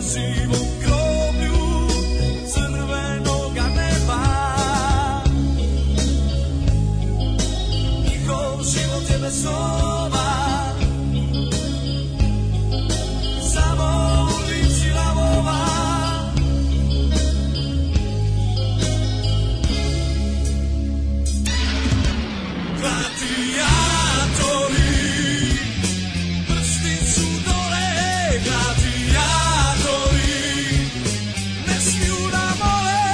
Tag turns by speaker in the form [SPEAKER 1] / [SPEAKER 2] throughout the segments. [SPEAKER 1] živ u groblju crvenoga neba Njihov život je bezoban Samo u lici lavova Gladiatori, prsti su dole, gladiatori, ne smiju da mole,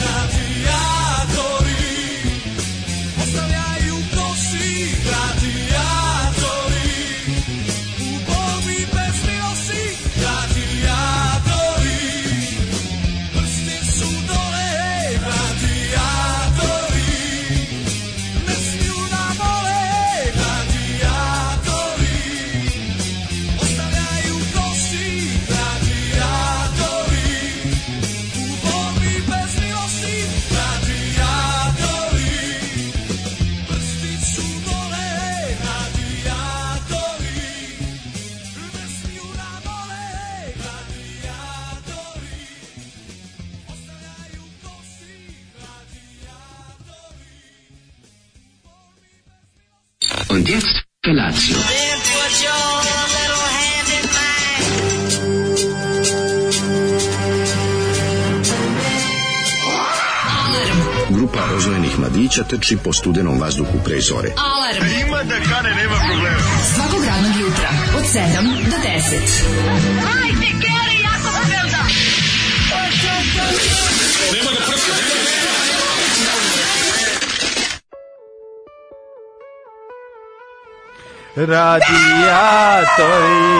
[SPEAKER 1] gladiatori, ostavljaju kosti, gladiatori, u borbi bez milosti, gladiatori, prsti su dole, gladiatori, ne smiju da vole gladijatori Ostavljaju kosti gladijatori U borbi bez milosti gladijatori Prsti su dole gladijatori Ne smiju da vole gladijatori Ostavljaju kosti gladijatori
[SPEAKER 2] Und jetzt Felatio.
[SPEAKER 3] Then put your little hand in mine.
[SPEAKER 4] Grupa rozvojenih mladića teči po studenom vazduhu pre zore.
[SPEAKER 5] Alarm. Ima da kane, nema problema. Svakog radnog jutra, od 7 do 10.
[SPEAKER 3] Hajde, Geri, jako se velda.
[SPEAKER 6] Radijatori.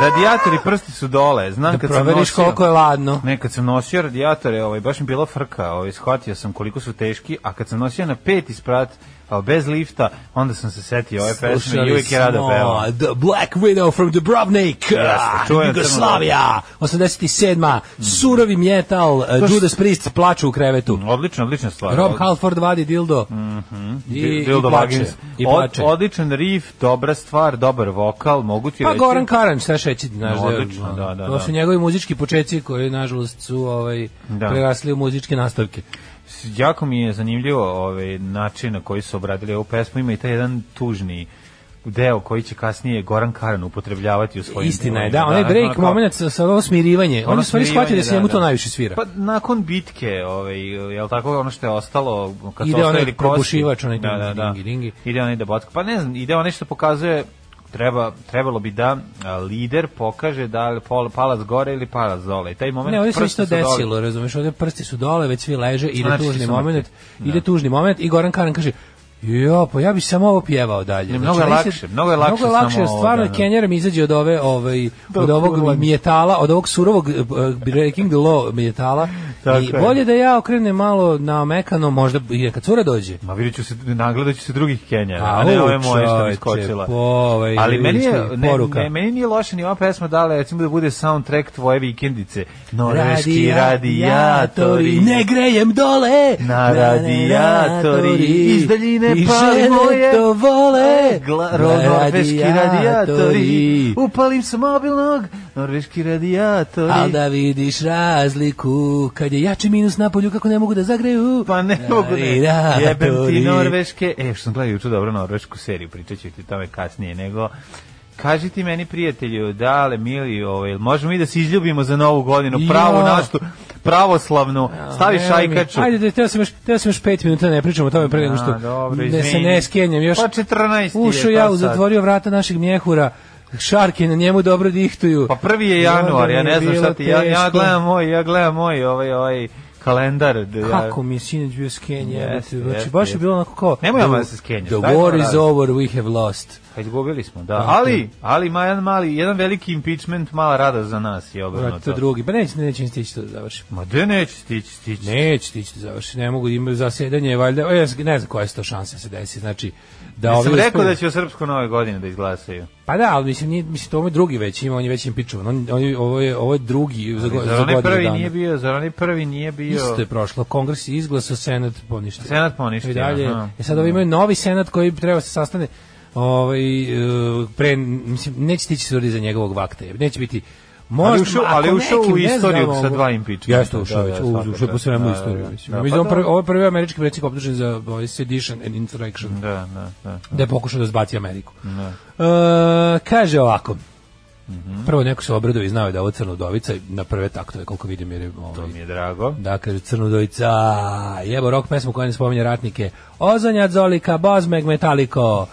[SPEAKER 6] Radijatori prsti su dole, znam
[SPEAKER 7] Da
[SPEAKER 6] kad sam
[SPEAKER 7] proveriš
[SPEAKER 6] nosio.
[SPEAKER 7] koliko je ladno.
[SPEAKER 6] Ne, kad sam nosio radijatore, ovaj, baš mi bila frka, ovaj, shvatio sam koliko su teški, a kad sam nosio na pet isprat, ali bez lifta, onda sam se setio ove pesme i uvijek je rado
[SPEAKER 7] smo
[SPEAKER 6] pevao.
[SPEAKER 7] The Black Widow from Dubrovnik, Ah,
[SPEAKER 6] Jeste, čujem crno.
[SPEAKER 7] Jugoslavija, 87. Surovi metal, eh,
[SPEAKER 6] To š-
[SPEAKER 7] Judas Priest plaču u krevetu.
[SPEAKER 6] Odlična, odlična stvar.
[SPEAKER 7] Rob
[SPEAKER 6] Od- Mhm.
[SPEAKER 7] Halford vadi dildo. I,
[SPEAKER 6] Dildo
[SPEAKER 7] i plače.
[SPEAKER 6] Vagins.
[SPEAKER 7] I
[SPEAKER 6] Od-
[SPEAKER 7] plače.
[SPEAKER 6] odličan riff, dobra stvar, dobar vokal, mogu ti
[SPEAKER 7] pa
[SPEAKER 6] reći.
[SPEAKER 7] Goran Karanč, šta šeći, znaš,
[SPEAKER 6] No,
[SPEAKER 7] da je-
[SPEAKER 6] odlično, da, da,
[SPEAKER 7] To
[SPEAKER 6] da.
[SPEAKER 7] su njegovi muzički počeci koji, nažalost, su ovaj,
[SPEAKER 6] Da.
[SPEAKER 7] prerasli u muzičke nastavke.
[SPEAKER 6] jako mi je zanimljivo ovaj način na koji su obradili ovu pesmu ima i taj jedan tužni deo koji će kasnije Goran Karan upotrebljavati u svojim
[SPEAKER 7] Istina je, da,
[SPEAKER 6] delovima.
[SPEAKER 7] onaj break
[SPEAKER 6] ono kao-
[SPEAKER 7] moment sa, sa ovo smirivanje.
[SPEAKER 6] ono
[SPEAKER 7] Oni su stvari
[SPEAKER 6] smirivanje,
[SPEAKER 7] shvatili da se
[SPEAKER 6] da,
[SPEAKER 7] njemu to
[SPEAKER 6] da.
[SPEAKER 7] najviše svira.
[SPEAKER 6] Pa nakon bitke, ovaj, je li tako ono što je ostalo, kad su
[SPEAKER 7] Ide onaj
[SPEAKER 6] ostavili kosti.
[SPEAKER 7] probušivač, onaj
[SPEAKER 6] da, da, da.
[SPEAKER 7] dingi, dingi.
[SPEAKER 6] Ide onaj da bocka. Pa ne znam, ide onaj što pokazuje treba, trebalo bi da a, lider pokaže da li pol- palac gore ili palac dole. I taj moment
[SPEAKER 7] Ne, ovdje se
[SPEAKER 6] prsti
[SPEAKER 7] isto
[SPEAKER 6] su dole.
[SPEAKER 7] desilo, razumeš, ovdje prsti su dole, već svi leže, ide
[SPEAKER 6] Anarhisti
[SPEAKER 7] tužni
[SPEAKER 6] su Da.
[SPEAKER 7] moment,
[SPEAKER 6] mrtvi.
[SPEAKER 7] ide tužni moment i Goran Karan kaže, Jo, pa ja bi samo ovo pjevao dalje.
[SPEAKER 6] Ne,
[SPEAKER 7] Znači,
[SPEAKER 6] mnogo je
[SPEAKER 7] meni se-
[SPEAKER 6] lakše, mnogo je lakše
[SPEAKER 7] Mnogo je lakše,
[SPEAKER 6] samo
[SPEAKER 7] jer
[SPEAKER 6] ovo,
[SPEAKER 7] stvarno
[SPEAKER 6] da, da.
[SPEAKER 7] Kenjera mi izađe od ove, ovaj,
[SPEAKER 6] Da,
[SPEAKER 7] od
[SPEAKER 6] kurva.
[SPEAKER 7] ovog mjetala, od ovog surovog eh, Breaking the Law mjetala.
[SPEAKER 6] Tako
[SPEAKER 7] I
[SPEAKER 6] je.
[SPEAKER 7] bolje da ja okrenem malo na omekano, možda i neka cura dođe.
[SPEAKER 6] Ma vidjet ću se, nagledat ću se drugih Kenjara, a,
[SPEAKER 7] Au,
[SPEAKER 6] ne ove moje što bi
[SPEAKER 7] čoveče,
[SPEAKER 6] skočila.
[SPEAKER 7] po, ovaj,
[SPEAKER 6] Ali meni, je,
[SPEAKER 7] vidiš li,
[SPEAKER 6] ne,
[SPEAKER 7] poruka.
[SPEAKER 6] ne, meni nije loša ni ova pesma dala, recimo da bude soundtrack tvoje vikendice. Norveški radijatori.
[SPEAKER 7] Ne grejem dole
[SPEAKER 6] Na radijatori. Iz daljine
[SPEAKER 7] I
[SPEAKER 6] pali
[SPEAKER 7] žene
[SPEAKER 6] moje. E,
[SPEAKER 7] to vole
[SPEAKER 6] Gla,
[SPEAKER 7] Na
[SPEAKER 6] ro, norveški radijatori.
[SPEAKER 7] radijatori.
[SPEAKER 6] Upalim se mobilnog. Norveški radijatori.
[SPEAKER 7] Al da vidiš razliku Kad je jači minus na polju Kako ne mogu da zagreju
[SPEAKER 6] Pa ne mogu ne.
[SPEAKER 7] Radijatori.
[SPEAKER 6] Jebem ti Norveške. E, što sam gledao juče dobro norvešku seriju, pričat ću ti o tome kasnije, nego... Kaži ti meni, prijatelju, dale, mili, ovaj, možemo i da se izljubimo za novu godinu, pravu
[SPEAKER 7] Ja.
[SPEAKER 6] naštu, pravoslavnu, staviš
[SPEAKER 7] Evo mi.
[SPEAKER 6] šajkaču.
[SPEAKER 7] Ajde, da, teo sam još, teo sam još pet minuta, da ne pričamo o tome pre nego što
[SPEAKER 6] A, dobro,
[SPEAKER 7] ne, se
[SPEAKER 6] izvini.
[SPEAKER 7] ne skenjam. Još
[SPEAKER 6] Pa 14 je
[SPEAKER 7] Ušao
[SPEAKER 6] to
[SPEAKER 7] ja,
[SPEAKER 6] sad.
[SPEAKER 7] u zatvorio vrata našeg mjehura, šarke na njemu dobro dihtuju.
[SPEAKER 6] Pa prvi je
[SPEAKER 7] I onda
[SPEAKER 6] januar,
[SPEAKER 7] mi
[SPEAKER 6] ja
[SPEAKER 7] je
[SPEAKER 6] ne znam
[SPEAKER 7] bilo
[SPEAKER 6] šta ti, ja, ja
[SPEAKER 7] teško.
[SPEAKER 6] gledam moj, ja gledam moj, ovaj, ovaj, kalendar. da ja-
[SPEAKER 7] Kako mi je sinoć bio skenje,
[SPEAKER 6] Jeste,
[SPEAKER 7] jebote, znači
[SPEAKER 6] jeste,
[SPEAKER 7] baš
[SPEAKER 6] jeste.
[SPEAKER 7] je bilo onako kao...
[SPEAKER 6] Nemoj
[SPEAKER 7] the-
[SPEAKER 6] nama da se skenjaš,
[SPEAKER 7] The
[SPEAKER 6] daj to
[SPEAKER 7] war is
[SPEAKER 6] radi.
[SPEAKER 7] over, we have lost.
[SPEAKER 6] Pa izgubili smo, da. Ali, ali ima jedan mali, jedan veliki impeachment, mala rada za nas je
[SPEAKER 7] Vrati to
[SPEAKER 6] obrnuto.
[SPEAKER 7] drugi, pa neće, neće ni stići to da završi.
[SPEAKER 6] Ma gde neće stići, stići.
[SPEAKER 7] Neće stići da završi, ne mogu, ima zasjedanje, valjda, o, ja z- ne znam koje su to šanse da se desi, znači... Da
[SPEAKER 6] Ja sam
[SPEAKER 7] ovi
[SPEAKER 6] rekao
[SPEAKER 7] uspeju-
[SPEAKER 6] da će u srpsko nove godine da izglasaju.
[SPEAKER 7] Pa da, ali mislim, nije, mislim, to ovo je drugi već ima, on je već impičovan. On, on, je- ovo, je, ovo je drugi za, go,
[SPEAKER 6] Zar
[SPEAKER 7] za
[SPEAKER 6] onaj
[SPEAKER 7] godinu
[SPEAKER 6] prvi
[SPEAKER 7] dana.
[SPEAKER 6] nije bio, zar onaj prvi nije bio...
[SPEAKER 7] Isto je prošlo, kongres je izglasao, senat poništio.
[SPEAKER 6] Senat poništio,
[SPEAKER 7] I dalje,
[SPEAKER 6] aha.
[SPEAKER 7] e sad ovo imaju novi senat koji treba da se sastane ovaj, e, pre, mislim, neće tići svrdi za njegovog vakta, jer neće biti Možda,
[SPEAKER 6] Ali ušao-
[SPEAKER 7] ma, ako
[SPEAKER 6] ali ušao u
[SPEAKER 7] nekim, ne
[SPEAKER 6] istoriju
[SPEAKER 7] znam,
[SPEAKER 6] sa
[SPEAKER 7] ovo-
[SPEAKER 6] dva impeachmenta.
[SPEAKER 7] Jeste ušao,
[SPEAKER 6] Da,
[SPEAKER 7] već,
[SPEAKER 6] da,
[SPEAKER 7] uz-
[SPEAKER 6] svakako,
[SPEAKER 7] ušao je po svemu
[SPEAKER 6] da,
[SPEAKER 7] istoriju.
[SPEAKER 6] da.
[SPEAKER 7] mislim.
[SPEAKER 6] Da, pa
[SPEAKER 7] Mislim, on
[SPEAKER 6] dobro.
[SPEAKER 7] prvi- Ovo je prvi američki predsjednik optužen za ovaj, sedition and insurrection.
[SPEAKER 6] Da, da, da.
[SPEAKER 7] da je pokušao da zbaci Ameriku. E, kaže ovako,
[SPEAKER 6] Mhm.
[SPEAKER 7] prvo neko se obradao i znao je da je ovo crna udovica, i na prve taktove koliko vidim jer je
[SPEAKER 6] To
[SPEAKER 7] ovaj,
[SPEAKER 6] mi je drago.
[SPEAKER 7] da kaže crna udovica, jebo rok pesmu koja ne spominje ratnike, Ozonja Zolika, Bozmeg Metaliko,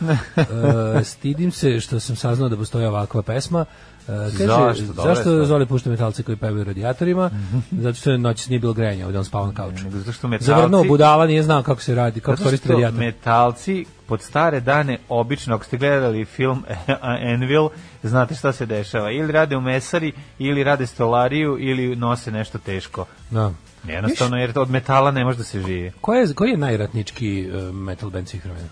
[SPEAKER 7] E, stidim se što sam saznao da postoji ovakva pesma, E, kaže,
[SPEAKER 6] Zašto? da. Dobra je
[SPEAKER 7] zašto
[SPEAKER 6] stvar.
[SPEAKER 7] Zoli pušta metalce koji pevaju u radijatorima? Zato što noć nije bilo grejanja, ovdje on spava na kauču.
[SPEAKER 6] Mhm. Nego zato što metalci-
[SPEAKER 7] Zavrnuo budala, nije znao kako se radi, kako
[SPEAKER 6] Zato
[SPEAKER 7] koristi
[SPEAKER 6] što
[SPEAKER 7] radijator.
[SPEAKER 6] metalci pod stare dane obično, ako ste gledali film Anvil, znate šta se dešava. Ili rade u mesari, ili rade stolariju, ili nose nešto teško.
[SPEAKER 7] Da.
[SPEAKER 6] Jednostavno, jer od metala ne može da se živi.
[SPEAKER 7] Koji je, koji je najratnički uh, metal band svih vremena?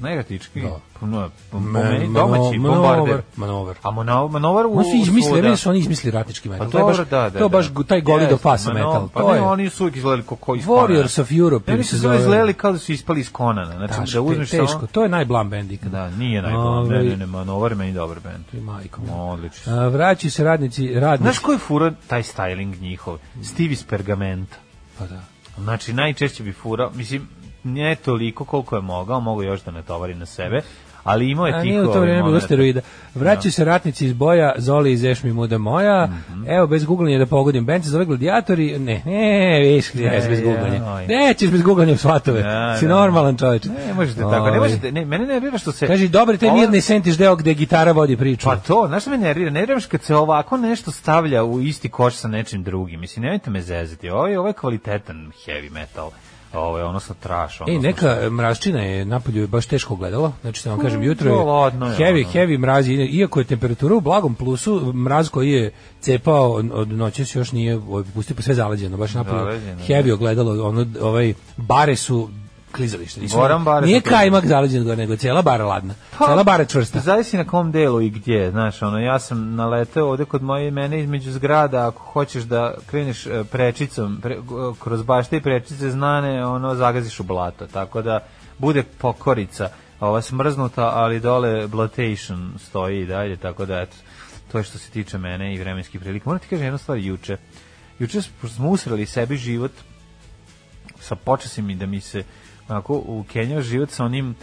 [SPEAKER 6] Najgatički.
[SPEAKER 7] Da.
[SPEAKER 6] No.
[SPEAKER 7] Me-
[SPEAKER 6] Meni domaći,
[SPEAKER 7] Mano-
[SPEAKER 6] bombarder.
[SPEAKER 7] Manover.
[SPEAKER 6] A Manover, Manover u...
[SPEAKER 7] Oni su izmislili,
[SPEAKER 6] svuda.
[SPEAKER 7] meni su oni izmislili ratnički metal.
[SPEAKER 6] Pa
[SPEAKER 7] to je baš,
[SPEAKER 6] dobro, da, da,
[SPEAKER 7] to
[SPEAKER 6] da.
[SPEAKER 7] je baš gu- taj goli
[SPEAKER 6] Jeste,
[SPEAKER 7] do pasa
[SPEAKER 6] Manov-
[SPEAKER 7] metal.
[SPEAKER 6] Pa
[SPEAKER 7] to
[SPEAKER 6] ne,
[SPEAKER 7] je.
[SPEAKER 6] oni su uvijek izgledali kao ko iz
[SPEAKER 7] Warriors of Europe.
[SPEAKER 6] Ne,
[SPEAKER 7] ili
[SPEAKER 6] mi
[SPEAKER 7] se
[SPEAKER 6] su zove
[SPEAKER 7] zove.
[SPEAKER 6] izgledali kao da su ispali iz Konana.
[SPEAKER 7] Da,
[SPEAKER 6] Znači, da uzmeš
[SPEAKER 7] teško.
[SPEAKER 6] samo...
[SPEAKER 7] To je najblam band ikada.
[SPEAKER 6] Da, nije najbolje. Ne,
[SPEAKER 7] Ovaj,
[SPEAKER 6] ne, ne, Manover je meni dobar band.
[SPEAKER 7] Majko.
[SPEAKER 6] O, Odlično.
[SPEAKER 7] A, vraćaju se radnici, radnici.
[SPEAKER 6] Znaš koji je fura taj styling njihov? Steve iz Pergamenta.
[SPEAKER 7] Pa da.
[SPEAKER 6] Znači, najčešće bi furao, mislim, ne toliko koliko je mogao, mogu još da ne tovari na sebe, ali imao je Da.
[SPEAKER 7] A
[SPEAKER 6] tikove.
[SPEAKER 7] nije u to vrijeme bilo
[SPEAKER 6] momenata.
[SPEAKER 7] steroida. Vraćaju se ratnici iz boja, Zoli iz Ešmi Muda Moja.
[SPEAKER 6] Mhm.
[SPEAKER 7] Evo, bez googlanja da pogodim. Band se zove Gladiatori. Ne, ne, viš, ne, bez
[SPEAKER 6] ja,
[SPEAKER 7] googlanja.
[SPEAKER 6] oj.
[SPEAKER 7] Nećeš bez googlanja u svatove.
[SPEAKER 6] Da,
[SPEAKER 7] si
[SPEAKER 6] da.
[SPEAKER 7] normalan čovječ.
[SPEAKER 6] Ne možete tako, ne možete, ne, mene nervira što se...
[SPEAKER 7] Ovaj- Kaži, dobri, taj
[SPEAKER 6] Ovo-
[SPEAKER 7] mirni sentiš deo gde gitara vodi priču.
[SPEAKER 6] Pa to, znaš što me nervira? Nerviraš kad se ovako nešto stavlja u isti koš sa nečim drugim. Mislim, nemojte me zezati. Ovo je, ovo je kvalitetan heavy metal. Ovo je ono sa trash. Ono
[SPEAKER 7] Ej,
[SPEAKER 6] sa-
[SPEAKER 7] neka mračina je napolju je baš teško gledalo, znači da vam kažem, jutro je
[SPEAKER 6] to Mm, ladno je,
[SPEAKER 7] heavy,
[SPEAKER 6] ono.
[SPEAKER 7] heavy mraz, je. iako je temperatura u blagom plusu, mraz koji je cepao od noće se još nije ovaj, pustio, pa sve zaleđeno, baš napolju
[SPEAKER 6] Zaleđeno, da.
[SPEAKER 7] heavy ogledalo, ono, ovaj, bare su klizalište. Nisu,
[SPEAKER 6] Goran bare
[SPEAKER 7] nije
[SPEAKER 6] su klizalište.
[SPEAKER 7] kajmak zaleđen gore, nego cijela bara ladna,
[SPEAKER 6] Pa,
[SPEAKER 7] cijela bara čvrsta.
[SPEAKER 6] Zavisi na kom delu i gdje, znaš, ono, ja sam naleteo ovde kod moje mene između zgrada, ako hoćeš da kreneš e, prečicom, pre, g- kroz bašte i prečice znane, ono, zagaziš u blato, tako da bude pokorica, ova smrznuta, ali dole blatation stoji i dalje, tako da, eto, to je što se tiče mene i vremenskih prilika. Moram ti kažem jednu stvar, juče, juče smo usreli sebi život sa počasim i da mi se onako ukenjao život sa onim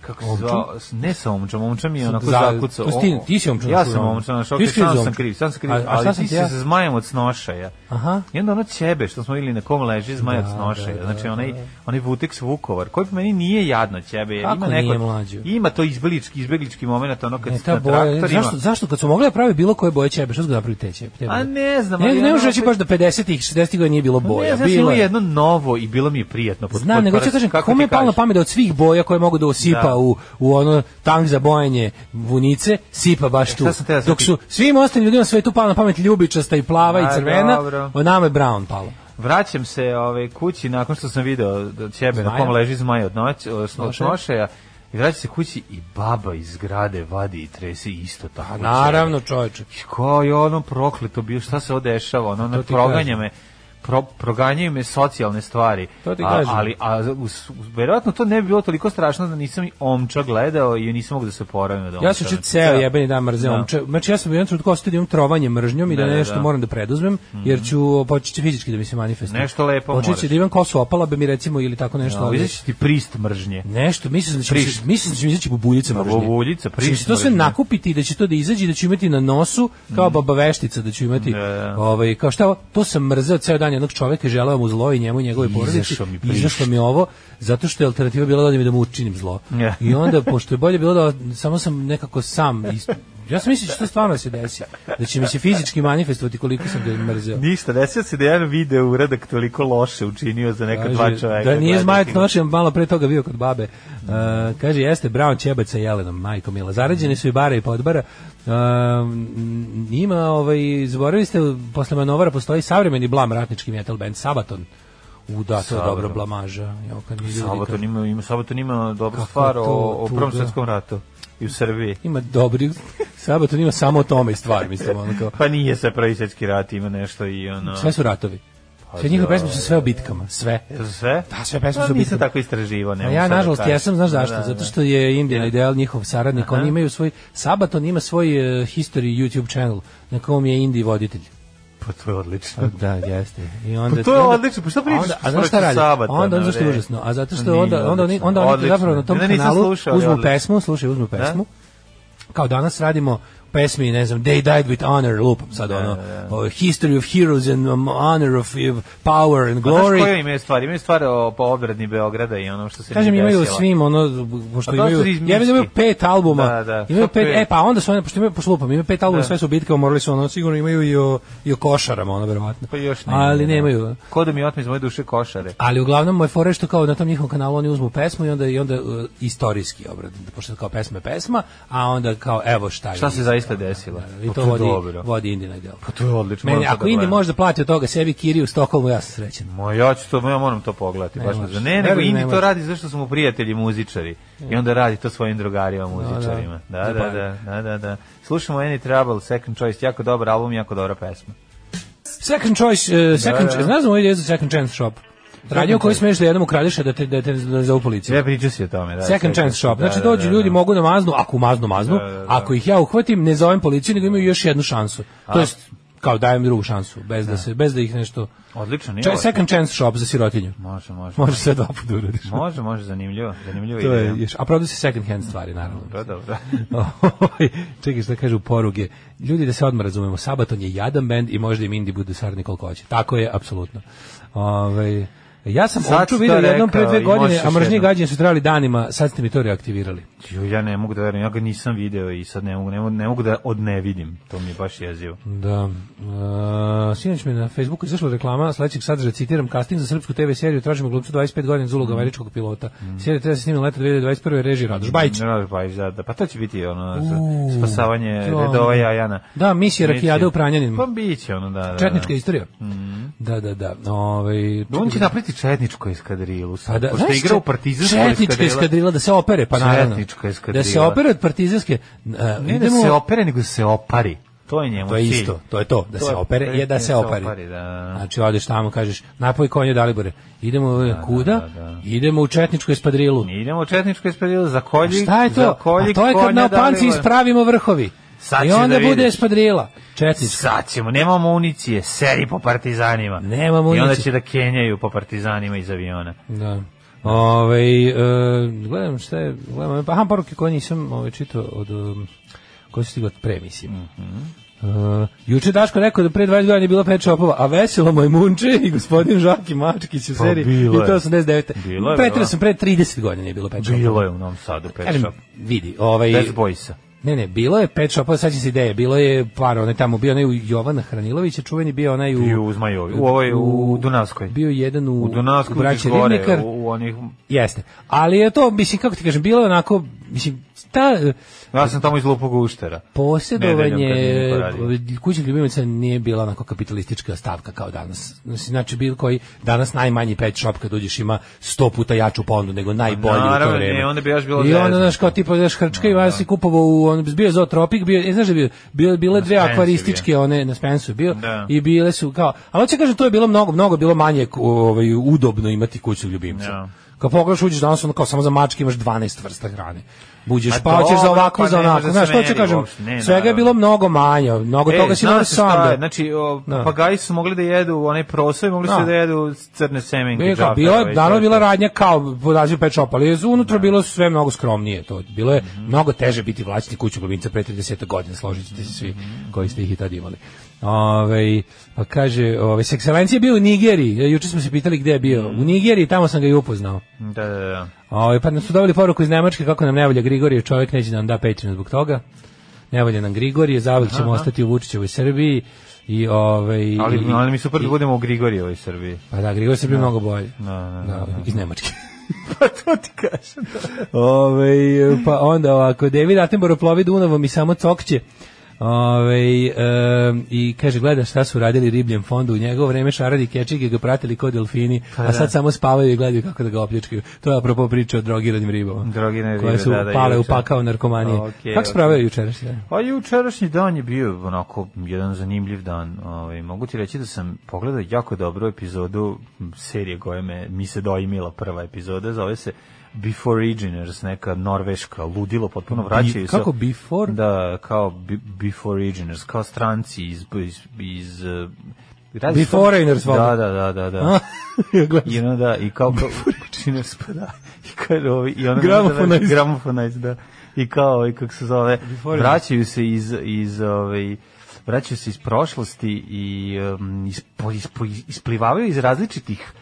[SPEAKER 6] kako se
[SPEAKER 7] Omčom?
[SPEAKER 6] zvao, s- ne sa omčom, omčom je onako
[SPEAKER 7] Za-
[SPEAKER 6] zakucao.
[SPEAKER 7] to si ti-
[SPEAKER 6] O-
[SPEAKER 7] ti si omčom
[SPEAKER 6] Ja
[SPEAKER 7] našao,
[SPEAKER 6] sam
[SPEAKER 7] ono.
[SPEAKER 6] omčom, znaš,
[SPEAKER 7] Ti
[SPEAKER 6] ok,
[SPEAKER 7] si kriv
[SPEAKER 6] sam
[SPEAKER 7] za
[SPEAKER 6] sam
[SPEAKER 7] omčom.
[SPEAKER 6] kriv, sam sam kriv,
[SPEAKER 7] A- a šta
[SPEAKER 6] ali
[SPEAKER 7] sam
[SPEAKER 6] ti
[SPEAKER 7] ti
[SPEAKER 6] si
[SPEAKER 7] ja?
[SPEAKER 6] se zmajem od snošaja.
[SPEAKER 7] Aha.
[SPEAKER 6] I onda ono ćebe što smo vidjeli na kom leži zmaj od
[SPEAKER 7] Da, da,
[SPEAKER 6] snošaja,
[SPEAKER 7] da,
[SPEAKER 6] znači onaj, onaj Vuteks Vukovar, koji po meni nije jadno ćebe, jer
[SPEAKER 7] Kako
[SPEAKER 6] ima neko,
[SPEAKER 7] nije, mlađo?
[SPEAKER 6] ima to izbeglički, izbeglički moment, ono kad
[SPEAKER 7] Ne,
[SPEAKER 6] si
[SPEAKER 7] E, ta
[SPEAKER 6] na
[SPEAKER 7] boja,
[SPEAKER 6] traktorima.
[SPEAKER 7] zašto, zašto kad su mogli da prave bilo koje boje ćebe, što su ga napravili te ćebe? te
[SPEAKER 6] A Pa
[SPEAKER 7] boje?
[SPEAKER 6] ne znam,
[SPEAKER 7] Ne,
[SPEAKER 6] ali
[SPEAKER 7] ne
[SPEAKER 6] ono
[SPEAKER 7] možeš reći
[SPEAKER 6] opet-
[SPEAKER 7] baš da 50-ih, 60-ih godina nije bilo
[SPEAKER 6] Pa Ne,
[SPEAKER 7] boja.
[SPEAKER 6] znaš,
[SPEAKER 7] bilo
[SPEAKER 6] ima
[SPEAKER 7] je.
[SPEAKER 6] jedno novo i bilo mi je prijetno. pod-
[SPEAKER 7] Znam,
[SPEAKER 6] pod
[SPEAKER 7] nego ću
[SPEAKER 6] prst,
[SPEAKER 7] kažem,
[SPEAKER 6] Pa kako
[SPEAKER 7] kome
[SPEAKER 6] ti
[SPEAKER 7] je palo na
[SPEAKER 6] kažem?
[SPEAKER 7] pamet da od svih boja koje mogu da osipa
[SPEAKER 6] Da.
[SPEAKER 7] u, u ono tank za bojanje vunice, sipa baš tu.
[SPEAKER 6] E, šta sam te ja sad
[SPEAKER 7] Dok su svim ostalim ljudima sve tu palo na pamet ljubičasta i plava
[SPEAKER 6] A,
[SPEAKER 7] i crvena,
[SPEAKER 6] dobro.
[SPEAKER 7] o nama je brown palo.
[SPEAKER 6] Vraćam se ove kući nakon što sam video da ćebe na
[SPEAKER 7] Zmaja?
[SPEAKER 6] kom leži zmaj od noć, od
[SPEAKER 7] Snoše.
[SPEAKER 6] snošaja. I vraćam se kući i baba iz zgrade vadi i trese isto tako.
[SPEAKER 7] A
[SPEAKER 6] ćebe.
[SPEAKER 7] Pa naravno, čoveče.
[SPEAKER 6] I Ko je ono prokleto bio, šta se odešava, ono, ono
[SPEAKER 7] ti
[SPEAKER 6] proganja
[SPEAKER 7] kažem.
[SPEAKER 6] me. Pro, proganjaju me socijalne stvari.
[SPEAKER 7] To ti
[SPEAKER 6] A-
[SPEAKER 7] kažem.
[SPEAKER 6] ali a, us- verovatno to ne bi bilo toliko strašno da nisam i omča gledao i nisam mogao da se poravim od omča.
[SPEAKER 7] Ja sam juče ceo jebeni dan mrzeo.
[SPEAKER 6] Da.
[SPEAKER 7] omče. Znači ja sam u jednom trenutku ostao da imam trovanje mržnjom i da,
[SPEAKER 6] Da, da,
[SPEAKER 7] nešto
[SPEAKER 6] da.
[SPEAKER 7] moram da preduzmem, jer ću početi fizički da mi se manifestuje.
[SPEAKER 6] Nešto lepo
[SPEAKER 7] Počeće
[SPEAKER 6] moraš. Da,
[SPEAKER 7] da imam kosu opala bi mi recimo ili tako nešto.
[SPEAKER 6] No,
[SPEAKER 7] ali-
[SPEAKER 6] izaći ti prist mržnje.
[SPEAKER 7] Nešto, mislim da će
[SPEAKER 6] Priš.
[SPEAKER 7] mislim da će mi izaći bubuljica
[SPEAKER 6] Pa,
[SPEAKER 7] mržnje.
[SPEAKER 6] bubuljica, priš
[SPEAKER 7] Mislim da će to sve
[SPEAKER 6] mržnje.
[SPEAKER 7] nakupiti i da će to da izađe i da ću imati na nosu kao baba veštica da ću imati.
[SPEAKER 6] Mm. Da.
[SPEAKER 7] Ovaj kao šta, ovo, to sam mrzeo ceo dan jednog čoveka i želeo mu zlo i njemu i njegovoj
[SPEAKER 6] Izašao
[SPEAKER 7] porodici.
[SPEAKER 6] mi priš.
[SPEAKER 7] Izašlo mi ovo zato što je alternativa bila da mi da mu učinim zlo.
[SPEAKER 6] Ja.
[SPEAKER 7] I onda pošto je bolje bilo da samo sam nekako sam is- Ja sam mislio da će to stvarno da se desi, da će mi se fizički manifestovati koliko sam ga mrzeo.
[SPEAKER 6] Ništa, desio se da je jedan video uradak toliko loše učinio za neka dva
[SPEAKER 7] Kaže,
[SPEAKER 6] čoveka. Mm.
[SPEAKER 7] Da nije
[SPEAKER 6] Gledajte
[SPEAKER 7] zmajac
[SPEAKER 6] ga.
[SPEAKER 7] noćem, malo pre toga bio kod babe. Uh, kaže, jeste Brown Ćebac sa Jelenom, majko mila.
[SPEAKER 6] Mm.
[SPEAKER 7] Zarađeni su i bara i podbara. Uh, n- ima, ovaj, zaboravili ste, posle manovara postoji savremeni blam ratnički metal band Sabaton. U, da, to je
[SPEAKER 6] Sabaton.
[SPEAKER 7] dobro blamaža. Jo, kad mi ljudi kažu-
[SPEAKER 6] Sabaton ima, ima, Sabaton ima dobru
[SPEAKER 7] Kako
[SPEAKER 6] stvar
[SPEAKER 7] to
[SPEAKER 6] o, o Prvom
[SPEAKER 7] tuga.
[SPEAKER 6] svetskom ratu i u Srbiji.
[SPEAKER 7] Ima dobri, Sabaton ima samo o tome i stvar, mislim, ono kao.
[SPEAKER 6] Pa da. nije se prvi svetski rat, ima nešto i ono...
[SPEAKER 7] Sve su ratovi. Sve njihove pesme su sve o bitkama, sve.
[SPEAKER 6] To su sve?
[SPEAKER 7] Da, sve pesme
[SPEAKER 6] Pa
[SPEAKER 7] su o
[SPEAKER 6] Nisam
[SPEAKER 7] bitkama.
[SPEAKER 6] tako istraživo. ne
[SPEAKER 7] A
[SPEAKER 6] mogu
[SPEAKER 7] ja
[SPEAKER 6] sad da
[SPEAKER 7] nažalost
[SPEAKER 6] kažem.
[SPEAKER 7] jesam, znaš zašto?
[SPEAKER 6] Da, da.
[SPEAKER 7] Zato što je Indian Ideal njihov saradnik, oni imaju svoj Sabaton ima svoj uh, history YouTube channel na kom je Indi voditelj.
[SPEAKER 6] Pa to je odlično.
[SPEAKER 7] Da, jeste. I onda
[SPEAKER 6] Pa to je
[SPEAKER 7] onda-
[SPEAKER 6] odlično, pa šta pričaš
[SPEAKER 7] Onda,
[SPEAKER 6] što
[SPEAKER 7] a znaš šta
[SPEAKER 6] protiv
[SPEAKER 7] radi?
[SPEAKER 6] Sabatona,
[SPEAKER 7] onda onda što je
[SPEAKER 6] bre?
[SPEAKER 7] užasno. A zato što
[SPEAKER 6] Nije
[SPEAKER 7] onda onda oni
[SPEAKER 6] odlično.
[SPEAKER 7] onda oni
[SPEAKER 6] Odlično.
[SPEAKER 7] zapravo na tom
[SPEAKER 6] Ne da nisam
[SPEAKER 7] kanalu
[SPEAKER 6] slušao, ali
[SPEAKER 7] uzmu
[SPEAKER 6] odlično.
[SPEAKER 7] pesmu, slušaj, uzmu pesmu. Kao danas radimo pesmi, ne znam, They Died with Honor, lupam sad ono, o, History of Heroes and um, Honor of uh, Power and
[SPEAKER 6] A Pa znaš
[SPEAKER 7] Glory.
[SPEAKER 6] koje imaju stvari? Imaju stvari o po obradni Beograda i onom što se
[SPEAKER 7] Kažem
[SPEAKER 6] nije
[SPEAKER 7] imaju u
[SPEAKER 6] desilo.
[SPEAKER 7] svim ono pošto
[SPEAKER 6] A to su
[SPEAKER 7] imaju
[SPEAKER 6] izmišlji.
[SPEAKER 7] ja vidim imaju pet albuma.
[SPEAKER 6] Da, da,
[SPEAKER 7] imaju
[SPEAKER 6] to
[SPEAKER 7] pet
[SPEAKER 6] pet. Da.
[SPEAKER 7] e pa onda su oni pošto imaju poslupam, imaju pet albuma, sve su bitke, morali su ono sigurno imaju i o i o košarama, ono verovatno.
[SPEAKER 6] Pa još ne.
[SPEAKER 7] Ali nemaju.
[SPEAKER 6] Ko da mi otme iz moje duše košare?
[SPEAKER 7] Ali uglavnom moje fore što kao na tom njihovom kanalu oni uzmu pesmu i onda i onda uh, istorijski obrad, pošto kao pesma je pesma, a onda kao evo šta je.
[SPEAKER 6] Šta se zaista desilo?
[SPEAKER 7] I
[SPEAKER 6] Pa
[SPEAKER 7] to
[SPEAKER 6] je
[SPEAKER 7] vodi
[SPEAKER 6] dobro.
[SPEAKER 7] vodi Indina delo.
[SPEAKER 6] Pa to je odlično.
[SPEAKER 7] Meni,
[SPEAKER 6] moram to
[SPEAKER 7] ako
[SPEAKER 6] da
[SPEAKER 7] Indi
[SPEAKER 6] gledam.
[SPEAKER 7] može da plati od toga sebi kiriju u Stokholmu, ja sam srećan.
[SPEAKER 6] Ma ja ću to, ja moram to pogledati.
[SPEAKER 7] Ne
[SPEAKER 6] baš
[SPEAKER 7] možeš.
[SPEAKER 6] me zanima. ne,
[SPEAKER 7] Ne,
[SPEAKER 6] nego
[SPEAKER 7] ne, ne
[SPEAKER 6] Indi to
[SPEAKER 7] možeš.
[SPEAKER 6] radi zašto su mu prijatelji muzičari. I onda radi to svojim drugarima muzičarima. Da,
[SPEAKER 7] pa-
[SPEAKER 6] da, da, da, da, da. Slušamo Any Trouble, Second Choice, jako dobar album, jako dobra pesma.
[SPEAKER 7] Second choice, uh, second,
[SPEAKER 6] Da, da.
[SPEAKER 7] znaš za moj ideju za second chance shop. Radio koji smeš da jednom ukradeš a da te da te za policija.
[SPEAKER 6] Sve pričao si o tome, da.
[SPEAKER 7] Second chance shop. Znači dođu ljudi mogu na maznu, ako maznu maznu,
[SPEAKER 6] da, da.
[SPEAKER 7] ako ih ja uhvatim, ne zovem policiju, nego imaju još jednu šansu. To jest kao dajem drugu šansu bez da se bez da ih nešto
[SPEAKER 6] Odlično, nije.
[SPEAKER 7] Če,
[SPEAKER 6] loše.
[SPEAKER 7] second chance shop za sirotinju.
[SPEAKER 6] Može, može.
[SPEAKER 7] Može sve dva puta da uradiš.
[SPEAKER 6] Može, može, zanimljivo. Zanimljivo
[SPEAKER 7] To je,
[SPEAKER 6] ideja.
[SPEAKER 7] još, a prodaju se second hand stvari, naravno.
[SPEAKER 6] Dobro, dobro.
[SPEAKER 7] Oj, Čekaj, šta kažu poruge? Ljudi, da se odmah razumemo, Sabaton je jadan bend i možda im Indi bude sarni koliko hoće. Tako je, apsolutno. Ovaj, ja sam
[SPEAKER 6] Sad
[SPEAKER 7] Ovču
[SPEAKER 6] si to
[SPEAKER 7] vidio jednom pre
[SPEAKER 6] rekao
[SPEAKER 7] dve
[SPEAKER 6] i
[SPEAKER 7] godine,
[SPEAKER 6] možeš
[SPEAKER 7] a
[SPEAKER 6] još
[SPEAKER 7] mržnje
[SPEAKER 6] jednom.
[SPEAKER 7] gađenje su trajali danima, sad ste mi to reaktivirali.
[SPEAKER 6] Jo, ja ne mogu da verujem, ja ga nisam video i sad ne mogu, ne mogu, ne mogu da odnevidim. To mi je baš jezivo.
[SPEAKER 7] Da. Uh, sinoć mi je na Facebooku izašla reklama sledećeg sadržaja, citiram, casting za srpsku TV seriju, tražimo glumcu 25 godina za ulogu američkog pilota. Serija treba se snimiti leta 2021. režiji Radoš Bajić.
[SPEAKER 6] Radoš Bajić, da, da, pa to će biti ono, za
[SPEAKER 7] Uuu,
[SPEAKER 6] spasavanje
[SPEAKER 7] to.
[SPEAKER 6] redova Jajana.
[SPEAKER 7] Da, misija Rakijada u Pranjaninu.
[SPEAKER 6] Pa biće ono, da, da. da.
[SPEAKER 7] Četnička istorija. Da, da, da. Ovaj,
[SPEAKER 6] Da, on će napraviti četničku eskadrilu.
[SPEAKER 7] Pa
[SPEAKER 6] Sad,
[SPEAKER 7] da,
[SPEAKER 6] pošto je
[SPEAKER 7] znaš
[SPEAKER 6] igrao u
[SPEAKER 7] čet-
[SPEAKER 6] partizanskoj
[SPEAKER 7] Četnička eskadrila da se opere, pa naravno.
[SPEAKER 6] Četnička
[SPEAKER 7] Da
[SPEAKER 6] eskadrila.
[SPEAKER 7] se opere od partizanske. Uh,
[SPEAKER 6] Ne da
[SPEAKER 7] idemo-
[SPEAKER 6] se opere, nego da se opari. To je njemu
[SPEAKER 7] To je
[SPEAKER 6] cilj.
[SPEAKER 7] isto, to je to, da
[SPEAKER 6] To
[SPEAKER 7] se
[SPEAKER 6] je-
[SPEAKER 7] opere je da se opari.
[SPEAKER 6] da.
[SPEAKER 7] Znači odeš tamo, kažeš, napoj konje Dalibore, idemo eh, kuda,
[SPEAKER 6] da, da.
[SPEAKER 7] idemo u Četničku espadrilu.
[SPEAKER 6] Mi idemo u četničku eskadrilu za kolji.
[SPEAKER 7] Šta je
[SPEAKER 6] Za
[SPEAKER 7] to?
[SPEAKER 6] kolji,
[SPEAKER 7] A to je kad na panci ispravimo vrhovi.
[SPEAKER 6] Sad
[SPEAKER 7] I
[SPEAKER 6] ćeš
[SPEAKER 7] onda
[SPEAKER 6] da
[SPEAKER 7] bude
[SPEAKER 6] vidiš.
[SPEAKER 7] espadrila. Četnička.
[SPEAKER 6] Sad ćemo, nemamo municije, seri po partizanima.
[SPEAKER 7] Nema
[SPEAKER 6] I onda
[SPEAKER 7] municije.
[SPEAKER 6] će da kenjaju po partizanima iz aviona.
[SPEAKER 7] Da. Ovaj e, gledam šta je, gledam, ove- aha, poruke koje nisam ovaj, čitao od, um, koje su stigle od pre, mislim.
[SPEAKER 6] Mhm.
[SPEAKER 7] E, juče Daško rekao da pre 20 godina je bilo pet shopova, a veselo moj munče i gospodin Žaki Mačkić u
[SPEAKER 6] Pa
[SPEAKER 7] seriji
[SPEAKER 6] bilo je.
[SPEAKER 7] 1989.
[SPEAKER 6] Bilo je,
[SPEAKER 7] Petra
[SPEAKER 6] bilo.
[SPEAKER 7] sam pre 30 godina je bilo pet shopova.
[SPEAKER 6] Bilo je u Novom Sadu pet
[SPEAKER 7] Kažem,
[SPEAKER 6] shop.
[SPEAKER 7] vidi, ovaj,
[SPEAKER 6] Bez bojsa.
[SPEAKER 7] ne, ne, bilo je pet shopova, sad će se ideje, bilo je par, onaj tamo, bio onaj u Jovana Hranilowicz, čuveni bio onaj u...
[SPEAKER 6] I u Zmajovi, u ovoj, u Dunavskoj.
[SPEAKER 7] Bio je jedan u,
[SPEAKER 6] U Dunavskoj, u
[SPEAKER 7] braći
[SPEAKER 6] gore,
[SPEAKER 7] Ribnikar.
[SPEAKER 6] u, u onih...
[SPEAKER 7] Jeste. Ali je to, mislim, kako ti kažem, bilo je onako, mislim, ta e,
[SPEAKER 6] Ja sam tamo iz Lupog uštera.
[SPEAKER 7] posjedovanje
[SPEAKER 6] Nedeljom kad nije niko radio.
[SPEAKER 7] e, kućnih ljubimaca nije bila onako kapitalistička stavka kao danas. Znači, bilo koji, danas najmanji pet shop kad uđeš ima sto puta jaču ponudu nego najbolji u
[SPEAKER 6] Naravno,
[SPEAKER 7] to vreme.
[SPEAKER 6] ne, onda bi još bilo
[SPEAKER 7] I onda,
[SPEAKER 6] zezno.
[SPEAKER 7] znaš, kao tipa, znaš, Hrčka i vas si kupovao u, on, bio je zootropik, bio, je- e, znaš da je bio, bio, bile dve
[SPEAKER 6] Spensu je
[SPEAKER 7] akvarističke, one, na Spensu je bio,
[SPEAKER 6] Da.
[SPEAKER 7] i bile su kao, ali hoće kažem, to je bilo mnogo, mnogo je bilo manje ovaj, udobno imati kućnog ljubimca.
[SPEAKER 6] Da.
[SPEAKER 7] Kad pogledaš uđeš danas ono kao samo za mačke imaš 12 vrsta hrane. Buđeš
[SPEAKER 6] A
[SPEAKER 7] pa hoćeš za
[SPEAKER 6] dobro,
[SPEAKER 7] ovako,
[SPEAKER 6] pa
[SPEAKER 7] za
[SPEAKER 6] ne može
[SPEAKER 7] onako.
[SPEAKER 6] da
[SPEAKER 7] Znaš,
[SPEAKER 6] se
[SPEAKER 7] to ću
[SPEAKER 6] meri
[SPEAKER 7] kažem,
[SPEAKER 6] uopšte, ne,
[SPEAKER 7] svega je
[SPEAKER 6] naravno.
[SPEAKER 7] bilo mnogo manje, mnogo toga si
[SPEAKER 6] zna
[SPEAKER 7] morao
[SPEAKER 6] se
[SPEAKER 7] sam
[SPEAKER 6] E, šta
[SPEAKER 7] da...
[SPEAKER 6] je, Znači, o,
[SPEAKER 7] Da.
[SPEAKER 6] papagaji su mogli da jedu onaj prosoj, mogli
[SPEAKER 7] Da.
[SPEAKER 6] su da jedu crne semenke. ovaj,
[SPEAKER 7] Bio
[SPEAKER 6] džaferove
[SPEAKER 7] je kao, bilo
[SPEAKER 6] i sve
[SPEAKER 7] je, naravno
[SPEAKER 6] to.
[SPEAKER 7] bila radnja kao po nazivu pet shop, ali je za
[SPEAKER 6] Da.
[SPEAKER 7] unutra bilo sve mnogo skromnije to. Bilo je
[SPEAKER 6] Mhm.
[SPEAKER 7] mnogo teže biti vlasnik kućnog ljubimca pre 30 godina, složit ćete se svi
[SPEAKER 6] Mhm.
[SPEAKER 7] koji ste ih i tad imali. Ove, pa kaže, ove, s ekscelencije je bio u Nigeriji, E, juče smo se pitali gde je bio.
[SPEAKER 6] Mhm.
[SPEAKER 7] U Nigeriji, tamo sam ga i upoznao.
[SPEAKER 6] Da, da, da.
[SPEAKER 7] Ove, pa nam su dobili poruku iz Nemačke kako nam nevolja Grigorije, čovjek neće da nam da Patreon zbog toga. Nevolja nam Grigorije, zavljek ćemo ostati u Vučićevoj Srbiji. I, ove,
[SPEAKER 6] Ali,
[SPEAKER 7] i-
[SPEAKER 6] ali mi super da budemo u Grigorijevoj Srbiji.
[SPEAKER 7] pa da, Grigor se bio mnogo bolje.
[SPEAKER 6] da,
[SPEAKER 7] da, iz Nemačke. pa to ti kažem.
[SPEAKER 6] da.
[SPEAKER 7] Ove, pa onda ovako, David Attenborough plovi Dunavom i samo cokće. Ove, e, I kaže, gleda šta su radili ribljem fondu, u njegovo vreme šaradi kečige ga pratili kod delfini,
[SPEAKER 6] Pa da.
[SPEAKER 7] a sad samo spavaju i gledaju kako da ga opljačkaju. To je apropo priča o drogiranim ribama.
[SPEAKER 6] Drogirane
[SPEAKER 7] koje
[SPEAKER 6] ribe,
[SPEAKER 7] su
[SPEAKER 6] da, da,
[SPEAKER 7] pale u
[SPEAKER 6] juče.
[SPEAKER 7] pakao narkomanije.
[SPEAKER 6] Okej,
[SPEAKER 7] kako se
[SPEAKER 6] okej.
[SPEAKER 7] pravio jučerašnji dan?
[SPEAKER 6] A jučerašnji dan je bio onako jedan zanimljiv dan. Ovaj mogu ti reći da sam pogledao jako dobru epizodu serije koja me mi se doimila prva epizoda, zove se Before Originers, neka norveška ludilo potpuno vraćaju se.
[SPEAKER 7] kako Before?
[SPEAKER 6] Da, kao bi- Before Originers, kao stranci iz iz, iz eh, radi se
[SPEAKER 7] Before
[SPEAKER 6] o tome-
[SPEAKER 7] Originers,
[SPEAKER 6] Da,
[SPEAKER 7] valjda.
[SPEAKER 6] da, da, da, da. I ono da, i kao kao Originers, pa da. I kaže ovi, i ono
[SPEAKER 7] Gramophonize.
[SPEAKER 6] Gramophonize, da. I kao, ovaj, kako se zove,
[SPEAKER 7] Before
[SPEAKER 6] vraćaju se iz, iz, ovaj, vraćaju se iz prošlosti i um, ispo, ispo, isplivavaju iz različitih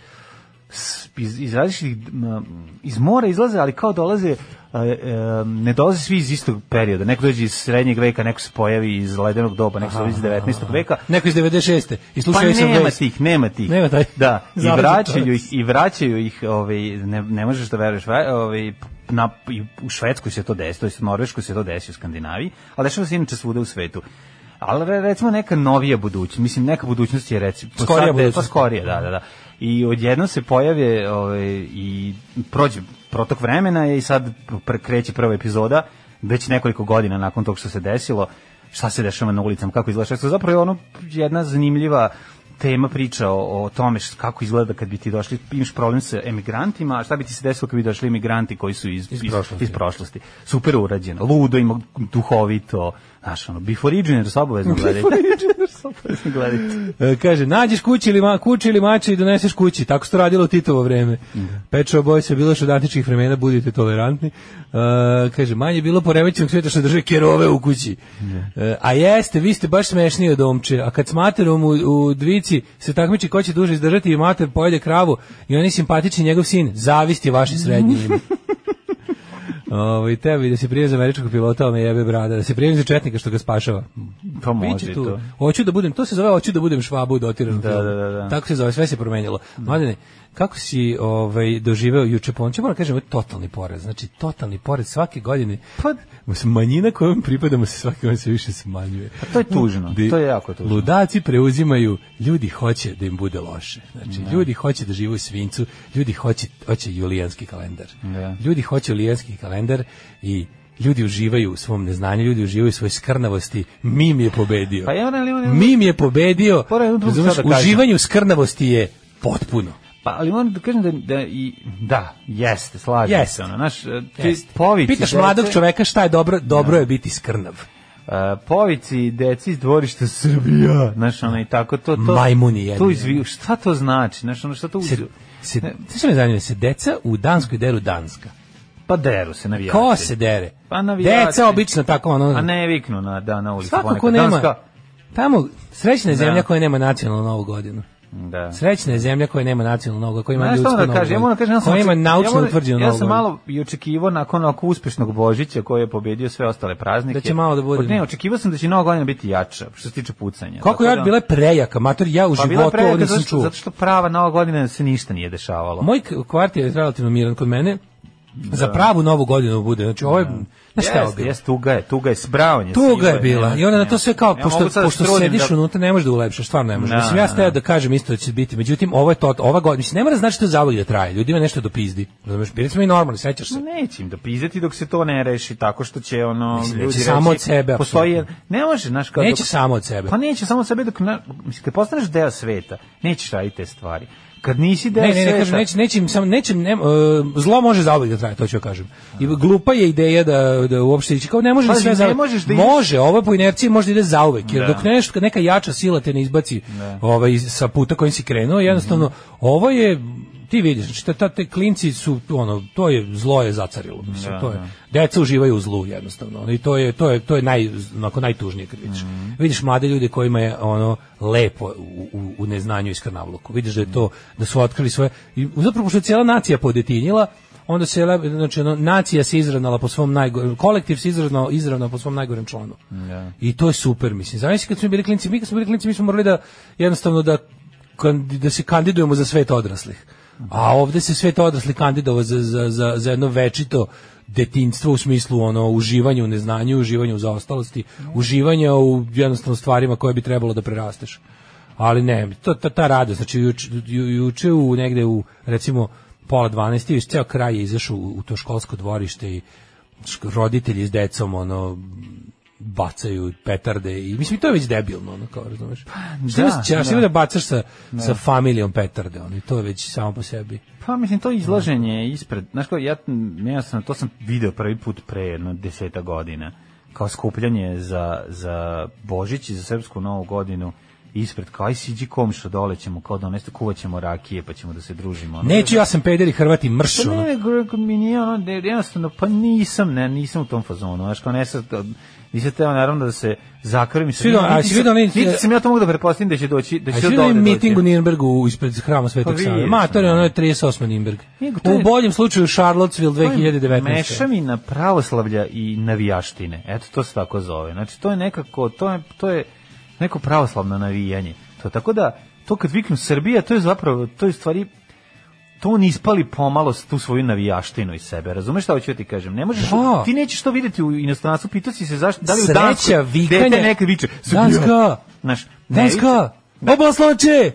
[SPEAKER 6] s- iz, iz različitih m, iz mora izlaze, ali kao dolaze e, e, ne dolaze svi iz istog perioda. Neko dođe iz srednjeg veka, neko se pojavi iz ledenog doba, neko se pojavi iz 19. veka.
[SPEAKER 7] Neko iz 96. I
[SPEAKER 6] Pa
[SPEAKER 7] slušaju sam
[SPEAKER 6] nema
[SPEAKER 7] vest.
[SPEAKER 6] tih, nema tih.
[SPEAKER 7] Nema taj-
[SPEAKER 6] Da, i
[SPEAKER 7] Zaleđen
[SPEAKER 6] vraćaju
[SPEAKER 7] čovjek.
[SPEAKER 6] ih, i vraćaju ih, ovaj, ne, ne možeš da veruješ, va- ovaj, na, i u Švedskoj se to desi, to jest u Norveškoj se to desi u Skandinaviji, ali dešava se inače svuda u svetu. Ali re- recimo neka novija budućnost, mislim neka budućnost je recimo... po
[SPEAKER 7] Skorija
[SPEAKER 6] sad- Pa
[SPEAKER 7] budućnost.
[SPEAKER 6] skorija, da, da, da. I odjedno se pojave ovaj, i prođe protok vremena je i sad pr- kreće prva epizoda, već nekoliko godina nakon tog što se desilo, šta se dešava na ulicama, kako izgleda Švedska. Zapravo je ono jedna zanimljiva tema priča o, o tome š- kako izgleda kad bi ti došli, imaš problem sa emigrantima, a šta bi ti se desilo kad bi došli emigranti koji su iz, iz,
[SPEAKER 7] prošlosti.
[SPEAKER 6] iz prošlosti. Super urađeno, ludo, ima duhovito, znaš, ono, before originers, obavezno gledajte. before originers, obavezno gledajte.
[SPEAKER 7] E, kaže, nađeš kući ili, ma, kući ili mače i doneseš kući. Tako se to radilo u Titovo vreme. Pet Shop Boys je bilo što od antičkih vremena, budite tolerantni. E, kaže, manje je bilo poremećenog sveta što drže kerove u kući. E, a jeste, vi ste baš smešniji od omče. A kad s materom u, u dvici se takmiči ko će duže izdržati i mater pojede kravu i on je simpatični njegov sin, zavisti vaše srednje ime. Ovo, i tebi da se prijavim za američkog pilota, ovo me jebe brada, da se prijavim za četnika što ga spašava.
[SPEAKER 6] Pa može
[SPEAKER 7] Biće
[SPEAKER 6] i
[SPEAKER 7] tu.
[SPEAKER 6] to.
[SPEAKER 7] Hoću da budem, to se zove hoću da budem švabu dotiran.
[SPEAKER 6] Da, da, da, da.
[SPEAKER 7] Tako se zove, sve se promenilo. Mladene, kako si ovaj doživeo juče ponče? Moram da kažem, ovo je totalni porez. Znači totalni porez svake godine.
[SPEAKER 6] Pa-
[SPEAKER 7] manjina kojom pripadamo se svake godine sve više smanjuje.
[SPEAKER 6] Pa to je tužno,
[SPEAKER 7] Di-
[SPEAKER 6] to je jako tužno.
[SPEAKER 7] Ludaci preuzimaju, ljudi hoće da im bude loše. Znači ljudi hoće da žive u svincu, ljudi hoće hoće julijanski kalendar.
[SPEAKER 6] Da.
[SPEAKER 7] Ljudi hoće julijanski kalendar i ljudi uživaju u svom neznanju, ljudi uživaju u svojoj skrnavosti. Mim je pobedio.
[SPEAKER 6] Pa ja ne, ne, ne, ne.
[SPEAKER 7] Mim je pobedio.
[SPEAKER 6] Moram jednu drugu
[SPEAKER 7] Razumeš,
[SPEAKER 6] stvar da kažem.
[SPEAKER 7] uživanju skrnavosti je potpuno.
[SPEAKER 6] Pa, ali moram da kažem da, da, i, da jeste, slažem
[SPEAKER 7] Jeste.
[SPEAKER 6] se. Ono, znaš, e, ti Da.
[SPEAKER 7] Jeste.
[SPEAKER 6] povici
[SPEAKER 7] Pitaš
[SPEAKER 6] dece-
[SPEAKER 7] mladog čoveka šta je dobro, dobro je biti skrnav.
[SPEAKER 6] e, povici deci iz dvorišta Srbija. Znaš, ono, i tako to... to
[SPEAKER 7] Majmuni jedni.
[SPEAKER 6] To izvi, šta to znači? Znaš, ono, šta to...
[SPEAKER 7] Se,
[SPEAKER 6] Uz...
[SPEAKER 7] se, znaš što me zanima, se deca u Danskoj deru Danska.
[SPEAKER 6] Pa deru se navijači.
[SPEAKER 7] Ko se dere?
[SPEAKER 6] Pa navijači.
[SPEAKER 7] Deca obično tako ono.
[SPEAKER 6] A ne viknu na, da, na ulicu.
[SPEAKER 7] svako ko
[SPEAKER 6] ponekad.
[SPEAKER 7] nema.
[SPEAKER 6] Danska-
[SPEAKER 7] Tamo srećna je
[SPEAKER 6] Da.
[SPEAKER 7] zemlja koja nema nacionalnu novu godinu.
[SPEAKER 6] Da.
[SPEAKER 7] Srećna je zemlja koja nema nacionalnu novu, koja ima
[SPEAKER 6] Znaš šta
[SPEAKER 7] ljudsku
[SPEAKER 6] moram
[SPEAKER 7] novu.
[SPEAKER 6] da kažem, ja moram da kažem, ja sam,
[SPEAKER 7] koja ima
[SPEAKER 6] oček-
[SPEAKER 7] naučno
[SPEAKER 6] moram-
[SPEAKER 7] utvrđenu
[SPEAKER 6] ja
[SPEAKER 7] novu
[SPEAKER 6] sam
[SPEAKER 7] godinu.
[SPEAKER 6] malo i očekivao nakon ovako uspešnog Božića koji je pobedio sve ostale praznike.
[SPEAKER 7] Da će malo da bude.
[SPEAKER 6] Ne, očekivao sam da će nova godina biti jača, što se tiče pucanja. Tako
[SPEAKER 7] Koliko ja
[SPEAKER 6] da-
[SPEAKER 7] bila je prejaka, mater, ja
[SPEAKER 6] Pa
[SPEAKER 7] u
[SPEAKER 6] bila je
[SPEAKER 7] životu ovo
[SPEAKER 6] prejaka
[SPEAKER 7] nisam
[SPEAKER 6] zato što,
[SPEAKER 7] čuo.
[SPEAKER 6] zato što prava nova godina da se ništa nije dešavalo.
[SPEAKER 7] Moj k- kvart je relativno miran kod mene. Za pravu novu godinu bude. Znači ovo je, znaš šta je ovo
[SPEAKER 6] Da. Jeste,
[SPEAKER 7] bilo?
[SPEAKER 6] jeste, tuga je, tuga je, sbravan je.
[SPEAKER 7] Tuga
[SPEAKER 6] siva
[SPEAKER 7] je bila.
[SPEAKER 6] nema-
[SPEAKER 7] I onda na to sve kao,
[SPEAKER 6] nema.
[SPEAKER 7] pošto,
[SPEAKER 6] mogu sad da
[SPEAKER 7] pošto
[SPEAKER 6] se trudim
[SPEAKER 7] sediš
[SPEAKER 6] da-
[SPEAKER 7] unutra, ne možeš da ulepšaš, stvarno ne možeš.
[SPEAKER 6] Da,
[SPEAKER 7] Mislim, ja
[SPEAKER 6] da.
[SPEAKER 7] ste da kažem isto da će biti. Međutim, ovo je to, ova godina, mislim, ne mora znači to zavljati da traje. Ljudima nešto do pizdi. Razumeš, bili smo i normalni, sećaš se.
[SPEAKER 6] Neće im dopizati dok se to ne reši, tako što će ono...
[SPEAKER 7] Mislim,
[SPEAKER 6] ljudi
[SPEAKER 7] neće
[SPEAKER 6] reći,
[SPEAKER 7] samo od sebe,
[SPEAKER 6] Postoji, ne može, znaš, kao...
[SPEAKER 7] Neće
[SPEAKER 6] dok-
[SPEAKER 7] samo od sebe.
[SPEAKER 6] Pa neće samo od sebe dok... Na, mislim, kad postaneš deo sveta, nećeš raditi te stvari. Kad nisi deo
[SPEAKER 7] Ne, ne,
[SPEAKER 6] sveta...
[SPEAKER 7] ne, kažem, neće, neće, im samo, neće, im, ne, e, zlo može zauvijek da traje, to ću joj kažem. I glupa je ideja da, da uopšte ići, kao ne može ni
[SPEAKER 6] Pazi,
[SPEAKER 7] sve
[SPEAKER 6] ne
[SPEAKER 7] zauvijek.
[SPEAKER 6] možeš da ideš-
[SPEAKER 7] može, ovo po inerciji može da ide zauvijek, jer
[SPEAKER 6] Da.
[SPEAKER 7] dok neš, neka jača sila te ne izbaci ovaj, sa puta kojim si krenuo, jednostavno, ovo je, ti vidiš, znači, ta, ta, te klinci su, ono, to je, zlo je zacarilo,
[SPEAKER 6] Da,
[SPEAKER 7] mislim, to je, deca uživaju u zlu, jednostavno, ono, i to je, to je, to je naj, onako, najtužnije kad vidiš.
[SPEAKER 6] Mhm.
[SPEAKER 7] Vidiš mlade ljude kojima je, ono, lepo u, u, u neznanju i skrnavluku, vidiš da je to, da su otkrili svoje, i zapravo što je cijela nacija podetinjila, onda se le- znači ono, nacija se izravnala po svom najgorem kolektiv se izravnao izravnao po svom najgorem članu. I to je super, mislim. Zamisli kad smo bili klinci, mi kad smo bili klinci, mi smo morali da jednostavno da kan- da se kandidujemo za svet odraslih. A ovde se svet odraslih kandidovao za, za, za, za jedno večito detinjstvo u smislu ono uživanju u neznanju, uživanju u zaostalosti, uživanja u jednostavno stvarima koje bi trebalo da prerasteš. Ali ne, to, ta, ta radost, znači juč- ju- juče u negde u recimo pola 12 iz ceo kraj je izašao u, u to školsko dvorište i šk- roditelji s decom ono bacaju petarde i mislim i to je već debilno ono kao razumeš. Šta
[SPEAKER 6] da,
[SPEAKER 7] da, ćeš
[SPEAKER 6] da.
[SPEAKER 7] da bacaš sa sa familijom petarde ono i to je već samo po sebi.
[SPEAKER 6] Pa mislim to izlaženje ispred, znaš kao ja, ja sam to sam video prvi put pre jedno deseta godina kao skupljanje za, za Božić i za Srpsku novu godinu ispred, kao aj siđi komšo, dole ćemo kao donesti, kuvat ćemo rakije pa ćemo da se družimo. Ono,
[SPEAKER 7] Neću ja sam peder i Hrvati mrš.
[SPEAKER 6] Pa
[SPEAKER 7] ono.
[SPEAKER 6] ne, nego nego mi nije ono, ne, jednostavno, pa nisam, ne, nisam u tom fazonu, znaš, kao ne sad, nisam teo naravno da se zakrvim.
[SPEAKER 7] Svi do- a
[SPEAKER 6] niti
[SPEAKER 7] si
[SPEAKER 6] sam-
[SPEAKER 7] vidio onaj-
[SPEAKER 6] Niti sam ja to mogu da pretpostavim da će doći, da
[SPEAKER 7] A
[SPEAKER 6] će
[SPEAKER 7] što
[SPEAKER 6] do
[SPEAKER 7] je
[SPEAKER 6] dole
[SPEAKER 7] miting u
[SPEAKER 6] doći.
[SPEAKER 7] Nirnbergu ispred hrama Svetog
[SPEAKER 6] Pa
[SPEAKER 7] Save?
[SPEAKER 6] vidio
[SPEAKER 7] Ma,
[SPEAKER 6] sam,
[SPEAKER 7] to je
[SPEAKER 6] da.
[SPEAKER 7] ono je 38. Nirnberg.
[SPEAKER 6] Nego, to je-
[SPEAKER 7] U boljem slučaju Charlottesville 2019.
[SPEAKER 6] Mešavina pravoslavlja i navijaštine. Eto to se tako zove. Znači to je nekako to je to je neko pravoslavno navijanje. To tako da to kad viknu Srbija, to je zapravo to je u stvari to on ispali pomalo s- tu svoju navijaštinu iz sebe. Razumeš šta hoću ja ti kažem? Ne možeš,
[SPEAKER 7] Da.
[SPEAKER 6] ti nećeš to videti u inostranstvu. Pitao si se zašto, da li u
[SPEAKER 7] Sreća,
[SPEAKER 6] Danskoj
[SPEAKER 7] vikanje.
[SPEAKER 6] dete nekad viče. "Srbija!"
[SPEAKER 7] Danska!
[SPEAKER 6] Znaš, ne,
[SPEAKER 7] Danska! Obosloče!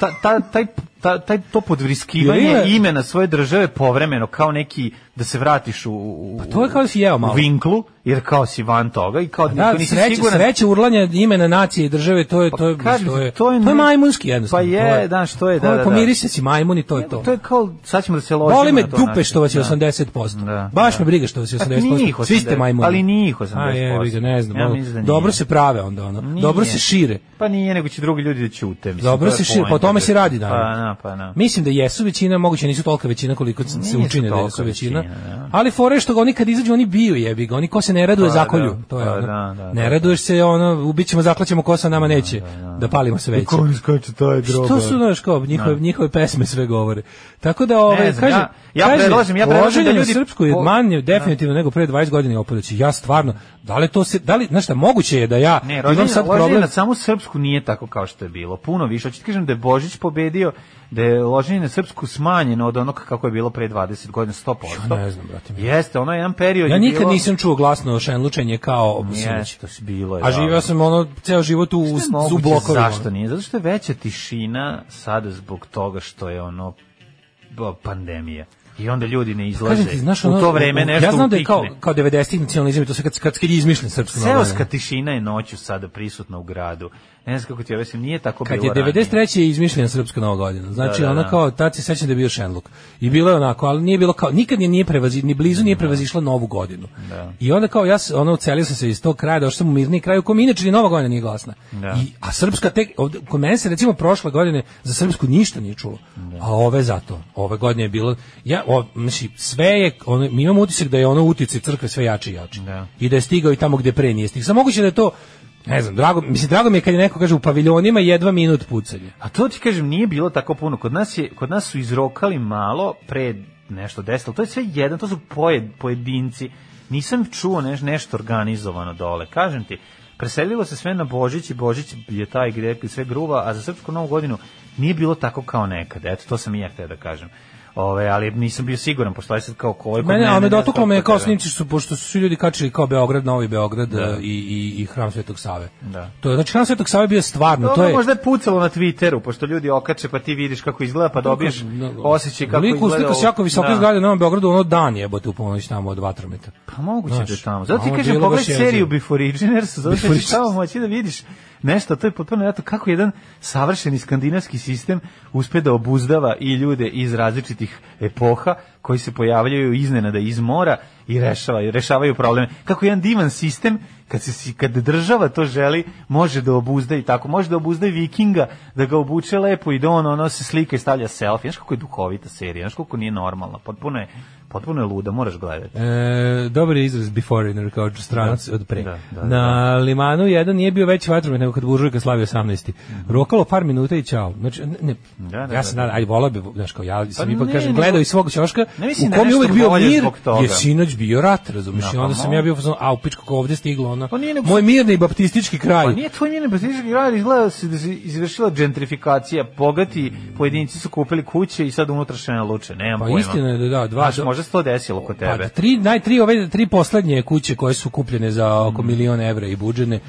[SPEAKER 6] ta, ta, taj, ta, taj to podvriskivanje
[SPEAKER 7] Jer ima-
[SPEAKER 6] imena svoje države povremeno kao neki da se vratiš u, u,
[SPEAKER 7] Pa to je kao da si jeo malo.
[SPEAKER 6] u vinklu jer kao si van toga i kao
[SPEAKER 7] Da,
[SPEAKER 6] niko nisi
[SPEAKER 7] sreće,
[SPEAKER 6] siguran Pa
[SPEAKER 7] sreće urlanje imena nacije i države, to je, to je,
[SPEAKER 6] kažem
[SPEAKER 7] to je,
[SPEAKER 6] ti, to je
[SPEAKER 7] to
[SPEAKER 6] ne-
[SPEAKER 7] je majmunski jednostavno.
[SPEAKER 6] Pa je, da, što je, da,
[SPEAKER 7] To
[SPEAKER 6] da, da.
[SPEAKER 7] Pomiri se si majmun i to je to.
[SPEAKER 6] to je kao sad ćemo da se ložimo
[SPEAKER 7] Boli me
[SPEAKER 6] na to
[SPEAKER 7] dupe
[SPEAKER 6] način.
[SPEAKER 7] što vas je
[SPEAKER 6] Da.
[SPEAKER 7] 80%.
[SPEAKER 6] Da,
[SPEAKER 7] Baš
[SPEAKER 6] da.
[SPEAKER 7] me briga što vas je
[SPEAKER 6] Pa nije ih
[SPEAKER 7] 80%. Svi ste
[SPEAKER 6] 80,
[SPEAKER 7] majmuni.
[SPEAKER 6] ali nije ih 80%.
[SPEAKER 7] A jebi ga, ne znam.
[SPEAKER 6] Ja
[SPEAKER 7] ono,
[SPEAKER 6] mislim da nije.
[SPEAKER 7] dobro se prave onda, ono.
[SPEAKER 6] Nije.
[SPEAKER 7] Dobro se šire.
[SPEAKER 6] pa nije nego će drugi ljudi da ćute mislim,
[SPEAKER 7] Dobro
[SPEAKER 6] to je
[SPEAKER 7] se širi,
[SPEAKER 6] poenta.
[SPEAKER 7] pa o tome se radi
[SPEAKER 6] pa
[SPEAKER 7] naravno.
[SPEAKER 6] na pa na
[SPEAKER 7] Mislim da jesu većina, moguće nisu tolika većina koliko se- se
[SPEAKER 6] Nisu
[SPEAKER 7] učine da
[SPEAKER 6] tolika
[SPEAKER 7] jesu većina.
[SPEAKER 6] većina, da.
[SPEAKER 7] Ali fore je što ga oni kad izađu oni biju jebi ga, oni ko se ne raduje
[SPEAKER 6] Pa
[SPEAKER 7] zakolju,
[SPEAKER 6] da,
[SPEAKER 7] to je
[SPEAKER 6] pa
[SPEAKER 7] ono.
[SPEAKER 6] da, da,
[SPEAKER 7] ne
[SPEAKER 6] da.
[SPEAKER 7] raduješ se ono, ubićemo, zaklaćemo kosa nama neće da, palimo sve veće.
[SPEAKER 6] iskače to je Da.
[SPEAKER 7] Što su znaš kao njihove njihove pesme sve govore. Tako da ovaj
[SPEAKER 6] Ne znam,
[SPEAKER 7] kažem,
[SPEAKER 6] ja- ja predlažem- ja predlažem
[SPEAKER 7] loženje
[SPEAKER 6] da
[SPEAKER 7] na
[SPEAKER 6] ljudi
[SPEAKER 7] srpsku je
[SPEAKER 6] po- Da.
[SPEAKER 7] manje definitivno nego pre 20 godina opodaći. Ja stvarno, da li to se da li znaš šta moguće je da ja
[SPEAKER 6] Ne,
[SPEAKER 7] imam
[SPEAKER 6] rođenje,
[SPEAKER 7] sad
[SPEAKER 6] loženje
[SPEAKER 7] problem
[SPEAKER 6] na samu srpsku nije tako kao što je bilo. Puno više. Hoću ti kažem da je Božić pobedio, da je loženje na srpsku smanjeno od onog kako je bilo pre 20 godina, 100%.
[SPEAKER 7] Ja ne znam, brate mi.
[SPEAKER 6] Jeste, ono je jedan period.
[SPEAKER 7] Ja
[SPEAKER 6] je
[SPEAKER 7] nikad
[SPEAKER 6] bilo-
[SPEAKER 7] nisam čuo glasno šenlučenje kao
[SPEAKER 6] Jeste,
[SPEAKER 7] Sinić.
[SPEAKER 6] da to si bilo. je,
[SPEAKER 7] A živeo
[SPEAKER 6] da.
[SPEAKER 7] sam ono ceo život u
[SPEAKER 6] Što je
[SPEAKER 7] u
[SPEAKER 6] moguće,
[SPEAKER 7] blokovima.
[SPEAKER 6] Zašto nije? Zato što je veća tišina sada zbog toga što je ono b- pandemija. I onda ljudi ne izlaze.
[SPEAKER 7] Pa Kažem ti, znaš,
[SPEAKER 6] u
[SPEAKER 7] ono,
[SPEAKER 6] to vreme nešto
[SPEAKER 7] ja znam da je kao,
[SPEAKER 6] utihne.
[SPEAKER 7] kao 90-ih nacionalizam i to sve kad, kad, kad je izmišljen srpsko
[SPEAKER 6] Seoska tišina je noću sada prisutna u gradu. Ne znam kako ti objasnim, nije tako
[SPEAKER 7] Kad
[SPEAKER 6] bilo
[SPEAKER 7] je 93. je izmišljena srpska nova godina. Znači,
[SPEAKER 6] Da, da,
[SPEAKER 7] ona
[SPEAKER 6] da.
[SPEAKER 7] kao, tad se sećam da je bio Šenluk. I bilo je onako, ali nije bilo kao, nikad je nije prevazi, ni blizu
[SPEAKER 6] Da.
[SPEAKER 7] nije prevazišla novu godinu. I onda kao, ja, s- ono, ucelio sam se iz tog kraja, došao sam u mirni kraj u kom inače ni nova godina nije glasna.
[SPEAKER 6] Da.
[SPEAKER 7] I, a srpska tek, ovde, kod mene se recimo prošle godine za srpsku ništa nije čulo.
[SPEAKER 6] Da.
[SPEAKER 7] A ove zato, ove godine je bilo, ja, o, znači, sve je, ono, mi imamo utisak da je ono utice crkve sve jače i jače.
[SPEAKER 6] Da.
[SPEAKER 7] I da je stigao i tamo gde pre nije stigao. Samo moguće da je to, ne znam, drago, mislim, drago mi je kad je neko kaže u paviljonima jedva minut pucanje.
[SPEAKER 6] A to ti kažem nije bilo tako puno. Kod nas je kod nas su izrokali malo pre nešto desilo. To je sve jedan, to su poje- pojedinci. Nisam čuo neš, nešto organizovano dole. Kažem ti, preselilo se sve na Božić i Božić je taj gde je sve gruva, a za srpsku novu godinu nije bilo tako kao nekada. Eto, to sam i ja htio da kažem. Ove, ali nisam bio siguran, pošto je sad kao ko je kod
[SPEAKER 7] Mene,
[SPEAKER 6] mene,
[SPEAKER 7] ali me
[SPEAKER 6] ne znam
[SPEAKER 7] dotaklo me je
[SPEAKER 6] kod
[SPEAKER 7] kao
[SPEAKER 6] tebe.
[SPEAKER 7] snimci su, pošto su svi ljudi kačili kao Beograd, Novi Beograd e, i, i, i Hram Svetog Save.
[SPEAKER 6] Da.
[SPEAKER 7] To je, znači, Hram Svetog Save bio stvarno, to
[SPEAKER 6] Dobro,
[SPEAKER 7] je...
[SPEAKER 6] možda je pucalo na Twitteru, pošto ljudi okače, pa ti vidiš kako izgleda, pa dobiješ osjećaj kako
[SPEAKER 7] Liku
[SPEAKER 6] izgleda.
[SPEAKER 7] uslika
[SPEAKER 6] ovo.
[SPEAKER 7] se jako visoke
[SPEAKER 6] Da.
[SPEAKER 7] zgrade u Novom Beogradu, ono dan jebote u ponoć tamo od vatrometa.
[SPEAKER 6] Pa moguće
[SPEAKER 7] Znaš,
[SPEAKER 6] da je tamo. Zato ti
[SPEAKER 7] ovo je
[SPEAKER 6] kažem,
[SPEAKER 7] bilo
[SPEAKER 6] pogledaj
[SPEAKER 7] baš jezivo.
[SPEAKER 6] seriju Before Originers, zato što
[SPEAKER 7] Before
[SPEAKER 6] ćeš tamo moći da vidiš nešto, to je potpuno nevjerojatno kako jedan savršeni skandinavski sistem uspe da obuzdava i ljude iz različitih epoha koji se pojavljaju iznenada iz mora i rešavaju, rešavaju probleme. Kako jedan divan sistem kad se si- kad država to želi može da obuzda i tako može da obuzda i vikinga da ga obuče lepo i da on ono se slika i stavlja selfie znaš kako je duhovita serija znaš kako nije normalna potpuno je potpuno je luda moraš gledati
[SPEAKER 7] E, dobar je izraz beforeigner kao stranac od pre.
[SPEAKER 6] Da, da,
[SPEAKER 7] Na limanu jedan nije bio veći vatromet nego kad Buržujka slavio 18. Rokalo par minuta i čao. Znači, ne, ne,
[SPEAKER 6] Mhm. Da, da,
[SPEAKER 7] ja sam,
[SPEAKER 6] da, da.
[SPEAKER 7] ajde, volao bi, znaš, kao ja sam
[SPEAKER 6] Pa
[SPEAKER 7] ipak,
[SPEAKER 6] ne,
[SPEAKER 7] kažem,
[SPEAKER 6] nego-
[SPEAKER 7] gledao iz svog ćoška,
[SPEAKER 6] Ne mislim
[SPEAKER 7] u
[SPEAKER 6] da
[SPEAKER 7] kom je
[SPEAKER 6] nešto
[SPEAKER 7] uvek bio
[SPEAKER 6] bolje
[SPEAKER 7] mir,
[SPEAKER 6] zbog toga.
[SPEAKER 7] je sinoć bio rat, razumiješ,
[SPEAKER 6] Da,
[SPEAKER 7] i
[SPEAKER 6] pa
[SPEAKER 7] onda sam
[SPEAKER 6] mo-
[SPEAKER 7] ja bio, fazon, a u pičku kako ovde stiglo, ono,
[SPEAKER 6] Pa nije nego-
[SPEAKER 7] moj mirni baptistički kraj.
[SPEAKER 6] Pa nije tvoj njene brzički grad, izgleda se da se izvršila gentrifikacija, bogati pojedinci su kupili kuće i sad unutra šene luče, nemam
[SPEAKER 7] Pa
[SPEAKER 6] pojma.
[SPEAKER 7] istina je da da, dva
[SPEAKER 6] Znaš, možda možda se to desilo kod
[SPEAKER 7] Pa,
[SPEAKER 6] tebe.
[SPEAKER 7] tri, naj, tri, ove, tri poslednje kuće koje su kupljene za oko
[SPEAKER 6] Mhm.
[SPEAKER 7] milion evra i budžene,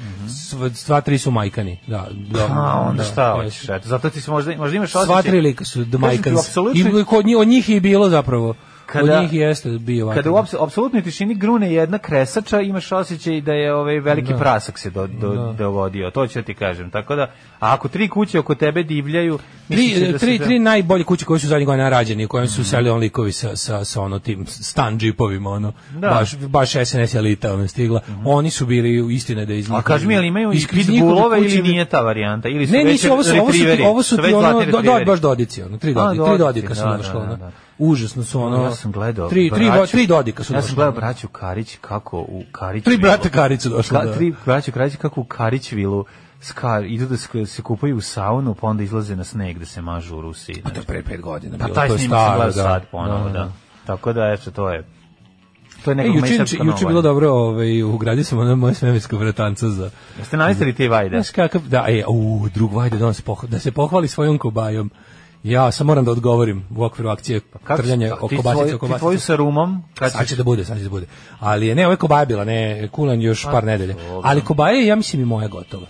[SPEAKER 7] sva, sva tri su majkani. Da, da,
[SPEAKER 6] A, Mhm. onda
[SPEAKER 7] da,
[SPEAKER 6] šta
[SPEAKER 7] jesu.
[SPEAKER 6] hoćeš, eto, zato ti se možda, možda imaš osjećaj...
[SPEAKER 7] Sva tri lika su The
[SPEAKER 6] Kažem ti,
[SPEAKER 7] Majkans.
[SPEAKER 6] apsolutno-
[SPEAKER 7] I kod njih, od njih je i bilo zapravo.
[SPEAKER 6] Kada-
[SPEAKER 7] od njih jeste bio ovakav.
[SPEAKER 6] Kada u apso- apsolutnoj tišini grune jedna kresača, imaš osjećaj da je ovaj veliki prasak se do, do,
[SPEAKER 7] Da.
[SPEAKER 6] dovodio. To ću ti kažem. Tako da, a ako tri kuće oko tebe divljaju, misliš
[SPEAKER 7] Tri,
[SPEAKER 6] da Mhm.
[SPEAKER 7] tri,
[SPEAKER 6] se...
[SPEAKER 7] tri najbolje kuće koje su zadnjih godina rađene i u kojem su selili on likovi sa, sa, sa ono tim stan džipovima, ono,
[SPEAKER 6] Da. Mhm.
[SPEAKER 7] baš, baš SNS elita ono je stigla. Oni su bili istina da iz
[SPEAKER 6] A
[SPEAKER 7] njihove-
[SPEAKER 6] kaži mi, jel imaju i
[SPEAKER 7] iz- iz njihove
[SPEAKER 6] pitbullove ili
[SPEAKER 7] kuće-
[SPEAKER 6] nije ta varijanta? Ili su
[SPEAKER 7] Ne,
[SPEAKER 6] već
[SPEAKER 7] nisu, ovo su, ovo su, ti,
[SPEAKER 6] retriveri,
[SPEAKER 7] ovo su ti
[SPEAKER 6] već
[SPEAKER 7] ono,
[SPEAKER 6] zlatni
[SPEAKER 7] do, do,
[SPEAKER 6] retriveri?
[SPEAKER 7] baš dodici, ono, tri,
[SPEAKER 6] A,
[SPEAKER 7] dodika,
[SPEAKER 6] dodici,
[SPEAKER 7] tri dodika su
[SPEAKER 6] da,
[SPEAKER 7] da, došlo,
[SPEAKER 6] da,
[SPEAKER 7] ono.
[SPEAKER 6] da.
[SPEAKER 7] Užasno su ono.
[SPEAKER 6] Ja sam gledao.
[SPEAKER 7] Tri, tri,
[SPEAKER 6] braću-
[SPEAKER 7] tri dodika su
[SPEAKER 6] Ja sam
[SPEAKER 7] došla.
[SPEAKER 6] gledao braću Karić kako u Karić.
[SPEAKER 7] Tri
[SPEAKER 6] vilu-
[SPEAKER 7] brata Karić su došla,
[SPEAKER 6] Ka-
[SPEAKER 7] da.
[SPEAKER 6] Tri braću Karić kako u Karić vilu skar, idu da se, se kupaju u saunu, pa onda izlaze na sneg da se mažu u Rusiji.
[SPEAKER 7] To je pre pet godina.
[SPEAKER 6] Pa
[SPEAKER 7] bilo,
[SPEAKER 6] taj
[SPEAKER 7] to je
[SPEAKER 6] snimak sam
[SPEAKER 7] staro,
[SPEAKER 6] gledao
[SPEAKER 7] da.
[SPEAKER 6] sad ponovo,
[SPEAKER 7] Da,
[SPEAKER 6] da.
[SPEAKER 7] da.
[SPEAKER 6] Tako da, eto, to je... To je
[SPEAKER 7] E,
[SPEAKER 6] nekako
[SPEAKER 7] juče, juče,
[SPEAKER 6] mešavska
[SPEAKER 7] juče je
[SPEAKER 6] nova.
[SPEAKER 7] bilo dobro, ovaj, ugradili smo ono moje svemirsko vratanca za...
[SPEAKER 6] Jeste namestili te vajde?
[SPEAKER 7] Znaš kakav, da, e, u, drug vajde da, on se poh- da se pohvali svojom kobajom. Ja sam moram da odgovorim u okviru akcije trljanje
[SPEAKER 6] Pa kako-
[SPEAKER 7] o
[SPEAKER 6] ti
[SPEAKER 7] kobasice,
[SPEAKER 6] tvoj-
[SPEAKER 7] o
[SPEAKER 6] Ti tvoju
[SPEAKER 7] kobasice.
[SPEAKER 6] sa rumom, kad
[SPEAKER 7] Sad
[SPEAKER 6] ćeš...
[SPEAKER 7] će da bude, sad će da bude. Ali je, ne, ovo je kobaja bila, ne, kulan još
[SPEAKER 6] Pa,
[SPEAKER 7] par nedelja. Ali kobaja je, ja mislim, i moja gotova.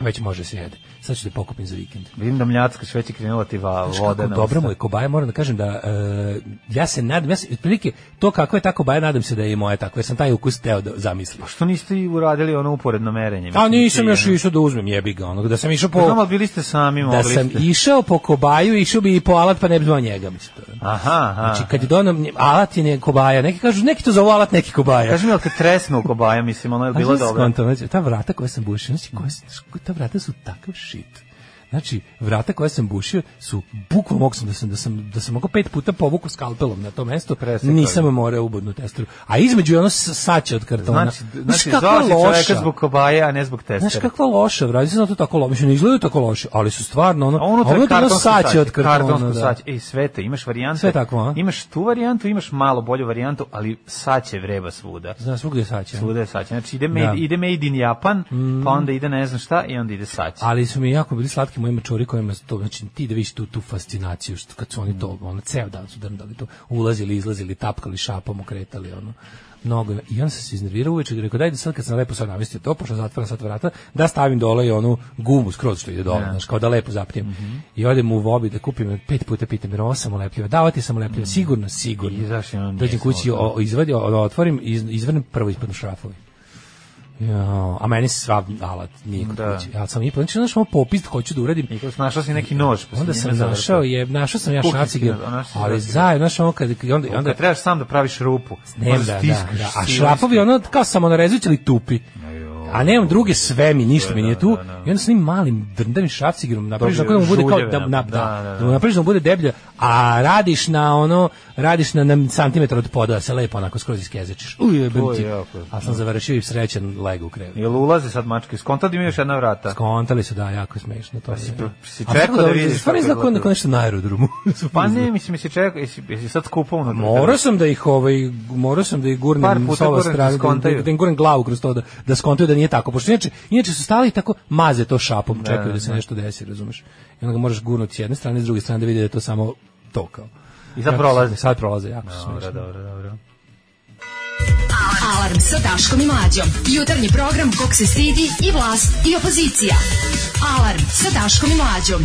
[SPEAKER 7] Već može se jede. Sad ću da je pokupim za vikend.
[SPEAKER 6] Vidim da mljackaš, već je krenula ti va,
[SPEAKER 7] Znaš
[SPEAKER 6] voda.
[SPEAKER 7] kako
[SPEAKER 6] na
[SPEAKER 7] dobro
[SPEAKER 6] usta.
[SPEAKER 7] mu je kobaja, moram da kažem da e, ja se nadam, ja se, otprilike, to kako je ta kobaja, nadam se da je i moja tako, jer sam taj ukus teo da zamislim.
[SPEAKER 6] Što niste i uradili ono uporedno merenje?
[SPEAKER 7] A
[SPEAKER 6] Mislim,
[SPEAKER 7] Pa nisam
[SPEAKER 6] ti,
[SPEAKER 7] još
[SPEAKER 6] ono-
[SPEAKER 7] išao da uzmem jebi ga, onog da sam išao po...
[SPEAKER 6] Znam, ali bili ste sami, mogli
[SPEAKER 7] da sam
[SPEAKER 6] ste.
[SPEAKER 7] išao po kobaju, išao bi i po alat, pa ne bi zvao njega, mislim. To. je.
[SPEAKER 6] Aha, aha.
[SPEAKER 7] Znači, kad je donao, nje- alat je ne kobaja, neki kažu, neki to zovu alat, neki kobaja.
[SPEAKER 6] Kaži mi, jel te tresnu kobaja, mislim, ono je
[SPEAKER 7] A
[SPEAKER 6] bilo
[SPEAKER 7] znaš
[SPEAKER 6] dobro.
[SPEAKER 7] skonto, znači, ta vrata koja sam bušio, znači, koja, su- znaš, ta vrata su takav shit. Znači, vrata koja sam bušio su bukvalno mogu sam da sam da sam da sam mogao pet puta povuku skalpelom na to mesto,
[SPEAKER 6] Presekao
[SPEAKER 7] nisam morao ubodnu testeru. A između je ono s- saće od kartona.
[SPEAKER 6] Znači, znači zvao si čoveka zbog kobaje, a ne zbog testera.
[SPEAKER 7] Znaš kakva loša, vrati se na to tako loše, ne izgledaju tako loše, ali su stvarno ono,
[SPEAKER 6] A unutra
[SPEAKER 7] a
[SPEAKER 6] je
[SPEAKER 7] unutra ono
[SPEAKER 6] kartonsko
[SPEAKER 7] saće od kartona.
[SPEAKER 6] Kartonsko
[SPEAKER 7] da.
[SPEAKER 6] saće. Ej, sve te, imaš varijante.
[SPEAKER 7] Sve tako, a?
[SPEAKER 6] Imaš tu varijantu, imaš malo bolju varijantu, ali saće vreba svuda.
[SPEAKER 7] Znaš, svugde je saće.
[SPEAKER 6] Svuda je saće. Znači, ide made,
[SPEAKER 7] Da. Mm.
[SPEAKER 6] ide made in Japan, pa onda ide ne znam šta i onda ide saće.
[SPEAKER 7] Ali su mi jako bili slatki moji mačuri kojima su to, znači ti da vidiš tu, tu fascinaciju, što kad su oni to, ono, ceo dan su drndali to, ulazili, izlazili, tapkali šapom, okretali, ono, mnogo. je. I onda sam se iznervirao uveče i rekao, dajde sad kad sam lepo sad namestio to, pošto zatvaram sad vrata, da stavim dole i onu gumu skroz što ide dole, znaš, kao da lepo zapnijem.
[SPEAKER 6] Mhm.
[SPEAKER 7] I odem u vobi da kupim, pet puta pitam, jer ovo sam ulepljiva, da, ovo ti sam ulepljiva, sigurno, sigurno.
[SPEAKER 6] Mhm. I zašto ja nisam
[SPEAKER 7] Dođem kući,
[SPEAKER 6] otvorio?
[SPEAKER 7] o, izvadim, o, otvorim, iz, izvrnem prvo ispadnu šrafovi. Jo, a meni sva alat nije kod
[SPEAKER 6] Da.
[SPEAKER 7] kuće. Ja sam i plan, znaš, ono popis hoću da uradim.
[SPEAKER 6] I kao, Našao si neki nož. pa si
[SPEAKER 7] Onda
[SPEAKER 6] njime
[SPEAKER 7] sam
[SPEAKER 6] zavrtao.
[SPEAKER 7] našao je, našao sam ja
[SPEAKER 6] Kuhinjski
[SPEAKER 7] šracigir,
[SPEAKER 6] nož, a našao si
[SPEAKER 7] ali
[SPEAKER 6] šracigir.
[SPEAKER 7] zajedno, znaš, ono kad, i onda, i onda
[SPEAKER 6] Kad trebaš sam da praviš rupu.
[SPEAKER 7] ne, da,
[SPEAKER 6] možda
[SPEAKER 7] da,
[SPEAKER 6] stiskaš
[SPEAKER 7] da,
[SPEAKER 6] silom
[SPEAKER 7] a šrafovi ono kao sam ono rezući ili tupi. A nemam
[SPEAKER 6] da,
[SPEAKER 7] druge sve mi, ništa mi nije tu. I onda s njim malim drndavim šrafcigirom napraviš
[SPEAKER 6] Dobio
[SPEAKER 7] tako da mu bude kao
[SPEAKER 6] žuljeve
[SPEAKER 7] da,
[SPEAKER 6] na-
[SPEAKER 7] na, da,
[SPEAKER 6] da, da,
[SPEAKER 7] da,
[SPEAKER 6] da.
[SPEAKER 7] mu napraviš da mu bude deblja, a radiš na ono, radiš na, na santimetar od poda, da se lepo onako skroz iskezečiš. Uj, jebem
[SPEAKER 6] To je
[SPEAKER 7] ti.
[SPEAKER 6] jako,
[SPEAKER 7] A sam završio i srećan leg u krevetu.
[SPEAKER 6] Jel ulaze sad mačke? Skonta da ima još jedna vrata.
[SPEAKER 7] Skontali su da jako je smešno to.
[SPEAKER 6] Pa si
[SPEAKER 7] je.
[SPEAKER 6] pr- si
[SPEAKER 7] A
[SPEAKER 6] čekao
[SPEAKER 7] tako
[SPEAKER 6] da
[SPEAKER 7] ovo-
[SPEAKER 6] vidiš
[SPEAKER 7] Stvarno
[SPEAKER 6] kako
[SPEAKER 7] izgleda kao
[SPEAKER 6] izgleda.
[SPEAKER 7] kao nešto na aerodromu.
[SPEAKER 6] Pa ne, mislim, mi se čeka, jesi, jesi sad skupao na
[SPEAKER 7] Morao sam da ih ovaj morao sam da ih
[SPEAKER 6] Par
[SPEAKER 7] gurnem
[SPEAKER 6] puta
[SPEAKER 7] sa ove
[SPEAKER 6] gurnem da
[SPEAKER 7] strane, da,
[SPEAKER 6] skontaju.
[SPEAKER 7] da im gurnem glavu kroz to da da skontaju da nije tako. Pošto inače, inače su stali i tako maze to šapom, čekaju da se nešto desi, razumeš? I onda ga moraš gurnuti s jedne strane, s druge strane da vide da je to samo to kao.
[SPEAKER 6] Da, I sad
[SPEAKER 7] Jako su-
[SPEAKER 6] prolaze.
[SPEAKER 7] Sad prolaze, jako su
[SPEAKER 6] Dobro,
[SPEAKER 7] smešni.
[SPEAKER 6] dobro, dobro.
[SPEAKER 5] Alarm sa Daškom i Mlađom. Jutarnji program kog se stidi i vlast i opozicija. Alarm sa Daškom i Mlađom.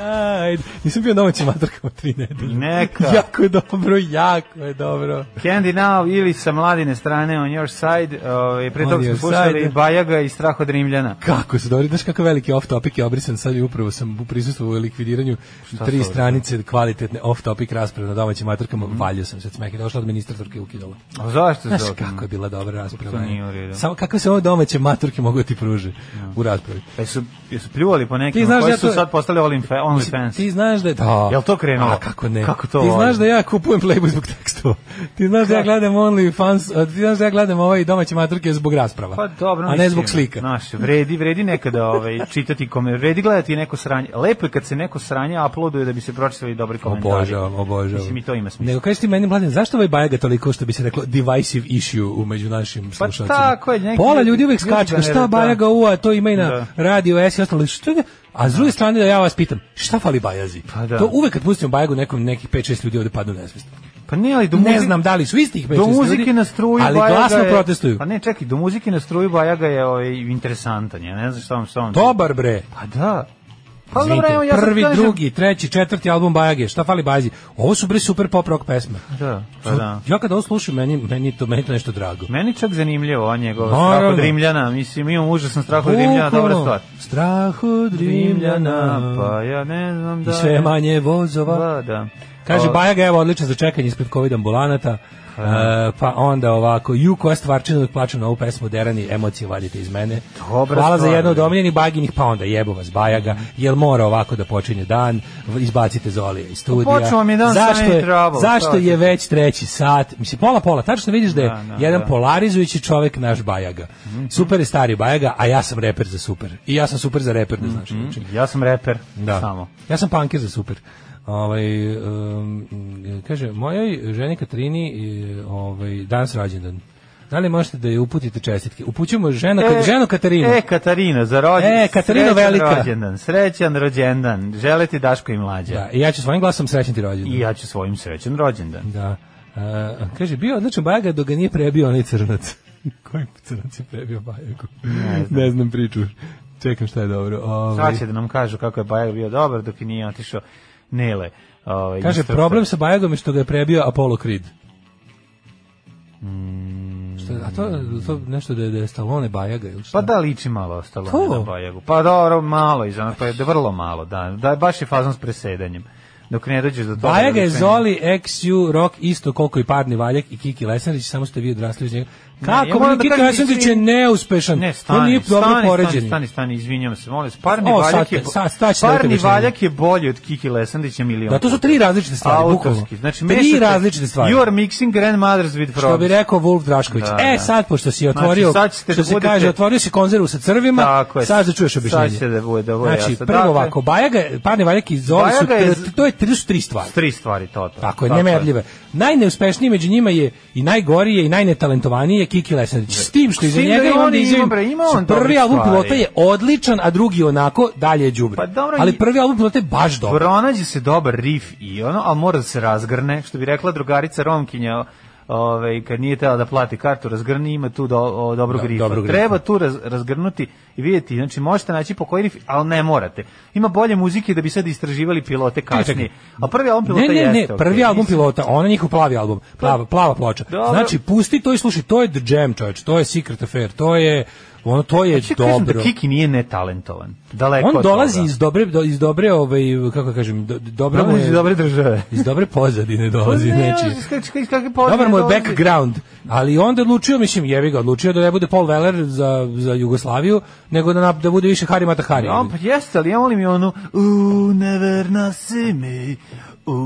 [SPEAKER 7] Ajde, nisam bio domaći matrkama tri nedelje.
[SPEAKER 6] Neka.
[SPEAKER 7] jako je dobro, jako je dobro.
[SPEAKER 6] Candy Now ili sa mladine strane on your side, ovaj pre
[SPEAKER 7] On
[SPEAKER 6] toga smo
[SPEAKER 7] your
[SPEAKER 6] slušali
[SPEAKER 7] side.
[SPEAKER 6] Bajaga i Strah od Rimljana.
[SPEAKER 7] Kako se dobro, znaš kako veliki off topic je obrisan, sad je upravo sam prisustvovao likvidiranju tri
[SPEAKER 6] sad?
[SPEAKER 7] stranice kvalitetne off topic rasprave na domaćim matrkama,
[SPEAKER 6] Mhm.
[SPEAKER 7] valjao sam se od smeke, došla administratorka i ukidala.
[SPEAKER 6] A zašto
[SPEAKER 7] Znaš
[SPEAKER 6] Zoki?
[SPEAKER 7] kako je bila dobra rasprava.
[SPEAKER 6] To Da. nije
[SPEAKER 7] je.
[SPEAKER 6] u redu.
[SPEAKER 7] Samo kako se ovo domaće maturke mogu da ti pruže u raspravi.
[SPEAKER 6] Jesu, jesu pljuvali po nekim
[SPEAKER 7] Ti znaš
[SPEAKER 6] koji
[SPEAKER 7] da
[SPEAKER 6] su
[SPEAKER 7] to-
[SPEAKER 6] sad postali only, fa- only fans.
[SPEAKER 7] Ti znaš da je... Da.
[SPEAKER 6] Jel to krenulo?
[SPEAKER 7] A kako ne?
[SPEAKER 6] Kako to ovaj-
[SPEAKER 7] Ti
[SPEAKER 6] volim?
[SPEAKER 7] znaš da ja kupujem Playboy zbog tekstova. Ti znaš da ja gledam OnlyFans, a ti znaš da ja gledam ovaj domaće maturke zbog rasprava.
[SPEAKER 6] Pa dobro,
[SPEAKER 7] a ne
[SPEAKER 6] mislim,
[SPEAKER 7] zbog slika.
[SPEAKER 6] Znaš, vredi, vredi nekada ovaj, čitati kome, vredi gledati neko sranje. Lepo je kad se neko sranje uploaduje da bi se pročitali dobri komentari.
[SPEAKER 7] Obožavam, obožavam.
[SPEAKER 6] Mislim, i to ima smisla.
[SPEAKER 7] Nego kažeš ti meni, mladen, zašto ovaj Bajaga toliko, što bi se reklo, divisive issue u među našim
[SPEAKER 6] Pa
[SPEAKER 7] slušalcima?
[SPEAKER 6] tako je, neki
[SPEAKER 7] Pola ljudi
[SPEAKER 6] ljudi-
[SPEAKER 7] uvek
[SPEAKER 6] ljudi
[SPEAKER 7] skaču,
[SPEAKER 6] ga ne
[SPEAKER 7] šta
[SPEAKER 6] razumiju."
[SPEAKER 7] Bajaga ua, to ima i na
[SPEAKER 6] Da.
[SPEAKER 7] radio S i ostalo. Što ga- A s druge strane da ja vas pitam, šta fali Bajazi?
[SPEAKER 6] Pa da.
[SPEAKER 7] To uvek kad pustimo Bajagu nekom, nekih 5-6 ljudi ovde padnu nesvest.
[SPEAKER 6] Pa ne, ali do
[SPEAKER 7] ne
[SPEAKER 6] muzi-
[SPEAKER 7] znam da li su istih 5
[SPEAKER 6] do muzike na struju
[SPEAKER 7] ali
[SPEAKER 6] Bajaga
[SPEAKER 7] glasno
[SPEAKER 6] je,
[SPEAKER 7] protestuju.
[SPEAKER 6] Pa ne, čekaj, do muzike na struju Bajaga je ovaj, interesantan, ja ne znam šta vam šta vam...
[SPEAKER 7] Dobar bre.
[SPEAKER 6] Pa da. Pa
[SPEAKER 7] Izvinite,
[SPEAKER 6] dobro, evo, ja sad
[SPEAKER 7] prvi,
[SPEAKER 6] kažem-
[SPEAKER 7] drugi, treći, četvrti album Bajage, šta fali Bajzi? Ovo su bre super pop rock pesme.
[SPEAKER 6] Da, pa da.
[SPEAKER 7] Ja kad ovo slušam, meni, meni, to, meni to nešto drago.
[SPEAKER 6] Meni čak zanimljivo on njegov
[SPEAKER 7] Naravno.
[SPEAKER 6] strah od Rimljana, mislim imam užasan strah od Rimljana, dobra
[SPEAKER 7] Bukvalno.
[SPEAKER 6] stvar.
[SPEAKER 7] Strah od Rimljana,
[SPEAKER 6] pa ja ne znam da...
[SPEAKER 7] i sve manje vozova.
[SPEAKER 6] Da, da.
[SPEAKER 7] Kaže,
[SPEAKER 6] O,
[SPEAKER 7] Bajaga, evo, odličan za čekanje ispred COVID ambulanata. E, pa onda ovako, ju koja stvarčina dok plačem na ovu pesmu derani, emocije vadite iz mene.
[SPEAKER 6] Dobra
[SPEAKER 7] Hvala za
[SPEAKER 6] stvar,
[SPEAKER 7] jedno od
[SPEAKER 6] bre.
[SPEAKER 7] omiljenih baginih, pa onda jebo vas Bajaga, jel mora ovako da počinje dan, v- izbacite Zolija iz studija.
[SPEAKER 6] počeo vam je dan sa
[SPEAKER 7] zašto
[SPEAKER 6] meni
[SPEAKER 7] je,
[SPEAKER 6] trouble,
[SPEAKER 7] zašto
[SPEAKER 6] šta
[SPEAKER 7] je već treći sat? Mislim, pola pola, tačno vidiš da je
[SPEAKER 6] Da, da,
[SPEAKER 7] jedan
[SPEAKER 6] da. Mhm.
[SPEAKER 7] polarizujući čovek naš Bajaga. Super je stari Bajaga, a ja sam reper za super. I ja sam super za reper, da znaš. znači.
[SPEAKER 6] Ja sam reper,
[SPEAKER 7] Da.
[SPEAKER 6] samo.
[SPEAKER 7] Ja sam panker za super. Ovaj um, kaže mojoj ženi Katrini e, ovaj danas rođendan. Da li možete da je uputite čestitke? Upućujemo žena, e, ženu Katarinu.
[SPEAKER 6] E, Katarina, za rođendan.
[SPEAKER 7] E, Katarino Velika.
[SPEAKER 6] Rođendan, srećan rođendan. Žele ti Daško i mlađa.
[SPEAKER 7] da, i ja ću svojim glasom srećan ti rođendan.
[SPEAKER 6] I ja ću svojim srećan rođendan.
[SPEAKER 7] Da. E, kaže, bio je odličan Bajaga dok ga nije prebio onaj crnac. Koji crnac je prebio Bajagu? Ne znam, priču. Čekam šta je dobro. Ovaj,
[SPEAKER 6] Sad će da nam kažu kako je Bajak bio dobar dok i nije otišao Nele. Ovaj,
[SPEAKER 7] Kaže,
[SPEAKER 6] instruktor.
[SPEAKER 7] problem sa Bajagom je što ga je prebio Apollo Creed. Što, a to, to nešto da je, da je Stallone Bajaga ili šta?
[SPEAKER 6] Mm. Pa da liči malo ostalo
[SPEAKER 7] To?
[SPEAKER 6] na Bajagu. Pa dobro, malo iz onog, pa je vrlo malo, da. Da baš je fazon s presedanjem. Dok ne dođeš do toga.
[SPEAKER 7] Bajaga je
[SPEAKER 6] veličine.
[SPEAKER 7] Zoli, XU, Rock, isto koliko i Parni Valjak i Kiki Lesandrić, samo ste vi odrasli uz njega. Kako,
[SPEAKER 6] moram
[SPEAKER 7] ne,
[SPEAKER 6] da
[SPEAKER 7] Kiki
[SPEAKER 6] kažem ti
[SPEAKER 7] Lesandrić
[SPEAKER 6] svi-
[SPEAKER 7] je neuspešan.
[SPEAKER 6] Ne,
[SPEAKER 7] to
[SPEAKER 6] stani,
[SPEAKER 7] nije dobro
[SPEAKER 6] stani,
[SPEAKER 7] poređenje.
[SPEAKER 6] stani, stani, stani, izvinjam se, molim vas. Parni
[SPEAKER 7] O, sad
[SPEAKER 6] Valjak
[SPEAKER 7] te-
[SPEAKER 6] je,
[SPEAKER 7] sad- sad ćete
[SPEAKER 6] parni
[SPEAKER 7] objašnjenje.
[SPEAKER 6] valjak je bolji od Kiki Lesandića milion.
[SPEAKER 7] Da, to su
[SPEAKER 6] puta.
[SPEAKER 7] tri različite stvari, bukvalno.
[SPEAKER 6] Autorski. Znači,
[SPEAKER 7] Tri
[SPEAKER 6] mešate-
[SPEAKER 7] različite stvari.
[SPEAKER 6] You are mixing grandmothers with frogs.
[SPEAKER 7] Što bi rekao Vulf Drašković.
[SPEAKER 6] Da,
[SPEAKER 7] e,
[SPEAKER 6] da.
[SPEAKER 7] sad, pošto si
[SPEAKER 6] Znači,
[SPEAKER 7] otvorio,
[SPEAKER 6] sad ćete
[SPEAKER 7] što
[SPEAKER 6] da
[SPEAKER 7] se
[SPEAKER 6] budete-
[SPEAKER 7] kaže, otvorio si konzervu sa crvima,
[SPEAKER 6] Tako je.
[SPEAKER 7] sad da čuješ objašnjenje.
[SPEAKER 6] Sad će da bude- da bude
[SPEAKER 7] Znači,
[SPEAKER 6] jasno.
[SPEAKER 7] prvo
[SPEAKER 6] Dakle-
[SPEAKER 7] ovako, Bajaga, Parni Valjak i Zoli su,
[SPEAKER 6] Bajaga je-
[SPEAKER 7] tr- to, je, to su tri stvari.
[SPEAKER 6] Tri stvari, to, to.
[SPEAKER 7] Tako je, nemerljive. Najneuspešniji među njima je i najgoriji je i najnetalentovaniji je Kiki Lesandrić. S tim što
[SPEAKER 6] S
[SPEAKER 7] iza
[SPEAKER 6] tim
[SPEAKER 7] njega
[SPEAKER 6] da i
[SPEAKER 7] imam
[SPEAKER 6] on
[SPEAKER 7] da
[SPEAKER 6] ima,
[SPEAKER 7] izjavim,
[SPEAKER 6] bre, ima
[SPEAKER 7] su
[SPEAKER 6] on
[SPEAKER 7] prvi
[SPEAKER 6] dobrih
[SPEAKER 7] album
[SPEAKER 6] stvari.
[SPEAKER 7] pilota je odličan, a drugi onako dalje je đubre.
[SPEAKER 6] Pa dobro,
[SPEAKER 7] Ali
[SPEAKER 6] i-
[SPEAKER 7] prvi album pilota je baš dobar.
[SPEAKER 6] Pronađe se dobar riff i ono, ali mora da se razgrne, što bi rekla drugarica Romkinja, ovaj, kad nije tela da plati kartu, razgrni, ima tu do, o, dobrog,
[SPEAKER 7] Da,
[SPEAKER 6] rifa.
[SPEAKER 7] dobrog rifa.
[SPEAKER 6] Treba tu raz, razgrnuti i vidjeti, znači možete naći po koji rif, ali ne morate. Ima bolje muzike da bi sad istraživali pilote kasnije. A prvi album pilota
[SPEAKER 7] Ne, ne, ne,
[SPEAKER 6] jeste,
[SPEAKER 7] prvi
[SPEAKER 6] okej,
[SPEAKER 7] album
[SPEAKER 6] mislim.
[SPEAKER 7] pilota, ona njihov plavi album, plava, plava ploča.
[SPEAKER 6] Dobro.
[SPEAKER 7] Znači, pusti to i slušaj, to je The Jam, čovječ, to je Secret Affair, to je, ono, to je
[SPEAKER 6] Znači, kažem
[SPEAKER 7] dobro.
[SPEAKER 6] da Kiki nije netalentovan. Daleko
[SPEAKER 7] On
[SPEAKER 6] od
[SPEAKER 7] dolazi
[SPEAKER 6] toga.
[SPEAKER 7] iz dobre, do- iz dobre, ovaj, kako da kažem, do, dobro mu
[SPEAKER 6] Dolazi
[SPEAKER 7] je,
[SPEAKER 6] iz dobre države.
[SPEAKER 7] iz dobre pozadine dolazi,
[SPEAKER 6] Ne,
[SPEAKER 7] znači.
[SPEAKER 6] iz kak- iz kakve pozadine
[SPEAKER 7] Dobar mu je
[SPEAKER 6] dolazi.
[SPEAKER 7] background, ali onda odlučio, mislim, jevi ga, odlučio da ne bude Paul Weller za, za Jugoslaviju, nego da, nap- da bude više Hari Mata Hari.
[SPEAKER 6] Ja, pa jeste, ali ja volim i onu U, never nasi mi U,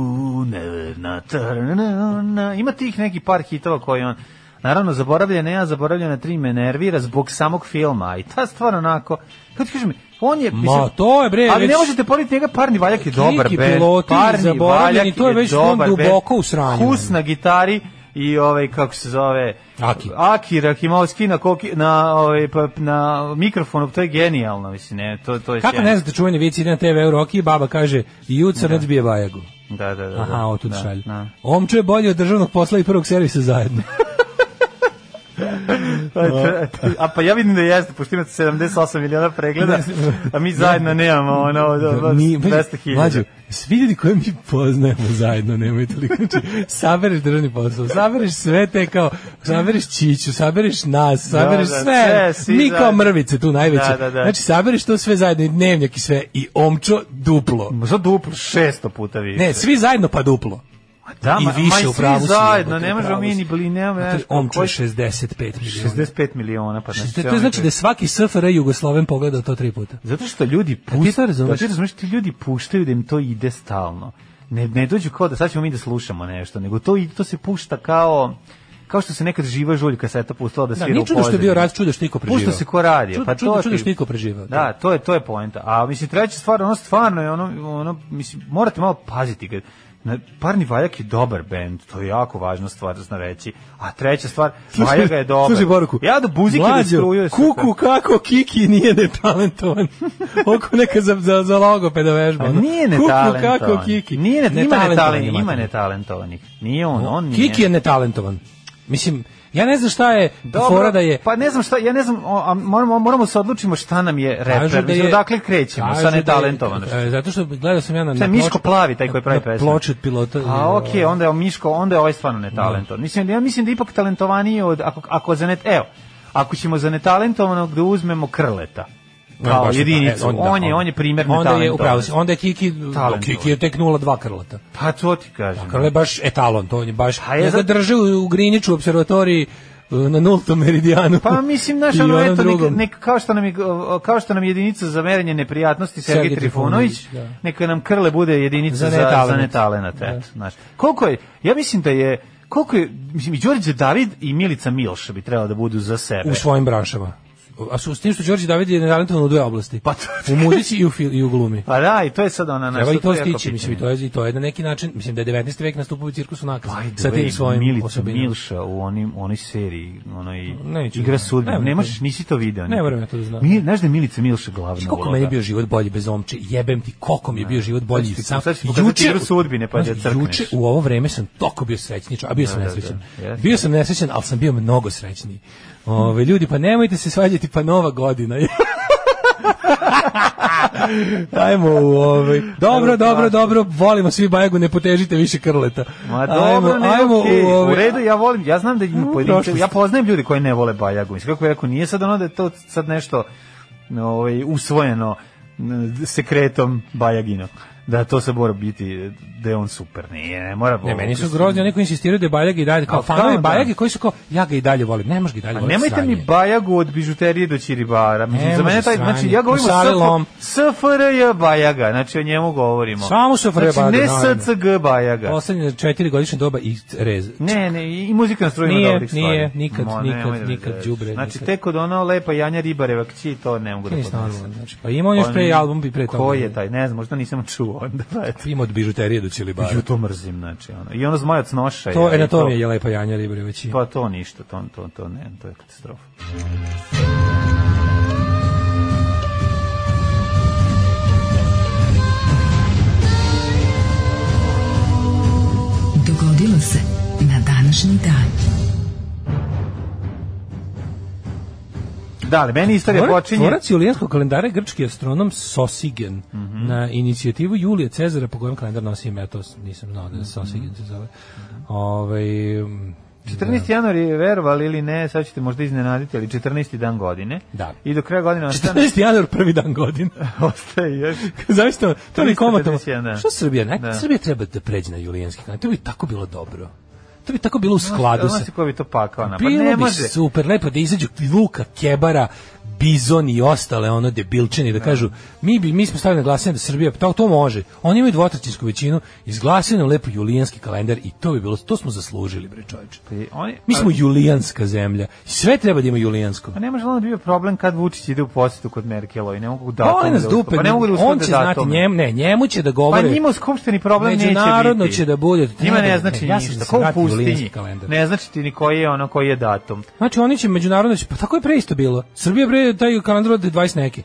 [SPEAKER 6] never na tarana. Ima tih neki par hitova koji on Naravno, zaboravljena ja, zaboravljena tri me nervira zbog samog filma. I ta stvar onako, kako ti kažem, on je...
[SPEAKER 7] Ma, to je, bre,
[SPEAKER 6] Ali ne
[SPEAKER 7] već-
[SPEAKER 6] možete porediti njega, Parni Valjak je dobar
[SPEAKER 7] Kiki
[SPEAKER 6] bend.
[SPEAKER 7] piloti,
[SPEAKER 6] Parni
[SPEAKER 7] zaboravljeni,
[SPEAKER 6] Valjak
[SPEAKER 7] to je već
[SPEAKER 6] dobar
[SPEAKER 7] on
[SPEAKER 6] bend.
[SPEAKER 7] duboko u sranju.
[SPEAKER 6] Kus na gitari i ovaj, kako se zove...
[SPEAKER 7] Aki.
[SPEAKER 6] Aki Rahimovski na, koki, na, ovaj, pa- na mikrofonu, to je genijalno, mislim, ne, to, to je
[SPEAKER 7] Kako
[SPEAKER 6] sjajno.
[SPEAKER 7] ne znate čuveni vic ide na TV Euroki i baba kaže Ju crnac bije vajagu.
[SPEAKER 6] Da, da, da.
[SPEAKER 7] Aha,
[SPEAKER 6] da,
[SPEAKER 7] o tu
[SPEAKER 6] da,
[SPEAKER 7] šalje.
[SPEAKER 6] da.
[SPEAKER 7] Omčo je bolje od državnog posla i prvog servisa zajedno.
[SPEAKER 6] A pa ja vidim da jeste, pošto imate 78 miliona pregleda, a mi zajedno nemamo ono, ono,
[SPEAKER 7] Da, Mi-
[SPEAKER 6] 200 hiljada.
[SPEAKER 7] Mlađo, svi ljudi koje mi poznajemo zajedno, nemoj toliko. Znači, sabereš državni posao, sabereš sve te kao, sabereš Čiću, sabereš nas, sabereš
[SPEAKER 6] da,
[SPEAKER 7] sve.
[SPEAKER 6] sve, svi
[SPEAKER 7] mi kao
[SPEAKER 6] zajedno.
[SPEAKER 7] mrvice tu najveće.
[SPEAKER 6] Da, da, da.
[SPEAKER 7] Znači, sabereš to sve zajedno i dnevnjak i sve i omčo duplo.
[SPEAKER 6] Za duplo 600 puta više.
[SPEAKER 7] Ne, svi zajedno pa duplo.
[SPEAKER 6] da,
[SPEAKER 7] i
[SPEAKER 6] ma- ma
[SPEAKER 7] više,
[SPEAKER 6] svi
[SPEAKER 7] u pravu si,
[SPEAKER 6] zajedno,
[SPEAKER 7] jebote,
[SPEAKER 6] ne
[SPEAKER 7] u
[SPEAKER 6] možemo
[SPEAKER 7] pravu
[SPEAKER 6] mi
[SPEAKER 7] si.
[SPEAKER 6] ni bili, ne
[SPEAKER 7] Znači, omčo je 65 miliona.
[SPEAKER 6] 65 miliona, pa znači.
[SPEAKER 7] Znači, to
[SPEAKER 6] oni
[SPEAKER 7] znači da je svaki SFRJ Jugosloven pogledao to tri puta.
[SPEAKER 6] Zato što ljudi
[SPEAKER 7] to
[SPEAKER 6] puštaju,
[SPEAKER 7] razumeš?
[SPEAKER 6] ti razumeš, ti ljudi puštaju da im to ide stalno. Ne, ne dođu kao da sad ćemo mi da slušamo nešto, nego to, i- to se pušta kao kao što se nekad živa žuljka seta pustila da
[SPEAKER 7] Da,
[SPEAKER 6] svira
[SPEAKER 7] nije
[SPEAKER 6] u
[SPEAKER 7] čudo što je
[SPEAKER 6] pozadini.
[SPEAKER 7] bio rat, čudo što je iko preživao.
[SPEAKER 6] Pušta se ko radi,
[SPEAKER 7] Čudo-
[SPEAKER 6] pa
[SPEAKER 7] čudo-
[SPEAKER 6] to
[SPEAKER 7] čudo
[SPEAKER 6] ti-
[SPEAKER 7] što je iko preživao.
[SPEAKER 6] Da, to je to je poenta. A mislim treća stvar, ono stvarno je ono ono mislim morate malo paziti kad na- Parni Valjak je dobar bend, to je jako važna stvar za reći. A treća stvar, Valjaga je dobar.
[SPEAKER 7] Slušaj poruku.
[SPEAKER 6] Ja do buzike da
[SPEAKER 7] Mlađo,
[SPEAKER 6] struje.
[SPEAKER 7] Kuku kako Kiki nije netalentovan. Oko neka za, za, za logopeda vežba.
[SPEAKER 6] Pa
[SPEAKER 7] ono.
[SPEAKER 6] nije
[SPEAKER 7] Kuku
[SPEAKER 6] netalentovan.
[SPEAKER 7] kako Kiki.
[SPEAKER 6] Nije ne, ima
[SPEAKER 7] Netalentovan je,
[SPEAKER 6] netalentovan, ima
[SPEAKER 7] mate.
[SPEAKER 6] netalentovanih. Nije on, on nije.
[SPEAKER 7] Kiki je netalentovan. Mislim, ja ne znam šta je
[SPEAKER 6] Dobro,
[SPEAKER 7] fora da je...
[SPEAKER 6] Pa ne znam šta, ja ne znam, o, a moramo, moramo se odlučimo šta nam je
[SPEAKER 7] Kažu
[SPEAKER 6] reper. Da je, odakle krećemo
[SPEAKER 7] kažu
[SPEAKER 6] sa
[SPEAKER 7] da je-
[SPEAKER 6] netalentovanošću.
[SPEAKER 7] e, zato što gledao sam ja na...
[SPEAKER 6] Šta je
[SPEAKER 7] na
[SPEAKER 6] Miško
[SPEAKER 7] ploču-
[SPEAKER 6] Plavi taj koji pravi
[SPEAKER 7] na
[SPEAKER 6] pesme?
[SPEAKER 7] Ploču od pilota.
[SPEAKER 6] A okej,
[SPEAKER 7] Da.
[SPEAKER 6] onda je Miško, onda je ovaj stvarno netalentovan. Mislim, ja mislim da je ipak talentovaniji od, ako, ako za net, evo, ako ćemo za netalentovanog da uzmemo Krleta. Kao
[SPEAKER 7] baš je ta-
[SPEAKER 6] jedinicu.
[SPEAKER 7] e,
[SPEAKER 6] on,
[SPEAKER 7] da,
[SPEAKER 6] je, on je primjer
[SPEAKER 7] Onda je, upravo,
[SPEAKER 6] netalentovanosti.
[SPEAKER 7] si, onda je Kiki,
[SPEAKER 6] Talentovan.
[SPEAKER 7] Kiki je tek 0,2 krlata.
[SPEAKER 6] Pa to ti kažem.
[SPEAKER 7] Krle je baš etalon, to on je baš...
[SPEAKER 6] A je
[SPEAKER 7] ja ga
[SPEAKER 6] zato-
[SPEAKER 7] drže u, u Griniću observatoriji e, na nultom meridijanu.
[SPEAKER 6] Pa mislim naš
[SPEAKER 7] I
[SPEAKER 6] ono
[SPEAKER 7] onom
[SPEAKER 6] eto nek,
[SPEAKER 7] drugom.
[SPEAKER 6] nek, kao što nam je, uh, kao što nam je jedinica za merenje neprijatnosti Sergej,
[SPEAKER 7] Sergej
[SPEAKER 6] Trifunović,
[SPEAKER 7] Trifunović, da.
[SPEAKER 6] neka nam krle bude jedinica
[SPEAKER 7] Za Da.
[SPEAKER 6] za za
[SPEAKER 7] netalenat.
[SPEAKER 6] netalenat, eto, znaš. Koliko je ja mislim da je koliko je mislim i Đorđe David i Milica Milša bi trebalo da budu za sebe.
[SPEAKER 7] u svojim branšama. A su s tim što Đorđe David je netalentovan u dve oblasti.
[SPEAKER 6] Pa to-
[SPEAKER 7] u muzici i u, fil, i u glumi.
[SPEAKER 6] Pa da, i to je sad ona naša.
[SPEAKER 7] Treba i to stići, mislim, i to, je, i to je na neki način, mislim da je 19. vek nastupao u cirkusu nakaz sa
[SPEAKER 6] Sa
[SPEAKER 7] tim svojim
[SPEAKER 6] Milica
[SPEAKER 7] osobinama.
[SPEAKER 6] Milša u onim u onoj seriji, onoj
[SPEAKER 7] Neću
[SPEAKER 6] igra
[SPEAKER 7] da-
[SPEAKER 6] sudbinu.
[SPEAKER 7] ne,
[SPEAKER 6] Ne
[SPEAKER 7] ne.
[SPEAKER 6] možeš nisi to video.
[SPEAKER 7] Ne
[SPEAKER 6] nikad.
[SPEAKER 7] moram ja to da znam.
[SPEAKER 6] Mi, znaš da je Milica Milša glavna
[SPEAKER 7] Znaš koliko
[SPEAKER 6] uloga?
[SPEAKER 7] meni je bio život bolji bez omče, jebem ti, koliko mi je bio život bolji.
[SPEAKER 6] da. Sad ću ti-
[SPEAKER 7] sam,
[SPEAKER 6] sad ću ti pokazati igru sudbine, pa da
[SPEAKER 7] Znaš,
[SPEAKER 6] crkneš.
[SPEAKER 7] Juče u ovo vreme sam toliko bio srećni, čo- a bio sam
[SPEAKER 6] da,
[SPEAKER 7] nesrećan.
[SPEAKER 6] da, jeste.
[SPEAKER 7] Bio sam nesrećan, ali sam bio mnogo srećniji. Ove, ljudi, pa nemojte se svađati, pa nova godina je. Ajmo u ovaj. Dobro, dobro, dobro, volimo svi Bajagu, ne potežite više krleta.
[SPEAKER 6] Ma dobro, ne, ajmo, u,
[SPEAKER 7] ovaj-
[SPEAKER 6] redu, ja volim, ja znam da ima pojedince,
[SPEAKER 7] prošlost.
[SPEAKER 6] ja poznajem ljudi koji ne vole Bajagu, mislim, kako je rekao, nije sad ono da je to sad nešto ovaj, usvojeno n- sekretom Bajagino, da to se mora biti, da je on super, nije, ne mora...
[SPEAKER 7] Ne, meni su grozni oni koji insistiraju da je Bajag i dalje, kao
[SPEAKER 6] A,
[SPEAKER 7] fanovi
[SPEAKER 6] da, da.
[SPEAKER 7] Bajage koji su kao, ja ga i dalje volim, ne možeš ga i dalje
[SPEAKER 6] A
[SPEAKER 7] voliti.
[SPEAKER 6] nemojte mi
[SPEAKER 7] sranje je.
[SPEAKER 6] Bajagu od bižuterije do Čiribara, mislim,
[SPEAKER 7] Ne
[SPEAKER 6] za mene
[SPEAKER 7] može
[SPEAKER 6] taj, znači,
[SPEAKER 7] sranje.
[SPEAKER 6] ja govorim
[SPEAKER 7] Save
[SPEAKER 6] o
[SPEAKER 7] lom.
[SPEAKER 6] SF SFRJ Bajaga, znači o njemu govorimo.
[SPEAKER 7] Samo SFRJ
[SPEAKER 6] Znači, ne
[SPEAKER 7] Bajaga, naravno.
[SPEAKER 6] SCG Bajaga.
[SPEAKER 7] Poslednje četiri godišnje doba i rez.
[SPEAKER 6] Da. Ne, ne, i i muzika na strujama
[SPEAKER 7] Nije,
[SPEAKER 6] dobrih stvari.
[SPEAKER 7] nije, nikad, nikad,
[SPEAKER 6] nemoj da
[SPEAKER 7] nikad,
[SPEAKER 6] rečeš.
[SPEAKER 7] đubre,
[SPEAKER 6] Znači,
[SPEAKER 7] nikad.
[SPEAKER 6] tek od ono lepa Janja Ribareva kći, to ne mogu da
[SPEAKER 7] Nije
[SPEAKER 6] podnesem.
[SPEAKER 7] normalno, znači. Pa ima on još pre album bi pre toga.
[SPEAKER 6] Ko je taj, ne znam, možda nisam čuo onda, pa eto.
[SPEAKER 7] Ima od bižuterije do Čilibara.
[SPEAKER 6] Ju to mrzim, znači, ono. I ono zmajac noša.
[SPEAKER 7] To
[SPEAKER 6] je,
[SPEAKER 7] je na
[SPEAKER 6] i
[SPEAKER 7] tom je lepa Janja Ribarević.
[SPEAKER 6] Pa to ništa, to, to, to ne, to je katastrofa.
[SPEAKER 5] Dogodilo se na današnji dan.
[SPEAKER 6] Da, ali meni istorija
[SPEAKER 7] Tvorac-
[SPEAKER 6] počinje...
[SPEAKER 7] Tvorac julijanskog kalendara je grčki astronom Sosigen
[SPEAKER 6] Mhm.
[SPEAKER 7] na inicijativu Julija Cezara po kojem kalendar nosi ime, to s- nisam znao
[SPEAKER 6] Mhm.
[SPEAKER 7] da je Sosigen se zove. Ovaj mm,
[SPEAKER 6] 14. januar je, verovali ili ne, sad ćete možda iznenaditi, ali 14. dan godine.
[SPEAKER 7] Da.
[SPEAKER 6] I do kraja godine ostane,
[SPEAKER 7] 14. januar, prvi dan godine.
[SPEAKER 6] ostaje još...
[SPEAKER 7] Zavisno, to je
[SPEAKER 6] 351,
[SPEAKER 7] komatamo.
[SPEAKER 6] da.
[SPEAKER 7] Što Srbija, ne?
[SPEAKER 6] Da.
[SPEAKER 7] Srbija treba da pređe na julijanski kalendar. To bi tako bilo dobro. To bi tako bilo u skladu
[SPEAKER 6] Ono
[SPEAKER 7] sa...
[SPEAKER 6] se ko bi to pakao na, pa
[SPEAKER 7] Bilo
[SPEAKER 6] ne
[SPEAKER 7] bi
[SPEAKER 6] može.
[SPEAKER 7] super, lepo da izađu Luka, Kebara, Bizon i ostale ono debilčini da kažu mi bi mi smo stavili na glasanje da Srbija to to može. Oni imaju dvotrećinsku većinu, izglasaju nam lepo julijanski kalendar i to bi bilo to smo zaslužili bre čoveče.
[SPEAKER 6] I Oni,
[SPEAKER 7] Mi smo julijanska zemlja. Sve treba da ima julijansko.
[SPEAKER 6] Pa ne može onda da bio problem kad Vučić ide u posetu kod Merkelove, ne mogu da
[SPEAKER 7] Pa oni nas dupe,
[SPEAKER 6] pa ne mogu da uspe
[SPEAKER 7] on
[SPEAKER 6] da
[SPEAKER 7] će
[SPEAKER 6] da
[SPEAKER 7] znati,
[SPEAKER 6] tome.
[SPEAKER 7] njem, ne, njemu će da
[SPEAKER 6] Pa
[SPEAKER 7] govore.
[SPEAKER 6] njima u skupštini problem neće biti.
[SPEAKER 7] Međunarodno će da bude.
[SPEAKER 6] Njima
[SPEAKER 7] Treba-
[SPEAKER 6] ne znači
[SPEAKER 7] ne, ja sam
[SPEAKER 6] ništa,
[SPEAKER 7] da se
[SPEAKER 6] ko u
[SPEAKER 7] vratim u
[SPEAKER 6] pustinji.
[SPEAKER 7] julijanski kalendar.
[SPEAKER 6] Ne znači ti ni koji je ono, koji je datum.
[SPEAKER 7] Znači oni će međunarodno, će- pa tako je pre isto bilo. Srbija bre taj kalendar od 20 neki.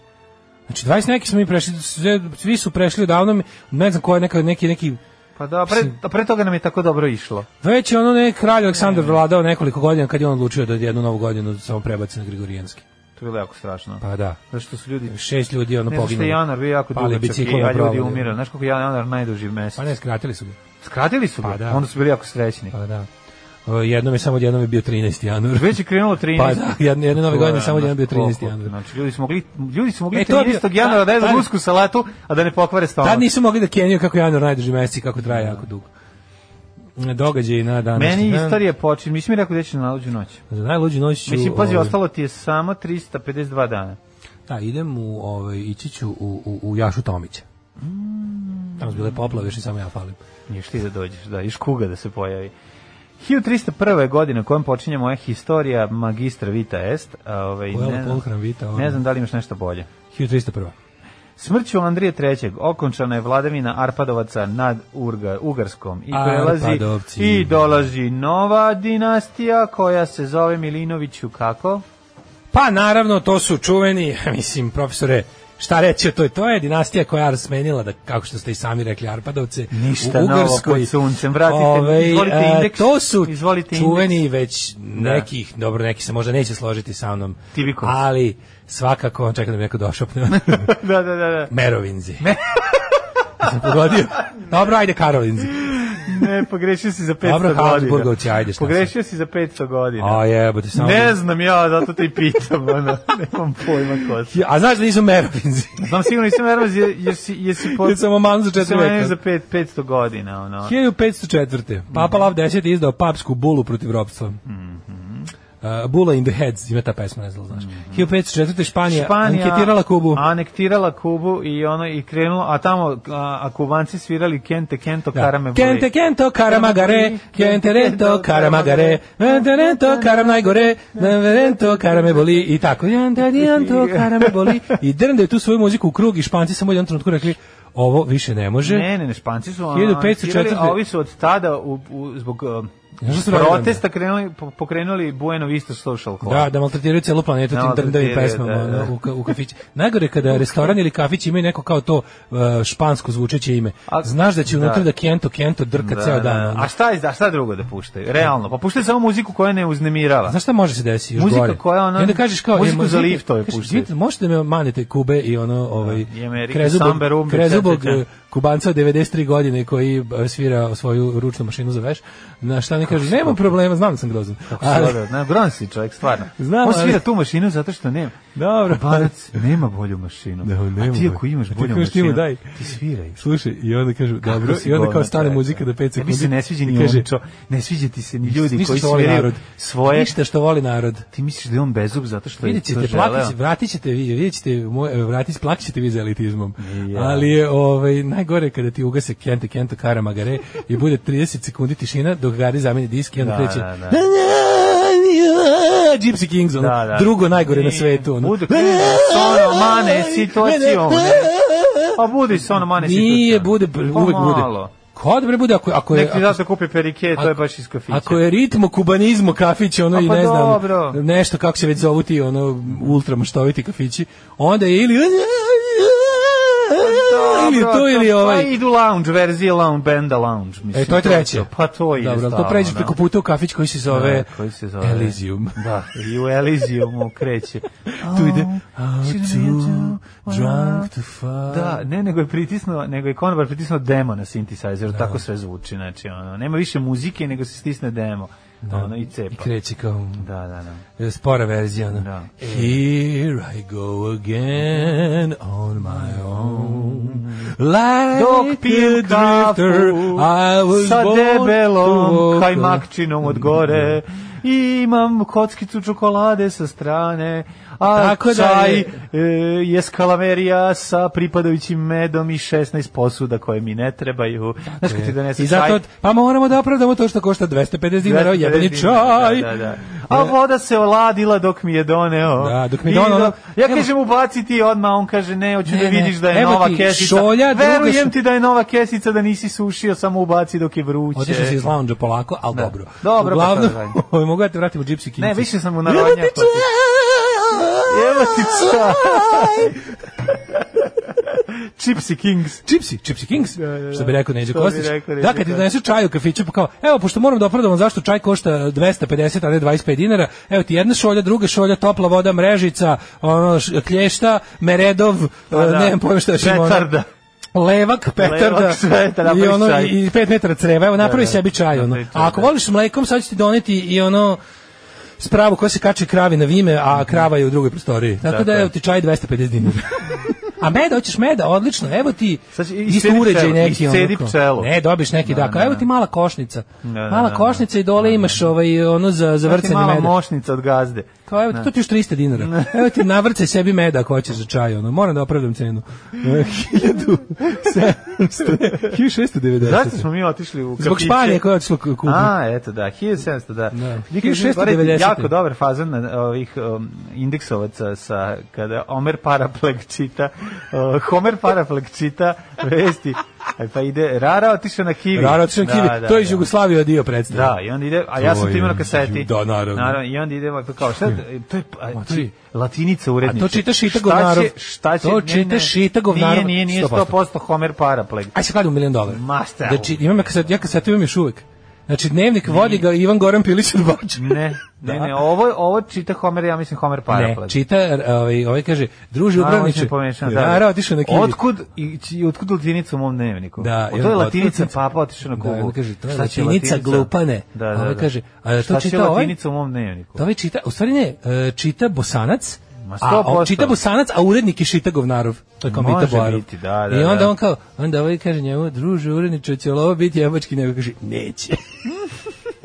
[SPEAKER 7] Znači 20 neki smo mi prešli, sve- svi su prešli odavno, ne znam ko je neka, neki, neki,
[SPEAKER 6] Pa da, pre, a pre toga nam je tako dobro išlo.
[SPEAKER 7] već je ono ne, kralj Aleksandar vladao nekoliko godina kad je on odlučio da jednu novu godinu samo prebaci na Grigorijanski.
[SPEAKER 6] To je bilo jako strašno.
[SPEAKER 7] Pa da.
[SPEAKER 6] Zašto su ljudi...
[SPEAKER 7] Šest ljudi je ono
[SPEAKER 6] Ne znaš što je
[SPEAKER 7] poginulo.
[SPEAKER 6] januar bio jako
[SPEAKER 7] Pali
[SPEAKER 6] dugačak i
[SPEAKER 7] biciklo na
[SPEAKER 6] ja ljudi
[SPEAKER 7] provaliju.
[SPEAKER 6] umirali. Znaš kako je januar najduži mesec?
[SPEAKER 7] Pa ne, skratili su mi.
[SPEAKER 6] Skratili su ga,
[SPEAKER 7] Pa da.
[SPEAKER 6] onda su bili jako srećni.
[SPEAKER 7] Pa da. O, Jednom je samo jednom je bio 13. januar.
[SPEAKER 6] Već je krenulo 13.
[SPEAKER 7] Pa da, jedne, jedne nove
[SPEAKER 6] To
[SPEAKER 7] godine
[SPEAKER 6] je,
[SPEAKER 7] samo
[SPEAKER 6] znaš,
[SPEAKER 7] jedan bio 13.
[SPEAKER 6] koliko.
[SPEAKER 7] januar.
[SPEAKER 6] Znači, ljudi su mogli, ljudi su mogli
[SPEAKER 7] E, to je bio-
[SPEAKER 6] 13. januara da
[SPEAKER 7] tad-
[SPEAKER 6] jedu
[SPEAKER 7] tad-
[SPEAKER 6] rusku salatu, a da ne pokvare stomak.
[SPEAKER 7] Tad nisu mogli da kenjaju kako je januar najduži mesec i kako traje jako dugo. Događaj na današnji
[SPEAKER 6] Meni
[SPEAKER 7] dan.
[SPEAKER 6] istorija počinje, mi si mi rekao da će na naluđu noć.
[SPEAKER 7] Za najluđu noć ću...
[SPEAKER 6] Mislim, pazi,
[SPEAKER 7] ovaj,
[SPEAKER 6] ostalo ti je samo 352 dana.
[SPEAKER 7] Da, idem u, ovaj, ići ću u, u, u Jašu Tomića.
[SPEAKER 6] Mm.
[SPEAKER 7] Tamo su bile poplave, još i samo ja falim.
[SPEAKER 6] Još ti da dođeš, da, iš kuga da se pojavi. 1301. godine kojom počinje moja historija magistra Vita Est. a, Ovaj,
[SPEAKER 7] Pojela
[SPEAKER 6] ne, znam-
[SPEAKER 7] polhram Vita, ono.
[SPEAKER 6] ne znam da li imaš nešto bolje.
[SPEAKER 7] 1301.
[SPEAKER 6] Smrću Andrije III. okončana je vladavina Arpadovaca nad Urga, Ugarskom i prelazi
[SPEAKER 7] Arpadovci.
[SPEAKER 6] i dolazi nova dinastija koja se zove Milinoviću kako?
[SPEAKER 7] Pa naravno, to su čuveni, mislim, profesore, šta reći o toj, to je dinastija koja je smenila, da, kako što ste i sami rekli, Arpadovce,
[SPEAKER 6] Ništa
[SPEAKER 7] u
[SPEAKER 6] novo
[SPEAKER 7] Ugarskoj.
[SPEAKER 6] pod suncem, vratite, izvolite
[SPEAKER 7] e,
[SPEAKER 6] indeks,
[SPEAKER 7] To su
[SPEAKER 6] izvolite Da.
[SPEAKER 7] čuveni već nekih, dobro, neki se možda neće složiti sa mnom,
[SPEAKER 6] Ti bi ko?
[SPEAKER 7] ali svakako, čekam da mi neko došopne,
[SPEAKER 6] Da, da, da, da.
[SPEAKER 7] Merovinzi. Da Sam pogodio. Dobro, ajde Karolinzi.
[SPEAKER 6] Ne, pogrešio si za 500
[SPEAKER 7] Dobro,
[SPEAKER 6] godina.
[SPEAKER 7] Habsburgovci, ajde, šta sam.
[SPEAKER 6] Pogrešio si za 500 godina.
[SPEAKER 7] A jebote, samo...
[SPEAKER 6] Ne znam ja, zato te i pitam, ono, nemam pojma ko si.
[SPEAKER 7] A znaš da nisu Merovinzi?
[SPEAKER 6] Znam sigurno nisam nervoz, jer, jer si, jer si po...
[SPEAKER 7] Jer sam oman za četiri
[SPEAKER 6] Sam meni za
[SPEAKER 7] veka.
[SPEAKER 6] pet, 500 godina, ono.
[SPEAKER 7] 1504. Papa Lav X je izdao papsku bulu protiv robstva. Uh, Bula in the Heads, ima ta pesma, ne znam, znaš. 1504. Španija,
[SPEAKER 6] Španija
[SPEAKER 7] anketirala Kubu.
[SPEAKER 6] Anektirala Kubu i ono i krenulo, a tamo a, a Kubanci svirali Kente Kento
[SPEAKER 7] Da.
[SPEAKER 6] Karame Boli.
[SPEAKER 7] Kente kento karamagare, kente rento karamagare, kente rento karam najgore, kente rento karame boli i tako. Janta dianto karame boli. I drndaju tu svoju muziku u krug i španci samo u jednom trenutku rekli ovo više ne može.
[SPEAKER 6] Ne, ne, ne, Španci su ono,
[SPEAKER 7] 1504.
[SPEAKER 6] svirali, a ovi su od tada u, u, zbog um,
[SPEAKER 7] Znaš šta su radili
[SPEAKER 6] protesta krenuli, po- pokrenuli Bueno Vista Social Club.
[SPEAKER 7] Da, da maltretiraju celu planetu tim
[SPEAKER 6] Maltretiraju,
[SPEAKER 7] drndavim pesmama
[SPEAKER 6] da, da.
[SPEAKER 7] ono, u, ka- u kafić. Najgore je kada restoran ili kafić imaju neko kao to uh, špansko zvučeće ime.
[SPEAKER 6] A-
[SPEAKER 7] Znaš da će
[SPEAKER 6] da.
[SPEAKER 7] unutra da kento, kento drka ceo dan. ono.
[SPEAKER 6] A šta je, a šta drugo da puštaju? Realno, pa puštaju samo muziku koja ne uznemirava.
[SPEAKER 7] Znaš šta može se desiti još
[SPEAKER 6] Muzika
[SPEAKER 7] gore?
[SPEAKER 6] koja ono-
[SPEAKER 7] I onda kažeš kao,
[SPEAKER 6] muziku
[SPEAKER 7] e,
[SPEAKER 6] za
[SPEAKER 7] možete-
[SPEAKER 6] liftove
[SPEAKER 7] kažeš,
[SPEAKER 6] puštaju.
[SPEAKER 7] vidite, možete da me manete Kube i ono, ovaj,
[SPEAKER 6] i Amerike,
[SPEAKER 7] krezubog,
[SPEAKER 6] samba, rumbe,
[SPEAKER 7] krezubog
[SPEAKER 6] ča, ča, ča.
[SPEAKER 7] eh, kubanca od 93 godine koji eh, svira svoju ručnu mašinu za veš, na šta ne kaže, nema problema, znam da sam grozan. Ali-
[SPEAKER 6] Ali, na, gron da, si čovjek, stvarno.
[SPEAKER 7] Znam,
[SPEAKER 6] On svira
[SPEAKER 7] ali-
[SPEAKER 6] tu mašinu zato što nema.
[SPEAKER 7] Dobro.
[SPEAKER 6] Kubanac nema bolju mašinu.
[SPEAKER 7] Da, nema
[SPEAKER 6] A ti
[SPEAKER 7] bolju.
[SPEAKER 6] ako imaš
[SPEAKER 7] A ti
[SPEAKER 6] bolju
[SPEAKER 7] kažeš ti mu
[SPEAKER 6] mašinu,
[SPEAKER 7] daj.
[SPEAKER 6] ti sviraj.
[SPEAKER 7] Slušaj, i onda kaže, dobro,
[SPEAKER 6] si
[SPEAKER 7] i onda kao
[SPEAKER 6] govnar,
[SPEAKER 7] stane
[SPEAKER 6] čovječe.
[SPEAKER 7] muzika da 5
[SPEAKER 6] Tebi
[SPEAKER 7] sekundi.
[SPEAKER 6] se ne sviđa
[SPEAKER 7] i
[SPEAKER 6] ni
[SPEAKER 7] kaže,
[SPEAKER 6] umčo, ne sviđa ti se ni ljudi
[SPEAKER 7] ništa
[SPEAKER 6] koji
[SPEAKER 7] što voli
[SPEAKER 6] sviraju
[SPEAKER 7] ovaj narod.
[SPEAKER 6] svoje.
[SPEAKER 7] Ništa što voli narod.
[SPEAKER 6] Ti misliš da je on bezub zato što je
[SPEAKER 7] Vidjet
[SPEAKER 6] to
[SPEAKER 7] ćete,
[SPEAKER 6] želeo?
[SPEAKER 7] platit će- vratit ćete vi, vidjet ćete, moj, vratit, platit ćete vi za elitizmom.
[SPEAKER 6] Ja.
[SPEAKER 7] Ali je ovaj, najgore kada ti ugase kente, kento, kara, magare i bude 30 sekundi tišina dok gari zameni disk i onda
[SPEAKER 6] Da,
[SPEAKER 7] kreće
[SPEAKER 6] da, da.
[SPEAKER 7] Gypsy Kings, ono,
[SPEAKER 6] Da, da.
[SPEAKER 7] drugo najgore na
[SPEAKER 6] I
[SPEAKER 7] svetu. Ono.
[SPEAKER 6] bude krenuo sono mane situacijom, ne? A Pa budi se ono mane
[SPEAKER 7] Nije,
[SPEAKER 6] situacijom.
[SPEAKER 7] bude,
[SPEAKER 6] Pa
[SPEAKER 7] uvek bude.
[SPEAKER 6] malo.
[SPEAKER 7] Kod bre bude ako ako je
[SPEAKER 6] Nek ti zato kupi perike, to je baš iz kafića.
[SPEAKER 7] Ako je ritmo kubanizmo kafići, ono
[SPEAKER 6] A
[SPEAKER 7] i
[SPEAKER 6] pa
[SPEAKER 7] ne znam,
[SPEAKER 6] dobro.
[SPEAKER 7] nešto kako se već zovu ti, ono, ultramaštoviti kafići, onda je ili... ili je
[SPEAKER 6] Pa Dobro,
[SPEAKER 7] to ili je
[SPEAKER 6] Pa
[SPEAKER 7] ovaj...
[SPEAKER 6] idu lounge, verzije lounge, benda lounge. Mislim,
[SPEAKER 7] E, to je treće.
[SPEAKER 6] Pa to je
[SPEAKER 7] Dobro, ali to pređeš preko puta u kafić koji se zove,
[SPEAKER 6] Da, koji se zove-
[SPEAKER 7] Elysium.
[SPEAKER 6] Da, i u Elysiumu kreće.
[SPEAKER 7] Tu ide, out too drunk to fuck.
[SPEAKER 6] Da, ne, nego je pritisnuo, nego je konobar pritisnuo demo na
[SPEAKER 7] Da.
[SPEAKER 6] synthesizeru, tako sve zvuči, znači ono, nema više muzike, nego se stisne demo,
[SPEAKER 7] Da.
[SPEAKER 6] ono, i
[SPEAKER 7] I
[SPEAKER 6] cepa.
[SPEAKER 7] kreće kao
[SPEAKER 6] Da, da, da.
[SPEAKER 7] e, spora verzija. ono.
[SPEAKER 6] Da.
[SPEAKER 7] Here I go again on my own. Like
[SPEAKER 6] Dok pijem
[SPEAKER 7] a drifter,
[SPEAKER 6] kafu
[SPEAKER 7] I was
[SPEAKER 6] sa
[SPEAKER 7] born to
[SPEAKER 6] debelom
[SPEAKER 7] walk Da. a-
[SPEAKER 6] kajmakčinom od gore i imam kockicu čokolade sa strane, a
[SPEAKER 7] Tako da
[SPEAKER 6] čaj
[SPEAKER 7] je-
[SPEAKER 6] e, je skalamerija sa pripadajućim medom i 16 posuda koje mi ne trebaju. Znaš kad da ti donese
[SPEAKER 7] I
[SPEAKER 6] čaj,
[SPEAKER 7] zato, pa moramo da opravdamo to što košta 250 dinara,
[SPEAKER 6] 250
[SPEAKER 7] jebeni
[SPEAKER 6] dinara,
[SPEAKER 7] čaj.
[SPEAKER 6] Da, da, da. A voda se oladila dok mi je doneo.
[SPEAKER 7] Da, dok mi je
[SPEAKER 6] I
[SPEAKER 7] doneo, ono,
[SPEAKER 6] ja
[SPEAKER 7] evo-
[SPEAKER 6] kažem ubaciti odmah, on kaže ne, hoću
[SPEAKER 7] Ne,
[SPEAKER 6] da
[SPEAKER 7] ne,
[SPEAKER 6] vidiš da je
[SPEAKER 7] evo
[SPEAKER 6] nova
[SPEAKER 7] ti
[SPEAKER 6] kesica.
[SPEAKER 7] šolja, druga
[SPEAKER 6] Verujem
[SPEAKER 7] šo-
[SPEAKER 6] ti da je nova kesica, da nisi sušio, samo ubaci dok je vruće.
[SPEAKER 7] Otišao si iz lounge polako, ali dobro.
[SPEAKER 6] Dobro, pa
[SPEAKER 7] Uglavnom,
[SPEAKER 6] to je
[SPEAKER 7] mogu da te vratim u Gypsy Kings.
[SPEAKER 6] Ne, više sam u narodnjaku. Evo ti čaj. Chipsy Kings.
[SPEAKER 7] Čipsi, Čipsi Kings,
[SPEAKER 6] da.
[SPEAKER 7] što bi rekao Neđo
[SPEAKER 6] Što bi
[SPEAKER 7] Kostić.
[SPEAKER 6] rekao Neđo
[SPEAKER 7] Da, kad ti
[SPEAKER 6] Kostić.
[SPEAKER 7] donesu čaj u kafiću, pa kao, evo, pošto moram da opravdam zašto čaj košta 250, a ne 25 dinara, evo ti jedna šolja, druga šolja, topla voda, mrežica, ono, š- klješta, meredov, e,
[SPEAKER 6] da.
[SPEAKER 7] nemam pojma šta još ima. ono.
[SPEAKER 6] Petarda.
[SPEAKER 7] Levak, petarda
[SPEAKER 6] Levak, sve, da
[SPEAKER 7] i,
[SPEAKER 6] napraviš
[SPEAKER 7] ono,
[SPEAKER 6] čaj.
[SPEAKER 7] i 5 metara creva, evo napravi
[SPEAKER 6] Da, da.
[SPEAKER 7] sebi čaj. Ono.
[SPEAKER 6] Napravi čaj,
[SPEAKER 7] A ako
[SPEAKER 6] da.
[SPEAKER 7] voliš s mlekom, sad ću ti doneti i ono spravu koja se kače kravi na vime, a krava je u drugoj prostoriji. Tako
[SPEAKER 6] Mhm.
[SPEAKER 7] da
[SPEAKER 6] je.
[SPEAKER 7] evo ti čaj 250 dinara. a meda, hoćeš meda, odlično, evo ti
[SPEAKER 6] Sad će- i
[SPEAKER 7] isto
[SPEAKER 6] sedi
[SPEAKER 7] uređaj
[SPEAKER 6] pčelu,
[SPEAKER 7] neki.
[SPEAKER 6] i
[SPEAKER 7] ono
[SPEAKER 6] sedi
[SPEAKER 7] kao-
[SPEAKER 6] pčelu.
[SPEAKER 7] Ne, dobiš neki, da, kao, evo ti mala košnica.
[SPEAKER 6] da, da,
[SPEAKER 7] mala
[SPEAKER 6] da.
[SPEAKER 7] košnica i dole imaš ovaj, ono za,
[SPEAKER 6] Vrcanje
[SPEAKER 7] za vrcanje
[SPEAKER 6] mala
[SPEAKER 7] meda.
[SPEAKER 6] mošnica od gazde.
[SPEAKER 7] Kao evo ti, to ti još 300 dinara. Evo ti navrcaj sebi meda ako hoćeš za čaj, ono. Moram da opravdam cenu. 1700, 1690.
[SPEAKER 6] Zašto smo mi otišli u kafiće?
[SPEAKER 7] Zbog Španije koja je otišla ku- kupu.
[SPEAKER 6] A, eto da, 1700, da.
[SPEAKER 7] Da.
[SPEAKER 6] Vi kažete,
[SPEAKER 7] 1690.
[SPEAKER 6] gore, Jako eh, dobar fazan na ovih um, indeksovaca sa, kada Omer Parapleg čita Uh, Homer Paraflek čita vesti, pa ide Rara otišao na Kivi.
[SPEAKER 7] Rara otišao na
[SPEAKER 6] Da,
[SPEAKER 7] Kivi,
[SPEAKER 6] da,
[SPEAKER 7] to je iz
[SPEAKER 6] da.
[SPEAKER 7] Jugoslavije dio predstave.
[SPEAKER 6] Da, i onda ide, a ja
[SPEAKER 7] To
[SPEAKER 6] sam to imao na
[SPEAKER 7] je-
[SPEAKER 6] kaseti.
[SPEAKER 7] da, naravno.
[SPEAKER 6] I onda idemo, pa kao, šta, to je, a,
[SPEAKER 7] Ma, to je-
[SPEAKER 6] latinica urednice.
[SPEAKER 7] A to čita Šita
[SPEAKER 6] Šta će-
[SPEAKER 7] Govnarov.
[SPEAKER 6] Šta će,
[SPEAKER 7] To
[SPEAKER 6] ne, ne,
[SPEAKER 7] čita Šita Govnarov,
[SPEAKER 6] Nije, nije, nije
[SPEAKER 7] 100%.
[SPEAKER 6] 100% Homer Parapleg.
[SPEAKER 7] Aj se kladim milion dolara.
[SPEAKER 6] Master.
[SPEAKER 7] Znači, imam ja kaset, ja kasetu imam još uvek. Znači, dnevnik vodi ga Ivan Goran Pilić od Bača.
[SPEAKER 6] Ne, ne, ne, ovo, ovo čita Homer, ja mislim Homer
[SPEAKER 7] Da. Ne,
[SPEAKER 6] Parapleg.
[SPEAKER 7] čita, ovaj, ovaj kaže, druži
[SPEAKER 6] A, ovo
[SPEAKER 7] upravniče,
[SPEAKER 6] sam pomešao, da.
[SPEAKER 7] Rara otišao na Kivi.
[SPEAKER 6] Otkud, i, či- i otkud latinica u mom dnevniku?
[SPEAKER 7] Da,
[SPEAKER 6] O,
[SPEAKER 7] i
[SPEAKER 6] to je
[SPEAKER 7] onda-
[SPEAKER 6] latinica, papa otišao na
[SPEAKER 7] Da,
[SPEAKER 6] kugu.
[SPEAKER 7] onda kaže, to je
[SPEAKER 6] Šta će
[SPEAKER 7] latinica, glupane.
[SPEAKER 6] Da, da,
[SPEAKER 7] A ovaj
[SPEAKER 6] da.
[SPEAKER 7] kaže, a to
[SPEAKER 6] Šta će
[SPEAKER 7] čita ovaj?
[SPEAKER 6] latinica u mom dnevniku?
[SPEAKER 7] To ovaj čita, u stvari ne, e, čita Bosanac,
[SPEAKER 6] Ma,
[SPEAKER 7] a, a
[SPEAKER 6] 100%.
[SPEAKER 7] čita Bosanac, a urednik je Šita Govnarov. To je kao
[SPEAKER 6] Može
[SPEAKER 7] Mita Boarov.
[SPEAKER 6] biti, da, da,
[SPEAKER 7] I onda
[SPEAKER 6] da.
[SPEAKER 7] on kao, onda ovaj kaže njemu, druže, uredniče, će li ovo biti jebački? Nego kaže, neće.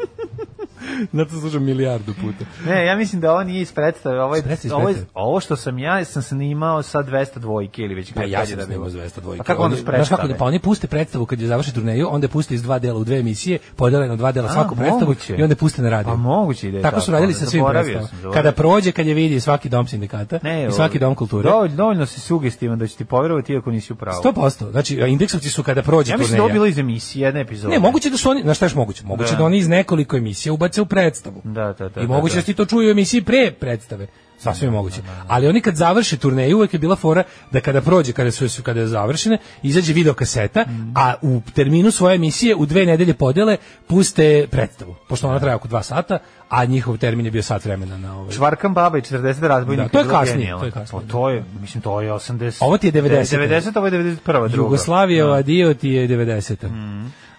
[SPEAKER 7] Zato slušam milijardu puta.
[SPEAKER 6] Ne, ja mislim da ovo nije iz predstave, ovo je,
[SPEAKER 7] Iz predstave, iz
[SPEAKER 6] ovo, je,
[SPEAKER 7] predstave.
[SPEAKER 6] ovo što sam ja sam snimao sa 200 dvojke ili već
[SPEAKER 7] Pa
[SPEAKER 6] kad
[SPEAKER 7] ja
[SPEAKER 6] kad
[SPEAKER 7] sam
[SPEAKER 6] je
[SPEAKER 7] da
[SPEAKER 6] bilo.
[SPEAKER 7] snimao Zvezda dvojke.
[SPEAKER 6] A kako onda
[SPEAKER 7] Oni-
[SPEAKER 6] s predstave?
[SPEAKER 7] Znaš kako, da, pa oni puste predstavu kad je završi turneju, onda je puste iz dva dela u dve emisije, podeljeno na dva dela
[SPEAKER 6] A,
[SPEAKER 7] svaku predstavu
[SPEAKER 6] moguće.
[SPEAKER 7] i onda je puste na radiju.
[SPEAKER 6] Pa moguće ide
[SPEAKER 7] Tako su radili
[SPEAKER 6] onda,
[SPEAKER 7] sa svim
[SPEAKER 6] da zaboravio sam,
[SPEAKER 7] predstavama.
[SPEAKER 6] zaboravio.
[SPEAKER 7] Kada prođe, kad je vidi svaki dom sindikata i svaki dom kulture.
[SPEAKER 6] Dovoljno, dovoljno si sugestivan da će ti poverovati iako nisi u pravu.
[SPEAKER 7] 100%. Znači, a indeksovci su kada prođe
[SPEAKER 6] Ja mislim da je
[SPEAKER 7] turneja.
[SPEAKER 6] ovo bilo iz emisije, jedne epizode.
[SPEAKER 7] Ne, moguće da su oni, znaš šta je još moguće? Moguće da.
[SPEAKER 6] Da.
[SPEAKER 7] oni iz nekoliko emisija ubace u predstavu.
[SPEAKER 6] Da, da, da,
[SPEAKER 7] I
[SPEAKER 6] da,
[SPEAKER 7] moguće da,
[SPEAKER 6] da.
[SPEAKER 7] ti to čuju u emisiji pre predstave. Sasvim je moguće. Ali oni kad završe turneju, uvek je bila fora da kada prođe, kada su, su kada je završene, izađe videokaseta, a u terminu svoje emisije u dve nedelje podele puste predstavu. Pošto ona traje oko dva sata, a njihov termin je bio sat vremena na ovaj.
[SPEAKER 6] Čvarkan baba i 40 razbojnika.
[SPEAKER 7] Da, to je
[SPEAKER 6] bilo
[SPEAKER 7] kasnije,
[SPEAKER 6] genijalno.
[SPEAKER 7] to je kasnije. da.
[SPEAKER 6] Pa to je, mislim, to je 80.
[SPEAKER 7] Ovo ti je 90.
[SPEAKER 6] 90, ovo je 91. druga. Da.
[SPEAKER 7] Jugoslavijeva dio ti je 90.
[SPEAKER 6] E,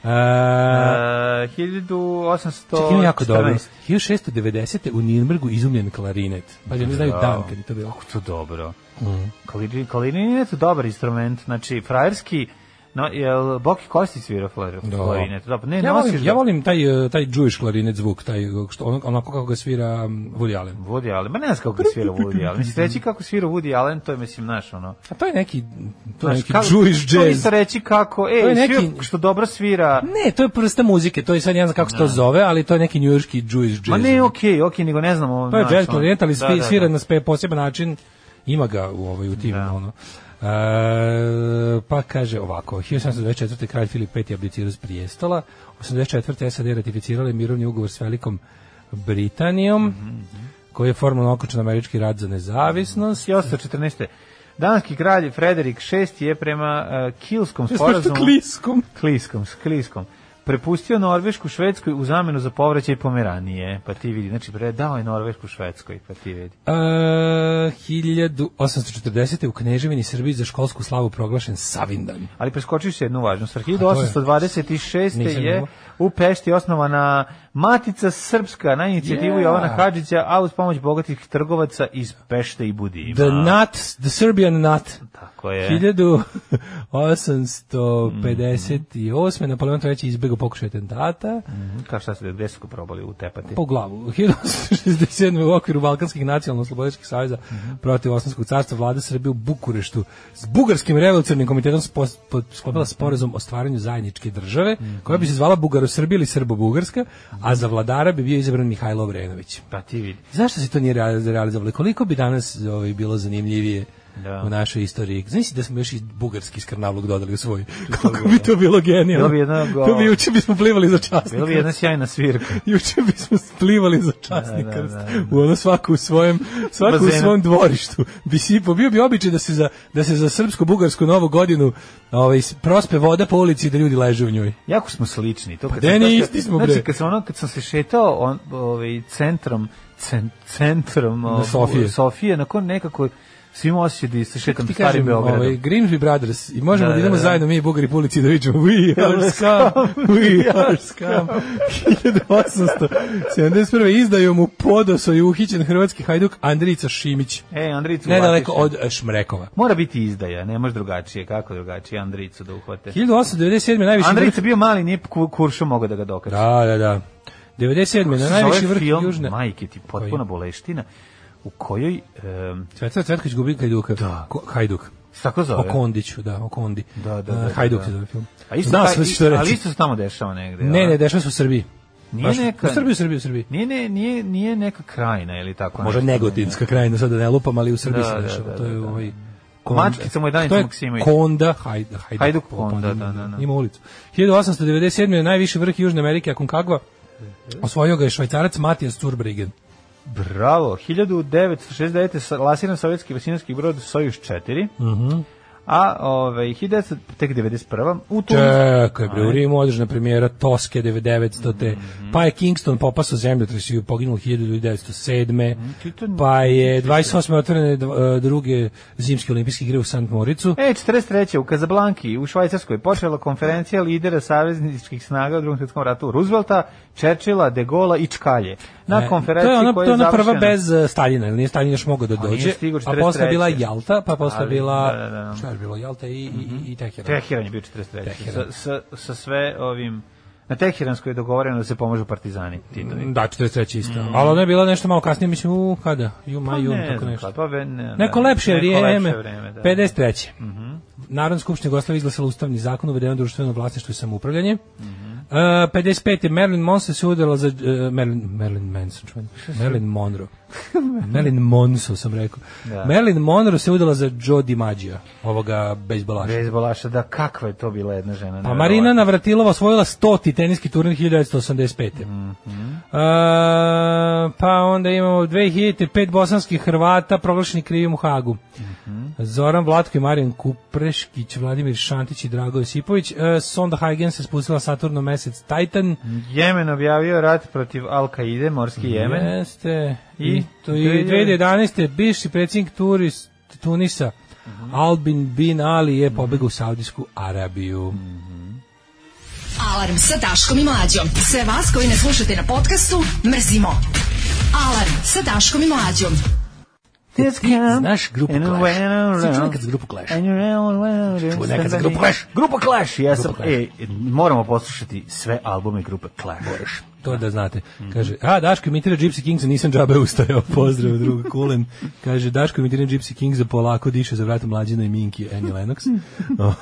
[SPEAKER 7] E,
[SPEAKER 6] 1814.
[SPEAKER 7] Čekaj, ima jako dobro. 1690. u Nirnbergu izumljen klarinet. Pa oni znaju
[SPEAKER 6] Bravo.
[SPEAKER 7] dan kad je to bilo.
[SPEAKER 6] Kako to dobro.
[SPEAKER 7] Mhm.
[SPEAKER 6] Mm. Klarinet je dobar instrument, znači frajerski, no, jel Boki Kostić svira flar-
[SPEAKER 7] Da.
[SPEAKER 6] klarinet? Da. pa Ne,
[SPEAKER 7] Ja
[SPEAKER 6] nosiš
[SPEAKER 7] volim,
[SPEAKER 6] ga.
[SPEAKER 7] ja volim taj e, taj Jewish klarinet zvuk, taj što on- onako kako ga svira um, Woody Allen.
[SPEAKER 6] Woody Allen, ma ne znam kako ga svira Woody Allen. Mislim, reći kako svira Woody Allen, to je, mislim, naš, ono...
[SPEAKER 7] A to je neki to je
[SPEAKER 6] znaš,
[SPEAKER 7] neki
[SPEAKER 6] kako-
[SPEAKER 7] Jewish
[SPEAKER 6] To
[SPEAKER 7] jazz.
[SPEAKER 6] isto reći kako, ej,
[SPEAKER 7] To je
[SPEAKER 6] neki...
[SPEAKER 7] neki-
[SPEAKER 6] što dobro svira...
[SPEAKER 7] Ne, to je prsta muzike, to je sad ne znam kako se to zove, ali to je neki njujorški Jewish jazz.
[SPEAKER 6] Ma ne, okej, okej, nego ne znam ovo.
[SPEAKER 7] to Pa je
[SPEAKER 6] znaš,
[SPEAKER 7] jazz
[SPEAKER 6] ono.
[SPEAKER 7] klarinet, ali
[SPEAKER 6] Da,
[SPEAKER 7] svi-
[SPEAKER 6] da,
[SPEAKER 7] svira
[SPEAKER 6] da.
[SPEAKER 7] na spe poseban način. Ima ga u ovaj u tim ono. E, pa kaže ovako, 1724. kralj Filip V. je abdicirao s prijestola, 84. SAD ratificirali mirovni ugovor s Velikom Britanijom,
[SPEAKER 6] Mhm,
[SPEAKER 7] koji je formalno okončan američki rad za
[SPEAKER 6] Mhm.
[SPEAKER 7] nezavisnost.
[SPEAKER 6] 1814. Danski kralj Frederik VI je prema uh, Kilskom sporazumu...
[SPEAKER 7] kliskom.
[SPEAKER 6] Kliskom, s Kliskom. Prepustio Norvešku Švedskoj u zamenu za povraćaj Pomeranije, pa ti vidi, znači predao je Norvešku Švedskoj, pa ti vidi.
[SPEAKER 7] E, 1840. u Kneževini Srbiji za školsku slavu proglašen Savindan.
[SPEAKER 6] Ali preskočiš se jednu važnost.
[SPEAKER 7] A to je.
[SPEAKER 6] 1826.
[SPEAKER 7] Nisam
[SPEAKER 6] je u Pešti osnovana Matica Srpska na inicijativu
[SPEAKER 7] Yeah.
[SPEAKER 6] Jovana Hadžića, a uz pomoć bogatih trgovaca iz Pešte i Budima.
[SPEAKER 7] The nut, the Serbian nut.
[SPEAKER 6] Tako je.
[SPEAKER 7] 1858. Napoleon III. izbjegao pokušaj atentata
[SPEAKER 6] Mhm, Kao šta se, gde su ga probali utepati?
[SPEAKER 7] po glavu. 1867. u okviru Balkanskih nacionalno-slobodičkih savjeza protiv Osmanskog carstva vlada Srbije u Bukureštu s Bugarskim revolucionarnim komitetom spos- po- sklopila sporazum o stvaranju zajedničke države koja bi se zvala Bugaro-Srbija ili Srbo-Bugarska, a za vladara bi bio izabran Mihajlo Obrenović.
[SPEAKER 6] Pa ti vidi.
[SPEAKER 7] Zašto se to nije reali- realizovalo? Koliko bi danas ovaj, bilo zanimljivije
[SPEAKER 6] Da.
[SPEAKER 7] u našoj istoriji? Znači da smo još i bugarski skrnavlog dodali u svoj. Koliko bi to bilo
[SPEAKER 6] Bilo
[SPEAKER 7] genijalno?
[SPEAKER 6] bi jedno go-
[SPEAKER 7] To bi juče bismo plivali za
[SPEAKER 6] Bilo
[SPEAKER 7] časnik.
[SPEAKER 6] bi jedna sjajna svirka.
[SPEAKER 7] Juče bismo plivali za časnik
[SPEAKER 6] Da, da,
[SPEAKER 7] krst.
[SPEAKER 6] da,
[SPEAKER 7] U ono svaku u svojem, svaku u
[SPEAKER 6] Bazenu.
[SPEAKER 7] svom dvorištu. Bi sipao. Bio bi običaj da se za, da se za srpsko-bugarsku novu godinu ovaj, prospe voda po ulici i da ljudi leže u njoj.
[SPEAKER 6] Jako smo slični. To kad
[SPEAKER 7] de,
[SPEAKER 6] sam-
[SPEAKER 7] ni
[SPEAKER 6] to
[SPEAKER 7] isti
[SPEAKER 6] kad-
[SPEAKER 7] smo, bre.
[SPEAKER 6] Znači, kad sam, ono, kad sam se šetao on, ovaj, centrom, cen, centrom ovaj,
[SPEAKER 7] Sofije.
[SPEAKER 6] Sofije, nakon nekako svim osjećaj da se šetam
[SPEAKER 7] Ti
[SPEAKER 6] starim
[SPEAKER 7] kažem,
[SPEAKER 6] Beogradom.
[SPEAKER 7] ovaj, Grimsby Brothers, i možemo da,
[SPEAKER 6] Da, da,
[SPEAKER 7] idemo
[SPEAKER 6] da.
[SPEAKER 7] zajedno mi i Bugari po ulici da vičemo We are scum, we are scum. 1871. izdaju mu podoso i uhićen hrvatski hajduk Andrijica Šimić,
[SPEAKER 6] E, Andrijicu
[SPEAKER 7] nedaleko
[SPEAKER 6] uhvatiše.
[SPEAKER 7] od e, Šmrekova.
[SPEAKER 6] Mora biti izdaja, ne može drugačije. Kako drugačije Andrijicu da uhvate?
[SPEAKER 7] 1897. najviši
[SPEAKER 6] Andrijica bio mali, nije ku- kuršo mogao da ga dokače.
[SPEAKER 7] vrh... Da, da, da. 97. na
[SPEAKER 6] Zove
[SPEAKER 7] najviši vrh
[SPEAKER 6] film,
[SPEAKER 7] da, južne...
[SPEAKER 6] Majke ti, potpuna boleština, u kojoj... em,
[SPEAKER 7] Cvetar Cvetković gubi Hajduka. Ko, hajduk.
[SPEAKER 6] se tako Da. zove.
[SPEAKER 7] O Kondiću, da, o Kondi.
[SPEAKER 6] Da, da, da,
[SPEAKER 7] E, Hajduk
[SPEAKER 6] da.
[SPEAKER 7] se zove film.
[SPEAKER 6] A isto,
[SPEAKER 7] Znao
[SPEAKER 6] taj-
[SPEAKER 7] sam već što reći.
[SPEAKER 6] ali isto se tamo dešava negde.
[SPEAKER 7] Ne,
[SPEAKER 6] jel? da?
[SPEAKER 7] ne, dešava se u Srbiji.
[SPEAKER 6] Nije
[SPEAKER 7] Baš-
[SPEAKER 6] neka-
[SPEAKER 7] U Srbiji, u Srbiji, u Srbiji.
[SPEAKER 6] Nije, ne, nije, nije neka krajina ili tako
[SPEAKER 7] Pa Možda
[SPEAKER 6] nešto.
[SPEAKER 7] negotinska krajina, sad da ne lupam, ali u Srbiji
[SPEAKER 6] Da,
[SPEAKER 7] se
[SPEAKER 6] da,
[SPEAKER 7] dešava.
[SPEAKER 6] da,
[SPEAKER 7] to je
[SPEAKER 6] da, da.
[SPEAKER 7] ovaj Konda.
[SPEAKER 6] Mačkica mu je Danica
[SPEAKER 7] To
[SPEAKER 6] Maksimović.
[SPEAKER 7] Konda, Hajd, Hajduk,
[SPEAKER 6] Hajduk
[SPEAKER 7] po-
[SPEAKER 6] Konda, da, da, da.
[SPEAKER 7] Ima ulicu. 1897. je najviši vrh Južne Amerike, Aconcagua. Osvojio ga je švajcarac Matijas Zurbrigen.
[SPEAKER 6] Bravo, 1969. je lasiran sovjetski vasinarski brod Sojus 4. Mhm. A ovaj 1900 tek 91. u tu
[SPEAKER 7] Čekaj, bre, u Rimu održana premijera Toske 9900. te
[SPEAKER 6] Mhm,
[SPEAKER 7] Pa je Kingston popaso zemljotres i poginulo 1907.
[SPEAKER 6] Mhm, Kingston-
[SPEAKER 7] Pa je 28. otvorene dv- e, druge zimske olimpijske igre u Sant Moricu.
[SPEAKER 6] E, 43. u Kazablanki, u Švajcarskoj, počela konferencija lidera savezničkih snaga u drugom svjetskom ratu Roosevelta, Čečila, De Gola i Čkalje. Na
[SPEAKER 7] E,
[SPEAKER 6] konferenciji
[SPEAKER 7] to je ona,
[SPEAKER 6] koja
[SPEAKER 7] to
[SPEAKER 6] je
[SPEAKER 7] je ona prva
[SPEAKER 6] završena-
[SPEAKER 7] bez e, Staljina, jer nije Staljin još mogao da
[SPEAKER 6] A nije
[SPEAKER 7] dođe.
[SPEAKER 6] stigao
[SPEAKER 7] A posle je bila
[SPEAKER 6] 43..
[SPEAKER 7] Jalta, pa posle je
[SPEAKER 6] Ali,
[SPEAKER 7] bila
[SPEAKER 6] da, Mhm. da, da.
[SPEAKER 7] šta je bilo Jalta i i i, i Teheran.
[SPEAKER 6] Teheran je bio 43. Sa, sa, sa sve ovim... Na Teheranskoj je dogovoreno da se pomažu partizani. Titovi.
[SPEAKER 7] Da, 43 isto. Ali ona je bila nešto malo kasnije, mislim, u kada? Ju, maj, jun,
[SPEAKER 6] Mhm. Pa ne
[SPEAKER 7] tako
[SPEAKER 6] znam
[SPEAKER 7] nešto.
[SPEAKER 6] kad, pa, ve- ne,
[SPEAKER 7] Neko
[SPEAKER 6] da,
[SPEAKER 7] lepše
[SPEAKER 6] neko
[SPEAKER 7] vrijeme.
[SPEAKER 6] vreme, da.
[SPEAKER 7] 53. Narodna skupština Jugoslavije izglasala ustavni zakon uvedeno društveno vlasništvo i samoupravljanje.
[SPEAKER 6] Mhm.
[SPEAKER 7] E, 55. Marilyn Monroe se udala za... e, Marilyn, Marilyn Manson, čujem. Marilyn Monroe. Marilyn Monroe sam rekao.
[SPEAKER 6] Da.
[SPEAKER 7] Marilyn Monroe se udala za Joe DiMaggio, ovoga bejsbolaša.
[SPEAKER 6] Bezbolaša, da kakva je to bila jedna žena.
[SPEAKER 7] Pa Marina Navratilova osvojila 100. teniski turnir 1985. E, Mm-hmm. pa onda imamo 2000. pet bosanskih Hrvata proglašeni krivim u Hagu.
[SPEAKER 6] Mm-hmm.
[SPEAKER 7] Zoran Vlatko i Marijan Kupreškić, Vladimir Šantić i Drago Josipović. E, sonda Huygens se spustila Saturno mesec Titan.
[SPEAKER 6] Jemen objavio rat protiv Al-Kaide, morski Jemen.
[SPEAKER 7] Jeste.
[SPEAKER 6] I
[SPEAKER 7] I, to je 2011. bivši predsjednik Turis, Tunisa
[SPEAKER 6] Mhm.
[SPEAKER 7] Albin Bin Ali je pobegao u Saudijsku Arabiju.
[SPEAKER 5] Alarm sa Daškom i Mlađom. Sve vas koji ne slušate na podcastu, mrzimo. Alarm sa Daškom i Mlađom.
[SPEAKER 6] This camp
[SPEAKER 8] znaš grupu
[SPEAKER 6] and
[SPEAKER 8] Clash?
[SPEAKER 6] when I'm
[SPEAKER 8] Si čuo
[SPEAKER 6] around,
[SPEAKER 8] nekad za grupu Clash?
[SPEAKER 6] and you're around, around,
[SPEAKER 8] Čuo nekad za
[SPEAKER 6] somebody-
[SPEAKER 8] grupu Clash?
[SPEAKER 6] Grupa Clash, ja sam,
[SPEAKER 7] Clash.
[SPEAKER 6] e, moramo poslušati sve albume grupe Clash.
[SPEAKER 7] To da znate. Kaže, a Daško imitira Gypsy Kings, nisam džabe ustajao. Pozdrav drugu Kulen. Kaže, Daško imitira Gypsy Kings, polako diše za vratom mlađina i Minki, Annie Lennox.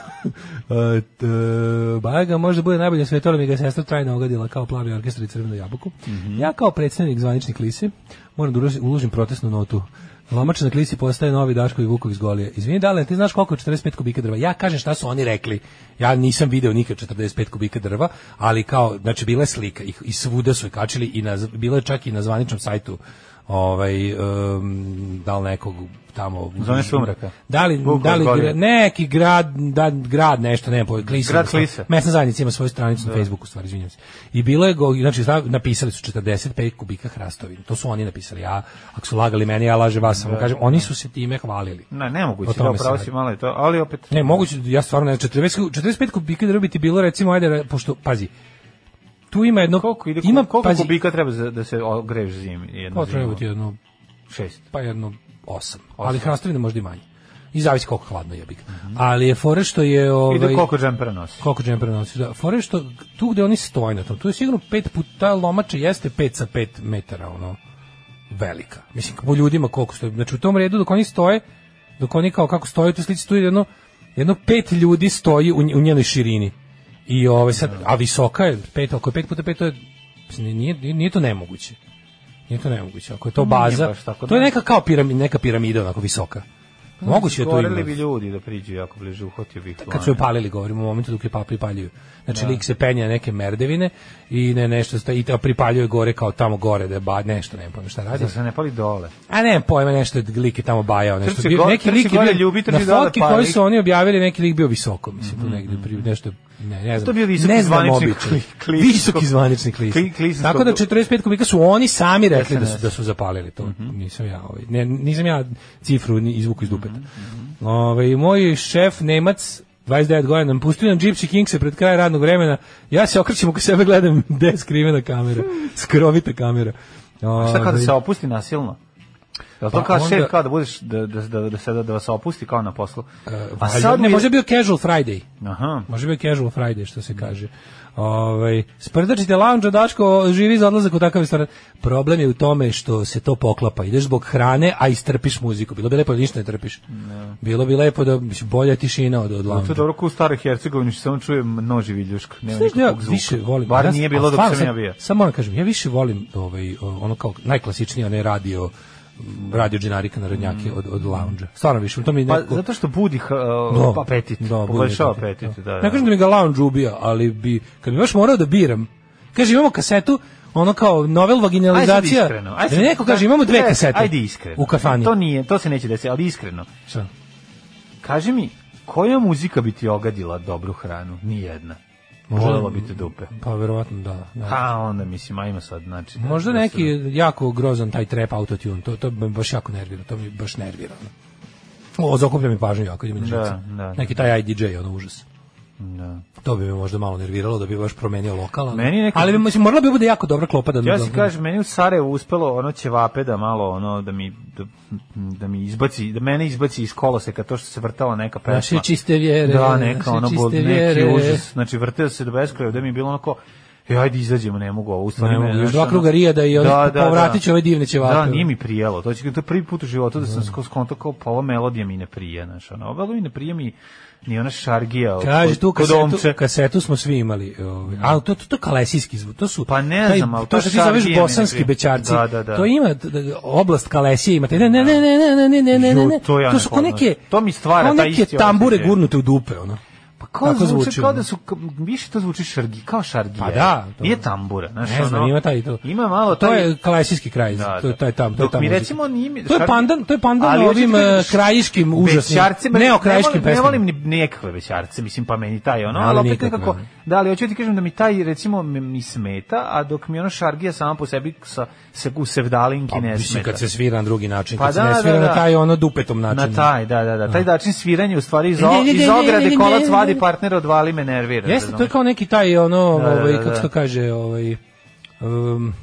[SPEAKER 7] E, t- Bajaga možda bude najbolje na svetu, ali mi ga sestra trajno ogadila kao plavi orkestar i crveno jabuku. Ja kao predstavnik zvanične klise moram da uložim- uložim protestnu notu. Lomač na klisi postaje novi Daško i Vukov iz Golije. Izvini, dale, ti znaš koliko je 45 kubika drva? Ja kažem šta su oni rekli. Ja nisam video nikad 45 kubika drva, ali kao, znači, bila je slika i, i svuda su je kačili i na, bila je čak i na zvaničnom sajtu ovaj, em, da li nekog tamo...
[SPEAKER 6] Zone sumraka.
[SPEAKER 7] Da li,
[SPEAKER 6] Vukov
[SPEAKER 7] da
[SPEAKER 6] iz
[SPEAKER 7] li,
[SPEAKER 6] Golije.
[SPEAKER 7] neki grad, da, grad nešto, ne, po, klisa,
[SPEAKER 6] Grad Klisa.
[SPEAKER 7] Mesna zajednica ima svoju stranicu
[SPEAKER 6] Da.
[SPEAKER 7] na Facebooku, u stvari, izvinjam se. I bilo je, go, znači, zna- napisali su 45 kubika hrastovine. To su oni napisali. Ja, ako su lagali meni, ja lažem vas. Samo
[SPEAKER 6] Da,
[SPEAKER 7] kažem, oni su se time hvalili.
[SPEAKER 6] Ne, nemoguće,
[SPEAKER 7] O
[SPEAKER 6] da,
[SPEAKER 7] tome se
[SPEAKER 6] pravo
[SPEAKER 7] radi.
[SPEAKER 6] si malo je to, ali opet...
[SPEAKER 7] Ne, moguće, da ja stvarno ne, 45, 45 kubika drva bi ti bilo, recimo, ajde, re- pošto, pazi, tu ima jedno...
[SPEAKER 6] Koliko, ide,
[SPEAKER 7] ima,
[SPEAKER 6] koliko
[SPEAKER 7] pazi,
[SPEAKER 6] kubika treba za, da se ogreješ zimi? Jedno
[SPEAKER 7] Potrebno ti jedno
[SPEAKER 6] Šest.
[SPEAKER 7] pa jedno 8. Ali hrastovine možda i manje. I zavisi koliko hladno je bik. Ali je fore što je ovaj
[SPEAKER 6] I da Mhm. koliko džempera nosi?
[SPEAKER 7] koliko džempera nosi. Da, fore što tu gde oni stoje na tom, tu je sigurno pet puta lomača jeste 5 sa 5 metara, ono, velika. Mislim, po ljudima koliko stoje. Znači, u tom redu dok oni stoje, dok oni kao kako stoje u toj slici, tu je jedno, jedno pet ljudi stoji u, nj- u njenoj širini. I ovaj sad, a visoka je, pet, ako je pet puta pet, to je, mislim, nije, nije, nije to nemoguće. Nije to nemoguće. Ako je to baza,
[SPEAKER 6] baš tako
[SPEAKER 7] to je
[SPEAKER 6] da.
[SPEAKER 7] neka kao piramida, neka piramida onako visoka. Moguće je to
[SPEAKER 6] Goreli
[SPEAKER 7] ima
[SPEAKER 6] bi ljudi da priđu jako bliže, uhvatio bih
[SPEAKER 7] kad su je palili, govorimo u momentu dok je pa pripaljuju. Znači, lik se penja na neke merdevine i ne nešto, sta- i ta- pripaljuje gore kao tamo gore, da je ba, nešto, ne pojma šta radi.
[SPEAKER 6] Da se ne pali dole.
[SPEAKER 7] A ne, pojma nešto, je lik je tamo bajao, nešto.
[SPEAKER 6] Trči
[SPEAKER 7] Bio-
[SPEAKER 6] gore-
[SPEAKER 7] neki
[SPEAKER 6] trči
[SPEAKER 7] lik je
[SPEAKER 6] gore,
[SPEAKER 7] bio,
[SPEAKER 6] ljubi,
[SPEAKER 7] na
[SPEAKER 6] trči dole,
[SPEAKER 7] fotki
[SPEAKER 6] pali.
[SPEAKER 7] koju su oni objavili, neki lik bio visoko, mislim, tu negde, pri, nešto, ne, ne znam.
[SPEAKER 6] Mhm. To je bio visoki
[SPEAKER 7] ne znam
[SPEAKER 6] zvanični
[SPEAKER 7] običaj.
[SPEAKER 6] kli- klizinskog-
[SPEAKER 7] Visoki zvanični klist.
[SPEAKER 6] Kli- klizinskog-
[SPEAKER 7] Tako da 45 kubika su oni sami rekli da su,
[SPEAKER 6] SNS.
[SPEAKER 7] da su zapalili to.
[SPEAKER 6] Mhm.
[SPEAKER 7] Nisam ja, ovaj, ne, nisam ja cifru ni izvuku iz dupeta.
[SPEAKER 6] Mhm,
[SPEAKER 7] Ovaj, moj šef Nemac 29 godina, nam pustio nam Gypsy Kingse pred kraj radnog vremena, ja se okrećem oko sebe, gledam gde je skrivena kamera, skrovita kamera.
[SPEAKER 6] Šta kada
[SPEAKER 7] Ovaj,
[SPEAKER 6] se opusti nasilno? Jel to
[SPEAKER 7] Pa
[SPEAKER 6] kao
[SPEAKER 7] onda-
[SPEAKER 6] šef, kao da budeš, da, da, da, da, se, da vas opusti kao na poslu?
[SPEAKER 7] A sad E, ne,
[SPEAKER 6] Pa mi-
[SPEAKER 7] možda je bio Casual Friday.
[SPEAKER 6] Aha.
[SPEAKER 7] Može bio casual Friday, što se kaže. Ovaj sprdačite lounge Daško živi za odlazak u takav restoran. Problem je u tome što se to poklapa. Ideš zbog hrane, a istrpiš muziku. Bilo bi lepo da ništa ne trpiš. Bilo bi lepo da mislim, bolja tišina od od
[SPEAKER 6] To je
[SPEAKER 7] lounge.
[SPEAKER 6] dobro kao u staroj Hercegovini, što samo čujem noži viljuška. Nema
[SPEAKER 7] Znaš da ja
[SPEAKER 6] nikakvog zvuka.
[SPEAKER 7] više volim.
[SPEAKER 6] Bar
[SPEAKER 7] ja-
[SPEAKER 6] nije
[SPEAKER 7] a
[SPEAKER 6] bilo dok
[SPEAKER 7] stvarno
[SPEAKER 6] sam ja
[SPEAKER 7] sad- da
[SPEAKER 6] bio.
[SPEAKER 7] Samo moram kažem, ja više volim ovaj o, ono kao najklasičnije onaj radio radio džinarika na radnjake od, od lounge Stvarno više, to mi
[SPEAKER 6] Mm. Pa,
[SPEAKER 7] nekako...
[SPEAKER 6] zato što budi
[SPEAKER 7] Da.
[SPEAKER 6] uh, apetit,
[SPEAKER 7] Da,
[SPEAKER 6] poboljšava
[SPEAKER 7] bude apetit,
[SPEAKER 6] apetit, da, da.
[SPEAKER 7] Ne kažem da mi ga lounge ubija, ali bi, kad bi baš morao da biram, kaže imamo kasetu, ono kao novel vaginalizacija.
[SPEAKER 6] Ajde sad iskreno. Ajde
[SPEAKER 7] Da
[SPEAKER 6] sad-
[SPEAKER 7] neko kaže imamo dve
[SPEAKER 6] Čekaj,
[SPEAKER 7] kasete.
[SPEAKER 6] Ajde iskreno.
[SPEAKER 7] U kafani.
[SPEAKER 6] To nije, to se neće desiti, ali iskreno.
[SPEAKER 7] Šta?
[SPEAKER 6] Kaži mi, koja muzika bi ti ogadila dobru hranu? Nijedna.
[SPEAKER 7] Možda-
[SPEAKER 6] Bolela bi te dupe.
[SPEAKER 7] Pa verovatno da. da.
[SPEAKER 6] Ha, onda mislim, ajmo sad, znači... da-
[SPEAKER 7] Možda
[SPEAKER 6] da se-
[SPEAKER 7] neki jako grozan taj trap autotune, to, to me baš jako nervira, to mi baš nervira. O, zakuplja mi pažnju jako, ide mi na
[SPEAKER 6] Da,
[SPEAKER 7] živce.
[SPEAKER 6] da.
[SPEAKER 7] Neki taj IDJ, ono užas.
[SPEAKER 6] Da.
[SPEAKER 7] To bi me možda malo nerviralo, da bi baš promenio lokal. ali-
[SPEAKER 6] Meni neka-
[SPEAKER 7] Ali bi- mislim, morala bi bude jako dobra klopa da...
[SPEAKER 6] Ja se
[SPEAKER 7] da-
[SPEAKER 6] kažem, meni u Sarajevu uspelo ono ćevape da malo ono da mi da, da mi izbaci, da mene izbaci iz koloseka to što se vrtala neka pesma.
[SPEAKER 7] Naše čiste vjere.
[SPEAKER 6] Da, neka ono
[SPEAKER 7] naše
[SPEAKER 6] bol,
[SPEAKER 7] čiste
[SPEAKER 6] neki
[SPEAKER 7] vjere.
[SPEAKER 6] užas. Znači vrteo se do beskraja, da mi je bilo onako E, ajde izađemo, ne mogu ovo. u stvari
[SPEAKER 7] Ne
[SPEAKER 6] me,
[SPEAKER 7] mogu, još
[SPEAKER 6] znaš,
[SPEAKER 7] dva
[SPEAKER 6] ono-
[SPEAKER 7] kruga Rijada i ono, povratit ću ove divne ćevape.
[SPEAKER 6] Da, nije mi prijelo. To će to je prvi put u životu da sam skos konto kao pa ova melodija mi ne prije, znaš, ono. Ovo mi ne prije mi ni ona šargija. od-
[SPEAKER 7] Kaže
[SPEAKER 6] od-
[SPEAKER 7] tu
[SPEAKER 6] od
[SPEAKER 7] kasetu,
[SPEAKER 6] omče.
[SPEAKER 7] kasetu smo svi imali. ovaj, A to to, to kalesijski zvuk, to su
[SPEAKER 6] Mm. Pa ne
[SPEAKER 7] taj-
[SPEAKER 6] znam, ali
[SPEAKER 7] to
[SPEAKER 6] to
[SPEAKER 7] što ti
[SPEAKER 6] šargije
[SPEAKER 7] zoveš
[SPEAKER 6] mi
[SPEAKER 7] bosanski
[SPEAKER 6] nekako-
[SPEAKER 7] bećarci.
[SPEAKER 6] Da, da, da.
[SPEAKER 7] To ima t- d- oblast Kalesije, ima taj ne ne ne ne ne ne ne ne ne. ne.
[SPEAKER 6] Ju, to ja
[SPEAKER 7] to
[SPEAKER 6] ne
[SPEAKER 7] su kao neke
[SPEAKER 6] poznajem. To mi stvara
[SPEAKER 7] kao
[SPEAKER 6] taj
[SPEAKER 7] neke
[SPEAKER 6] isti
[SPEAKER 7] tambure
[SPEAKER 6] osjećaj.
[SPEAKER 7] gurnute u dupe, ono.
[SPEAKER 6] Pa kao
[SPEAKER 7] Tako
[SPEAKER 6] zvuči,
[SPEAKER 7] zvuči,
[SPEAKER 6] kao
[SPEAKER 7] ono.
[SPEAKER 6] da su, ka- više to zvuči šargi, kao šargija.
[SPEAKER 7] Pa da, to-
[SPEAKER 6] Nije tambura, znaš,
[SPEAKER 7] Ne znam,
[SPEAKER 6] ono,
[SPEAKER 7] ima taj to.
[SPEAKER 6] Ima malo
[SPEAKER 7] to
[SPEAKER 6] taj...
[SPEAKER 7] je kalesijski kraj,
[SPEAKER 6] Da,
[SPEAKER 7] to je
[SPEAKER 6] da.
[SPEAKER 7] taj tam, to je
[SPEAKER 6] Dok
[SPEAKER 7] tam.
[SPEAKER 6] mi
[SPEAKER 7] muzika.
[SPEAKER 6] recimo nije-
[SPEAKER 7] To je pandan, to je pandan
[SPEAKER 6] Ali hoću da
[SPEAKER 7] ovim
[SPEAKER 6] ti kažem,
[SPEAKER 7] eh, krajiškim užasnim,
[SPEAKER 6] Bećarce, me-
[SPEAKER 7] neokrajiškim
[SPEAKER 6] ne volim, ne
[SPEAKER 7] pesmama.
[SPEAKER 6] volim ni nikakve bećarce, mislim pa meni taj ono,
[SPEAKER 7] Ali
[SPEAKER 6] ali opet
[SPEAKER 7] nikakve,
[SPEAKER 6] nekako,
[SPEAKER 7] ne.
[SPEAKER 6] da, ali hoću ti kažem da mi taj recimo mi- mi smeta, a dok mi ono šargija sama po sebi sa, se u sevdalinki
[SPEAKER 7] Pa,
[SPEAKER 6] ne
[SPEAKER 7] mislim,
[SPEAKER 6] smeta.
[SPEAKER 7] kad se svira na drugi način,
[SPEAKER 6] Pa
[SPEAKER 7] kad se
[SPEAKER 6] da,
[SPEAKER 7] ne
[SPEAKER 6] da,
[SPEAKER 7] svira na
[SPEAKER 6] da.
[SPEAKER 7] taj ono dupetom način.
[SPEAKER 6] Na taj, da, da, da, taj način sviranja u stvari iz, o,
[SPEAKER 7] Ne, ne, ne,
[SPEAKER 6] iz
[SPEAKER 7] ne, ne,
[SPEAKER 6] ograde
[SPEAKER 7] ne, ne,
[SPEAKER 6] kolac
[SPEAKER 7] ne.
[SPEAKER 6] vadi partner odvali me nervira.
[SPEAKER 7] Jeste, to je
[SPEAKER 6] razumeš?
[SPEAKER 7] kao neki taj ono,
[SPEAKER 6] Da, da,
[SPEAKER 7] ovaj,
[SPEAKER 6] da,
[SPEAKER 7] kako se to
[SPEAKER 6] da.
[SPEAKER 7] kaže, ovaj, um,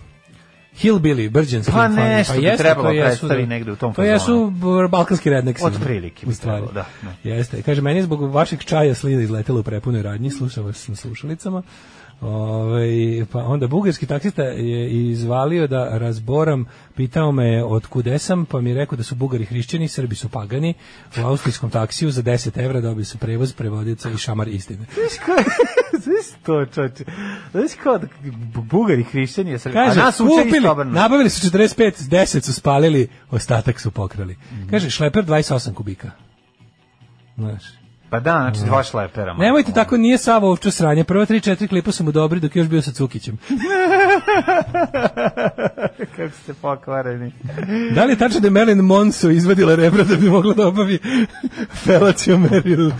[SPEAKER 7] hillbilly, brđanski.
[SPEAKER 6] Pa
[SPEAKER 7] funk.
[SPEAKER 6] nešto bi
[SPEAKER 7] jeste,
[SPEAKER 6] trebalo
[SPEAKER 7] to jesu,
[SPEAKER 6] predstavi
[SPEAKER 7] da.
[SPEAKER 6] negde u tom
[SPEAKER 7] To
[SPEAKER 6] fazonu.
[SPEAKER 7] jesu b- balkanski redneksi.
[SPEAKER 6] Otprilike bi
[SPEAKER 7] u stvari.
[SPEAKER 6] trebalo, da,
[SPEAKER 7] Jeste, kaže, meni je zbog vašeg čaja slina izletela u prepunoj radnji, slušao vas sam slušalicama. Ovaj, pa onda bugarski taksista je izvalio da razboram, pitao me je od kude sam, pa mi je rekao da su bugari hrišćani, srbi su pagani, u austrijskom taksiju za 10 evra dobio sam prevoz, prevodioca i šamar istine.
[SPEAKER 6] Znaš kao, znaš to, čoče, znaš kao da bugari, hrišćani, srbi,
[SPEAKER 7] Kaže,
[SPEAKER 6] a nas uče
[SPEAKER 7] kupili,
[SPEAKER 6] istobrno.
[SPEAKER 7] nabavili su 45, 10 su spalili, ostatak su pokrali.
[SPEAKER 6] Mhm.
[SPEAKER 7] Kaže, šleper 28 kubika. Znaš.
[SPEAKER 6] Pa da, znači dva šlepera. malo.
[SPEAKER 7] Nemojte tako, nije Savo ovču sranje. Prva 3-4 klipa su mu dobri dok je još bio sa Cukićem.
[SPEAKER 6] Kako ste pokvareni.
[SPEAKER 7] Da li je tačno da je Merlin Monso izvadila rebra da bi mogla da obavi felaciju Merlinu,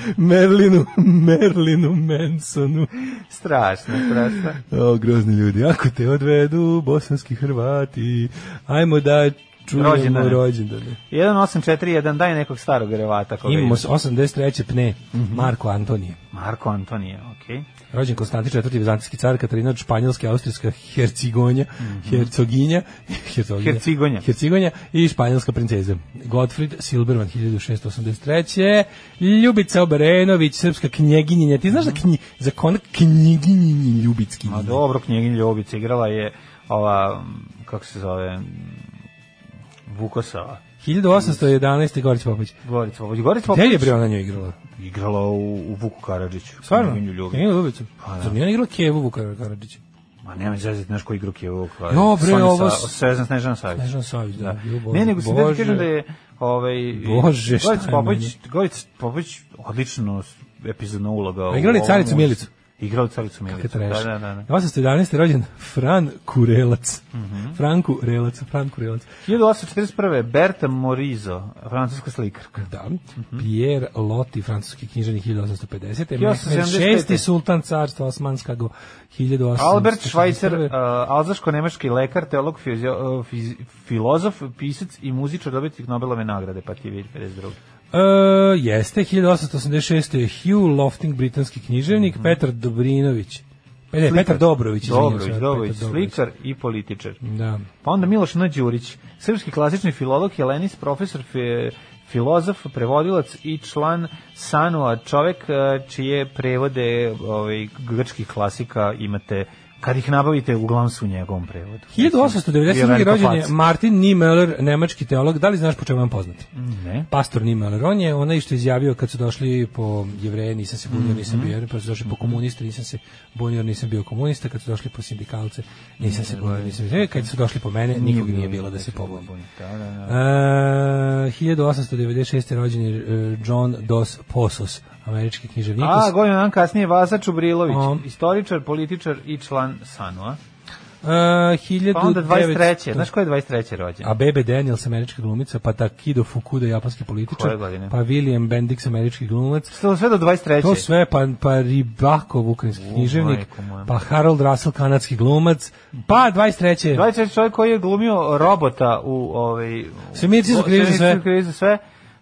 [SPEAKER 7] Merlinu, Merlinu Mansonu?
[SPEAKER 6] Strašno, strašno.
[SPEAKER 7] O, grozni ljudi, ako te odvedu bosanski Hrvati, ajmo da čujemo rođendane.
[SPEAKER 6] Rođendane. 1841, daj nekog starog revata. koga
[SPEAKER 7] Imamo
[SPEAKER 6] ima.
[SPEAKER 7] s 83. pne,
[SPEAKER 6] Mhm.
[SPEAKER 7] Marko Antonije.
[SPEAKER 6] Marko Antonije, okej.
[SPEAKER 7] Rođen Konstantin IV. Bizantijski car, Katarina od Španjolske, Austrijska hercigonja, hercoginja, hercoginja,
[SPEAKER 6] Mhm. Hercigonja.
[SPEAKER 7] hercigonja i španjolska princeza. Gottfried Silberman, 1683. Ljubica Obrenović, srpska knjeginjenja. Ti znaš za, knji, za konak knjeginjenji Ljubicki?
[SPEAKER 6] A dobro, knjegin Ljubica igrala je ova, m, kako se zove, m, Vukosava.
[SPEAKER 7] 1811. Gorić Popović.
[SPEAKER 6] Gorica Popović. Gorica
[SPEAKER 7] Gde
[SPEAKER 6] Popović
[SPEAKER 7] je bre ona nju igrala?
[SPEAKER 6] igrala u, u Vuku Karadžiću.
[SPEAKER 7] Stvarno?
[SPEAKER 6] Knjeginju
[SPEAKER 7] Knjeginju
[SPEAKER 6] Ljubicu.
[SPEAKER 7] Ljubicu. Pa, da. Nije ona igrala Kevu Vukar Karadžić.
[SPEAKER 6] Ma nema zezati, znaš koji igruk je Vuku
[SPEAKER 7] Jo, bre, ovo s-
[SPEAKER 6] Sezan Snežana Savić.
[SPEAKER 7] Nežan Savić, da. Jo, Bože,
[SPEAKER 6] Ne, nego se da ti
[SPEAKER 7] Bože.
[SPEAKER 6] kažem da je ovaj
[SPEAKER 7] Bože, šta
[SPEAKER 6] Gorica
[SPEAKER 7] je
[SPEAKER 6] Popović, Gorica Popović odlično s- epizodna uloga. u
[SPEAKER 7] igrali
[SPEAKER 6] ovom
[SPEAKER 7] Caricu
[SPEAKER 6] uz-
[SPEAKER 7] Milicu?
[SPEAKER 6] Igrali Caricu Milicu.
[SPEAKER 7] Kakav trash.
[SPEAKER 6] Da, da, da. Mhm. da.
[SPEAKER 7] 811. rođen Fran Kurelac. Fran Kurelac, Fran Kurelac.
[SPEAKER 6] 1841. Berta Morizo, francuska slikarka.
[SPEAKER 7] Da.
[SPEAKER 6] Mhm.
[SPEAKER 7] Pierre Loti, francuski književnik 1850.
[SPEAKER 6] 1875.
[SPEAKER 7] 6. sultan carstva Osmanskog 1800.
[SPEAKER 6] Albert Schweitzer,
[SPEAKER 7] E,
[SPEAKER 6] uh, alzaško-nemački lekar, teolog, fizio, uh, fiz, filozof, pisac i muzičar dobitnik Nobelove nagrade, pa ti je vidi 52.
[SPEAKER 7] E, jeste, 1886. je Hugh Lofting, britanski književnik,
[SPEAKER 6] Mhm.
[SPEAKER 7] Petar Dobrinović. E, Ne, Petar Dobrović. izvinjam se,
[SPEAKER 6] Dobrović,
[SPEAKER 7] Petar
[SPEAKER 6] Dobrović, slikar i političar.
[SPEAKER 7] Da.
[SPEAKER 6] Pa onda Miloš N. Đurić, srpski klasični filolog, helenist, profesor, fi, filozof, prevodilac i član eh, Sanua, čovek e, čije prevode ovaj, grčkih klasika imate Kad ih nabavite, uglavnom su u njegovom prevodu.
[SPEAKER 7] 1892.
[SPEAKER 6] Veliko
[SPEAKER 7] rođen je
[SPEAKER 6] faca.
[SPEAKER 7] Martin Niemöller, nemački teolog. Da li znaš po čemu je on poznat?
[SPEAKER 6] Ne.
[SPEAKER 7] Pastor Niemöller. On je onaj što je izjavio kad su došli po jevreje, nisam se
[SPEAKER 6] Mhm,
[SPEAKER 7] bunio, nisam bio jevrej, pa su došli po komuniste, nisam se bunio, jer nisam bio komunista, kad su došli po sindikalce, nisam se bunio, nisam bio jevrej, kad su došli po mene, nikog nije bilo da se E, pobunim.
[SPEAKER 6] Da, da, da.
[SPEAKER 7] E, 1896. rođen je e, John Dos Passos, američki književnik.
[SPEAKER 6] A, godinu dan kasnije Vasa Čubrilović,
[SPEAKER 7] Um.
[SPEAKER 6] istoričar, političar i član Sanua.
[SPEAKER 7] E, 1900
[SPEAKER 6] Pa onda 23. Znaš ko je 23. rođen?
[SPEAKER 7] A Bebe Daniels, američka glumica, pa Takido Fukuda, japanski
[SPEAKER 6] Koje
[SPEAKER 7] političar,
[SPEAKER 6] godine?
[SPEAKER 7] pa William Bendix, američki glumac,
[SPEAKER 6] Sve sve do 23.
[SPEAKER 7] to sve, pa, pa Ribakov, ukrajinski književnik,
[SPEAKER 6] majko moja.
[SPEAKER 7] pa Harold Russell, kanadski glumac, pa 23.
[SPEAKER 6] 24 čovjek koji Da je glumio robota u ovaj
[SPEAKER 7] Svemirci su
[SPEAKER 6] u-
[SPEAKER 7] krivi za sve.
[SPEAKER 6] Svemirci su krivi za sve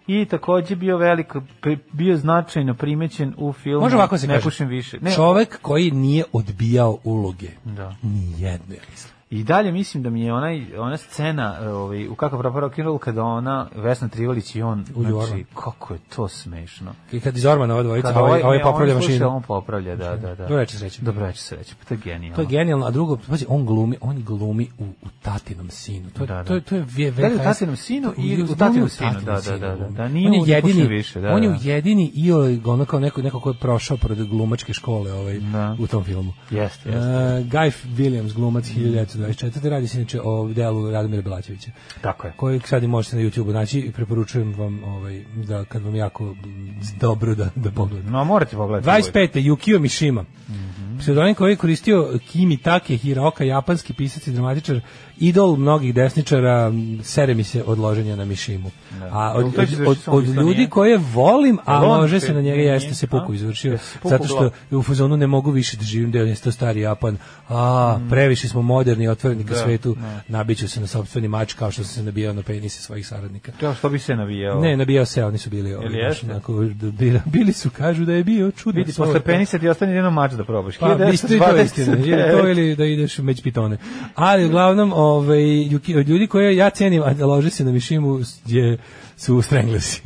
[SPEAKER 6] i takođe bio velik pri- bio značajno primećen u filmu
[SPEAKER 7] Može ovako da se
[SPEAKER 6] ne
[SPEAKER 7] kaže.
[SPEAKER 6] pušim više. Ne,
[SPEAKER 7] Čovek koji nije odbijao uloge.
[SPEAKER 6] Da.
[SPEAKER 7] Nijedne, ja mislim.
[SPEAKER 6] I dalje mislim da mi je onaj ona scena e, ovaj u kako propao rock and roll kada ona Vesna Trivalić i on
[SPEAKER 7] U
[SPEAKER 6] znači
[SPEAKER 7] Jorman.
[SPEAKER 6] kako je to smešno.
[SPEAKER 7] I kad iz Ormana ova dvojica,
[SPEAKER 6] Kada
[SPEAKER 7] ovaj, ovaj
[SPEAKER 6] ne,
[SPEAKER 7] popravlja
[SPEAKER 6] on sluša,
[SPEAKER 7] mašinu.
[SPEAKER 6] On popravlja, da, da, da.
[SPEAKER 7] Dobro večer, sreće.
[SPEAKER 6] Dobro večer, sreće. Pa to je genijalno.
[SPEAKER 7] To je genijalno, a drugo, pazi, on glumi, on glumi u, u tatinom sinu. To, je-
[SPEAKER 6] Da, da.
[SPEAKER 7] to, je- to je VHS.
[SPEAKER 6] Da li u tatinom sinu
[SPEAKER 7] To-
[SPEAKER 6] ili u
[SPEAKER 7] on je
[SPEAKER 6] tatinom sinu,
[SPEAKER 7] tatinom
[SPEAKER 6] da, da,
[SPEAKER 7] sinu
[SPEAKER 6] da, da.
[SPEAKER 7] glumi.
[SPEAKER 6] Da, nije
[SPEAKER 7] on
[SPEAKER 6] u
[SPEAKER 7] je
[SPEAKER 6] Ni puši
[SPEAKER 7] jedini,
[SPEAKER 6] više, da,
[SPEAKER 7] on je
[SPEAKER 6] da.
[SPEAKER 7] jedini i ono kao neko, neko ko je prošao pored glumačke škole ovaj,
[SPEAKER 6] Da.
[SPEAKER 7] u tom filmu.
[SPEAKER 6] Jeste, Mm.
[SPEAKER 7] Uh,
[SPEAKER 6] jeste.
[SPEAKER 7] Guy Williams, glumac 1924. Radi se inače o delu Radomira Belačevića.
[SPEAKER 6] Tako je.
[SPEAKER 7] Kojeg sad i možete na YouTube naći i preporučujem vam ovaj, da kad vam jako mm, dobro da, da pogledate.
[SPEAKER 6] No, morate pogledati.
[SPEAKER 7] 25. Yukio Mishima. Pseudonim koji je koristio Kimi Take Hiraoka, japanski pisac i dramatičar, idol mnogih desničara, m, sere mi se od loženja na Mishimu. A od,
[SPEAKER 6] Da. Jel to
[SPEAKER 7] od,
[SPEAKER 6] izvršio
[SPEAKER 7] od,
[SPEAKER 6] sam
[SPEAKER 7] od
[SPEAKER 6] isto,
[SPEAKER 7] ljudi
[SPEAKER 6] nije?
[SPEAKER 7] koje volim, a
[SPEAKER 6] Jel on
[SPEAKER 7] lože
[SPEAKER 6] se-
[SPEAKER 7] se na njega,
[SPEAKER 6] nije,
[SPEAKER 7] jeste se puku
[SPEAKER 6] a?
[SPEAKER 7] izvršio,
[SPEAKER 6] Jeste se puku
[SPEAKER 7] zato što
[SPEAKER 6] glavu.
[SPEAKER 7] je u fazonu ne mogu više da živim, da je to stari Japan, a
[SPEAKER 6] Mm.
[SPEAKER 7] previše smo moderni i otvoreni
[SPEAKER 6] Da,
[SPEAKER 7] ka svetu, nabiću se na sopstveni mač kao što sam se nabijao na penise svojih saradnika.
[SPEAKER 6] To što bi se navijao.
[SPEAKER 7] Ne, nabijao se, oni su bili ovi,
[SPEAKER 6] Jel
[SPEAKER 7] baš
[SPEAKER 6] jeste?
[SPEAKER 7] onako, bira- bili su, kažu da je bio čudno.
[SPEAKER 6] Vidi, posle penisa ti ostane jedno mač da probaš.
[SPEAKER 7] Pa, isto i to je
[SPEAKER 6] 1929.
[SPEAKER 7] istina, ili to ili da ideš među pitone. Ali uglavnom, ovaj, Yuki- od ljudi koje ja cenim, a da lože se na Mišimu, je, su Stranglesi.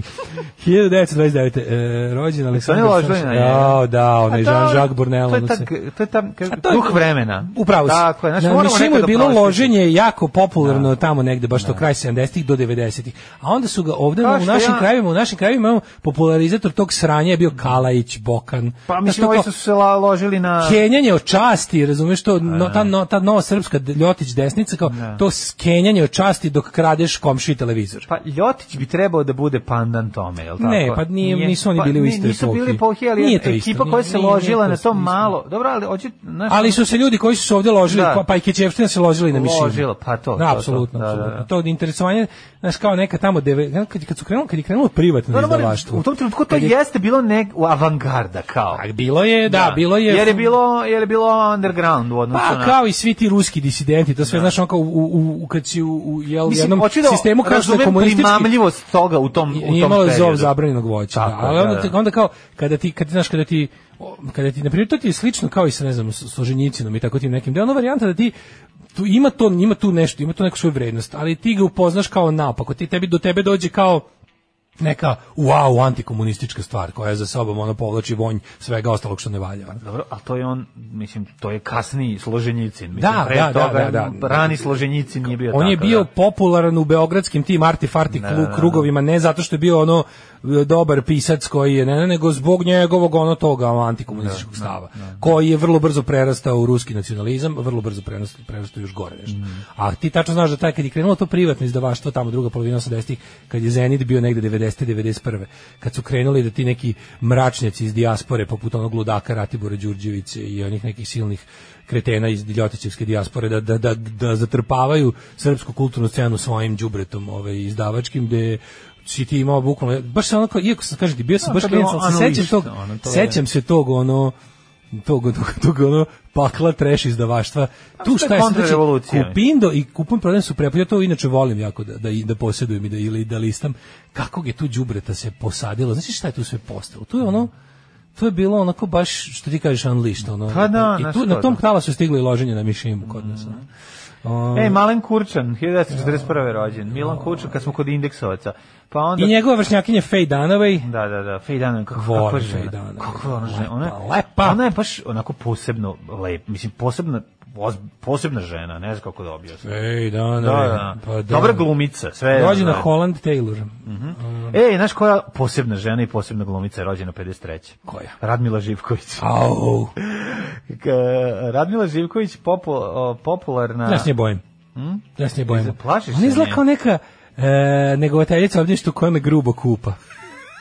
[SPEAKER 7] 1929. E, rođen
[SPEAKER 6] Su
[SPEAKER 7] Aleksandar
[SPEAKER 6] oni ložili
[SPEAKER 7] Saša-
[SPEAKER 6] na njega?
[SPEAKER 7] Jao, da, onaj
[SPEAKER 6] A Pa to je ono-
[SPEAKER 7] Jean-Jacques Brunel.
[SPEAKER 6] To je
[SPEAKER 7] ono
[SPEAKER 6] ta,
[SPEAKER 7] sve.
[SPEAKER 6] to je ta,
[SPEAKER 7] A
[SPEAKER 6] ka-
[SPEAKER 7] to je-
[SPEAKER 6] duh vremena.
[SPEAKER 7] Upravo si.
[SPEAKER 6] Tako je, znači,
[SPEAKER 7] na
[SPEAKER 6] moramo
[SPEAKER 7] Mišimu
[SPEAKER 6] nekad
[SPEAKER 7] je
[SPEAKER 6] da
[SPEAKER 7] bilo
[SPEAKER 6] prostimo.
[SPEAKER 7] loženje jako popularno tamo negde, baš to kraj 70-ih do 90-ih. A onda su ga ovde
[SPEAKER 6] Kao
[SPEAKER 7] u
[SPEAKER 6] što
[SPEAKER 7] našim
[SPEAKER 6] ja-
[SPEAKER 7] krajevima, u našim krajevima imamo popularizator tog sranja je bio Kalajić, Bokan.
[SPEAKER 6] Pa
[SPEAKER 7] Znaš,
[SPEAKER 6] mislim,
[SPEAKER 7] da to
[SPEAKER 6] ovi su
[SPEAKER 7] kao-
[SPEAKER 6] se la- ložili na...
[SPEAKER 7] kenjanje o časti, razumeš to,
[SPEAKER 6] da.
[SPEAKER 7] no, ta, no, ta nova srpska d- Ljotić desnica, kao to s- kenjanje o časti dok kradeš komši televizor.
[SPEAKER 6] Pa Ljotić bi trebao da bude pandan tome, je li tako?
[SPEAKER 7] Ne, pa nije- nisu oni bili u
[SPEAKER 6] ni-
[SPEAKER 7] istoj
[SPEAKER 6] Nisu bili
[SPEAKER 7] epohi.
[SPEAKER 6] epohi, ali
[SPEAKER 7] Nije to isto,
[SPEAKER 6] ekipa koja
[SPEAKER 7] nije-
[SPEAKER 6] se
[SPEAKER 7] nije-
[SPEAKER 6] ložila
[SPEAKER 7] nije
[SPEAKER 6] na
[SPEAKER 7] to
[SPEAKER 6] to
[SPEAKER 7] isto.
[SPEAKER 6] malo. Dobro, ali oči... znaš-
[SPEAKER 7] Ali su se ljudi koji su se ovdje ložili,
[SPEAKER 6] Da.
[SPEAKER 7] pa, pa i Kećevština se ložili na mišinu.
[SPEAKER 6] Ložila, pa to, to,
[SPEAKER 7] Da,
[SPEAKER 6] to,
[SPEAKER 7] apsolutno.
[SPEAKER 6] da, da,
[SPEAKER 7] apsolutno.
[SPEAKER 6] da.
[SPEAKER 7] To od interesovanja, znaš, kao neka tamo, deve, kad, kad, su krenuli, kad je krenulo privatno
[SPEAKER 6] Dobro,
[SPEAKER 7] izdavaštvo.
[SPEAKER 6] u tom trenutku to
[SPEAKER 7] kad je-
[SPEAKER 6] jeste bilo nek u avangarda kao.
[SPEAKER 7] A, bilo je, da, bilo je...
[SPEAKER 6] Jer je bilo, da. jer je bilo underground u odnosu
[SPEAKER 7] Pa
[SPEAKER 6] na
[SPEAKER 7] kao i svi ti ruski disidenti, to sve znaš on kao u, u, u kad si u, u jel,
[SPEAKER 6] Da. Mislim,
[SPEAKER 7] jednom
[SPEAKER 6] hoću da
[SPEAKER 7] sistemu kao što je
[SPEAKER 6] razumem
[SPEAKER 7] komunistički,
[SPEAKER 6] primamljivost toga u tom u tom
[SPEAKER 7] I- imalo je zov
[SPEAKER 6] periodu.
[SPEAKER 7] zabranjenog voća.
[SPEAKER 6] Tako
[SPEAKER 7] da, ali
[SPEAKER 6] je,
[SPEAKER 7] onda,
[SPEAKER 6] da,
[SPEAKER 7] ti-
[SPEAKER 6] da.
[SPEAKER 7] onda kao kada ti kad znaš kada ti o, kada ti na primjer to ti je slično kao i sa ne znam s- Solženjicinom i tako tim nekim. Da je ono varijanta da ti tu ima to ima tu nešto, ima tu neku svoju vrednost, ali ti ga upoznaš kao naopako. Ti tebi do tebe dođe kao neka wow antikomunistička stvar koja je za sobom ono povlači vonj svega ostalog što ne valja.
[SPEAKER 6] Dobro, a to je on, mislim, to je kasniji Složenjicin. Mislim,
[SPEAKER 7] Da,
[SPEAKER 6] pre
[SPEAKER 7] da, da,
[SPEAKER 6] toga,
[SPEAKER 7] da, da.
[SPEAKER 6] Rani Složenjicin nije bio
[SPEAKER 7] On je
[SPEAKER 6] takav,
[SPEAKER 7] bio
[SPEAKER 6] da.
[SPEAKER 7] popularan u beogradskim tim artifarti
[SPEAKER 6] da, da, da.
[SPEAKER 7] krugovima, ne zato što je bio ono e, dobar pisac koji je, ne, ne, nego zbog njegovog ono toga antikomunističkog stava, koji je vrlo brzo prerastao u ruski nacionalizam, vrlo brzo prerastao, prerastao još gore nešto. A ti tačno znaš da taj kad je krenulo to privatno izdavaštvo, tamo druga polovina 80-ih, kad je Zenit bio negde 90. 91. Kad su krenuli da ti neki mračnjaci iz dijaspore, poput onog ludaka Ratibora Đurđevića i onih nekih silnih kretena iz Ljotićevske dijaspore da, da, da, da zatrpavaju srpsku kulturnu scenu svojim đubretom ovaj, izdavačkim gde si ti imao bukvalno baš se onako iako sam kažem ti bio
[SPEAKER 6] Da,
[SPEAKER 7] sam baš
[SPEAKER 6] to je bilo
[SPEAKER 7] klijent ali se sećam
[SPEAKER 6] unleashed,
[SPEAKER 7] tog
[SPEAKER 6] ono, to je-
[SPEAKER 7] sećam se tog ono tog, tog, tog ono pakla treš izdavaštva tu
[SPEAKER 6] što je
[SPEAKER 7] šta je sad, znači,
[SPEAKER 6] kontrarevolucija?
[SPEAKER 7] kupindo i kupom prodajem su prepo ja to inače volim jako da, da, da posjedujem i da, ili da listam kakvog je tu đubreta se posadilo znači šta je tu sve postalo tu je ono to je bilo onako baš što ti kažeš unleashed ono
[SPEAKER 6] Pa da,
[SPEAKER 7] i
[SPEAKER 6] znaš
[SPEAKER 7] tu,
[SPEAKER 6] šta,
[SPEAKER 7] na tom
[SPEAKER 6] da. Mm-hmm.
[SPEAKER 7] kanala su stigli loženje na Mišimu kod nas. ono.
[SPEAKER 6] Ej, Malen da. E, Kurčan, 1941. rođen. Milan Kurčan, kad smo kod indeksovaca. Pa onda...
[SPEAKER 7] I njegova vršnjakinja Faye Dunaway,
[SPEAKER 6] Da, da, da, Faye Dunaway, kako,
[SPEAKER 7] Volim
[SPEAKER 6] kako je žena.
[SPEAKER 7] Faye Dunaway.
[SPEAKER 6] Kako je ona žena? Ona,
[SPEAKER 7] Lepa, lepa.
[SPEAKER 6] ona je baš onako posebno lep, mislim, posebno oz- posebna žena, ne znam kako da objasnim.
[SPEAKER 7] Ej, da, da,
[SPEAKER 6] Da, da.
[SPEAKER 7] Pa, da.
[SPEAKER 6] Dobra da. Mm. glumica, sve. je
[SPEAKER 7] Rođena
[SPEAKER 6] za-
[SPEAKER 7] Holland Taylor.
[SPEAKER 6] Ej, E, znaš koja posebna žena i posebna glumica je rođena 53.
[SPEAKER 7] Koja?
[SPEAKER 6] Radmila Živković.
[SPEAKER 7] Au.
[SPEAKER 6] K- Radmila Živković popu, o, popularna...
[SPEAKER 7] Ja se nje bojim. Ja se nje bojim.
[SPEAKER 6] Plašiš Hm? se
[SPEAKER 7] Ona izgleda
[SPEAKER 6] nje?
[SPEAKER 7] kao neka e, negovateljica obdještu koja me grubo kupa.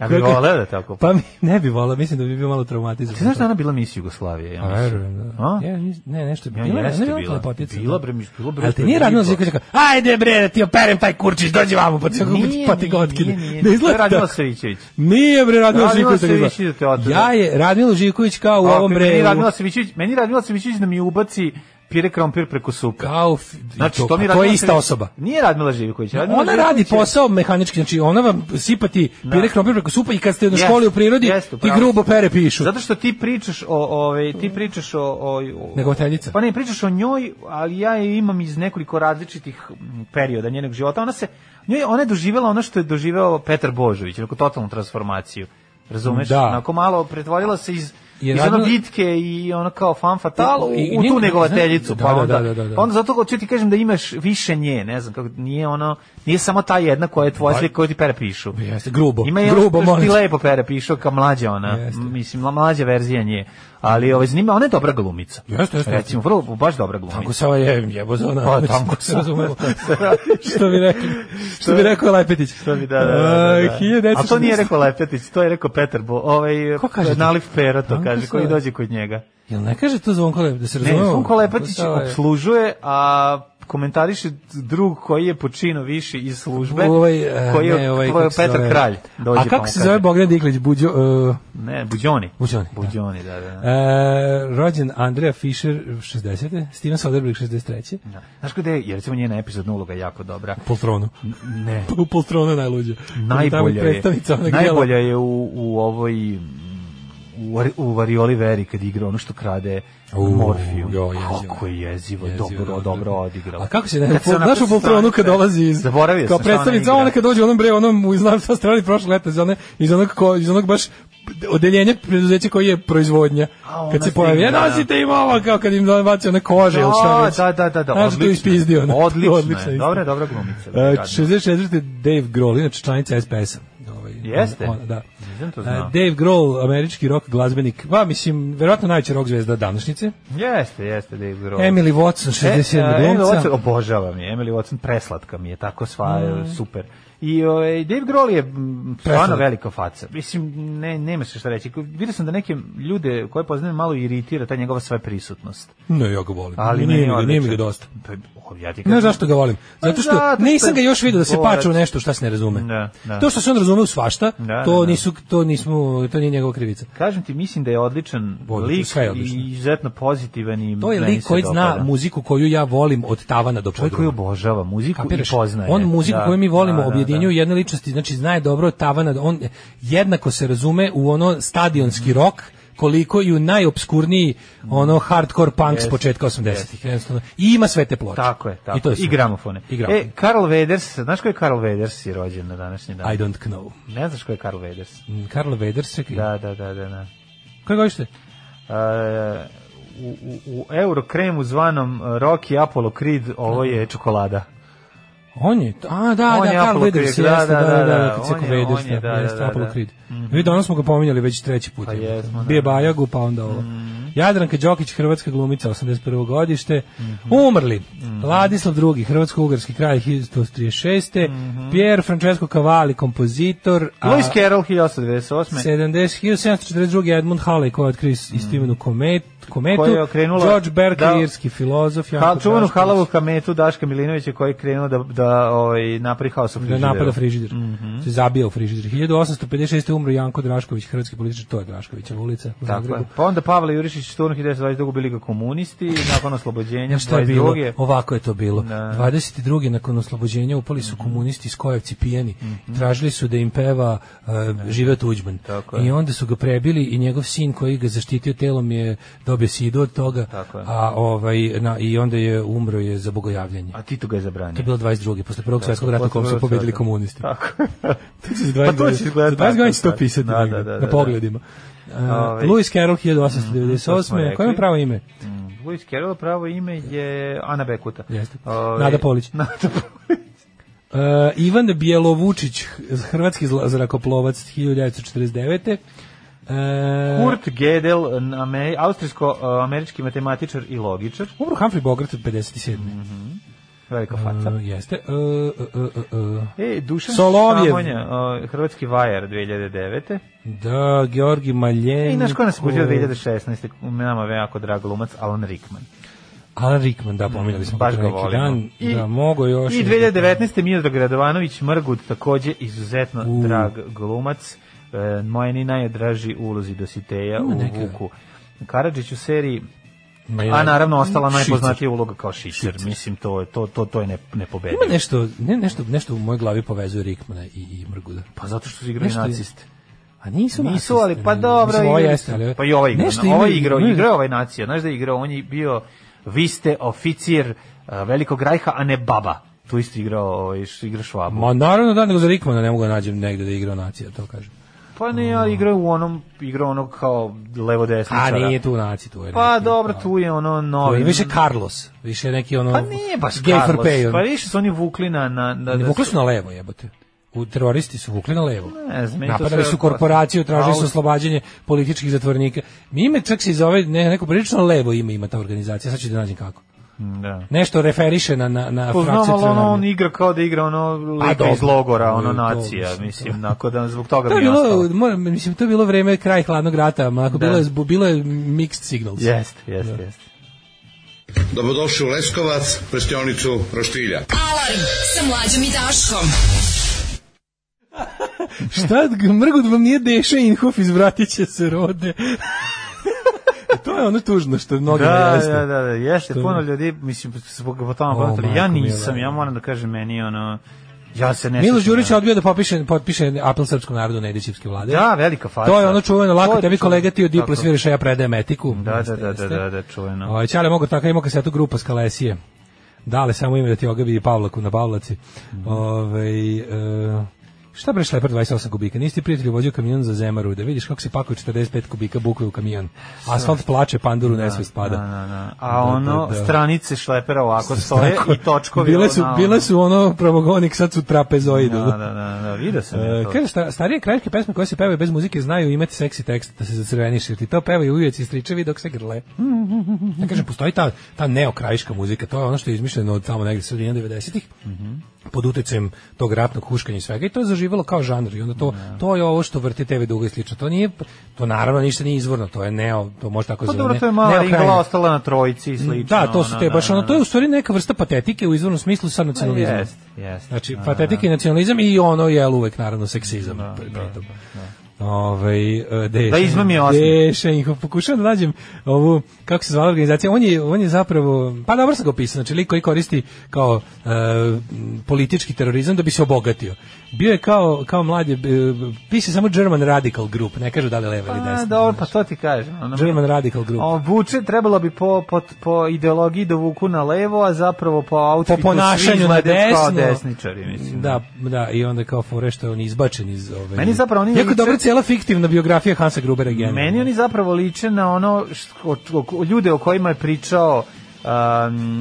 [SPEAKER 6] Ja bih voleo da tako...
[SPEAKER 7] Pa mi ne bi volao, mislim da bi bio malo traumatizovan. Pa
[SPEAKER 6] Ti znaš da je ona bila mis Jugoslavije? Ja mislim.
[SPEAKER 7] Verujem,
[SPEAKER 6] A?
[SPEAKER 7] da. Ja, nis- ne, nešto je
[SPEAKER 6] Ja,
[SPEAKER 7] bila, ne,
[SPEAKER 6] jeste
[SPEAKER 7] ne, bila
[SPEAKER 6] bila.
[SPEAKER 7] lepotica.
[SPEAKER 6] Bila,
[SPEAKER 7] da.
[SPEAKER 6] bre, mis- bila, bre,
[SPEAKER 7] Ali ti
[SPEAKER 6] to je
[SPEAKER 7] nije radno
[SPEAKER 6] lijepo.
[SPEAKER 7] zika kaže, ajde bre, da ti operem taj kurčić, dođi vamo, pa ti
[SPEAKER 6] Nije,
[SPEAKER 7] pa ti ga
[SPEAKER 6] nije,
[SPEAKER 7] otkine.
[SPEAKER 6] nije, nije.
[SPEAKER 7] Ne
[SPEAKER 6] To je
[SPEAKER 7] izgleda
[SPEAKER 6] Radmila
[SPEAKER 7] tako.
[SPEAKER 6] Savićević.
[SPEAKER 7] Nije bre Radmila
[SPEAKER 6] Radmila
[SPEAKER 7] Živković. tako
[SPEAKER 6] Savićević
[SPEAKER 7] izgleda.
[SPEAKER 6] da te otuda.
[SPEAKER 7] Ja je Radmila Živković kao u
[SPEAKER 6] Ako
[SPEAKER 7] ovom
[SPEAKER 6] mi
[SPEAKER 7] bre.
[SPEAKER 6] Meni
[SPEAKER 7] u-
[SPEAKER 6] Radmila Savićević, meni Radmila Savićević da mi ubaci pire krompir preko suka.
[SPEAKER 7] Kao, f-
[SPEAKER 6] Znači,
[SPEAKER 7] to,
[SPEAKER 6] to, mi
[SPEAKER 7] pa to je
[SPEAKER 6] Radmila
[SPEAKER 7] ista
[SPEAKER 6] Savić-
[SPEAKER 7] osoba.
[SPEAKER 6] Nije Radmila Živković. Radmila
[SPEAKER 7] Ona radi
[SPEAKER 6] Živković je-
[SPEAKER 7] posao mehanički, znači ona vam sipa ti pire krompir preko supa i kad ste na
[SPEAKER 6] Da. Jeste,
[SPEAKER 7] školi u prirodi
[SPEAKER 6] jeste,
[SPEAKER 7] ti
[SPEAKER 6] upravo
[SPEAKER 7] grubo
[SPEAKER 6] si.
[SPEAKER 7] pere pišu.
[SPEAKER 6] Zato što ti pričaš o ove ti pričaš o o, o
[SPEAKER 7] Negovateljica.
[SPEAKER 6] Pa ne pričaš o njoj, ali ja je imam iz nekoliko različitih mm, perioda njenog života. Ona se njoj ona je doživela ono što je doživeo Petar Božović, neku totalnu transformaciju. Razumeš?
[SPEAKER 7] Da.
[SPEAKER 6] Onako malo pretvorila se iz
[SPEAKER 7] Je
[SPEAKER 6] iz ono
[SPEAKER 7] radila-
[SPEAKER 6] bitke i ono kao fan fatal u,
[SPEAKER 7] I- i
[SPEAKER 6] u
[SPEAKER 7] njen-
[SPEAKER 6] tu negovateljicu.
[SPEAKER 7] znaš-
[SPEAKER 6] pa
[SPEAKER 7] da, da,
[SPEAKER 6] onda,
[SPEAKER 7] da, da, da.
[SPEAKER 6] pa onda zato hoću ti kažem da imaš više nje, ne znam kako, nije ono, nije samo ta jedna koja je
[SPEAKER 7] Pa-
[SPEAKER 6] tvoja slika koju ti pere pišu.
[SPEAKER 7] Jeste, grubo.
[SPEAKER 6] Ima je
[SPEAKER 7] grubo,
[SPEAKER 6] grubo, što
[SPEAKER 7] molim
[SPEAKER 6] ti
[SPEAKER 7] te.
[SPEAKER 6] lepo pere pišao kao mlađa ona,
[SPEAKER 7] Jeste.
[SPEAKER 6] M- mislim mla- mlađa verzija nje. Ali ovaj zanima, ona je dobra glumica.
[SPEAKER 7] Jeste, jeste.
[SPEAKER 6] Recimo, vrlo baš dobra
[SPEAKER 7] Tanko
[SPEAKER 6] glumica.
[SPEAKER 7] se ovaj je jebo za ona.
[SPEAKER 6] Pa, tanko
[SPEAKER 7] se
[SPEAKER 6] se.
[SPEAKER 7] razumemo. što bi rekli, što bi rekao Lepetić. Što
[SPEAKER 6] bi, da, da, da, da. A to nije
[SPEAKER 7] rekao.
[SPEAKER 6] rekao Lepetić, to je rekao Petar Bo, ovaj
[SPEAKER 7] Ko kaže to?
[SPEAKER 6] Nalif Pero to
[SPEAKER 7] Tanko
[SPEAKER 6] kaže
[SPEAKER 7] se-
[SPEAKER 6] koji dođe kod njega.
[SPEAKER 7] Jel ne kaže to Zvonko Lepetić, da se
[SPEAKER 6] Ne,
[SPEAKER 7] razumemo?
[SPEAKER 6] Sunko Lepetić
[SPEAKER 7] To je- ovaj-
[SPEAKER 6] obslužuje, a komentariše drug koji je počino više iz službe,
[SPEAKER 7] Ovaj, e,
[SPEAKER 6] koji je,
[SPEAKER 7] ne, ovaj,
[SPEAKER 6] koji je
[SPEAKER 7] kako se
[SPEAKER 6] Petar
[SPEAKER 7] zove?
[SPEAKER 6] Kralj. Dođe
[SPEAKER 7] A
[SPEAKER 6] pa
[SPEAKER 7] kako
[SPEAKER 6] mu
[SPEAKER 7] se zove
[SPEAKER 6] kaže.
[SPEAKER 7] Bogdan Diklić? Buđo, uh,
[SPEAKER 6] Ne, Buđoni.
[SPEAKER 7] Buđoni, da.
[SPEAKER 6] Buđoni, da, da. da.
[SPEAKER 7] E, rođen Andrea Fischer 60. Steven Soderbergh 63.
[SPEAKER 6] Da. Znaš kada je, jer recimo njena epizodna uloga je jako dobra.
[SPEAKER 7] Poltronu.
[SPEAKER 6] Ne.
[SPEAKER 7] U Poltronu je najluđe. Tamo
[SPEAKER 6] najbolja je,
[SPEAKER 7] predstavnica onog dela.
[SPEAKER 6] najbolja je u, u ovoj u, Ar- u Varioli Veri kad igra ono što krade
[SPEAKER 7] U,
[SPEAKER 6] Morfiju.
[SPEAKER 7] jo, jezivo.
[SPEAKER 6] Kako je jezivo,
[SPEAKER 7] Jezivo,
[SPEAKER 6] dobro,
[SPEAKER 7] dobro.
[SPEAKER 6] dobro, odigrao.
[SPEAKER 7] A kako se ne,
[SPEAKER 6] Kad se
[SPEAKER 7] po,
[SPEAKER 6] onako
[SPEAKER 7] znaš u Poltronu kad
[SPEAKER 6] stane-
[SPEAKER 7] dolazi iz,
[SPEAKER 6] Zaboravio
[SPEAKER 7] kao
[SPEAKER 6] sam šta ona
[SPEAKER 7] predstavnica,
[SPEAKER 6] igra.
[SPEAKER 7] ona kad dođe u onom bre, onom u znam sa strani prošle leta, iz, one, iz, onog, ko, iz onog baš odeljenja preduzeća koji je proizvodnja.
[SPEAKER 6] A, ona
[SPEAKER 7] Kad se
[SPEAKER 6] stigne,
[SPEAKER 7] pojavi, "E, ja
[SPEAKER 6] da.
[SPEAKER 7] nosite im ovo, kao kad im baci one kože ili šta već.
[SPEAKER 6] Da, da, da, da,
[SPEAKER 7] Znaš, tu
[SPEAKER 6] odlično.
[SPEAKER 7] ispizdio, ona.
[SPEAKER 6] Odlično,
[SPEAKER 7] Odlična
[SPEAKER 6] je,
[SPEAKER 7] isto.
[SPEAKER 6] dobra, dobra glumica.
[SPEAKER 7] E,
[SPEAKER 6] Uh,
[SPEAKER 7] 64. Dave Grohl, inače članica SPS-a. Ovaj,
[SPEAKER 6] Jeste?
[SPEAKER 7] on- da.
[SPEAKER 6] Nisam to
[SPEAKER 7] E,
[SPEAKER 6] znao.
[SPEAKER 7] Dave Grohl, američki rock glazbenik, pa mislim, verovatno najveća rock zvezda današnjice.
[SPEAKER 6] jeste, jeste, Dave Grohl.
[SPEAKER 7] Emily Watson,
[SPEAKER 6] E,
[SPEAKER 7] 67.
[SPEAKER 6] a, Emily
[SPEAKER 7] glumca.
[SPEAKER 6] Watson, obožavam je. Emily Watson preslatka mi je, tako sva
[SPEAKER 7] Mm.
[SPEAKER 6] e, super. I ovaj Dave Grohl je mm, stvarno
[SPEAKER 7] Preslatka.
[SPEAKER 6] velika faca. Mislim ne nema se šta reći. Ko- Vidio sam da neke ljude koje poznajem malo iritira ta njegova sve prisutnost.
[SPEAKER 7] Ne, ja ga volim.
[SPEAKER 6] Ali
[SPEAKER 7] nije,
[SPEAKER 6] meni
[SPEAKER 7] mi ga,
[SPEAKER 6] je
[SPEAKER 7] nije mi ga
[SPEAKER 6] odličan.
[SPEAKER 7] dosta.
[SPEAKER 6] Pa, o, ja ti
[SPEAKER 7] Ne
[SPEAKER 6] kažem-
[SPEAKER 7] zašto ga volim.
[SPEAKER 6] Pa
[SPEAKER 7] Zato što
[SPEAKER 6] zato što
[SPEAKER 7] nisam
[SPEAKER 6] je
[SPEAKER 7] ga još vidio da se
[SPEAKER 6] borac.
[SPEAKER 7] pače u nešto šta se ne razume.
[SPEAKER 6] Da, da.
[SPEAKER 7] To što se on razume u svašta,
[SPEAKER 6] Da,
[SPEAKER 7] to
[SPEAKER 6] da, da.
[SPEAKER 7] nisu to nismo to nije njegova krivica.
[SPEAKER 6] Kažem ti, mislim da je odličan
[SPEAKER 7] Vodi,
[SPEAKER 6] lik
[SPEAKER 7] sve je odlično.
[SPEAKER 6] i izuzetno pozitivan i
[SPEAKER 7] To je
[SPEAKER 6] meni
[SPEAKER 7] lik
[SPEAKER 6] se
[SPEAKER 7] koji zna
[SPEAKER 6] dopada.
[SPEAKER 7] muziku koju ja volim od tavana do
[SPEAKER 6] Čovjek koji
[SPEAKER 7] podruma.
[SPEAKER 6] obožava muziku
[SPEAKER 7] Kapiraš?
[SPEAKER 6] i poznaje.
[SPEAKER 7] On muziku
[SPEAKER 6] Da,
[SPEAKER 7] koju mi volimo
[SPEAKER 6] da, da, da.
[SPEAKER 7] objedinjuje u jedne ličnosti, znači zna je dobro od tavana, do- on jednako se razume u ono stadionski
[SPEAKER 6] Mhm.
[SPEAKER 7] rok koliko i u najobskurniji ono hardcore punk s
[SPEAKER 6] Jest,
[SPEAKER 7] početka 80-ih. jednostavno. I ima sve te ploče.
[SPEAKER 6] Tako je, tako.
[SPEAKER 7] I, to je
[SPEAKER 6] I
[SPEAKER 7] super.
[SPEAKER 6] gramofone.
[SPEAKER 7] I gramofone.
[SPEAKER 6] E, Karl Veders, znaš ko je Karl Veders je rođen na današnji dan?
[SPEAKER 7] I don't know.
[SPEAKER 6] Ne znaš ko je Karl Veders?
[SPEAKER 7] Mm, Karl Veders, čekaj.
[SPEAKER 6] Da, da, da, da. da.
[SPEAKER 7] Koje godište?
[SPEAKER 6] E, u, u, u Eurokremu zvanom e, Rocky Apollo Creed ovo je čokolada.
[SPEAKER 7] On je, a da,
[SPEAKER 6] On
[SPEAKER 7] da,
[SPEAKER 6] je
[SPEAKER 7] Karl
[SPEAKER 6] Apollo
[SPEAKER 7] Veders,
[SPEAKER 6] Creed, da,
[SPEAKER 7] jeste, da, da, da, kad se
[SPEAKER 6] on
[SPEAKER 7] rekao
[SPEAKER 6] je-
[SPEAKER 7] Veders,
[SPEAKER 6] on je,
[SPEAKER 7] da,
[SPEAKER 6] da,
[SPEAKER 7] jeste,
[SPEAKER 6] da, da.
[SPEAKER 7] Apollo Creed. Vi danas smo ga pominjali već treći put.
[SPEAKER 6] Pa
[SPEAKER 7] jebote.
[SPEAKER 6] jesmo, da. Mhm.
[SPEAKER 7] Bije Bajagu, pa onda ovo. Jadranka Đokić, hrvatska glumica, 81. godište.
[SPEAKER 6] Mhm.
[SPEAKER 7] Umrli. Ladislav II, hrvatsko-ugarski kralj, 1936.
[SPEAKER 6] Mhm.
[SPEAKER 7] Pier Francesco Cavalli, kompozitor. a-
[SPEAKER 6] Lewis Carroll 1898.
[SPEAKER 7] 70, 1742. Edmund Halley koji je otkrio istimenu komet, kometu.
[SPEAKER 6] Koja Mhm. je okrenula-
[SPEAKER 7] George Berkeley,
[SPEAKER 6] da.
[SPEAKER 7] irski filozof. Janko
[SPEAKER 6] Hal, čuvanu
[SPEAKER 7] Drašković.
[SPEAKER 6] Pa, halavu kametu Daška Milinovića koji je krenuo da, da ovaj, napravi haos u
[SPEAKER 7] Da
[SPEAKER 6] frižideru.
[SPEAKER 7] napada frižider.
[SPEAKER 6] Mhm.
[SPEAKER 7] Se zabija u frižider. 1856. umro Janko Drašković, hrvatski političar, to je Draškovićeva ulica u
[SPEAKER 6] Tako je.
[SPEAKER 7] Zagrebu.
[SPEAKER 6] Pa onda Pavle Jurišić Šturn 1922. bili ga komunisti, nakon oslobođenja
[SPEAKER 7] Ja, Šta je bilo?
[SPEAKER 6] 22.
[SPEAKER 7] Ovako je to bilo.
[SPEAKER 6] Da. Mhm.
[SPEAKER 7] 22. nakon oslobođenja upali su komunisti iz Kojevci pijani. Tražili su da im peva uh, Žive Tuđman.
[SPEAKER 6] Da. Tako je.
[SPEAKER 7] I onda su ga prebili i njegov sin koji ga zaštitio telom je dobio sidu od toga.
[SPEAKER 6] Tako je.
[SPEAKER 7] A ovaj na, i onda je umro je za bogojavljanje.
[SPEAKER 6] A Tito ga je zabranio.
[SPEAKER 7] To je bilo 22. posle prvog svetskog rata
[SPEAKER 6] posle
[SPEAKER 7] kom su
[SPEAKER 6] Prvog
[SPEAKER 7] pobedili
[SPEAKER 6] sveta.
[SPEAKER 7] komunisti.
[SPEAKER 6] Tako.
[SPEAKER 7] pa
[SPEAKER 6] Pa to će izgledati
[SPEAKER 7] Za 20 godina
[SPEAKER 6] tako
[SPEAKER 7] će to
[SPEAKER 6] sad.
[SPEAKER 7] pisati
[SPEAKER 6] Da,
[SPEAKER 7] negde,
[SPEAKER 6] da, da,
[SPEAKER 7] na
[SPEAKER 6] da.
[SPEAKER 7] pogledima. Uh,
[SPEAKER 6] Ovaj.
[SPEAKER 7] Lewis Carroll
[SPEAKER 6] Mm, to smo
[SPEAKER 7] 1898.
[SPEAKER 6] rekli.
[SPEAKER 7] Koje je pravo ime?
[SPEAKER 6] Lewis Carroll pravo ime je Ana Bekuta.
[SPEAKER 7] Jeste.
[SPEAKER 6] Ovaj,
[SPEAKER 7] Nada Polić.
[SPEAKER 6] Nada Polić.
[SPEAKER 7] Uh, Ivan Bjelovučić, hrvatski zla- zrakoplovac 1949. Uh,
[SPEAKER 6] Kurt Gödel, ame- austrijsko-američki matematičar i logičar.
[SPEAKER 7] Umro Humphrey Bogart od 57.
[SPEAKER 6] Mm, Velika faca.
[SPEAKER 7] Uh, jeste. Uh, uh, uh, uh, uh.
[SPEAKER 6] E, Dušan
[SPEAKER 7] Solovjev.
[SPEAKER 6] Samonja, o, hrvatski vajar 2009.
[SPEAKER 7] Da, Georgi Maljenko.
[SPEAKER 6] I naš ko nas kuđe 2016. Nama je jako drag glumac Alan Rickman.
[SPEAKER 7] Alan Rickman, da, pominjali smo
[SPEAKER 6] Baš
[SPEAKER 7] pre
[SPEAKER 6] ga
[SPEAKER 7] neki
[SPEAKER 6] volimo.
[SPEAKER 7] Dan,
[SPEAKER 6] I-
[SPEAKER 7] da, mogo još.
[SPEAKER 6] I 2019. Miodrag Radovanović Mrgut, takođe izuzetno
[SPEAKER 7] U.
[SPEAKER 6] drag glumac. E, moje ni najdraži ulozi Dositeja
[SPEAKER 7] Ima
[SPEAKER 6] u
[SPEAKER 7] neka-
[SPEAKER 6] Vuku. Karadžić u seriji
[SPEAKER 7] Ma da. je-
[SPEAKER 6] A naravno ostala
[SPEAKER 7] Šicer.
[SPEAKER 6] najpoznatija uloga kao Šicer. Mislim to je to to to je ne nepobedivo.
[SPEAKER 7] Ima nešto, ne, nešto, nešto u mojoj glavi povezuje Rickmana i, i Mrguda.
[SPEAKER 6] Pa zato što su igrali
[SPEAKER 7] Nešto je-
[SPEAKER 6] naciste.
[SPEAKER 7] A nisu
[SPEAKER 6] Nisu,
[SPEAKER 7] nacisti,
[SPEAKER 6] ali pa
[SPEAKER 7] ne,
[SPEAKER 6] dobro.
[SPEAKER 7] Mislim, ovo
[SPEAKER 6] igrali
[SPEAKER 7] jeste,
[SPEAKER 6] su.
[SPEAKER 7] ali...
[SPEAKER 6] Pa i ovaj igrao.
[SPEAKER 7] Nešto
[SPEAKER 6] na- Ovaj
[SPEAKER 7] imaju-
[SPEAKER 6] igrao,
[SPEAKER 7] imaju-
[SPEAKER 6] igrao je ovaj nacija. Znaš da je igrao, on je bio, vi ste oficir a, velikog rajha, a ne baba. Tu isto igrao, ovaj, š- igra švabu.
[SPEAKER 7] Ma naravno da, nego za Rickmana ne mogu da nađem negde da je igrao nacija, to kažem.
[SPEAKER 6] Pa ne,
[SPEAKER 7] Mm.
[SPEAKER 6] ali igrao u onom, igrao onog kao
[SPEAKER 7] A
[SPEAKER 6] levo-desničara.
[SPEAKER 7] Pa nije tu naci, tu je.
[SPEAKER 6] Pa
[SPEAKER 7] neki,
[SPEAKER 6] dobro,
[SPEAKER 7] kao-
[SPEAKER 6] tu je ono novi.
[SPEAKER 7] je više Carlos, više neki ono...
[SPEAKER 6] Pa nije baš
[SPEAKER 7] gay for
[SPEAKER 6] Carlos.
[SPEAKER 7] pay, ono.
[SPEAKER 6] Pa više su oni vukli na... na, na
[SPEAKER 7] Ne,
[SPEAKER 6] da
[SPEAKER 7] vukli
[SPEAKER 6] su-
[SPEAKER 7] su na levo, jebote. U teroristi su vukli na levo.
[SPEAKER 6] Ne znam, meni to sve
[SPEAKER 7] Napadali su
[SPEAKER 6] odprosto.
[SPEAKER 7] korporaciju, tražili
[SPEAKER 6] A,
[SPEAKER 7] su oslobađanje političkih zatvornika. Mi ime čak se i zove ne, neko prilično levo ime ima ta organizacija, sad ću da nađem kako.
[SPEAKER 6] Da.
[SPEAKER 7] Nešto referiše na, na,
[SPEAKER 6] Pa
[SPEAKER 7] na
[SPEAKER 6] znam,
[SPEAKER 7] frakciju
[SPEAKER 6] ali ono,
[SPEAKER 7] crvenog.
[SPEAKER 6] on igra kao da igra ono lika
[SPEAKER 7] dobro.
[SPEAKER 6] iz logora, ono
[SPEAKER 7] To,
[SPEAKER 6] nacija,
[SPEAKER 7] mislim,
[SPEAKER 6] mislim,
[SPEAKER 7] to.
[SPEAKER 6] onako da zbog toga
[SPEAKER 7] To je
[SPEAKER 6] mi je ostalo.
[SPEAKER 7] bilo, moram, mislim, to je bilo vreme kraj hladnog rata, ma ako
[SPEAKER 6] Da.
[SPEAKER 7] bilo, je, zbu- bilo je mixed signals.
[SPEAKER 6] Jeste,
[SPEAKER 7] Da.
[SPEAKER 6] jeste, jeste.
[SPEAKER 8] Dobrodošli u Leskovac, prštionicu Roštilja.
[SPEAKER 5] Alarm sa mlađom i Daškom.
[SPEAKER 7] Šta, g- mrgut vam nije Deša Inhof iz Vratića se rode. to je ono tužno što mnogima
[SPEAKER 6] Da,
[SPEAKER 7] jeste.
[SPEAKER 6] da, da, da, jeste,
[SPEAKER 7] Što-
[SPEAKER 6] puno ljudi, mislim, zbog po tome
[SPEAKER 7] O,
[SPEAKER 6] podatali, ja
[SPEAKER 7] majko mila.
[SPEAKER 6] nisam, ja moram da kažem, meni je ono, ja se ne
[SPEAKER 7] Milo
[SPEAKER 6] sjećam,
[SPEAKER 7] Đurić je
[SPEAKER 6] ja.
[SPEAKER 7] odbio da popiše, potpiše apel srpskom narodu na Edićevske vlade.
[SPEAKER 6] Da, velika faca.
[SPEAKER 7] To je ono čuveno,
[SPEAKER 6] To
[SPEAKER 7] lako
[SPEAKER 6] je
[SPEAKER 7] tebi
[SPEAKER 6] čuveno.
[SPEAKER 7] kolega ti od Diplo
[SPEAKER 6] Tako.
[SPEAKER 7] sviraš, a ja predajem etiku.
[SPEAKER 6] Da, da, da,
[SPEAKER 7] Jeste,
[SPEAKER 6] da,
[SPEAKER 7] jeste.
[SPEAKER 6] da, da, čuveno.
[SPEAKER 7] Ovaj Ćale mogu tako imao kasetu grupa Skalesije. Dale samo ime da ti ogabi i Pavlaku na Pavlaci.
[SPEAKER 6] Mhm.
[SPEAKER 7] Ovaj e, šta bre šleper 28 kubika? Nisi ti prijatelju vozio kamion za Zemaru, da vidiš kako se pakuje 45 kubika bukve u kamion. Asfalt plače, panduru nesvest pada.
[SPEAKER 6] Da, da, da.
[SPEAKER 7] Da,
[SPEAKER 6] A ono,
[SPEAKER 7] da, da.
[SPEAKER 6] stranice šlepera ovako stoje i točkovi.
[SPEAKER 7] Bile su,
[SPEAKER 6] ono-
[SPEAKER 7] bile su ono promogonik, sad su trapezoidu.
[SPEAKER 6] Da, da, da, da, vidio sam ja
[SPEAKER 7] E,
[SPEAKER 6] to.
[SPEAKER 7] kaže, sta, starije krajiške pesme koje se pevaju bez muzike znaju imati seksi tekst da se zacrveniš, jer ti to pevaju ujeci i stričevi dok se grle. Ja kažem, postoji ta, ta neokrajiška muzika, to je ono što je izmišljeno od tamo negde sredine 90-ih,
[SPEAKER 6] Mhm.
[SPEAKER 7] pod utjecajem tog ratnog huškanja i svega i to je zaživalo kao žanr i onda to,
[SPEAKER 6] Da.
[SPEAKER 7] to je ovo što vrti TV dugo i slično. To nije, to naravno ništa nije izvorno, to je neo, to može tako
[SPEAKER 6] Pa
[SPEAKER 7] zove,
[SPEAKER 6] dobro,
[SPEAKER 7] ne-
[SPEAKER 6] to je mala
[SPEAKER 7] neokrajina.
[SPEAKER 6] ringla ostala na trojici i slično.
[SPEAKER 7] Da, to su
[SPEAKER 6] ono,
[SPEAKER 7] te,
[SPEAKER 6] da,
[SPEAKER 7] baš
[SPEAKER 6] da,
[SPEAKER 7] ono,
[SPEAKER 6] da.
[SPEAKER 7] to je u stvari neka vrsta patetike u izvornom smislu sa nacionalizmom.
[SPEAKER 6] Pa Jest, jest.
[SPEAKER 7] Znači,
[SPEAKER 6] da.
[SPEAKER 7] patetika i nacionalizam i ono je uvek naravno seksizam. Da, pritom. Ovaj e, Deša,
[SPEAKER 6] Da izmam je osmi.
[SPEAKER 7] Deša ih pokušavam da nađem ovu kako se zvala organizacija. On je on je zapravo pa dobro sam ga opisao, znači lik koji koristi kao e, m, politički terorizam da bi se obogatio. Bio je kao kao mladi e, piše samo German Radical Group, ne kaže da li leva ili
[SPEAKER 6] Pa,
[SPEAKER 7] desna.
[SPEAKER 6] dobro, pa to ti kažem. Ono,
[SPEAKER 7] German Radical Group.
[SPEAKER 6] O, Vuče trebalo bi po, po, po ideologiji da vuku na levo, a zapravo po
[SPEAKER 7] po
[SPEAKER 6] outfitu svi
[SPEAKER 7] ponašanju na
[SPEAKER 6] izgledaju kao
[SPEAKER 7] desno.
[SPEAKER 6] desničari, mislim.
[SPEAKER 7] Da, da, i onda kao fore što je on izbačen iz ove.
[SPEAKER 6] Meni zapravo oni
[SPEAKER 7] Jako
[SPEAKER 6] liče-
[SPEAKER 7] dobra cijela fiktivna biografija Hansa Grubera generalno.
[SPEAKER 6] Meni oni zapravo liče na ono što, o- o- ljude o kojima je pričao um,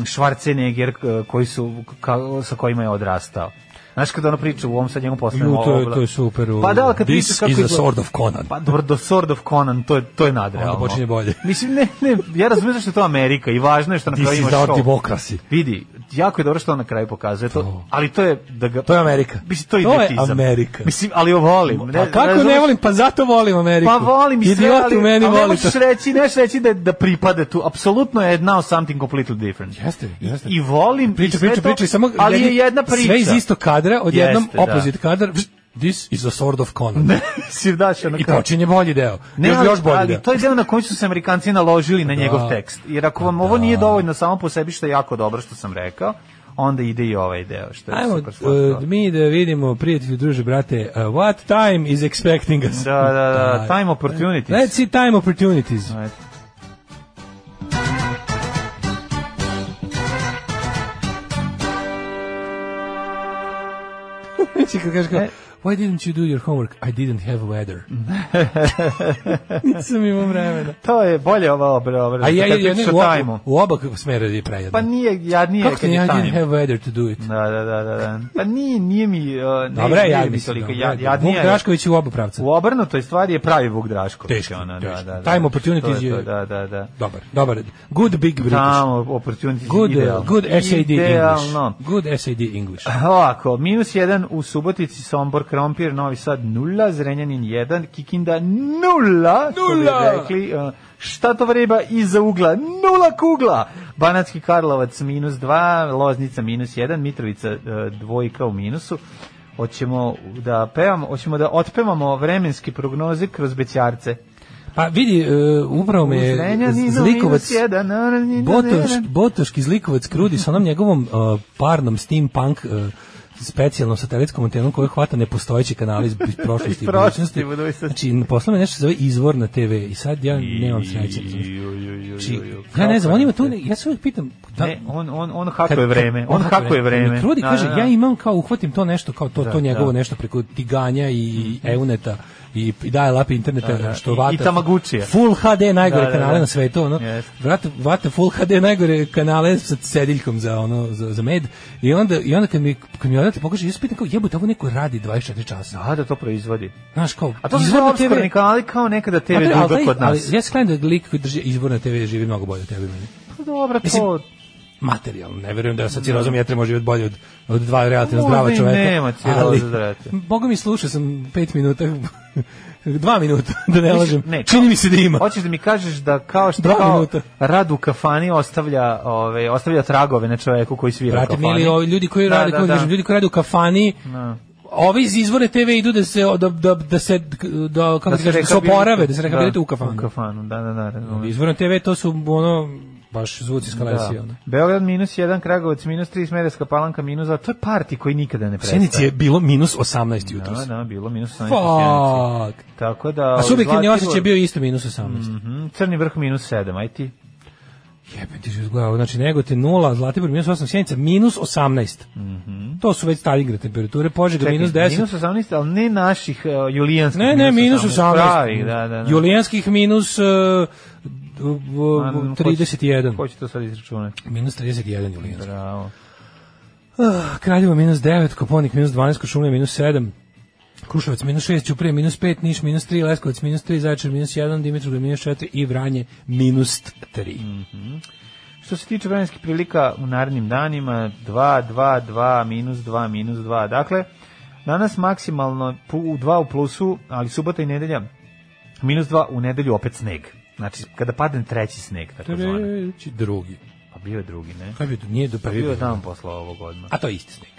[SPEAKER 6] Schwarzenegger k- koji su, ka, sa kojima je odrastao. Znaš kada ono priča u ovom sad njegovom poslednjem
[SPEAKER 7] Ju, to je-
[SPEAKER 6] obla-
[SPEAKER 7] to je super, u-
[SPEAKER 6] Pa da, ali kad
[SPEAKER 7] This
[SPEAKER 6] priča kako
[SPEAKER 7] is a
[SPEAKER 6] izgleda-
[SPEAKER 7] sword of Conan.
[SPEAKER 6] Pa dobro, The Sword of Conan, to je, to je nadrealno.
[SPEAKER 7] Onda počinje bolje.
[SPEAKER 6] Mislim, ne, ne, ja razumijem zašto je to Amerika i važno je što na
[SPEAKER 7] This
[SPEAKER 6] kraju
[SPEAKER 7] is
[SPEAKER 6] imaš
[SPEAKER 7] our
[SPEAKER 6] show.
[SPEAKER 7] democracy.
[SPEAKER 6] Vidi, jako je dobro što on na kraju pokazuje to, ali to je da ga
[SPEAKER 7] To je Amerika.
[SPEAKER 6] Mislim, to je
[SPEAKER 7] To je
[SPEAKER 6] idiotizam.
[SPEAKER 7] Amerika.
[SPEAKER 6] Mislim, ali jo volim.
[SPEAKER 7] A kako ne
[SPEAKER 6] razumeš?
[SPEAKER 7] volim? Pa zato volim Ameriku.
[SPEAKER 6] Pa volim i sve,
[SPEAKER 7] Idiot
[SPEAKER 6] ali,
[SPEAKER 7] u meni
[SPEAKER 6] ali ne
[SPEAKER 7] voli to.
[SPEAKER 6] možeš reći, ne možeš reći da, da pripade tu. Apsolutno je now something completely different.
[SPEAKER 7] Jeste, jeste.
[SPEAKER 6] I, i volim
[SPEAKER 7] Priča,
[SPEAKER 6] i sve
[SPEAKER 7] priča,
[SPEAKER 6] to,
[SPEAKER 7] priča, i samo
[SPEAKER 6] ali je
[SPEAKER 7] jedni-
[SPEAKER 6] jedna priča.
[SPEAKER 7] Sve iz istog kadra, odjednom
[SPEAKER 6] Jeste, da.
[SPEAKER 7] opposite kadar. pš, This is a sword of Conan.
[SPEAKER 6] si daš ono
[SPEAKER 7] I
[SPEAKER 6] kao-
[SPEAKER 7] počinje bolji deo. Ne, još,
[SPEAKER 6] ali-
[SPEAKER 7] još bolji
[SPEAKER 6] ali
[SPEAKER 7] deo.
[SPEAKER 6] to je deo na koji su se Amerikanci naložili na
[SPEAKER 7] Da.
[SPEAKER 6] njegov tekst. Jer ako vam ovo nije dovoljno samo po sebi što je jako dobro što sam rekao, onda ide i ovaj deo što je
[SPEAKER 7] Ajmo
[SPEAKER 6] super slatko.
[SPEAKER 7] uh, mi da vidimo, prijatelji, druže, brate, uh, what time is expecting us?
[SPEAKER 6] Da, da, da, time opportunities.
[SPEAKER 7] Let's see time opportunities.
[SPEAKER 6] Ajde.
[SPEAKER 7] Znači, kad kažeš kao,
[SPEAKER 6] E.
[SPEAKER 7] Why didn't you do your homework? I didn't have weather. Nisam imao vremena.
[SPEAKER 6] To je bolje ova obra, obra.
[SPEAKER 7] A ja, ja, ja, ne, u,
[SPEAKER 6] tajmu.
[SPEAKER 7] oba, u oba smera je prejedno.
[SPEAKER 6] Pa nije, ja nije
[SPEAKER 7] Kako
[SPEAKER 6] kad
[SPEAKER 7] ti
[SPEAKER 6] je
[SPEAKER 7] I
[SPEAKER 6] time.
[SPEAKER 7] didn't have weather to do it?
[SPEAKER 6] Da, da, da, da, da. Pa nije, nije mi, uh, ne,
[SPEAKER 7] Dobre,
[SPEAKER 6] nije
[SPEAKER 7] ja
[SPEAKER 6] mi
[SPEAKER 7] mislim.
[SPEAKER 6] toliko,
[SPEAKER 7] Dobro,
[SPEAKER 6] ja, ja
[SPEAKER 7] da. Vuk
[SPEAKER 6] nije.
[SPEAKER 7] Drašković je u oba pravca.
[SPEAKER 6] U obrnutoj stvari je pravi Vuk Drašković.
[SPEAKER 7] Teški,
[SPEAKER 6] ona,
[SPEAKER 7] teški.
[SPEAKER 6] Da, da, da.
[SPEAKER 7] Time opportunities
[SPEAKER 6] To je to,
[SPEAKER 7] je-
[SPEAKER 6] Da, da, da.
[SPEAKER 7] Dobar, dobar. Good big British.
[SPEAKER 6] Tamo opportunities
[SPEAKER 7] Good,
[SPEAKER 6] je idealno.
[SPEAKER 7] uh, good SAD
[SPEAKER 6] Idealno.
[SPEAKER 7] English. Good SAD English.
[SPEAKER 6] Ovako, minus 1 u Subotici, Sombor, Krompir, Novi Sad 0, Zrenjanin 1, Kikinda 0,
[SPEAKER 7] Nula!
[SPEAKER 6] rekli, e, šta to vreba iza ugla, 0 kugla, Banatski Karlovac minus 2, Loznica minus 1, Mitrovica e, dvojka u minusu, Hoćemo da pevamo, hoćemo da otpevamo vremenske prognoze kroz bećarce.
[SPEAKER 7] Pa vidi, uh, upravo me
[SPEAKER 6] U Zrenjaninu
[SPEAKER 7] zlikovac...
[SPEAKER 6] minus jedan, na, na, na, na,
[SPEAKER 7] Botoš,
[SPEAKER 6] na.
[SPEAKER 7] Botoški zlikovac krudi sa onom njegovom uh, parnom steampunk uh, specijalnom satelitskom antenom koja hvata nepostojeći kanali iz iz prošlosti i
[SPEAKER 6] Iz prošlosti
[SPEAKER 7] budućnosti.
[SPEAKER 6] i budućnosti.
[SPEAKER 7] Znači, posle me nešto se zove izvor na TV i sad ja nemam sreće. razumiješ. Znači, ja ne znam, on ima tu, ne- ja se uvijek pitam, da,
[SPEAKER 6] Ne, on, on, on
[SPEAKER 7] Kad-
[SPEAKER 6] hakuje vreme, on hakuje vreme.
[SPEAKER 7] Trudi
[SPEAKER 6] Da,
[SPEAKER 7] kaže
[SPEAKER 6] da, da.
[SPEAKER 7] ja imam kao uhvatim to nešto kao to to
[SPEAKER 6] Da,
[SPEAKER 7] njegovo
[SPEAKER 6] da.
[SPEAKER 7] nešto preko tiganja i euneta i i daje lapi interneta
[SPEAKER 6] da.
[SPEAKER 7] što
[SPEAKER 6] I-
[SPEAKER 7] vata.
[SPEAKER 6] i Tamaguchija.
[SPEAKER 7] Full HD najgore
[SPEAKER 6] Da, da,
[SPEAKER 7] kanale
[SPEAKER 6] da.
[SPEAKER 7] na svetu, ono.
[SPEAKER 6] Jeste.
[SPEAKER 7] Vrat vata full HD najgore kanale sa sediljkom za ono za, za med i onda i onda kad mi kad mi odate pokaže ispita kao jebote ovo neko radi 24 časa.
[SPEAKER 6] Da, da to proizvodi.
[SPEAKER 7] Znaš kao
[SPEAKER 6] A to su sve
[SPEAKER 7] izvorno TV
[SPEAKER 6] obskurni kanali kao nekada TV
[SPEAKER 7] Ali- ali
[SPEAKER 6] druga
[SPEAKER 7] taj-
[SPEAKER 6] kod nas.
[SPEAKER 7] Ali ja sklenem da lik koji drži izborna TV živi mnogo bolje od tebe i mene.
[SPEAKER 6] Pa Dobro,
[SPEAKER 7] Mislim,
[SPEAKER 6] to...
[SPEAKER 7] materijalno. Ne verujem da sa cirozom jetre može živjeti bolje od, od dva relativno zdrava
[SPEAKER 6] Možda i
[SPEAKER 7] čoveka.
[SPEAKER 6] nema ciroze,
[SPEAKER 7] ali-
[SPEAKER 6] zdrate.
[SPEAKER 7] Boga mi slušao sam pet minuta, dva minuta, da ne lažem.
[SPEAKER 6] Ne, kao-
[SPEAKER 7] Čini mi se da ima.
[SPEAKER 6] Hoćeš da mi kažeš da kao što
[SPEAKER 7] Dva
[SPEAKER 6] kao
[SPEAKER 7] minuta.
[SPEAKER 6] rad u kafani ostavlja, ove, ostavlja tragove na čoveku koji svira u
[SPEAKER 7] Brate,
[SPEAKER 6] kafani.
[SPEAKER 7] mili, ovi Da ljudi koji
[SPEAKER 6] Da,
[SPEAKER 7] rade,
[SPEAKER 6] da,
[SPEAKER 7] kako
[SPEAKER 6] da.
[SPEAKER 7] kažem, ljudi koji rade u kafani, Ovi iz izvore TV idu da se da, da, da se da kako da, kažem, da se
[SPEAKER 6] rehabilitu-
[SPEAKER 7] oporave, da se rehabilituju u kafanu.
[SPEAKER 6] U kafanu, da, da, da, razumem.
[SPEAKER 7] Izvorno TV to su ono baš zvuci skalesije.
[SPEAKER 6] Da. Beograd minus 1, Kragovac minus 3, Smederska palanka minus 2, to je parti koji nikada ne
[SPEAKER 7] U
[SPEAKER 6] prestaje.
[SPEAKER 7] Sjenici je bilo minus 18 jutros.
[SPEAKER 6] Da, da, bilo minus 18 u Sjenici.
[SPEAKER 7] Fuck.
[SPEAKER 6] Tako da...
[SPEAKER 7] A
[SPEAKER 6] ovaj,
[SPEAKER 7] subjektivni
[SPEAKER 6] Zlatibor-
[SPEAKER 7] osjećaj je bio isto minus 18.
[SPEAKER 6] Mhm, Crni vrh minus 7, aj ti.
[SPEAKER 7] Jebe ti život glavu. Znači, Negotin 0, Zlatibor minus 8, Sjenica minus 18. To su već Stalingrad temperature, Požega minus 10.
[SPEAKER 6] Mhm. Minus 18, ali ne naših uh, julijanskih.
[SPEAKER 7] ne, ne, minus 18.
[SPEAKER 6] Pravi, da, da. da.
[SPEAKER 7] Julijanskih minus uh,
[SPEAKER 6] Ma, ko će-
[SPEAKER 7] 31.
[SPEAKER 6] Ko će to sad izračunati?
[SPEAKER 7] Minus 31 Julijanski.
[SPEAKER 6] Bravo.
[SPEAKER 7] Ah, Kraljevo minus 9, Koponik minus 12, Košumlija minus 7. Kruševac minus 6, Ćuprije minus 5, Niš minus 3, Leskovac minus 3, Zaječar minus 1, Dimitrovgrad minus 4 i Vranje minus 3.
[SPEAKER 6] Mm, Što se tiče vremenskih prilika u narednim danima, 2, 2, 2, minus 2, minus 2. Dakle, danas maksimalno pu- u 2 u plusu, ali subota i nedelja, minus 2 u nedelju opet sneg. Znači, kada padne treći sneg, tako zvane.
[SPEAKER 7] Treći, drugi.
[SPEAKER 6] Pa bio je drugi, ne?
[SPEAKER 7] Kaj bi, nije do prvi.
[SPEAKER 6] Bio je dan posla ovog odmah.
[SPEAKER 7] A to je isti sneg.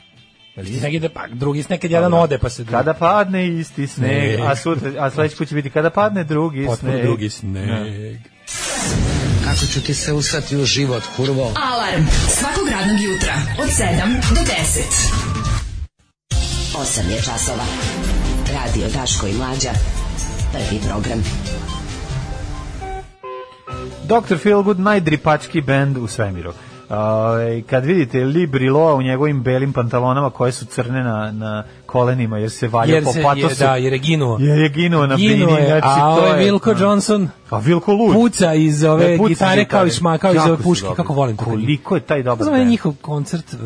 [SPEAKER 7] Isti sneg ide, pa drugi sneg kad jedan ode pa se drugi.
[SPEAKER 6] Kada padne isti sneg,
[SPEAKER 7] Sneg.
[SPEAKER 6] a sutra, a sledeći put će biti kada padne drugi
[SPEAKER 7] Potpuno
[SPEAKER 6] sneg. Da.
[SPEAKER 7] drugi sneg.
[SPEAKER 2] Kako ću ti se usati u život, kurvo?
[SPEAKER 5] Alarm svakog radnog jutra od 7 do 10.
[SPEAKER 9] 8 je časova. Radio Daško i Mlađa. Prvi program.
[SPEAKER 6] Dr. Feelgood najdripački bend u svemiru. Ovaj, kad vidite Li Briloa u njegovim belim pantalonama koje su crne na, na kolenima jer se valja
[SPEAKER 7] Jer
[SPEAKER 6] po
[SPEAKER 7] se, je,
[SPEAKER 6] patosu.
[SPEAKER 7] da, jer je ginuo.
[SPEAKER 6] jer je ginuo na bini.
[SPEAKER 7] Ginuo je,
[SPEAKER 6] znači,
[SPEAKER 7] a
[SPEAKER 6] to
[SPEAKER 7] ovo je
[SPEAKER 6] je,
[SPEAKER 7] Vilko
[SPEAKER 6] da.
[SPEAKER 7] Johnson.
[SPEAKER 6] A Vilko Lud.
[SPEAKER 7] Puca iz ove
[SPEAKER 6] Ne, puca iz
[SPEAKER 7] gitare kao
[SPEAKER 6] gitare.
[SPEAKER 7] iz šma, kao iz
[SPEAKER 6] Jako
[SPEAKER 7] ove
[SPEAKER 6] su
[SPEAKER 7] puške,
[SPEAKER 6] dobri.
[SPEAKER 7] kako volim. to.
[SPEAKER 6] Koliko je taj dobar
[SPEAKER 7] Znam je
[SPEAKER 6] bend.
[SPEAKER 7] njihov koncert, eh,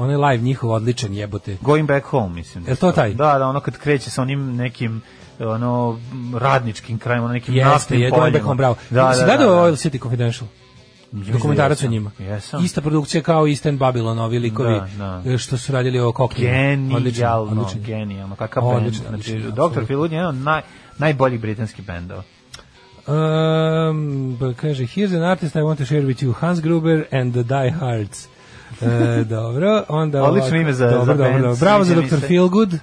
[SPEAKER 7] onaj live njihov odličan jebote.
[SPEAKER 6] Going Back Home, mislim. da
[SPEAKER 7] Jel to taj?
[SPEAKER 6] Da, da, ono kad kreće sa onim nekim ono radničkim krajem, ono nekim
[SPEAKER 7] Jeste,
[SPEAKER 6] naftnim
[SPEAKER 7] je
[SPEAKER 6] poljima.
[SPEAKER 7] Don Beckham, bravo.
[SPEAKER 6] Da, da,
[SPEAKER 7] si
[SPEAKER 6] da,
[SPEAKER 7] gledao ovaj
[SPEAKER 6] da.
[SPEAKER 7] Oil City Confidential? Dokumentarac o
[SPEAKER 6] jesam.
[SPEAKER 7] njima.
[SPEAKER 6] Jesam.
[SPEAKER 7] Ista produkcija kao East End Babylon, ovi likovi
[SPEAKER 6] Da, da.
[SPEAKER 7] eh, što su radili o koklima. Odličan,
[SPEAKER 6] Genijalno,
[SPEAKER 7] odličan.
[SPEAKER 6] genijalno. Kakav
[SPEAKER 7] Odlično,
[SPEAKER 6] bend.
[SPEAKER 7] odlično,
[SPEAKER 6] Znači, Dr.
[SPEAKER 7] apsolutno.
[SPEAKER 6] Phil Wood je jedan od naj, najboljih britanskih bendova.
[SPEAKER 7] Um, pa kaže, here's an artist I want to share with you, Hans Gruber and the Die Hards. E, dobro, onda...
[SPEAKER 6] Odlično
[SPEAKER 7] ovako,
[SPEAKER 6] ime za- za band,
[SPEAKER 7] Bravo za
[SPEAKER 6] sviđa mi
[SPEAKER 7] Dr.
[SPEAKER 6] se.
[SPEAKER 7] Feelgood.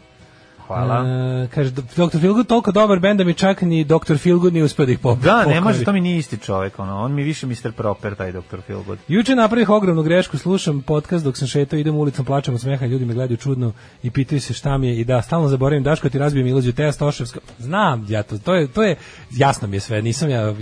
[SPEAKER 6] Hvala.
[SPEAKER 7] E, kaže, Dr. Feelgood toliko dobar band da mi čak ni Dr. Feelgood nije uspio da ih popravi.
[SPEAKER 6] Da, ne može, to mi nije isti čovjek, ono, on mi je više Mr. Proper, taj Dr. Feelgood.
[SPEAKER 7] Juče napravih ogromnu grešku, slušam podcast dok sam šetao, idem ulicom, plačem od smeha, ljudi me gledaju čudno i pitaju se šta mi je i da, stalno zaboravim Daško ti razbijem ilađu Teja Stoševska. Znam ja to, to je, to je, jasno mi je sve, nisam ja...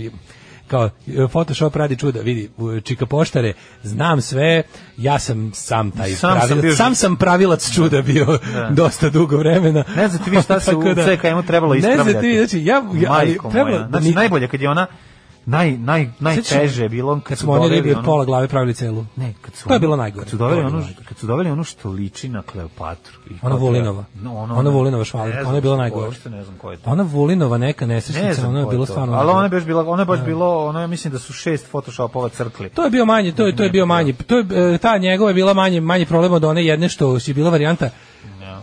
[SPEAKER 7] kao e, Photoshop radi čuda, vidi, u, čika poštare, znam sve, ja sam sam taj
[SPEAKER 6] Sam sam
[SPEAKER 7] pravilac,
[SPEAKER 6] bio- Da.
[SPEAKER 7] sam sam pravilac čuda bio dosta dugo vremena.
[SPEAKER 6] Ne znam ti vi šta se u
[SPEAKER 7] Tako da-
[SPEAKER 6] CKM-u trebalo
[SPEAKER 7] Ne znam
[SPEAKER 6] ispravljati.
[SPEAKER 7] ti, znači, ja, ja ali
[SPEAKER 6] Majko
[SPEAKER 7] trebalo
[SPEAKER 6] moja.
[SPEAKER 7] da
[SPEAKER 6] Znači,
[SPEAKER 7] mi-
[SPEAKER 6] najbolje kad je ona naj, naj, najteže je bilo
[SPEAKER 7] kad
[SPEAKER 6] kad su
[SPEAKER 7] smo oni
[SPEAKER 6] doveli
[SPEAKER 7] ribi od
[SPEAKER 6] onu-
[SPEAKER 7] pola glave pravili celu.
[SPEAKER 6] Ne, kad su
[SPEAKER 7] to je
[SPEAKER 6] ono-
[SPEAKER 7] bilo najgore.
[SPEAKER 6] Kad su doveli
[SPEAKER 7] To je bilo
[SPEAKER 6] onu,
[SPEAKER 7] najgore.
[SPEAKER 6] kad su doveli onu što liči na Kleopatru. I
[SPEAKER 7] Ona
[SPEAKER 6] to-
[SPEAKER 7] Vulinova.
[SPEAKER 6] No, da-
[SPEAKER 7] Ona Vulinova švalerka,
[SPEAKER 6] Ne
[SPEAKER 7] ona
[SPEAKER 6] znam
[SPEAKER 7] je bila
[SPEAKER 6] što-
[SPEAKER 7] najgora.
[SPEAKER 6] Uopšte ne znam ko je to.
[SPEAKER 7] Ona Vulinova neka
[SPEAKER 6] Ne
[SPEAKER 7] nesrećnica,
[SPEAKER 6] znam
[SPEAKER 7] ono je
[SPEAKER 6] ko je
[SPEAKER 7] bilo
[SPEAKER 6] to.
[SPEAKER 7] stvarno.
[SPEAKER 6] Ali ona je
[SPEAKER 7] najgore.
[SPEAKER 6] baš bila, ona je baš bilo, ona je mislim da su šest photoshopova crkli.
[SPEAKER 7] To je bio manji, to je to je bio manji. To je e, ta njegova je bila manji manji problem od one jedne što je bila varijanta.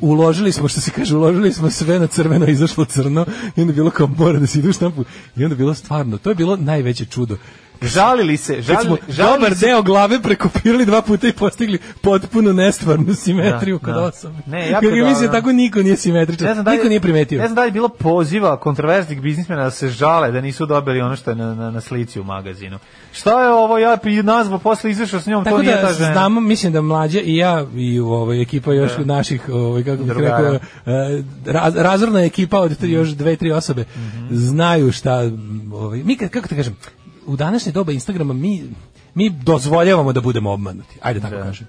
[SPEAKER 7] Uložili smo što se kaže, uložili smo sve na crveno, izašlo crno i onda je bilo kao mora da se ide u štampu i onda je bilo stvarno, to je bilo najveće čudo.
[SPEAKER 6] Žalili se,
[SPEAKER 7] Kad smo
[SPEAKER 6] žalili,
[SPEAKER 7] dobar
[SPEAKER 6] žalili se.
[SPEAKER 7] deo glave prekopirali dva puta i postigli potpuno nestvarnu simetriju
[SPEAKER 6] Da,
[SPEAKER 7] kod
[SPEAKER 6] da.
[SPEAKER 7] osobe.
[SPEAKER 6] Ne, jako
[SPEAKER 7] Jer je
[SPEAKER 6] dobro.
[SPEAKER 7] mislio, tako niko nije simetričan,
[SPEAKER 6] Ne znam da li-
[SPEAKER 7] niko nije primetio.
[SPEAKER 6] Ne znam da li je bilo poziva kontroverznih biznismena da se žale da nisu dobili ono što je na, na, na slici u magazinu. Šta je ovo, ja pi- nazvao, posle izašao s njom,
[SPEAKER 7] Tako
[SPEAKER 6] to nije
[SPEAKER 7] da
[SPEAKER 6] ta žena. Da.
[SPEAKER 7] znamo, mislim da mlađe i ja i u ovoj ekipa još naših ovaj kako bih
[SPEAKER 6] Drugara.
[SPEAKER 7] rekao e, raz- razorna ekipa od tri, još dve tri osobe
[SPEAKER 6] Mhm.
[SPEAKER 7] znaju šta m, ovaj mi kad- kako te kažem u današnje doba Instagrama mi mi dozvoljavamo da budemo obmanuti. Ajde
[SPEAKER 6] Da.
[SPEAKER 7] tako kažem.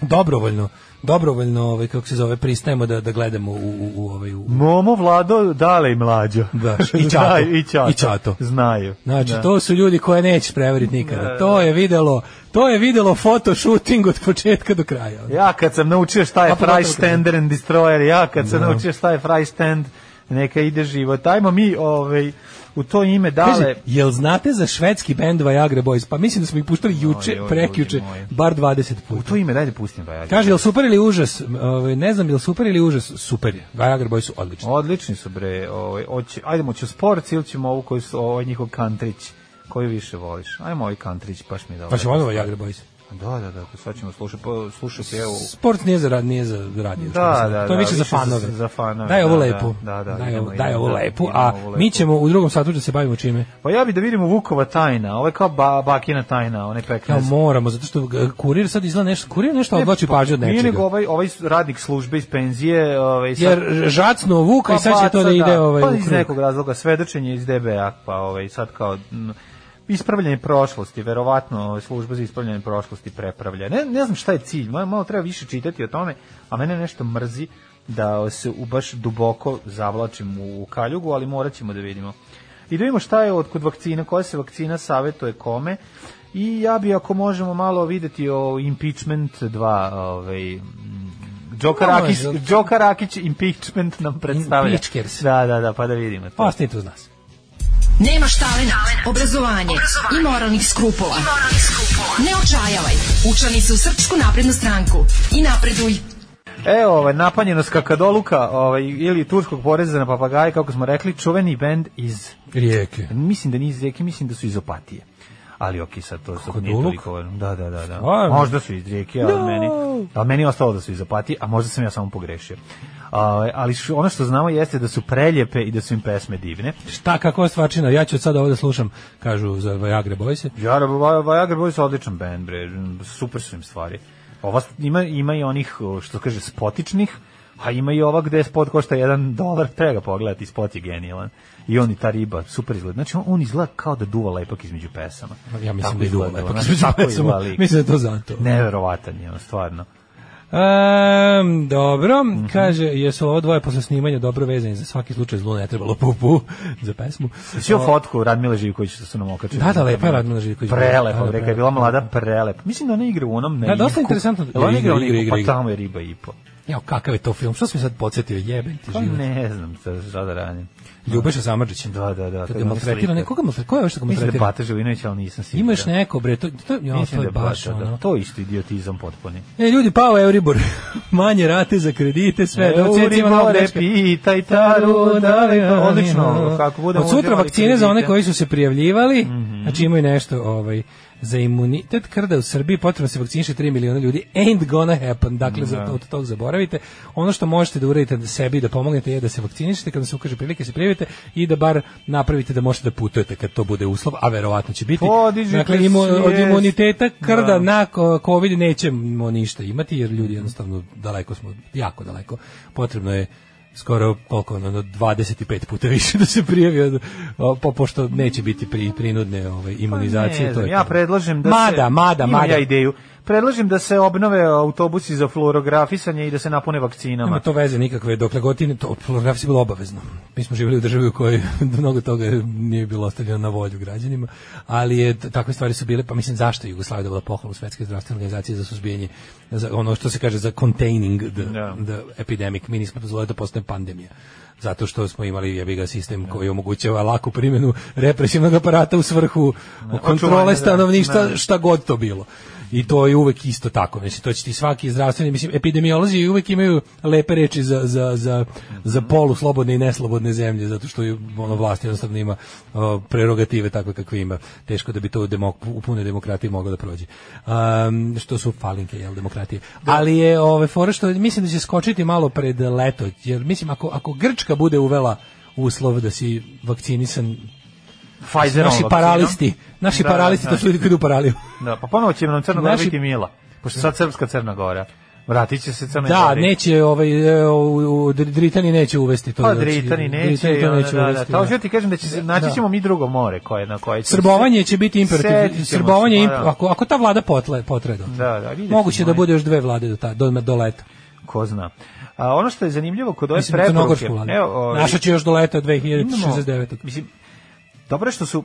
[SPEAKER 7] Dobrovoljno dobrovoljno ovaj kako se zove pristajemo da da gledamo u u, u ovaj u
[SPEAKER 6] Momo, Vlado, Dale i Mlađo.
[SPEAKER 7] Da, i Čato.
[SPEAKER 6] Znaju, I Čato.
[SPEAKER 7] I Čato.
[SPEAKER 6] Znaju.
[SPEAKER 7] Znači,
[SPEAKER 6] Da.
[SPEAKER 7] to su ljudi koje nećeš prevariti nikada. To je videlo, to je videlo fotoshooting od početka do kraja.
[SPEAKER 6] Ja kad sam naučio šta
[SPEAKER 7] A
[SPEAKER 6] je
[SPEAKER 7] pogotovo
[SPEAKER 6] fry stander and destroyer, ja kad
[SPEAKER 7] Da.
[SPEAKER 6] sam naučio šta je fry stand, neka ide život. Ajmo mi ovaj, u to ime
[SPEAKER 7] Kaže,
[SPEAKER 6] dale.
[SPEAKER 7] jel znate za švedski bend Viagra Boys? Pa mislim da smo ih puštali juče,
[SPEAKER 6] Oj, oj,
[SPEAKER 7] prekjuče,
[SPEAKER 6] ljudi moji.
[SPEAKER 7] bar 20
[SPEAKER 6] U
[SPEAKER 7] puta.
[SPEAKER 6] to ime, daj da pustim Viagra.
[SPEAKER 7] Kaže, jel super ili užas? M, ovaj, ne znam, jel super ili užas? Super je. Viagra Boys su odlični.
[SPEAKER 6] Odlični su bre. Ovaj, oći, ajdemo ću sport ili ćemo ovu koju su, ovaj njihov kantrić. Koju više voliš? Ajmo ovaj kantrić, baš mi je dobro.
[SPEAKER 7] Pa ćemo odmah Viagra Boys.
[SPEAKER 6] Da, da, da, sad ćemo slušati, pa, slušati evo...
[SPEAKER 7] Sport nije za rad, nije za radio. što
[SPEAKER 6] Da,
[SPEAKER 7] mislim.
[SPEAKER 6] da,
[SPEAKER 7] to je
[SPEAKER 6] da,
[SPEAKER 7] više za
[SPEAKER 6] više za-
[SPEAKER 7] fanove.
[SPEAKER 6] za fanove,
[SPEAKER 7] Daj ovo
[SPEAKER 6] da,
[SPEAKER 7] lepo.
[SPEAKER 6] da, da, da,
[SPEAKER 7] daj,
[SPEAKER 6] idemo,
[SPEAKER 7] ovo, daj ovo
[SPEAKER 6] idemo,
[SPEAKER 7] lepo.
[SPEAKER 6] idemo
[SPEAKER 7] A
[SPEAKER 6] ovo lepo.
[SPEAKER 7] mi ćemo u drugom satu da se bavimo čime.
[SPEAKER 6] Pa ja bi da vidimo Vukova tajna, ovo je kao ba, Bakina tajna, onaj
[SPEAKER 7] Ja
[SPEAKER 6] peknes.
[SPEAKER 7] moramo, zato što e, kurir sad izgleda nešto, kurir nešto
[SPEAKER 6] Ne,
[SPEAKER 7] odvlači
[SPEAKER 6] pa,
[SPEAKER 7] pažnju od
[SPEAKER 6] Nije nego
[SPEAKER 7] nečega.
[SPEAKER 6] ovaj, ovaj radnik službe iz penzije... Ovaj, sad-
[SPEAKER 7] Jer žacno vuka i sad će to
[SPEAKER 6] Pa baca,
[SPEAKER 7] da ide ovaj, u
[SPEAKER 6] pa iz
[SPEAKER 7] krug.
[SPEAKER 6] nekog razloga svedočenje iz DBA, pa ovaj, sad kao... m, ispravljanje prošlosti, verovatno ovaj, služba za ispravljanje prošlosti prepravlja. Ne, ne znam šta je cilj, malo, malo treba više čitati o tome, a mene nešto mrzi da se u baš duboko zavlačim u, u kaljugu, ali morat ćemo da vidimo. I da vidimo šta je od kod vakcina, koja se vakcina savetuje kome. I ja bi ako možemo malo videti o impeachment 2, ovaj Džoka
[SPEAKER 7] Može.
[SPEAKER 6] Rakić, Džoka Rakić impeachment nam predstavlja.
[SPEAKER 7] Impeachkers.
[SPEAKER 6] Da, da, da, pa da vidimo. to.
[SPEAKER 7] Ostanite uz nas.
[SPEAKER 5] Nemaš talenta, obrazovanje, i moralnih skrupula. Ne očajavaj. Učlani se u Srpsku naprednu stranku i napreduj.
[SPEAKER 6] Evo, ovaj, napanjenost kakadoluka ovaj, ili turskog poreza na papagaje, kako smo rekli, čuveni bend iz,
[SPEAKER 7] Rijeke.
[SPEAKER 6] mislim da nije iz Rijeke, mislim da su iz Opatije. Ali ok, sad to sad nije
[SPEAKER 7] Kakadoluk?
[SPEAKER 6] toliko. Da, da, da. da.
[SPEAKER 7] Stvarno?
[SPEAKER 6] Možda su iz Rijeke, ali,
[SPEAKER 7] No.
[SPEAKER 6] meni, ali meni je ostalo da su iz Opatije, a možda sam ja samo pogrešio. Ovaj, ali š- ono što znamo jeste da su preljepe i da su im pesme divne.
[SPEAKER 7] Šta, kako stvarčina? Ja ću od sada ovo da slušam, kažu za Viagra Boyse.
[SPEAKER 6] Jara, Va- Viagra Boys je odličan band, bre, super su im stvari. Ova, ima, ima i onih, o, što kaže, spotičnih, a ima i ova gde spot košta 1 dolar, treba ga pogledati, spot je genijalan. I on i ta riba, super izgleda. Znači, on, on izgleda kao da duva lepak između pesama.
[SPEAKER 7] Ja mislim
[SPEAKER 6] Tako
[SPEAKER 7] da je dugo
[SPEAKER 6] izgleda,
[SPEAKER 7] lepo.
[SPEAKER 6] znaš, tako izgleda lik.
[SPEAKER 7] Mislim da je to zato.
[SPEAKER 6] Neverovatan je on, stvarno.
[SPEAKER 7] Ehm, dobro,
[SPEAKER 6] Mhm.
[SPEAKER 7] kaže, jesu ovo dvoje posle snimanja dobro vezani za svaki slučaj zlo ne trebalo pupu za pesmu.
[SPEAKER 6] Svi o fotku Radmila Živković što su nam okačili.
[SPEAKER 7] Da, da, lepa je Radmila Živković. Da,
[SPEAKER 6] Prelepa,
[SPEAKER 7] da,
[SPEAKER 6] bre, kad je bila mlada, prelepa. Mislim da ona igra u onom na
[SPEAKER 7] Da,
[SPEAKER 6] Ivku.
[SPEAKER 7] dosta interesantno.
[SPEAKER 6] Jel ona
[SPEAKER 7] Igra,
[SPEAKER 6] igra, u
[SPEAKER 7] igra,
[SPEAKER 6] Ivku?
[SPEAKER 7] igra,
[SPEAKER 6] pa
[SPEAKER 7] igra.
[SPEAKER 6] tamo je riba i po.
[SPEAKER 7] Jao, kakav je to film? Što sam se sad podsjetio? Jebem ti
[SPEAKER 6] Pa
[SPEAKER 7] život.
[SPEAKER 6] ne znam šta, šta da radim.
[SPEAKER 7] Ljubeša Samardžić.
[SPEAKER 6] Da, da, da,
[SPEAKER 7] Kad
[SPEAKER 6] kad
[SPEAKER 7] ga
[SPEAKER 6] on
[SPEAKER 7] maltretira,
[SPEAKER 6] slika.
[SPEAKER 7] nekoga maltretira, ko je ovo što ga
[SPEAKER 6] Mislim da je
[SPEAKER 7] maltretira?
[SPEAKER 6] Bata Živinović, ali nisam siguran.
[SPEAKER 7] Imaš neko, bre, to, to, jao, to
[SPEAKER 6] Mislim da
[SPEAKER 7] je baš
[SPEAKER 6] Bata, da.
[SPEAKER 7] ono.
[SPEAKER 6] To je isto idiotizam potpuni.
[SPEAKER 7] E, ljudi, pao Euribor. Manje rate za kredite, sve. Da, od cecima novog dečka.
[SPEAKER 6] pitaj taru, da, da, odlično. Kako bude,
[SPEAKER 7] Od sutra vakcine za one koji su se prijavljivali,
[SPEAKER 6] Mhm.
[SPEAKER 7] znači imaju nešto ovaj, za imunitet krda u Srbiji, potrebno se vakciniše 3 miliona ljudi, ain't gonna happen, dakle
[SPEAKER 6] Da.
[SPEAKER 7] za, od tog zaboravite. Ono što možete da uradite da sebi, da pomognete je da se vakcinišete, kad vam se ukaže prilike se prijavite i da bar napravite da možete da putujete kad to bude uslov, a verovatno će biti.
[SPEAKER 6] Podižite
[SPEAKER 7] dakle, imu- od
[SPEAKER 6] svijest.
[SPEAKER 7] imuniteta krda
[SPEAKER 6] Da.
[SPEAKER 7] na ko- COVID nećemo ništa imati jer ljudi jednostavno daleko smo, jako daleko. Potrebno je skoro koliko ono 25 puta više da se prijavi o, po, pošto neće biti pri, prinudne ove imunizacije
[SPEAKER 6] Pa Ne
[SPEAKER 7] to
[SPEAKER 6] znam,
[SPEAKER 7] je
[SPEAKER 6] ja
[SPEAKER 7] to.
[SPEAKER 6] predlažem da
[SPEAKER 7] mada,
[SPEAKER 6] se
[SPEAKER 7] mada
[SPEAKER 6] imam
[SPEAKER 7] mada
[SPEAKER 6] ja ideju predlažem da se obnove autobusi za fluorografisanje i da se napune
[SPEAKER 7] Nema
[SPEAKER 6] vakcinama
[SPEAKER 7] to veze nikakve, dokle god ti ne- to fotografija je bilo obavezno. Mi smo živjeli u državi u kojoj mnogo toga nije bilo ostavljeno na volju građanima, ali je, t- takve stvari su bile, pa mislim zašto je Jugoslavia dobila pohvalu Svetske zdravstvene organizacije za suzbijanje, za ono što se kaže za containing the,
[SPEAKER 6] Da.
[SPEAKER 7] the epidemic, mi nismo dozvolili da postane pandemija zato što smo imali jebi ga
[SPEAKER 6] Da.
[SPEAKER 7] sistem koji omogućava laku primjenu represivnog aparata u svrhu
[SPEAKER 6] očuvanja,
[SPEAKER 7] kontrole
[SPEAKER 6] da.
[SPEAKER 7] stanovništva,
[SPEAKER 6] Da.
[SPEAKER 7] šta god to bilo. I to je uvek isto tako. Mislim, to će ti svaki zdravstveni, mislim, epidemiolozi uvek imaju lepe reči za, za, za, za
[SPEAKER 6] Mhm.
[SPEAKER 7] polu slobodne i neslobodne zemlje, zato što je ono vlast jednostavno ima o, prerogative takve kakve ima. Teško da bi to u, demok, u punoj demokratiji moglo da prođe. Um, što su falinke, jel, demokratije.
[SPEAKER 6] Da.
[SPEAKER 7] Ali je ove fora što mislim da će skočiti malo pred leto, jer mislim, ako, ako Grčka bude uvela uslov da si vakcinisan,
[SPEAKER 6] Pfizerom
[SPEAKER 7] naši
[SPEAKER 6] vakcinom.
[SPEAKER 7] paralisti, naši
[SPEAKER 6] Da,
[SPEAKER 7] paralisti,
[SPEAKER 6] da,
[SPEAKER 7] to su ljudi koji idu u paraliju.
[SPEAKER 6] Da, pa ponovo će nam Crna Gora
[SPEAKER 7] Naši-
[SPEAKER 6] biti mila. Pošto sad srpska Crna Gora. Vratit će se Crna
[SPEAKER 7] Da,
[SPEAKER 6] Gori.
[SPEAKER 7] neće ovaj e, u, u Dritani neće uvesti to.
[SPEAKER 6] Pa
[SPEAKER 7] znači,
[SPEAKER 6] Dritani neće,
[SPEAKER 7] Dritani
[SPEAKER 6] i
[SPEAKER 7] to
[SPEAKER 6] onda,
[SPEAKER 7] neće
[SPEAKER 6] da, da,
[SPEAKER 7] uvesti,
[SPEAKER 6] da.
[SPEAKER 7] da.
[SPEAKER 6] Ta hoću ti kažem da će se, naći ćemo mi drugo more koje, na koje će se-
[SPEAKER 7] Srbovanje će biti
[SPEAKER 6] Setit ćemo
[SPEAKER 7] imperativ.
[SPEAKER 6] se,
[SPEAKER 7] Srbovanje,
[SPEAKER 6] pa
[SPEAKER 7] imp-
[SPEAKER 6] da.
[SPEAKER 7] ako, ako ta vlada potle, potre do.
[SPEAKER 6] Da, da, vidjet
[SPEAKER 7] Moguće
[SPEAKER 6] ćemo,
[SPEAKER 7] da
[SPEAKER 6] ajde.
[SPEAKER 7] bude još dve vlade do, ta, do, do leta.
[SPEAKER 6] Ko zna. A ono što je zanimljivo kod ove
[SPEAKER 7] Mislim, da crnogorsku
[SPEAKER 6] preporuke...
[SPEAKER 7] vladu.
[SPEAKER 6] Evo, ovi-
[SPEAKER 7] Naša će još do leta
[SPEAKER 6] Imamo,
[SPEAKER 7] 2069.
[SPEAKER 6] Mislim, dobro je što su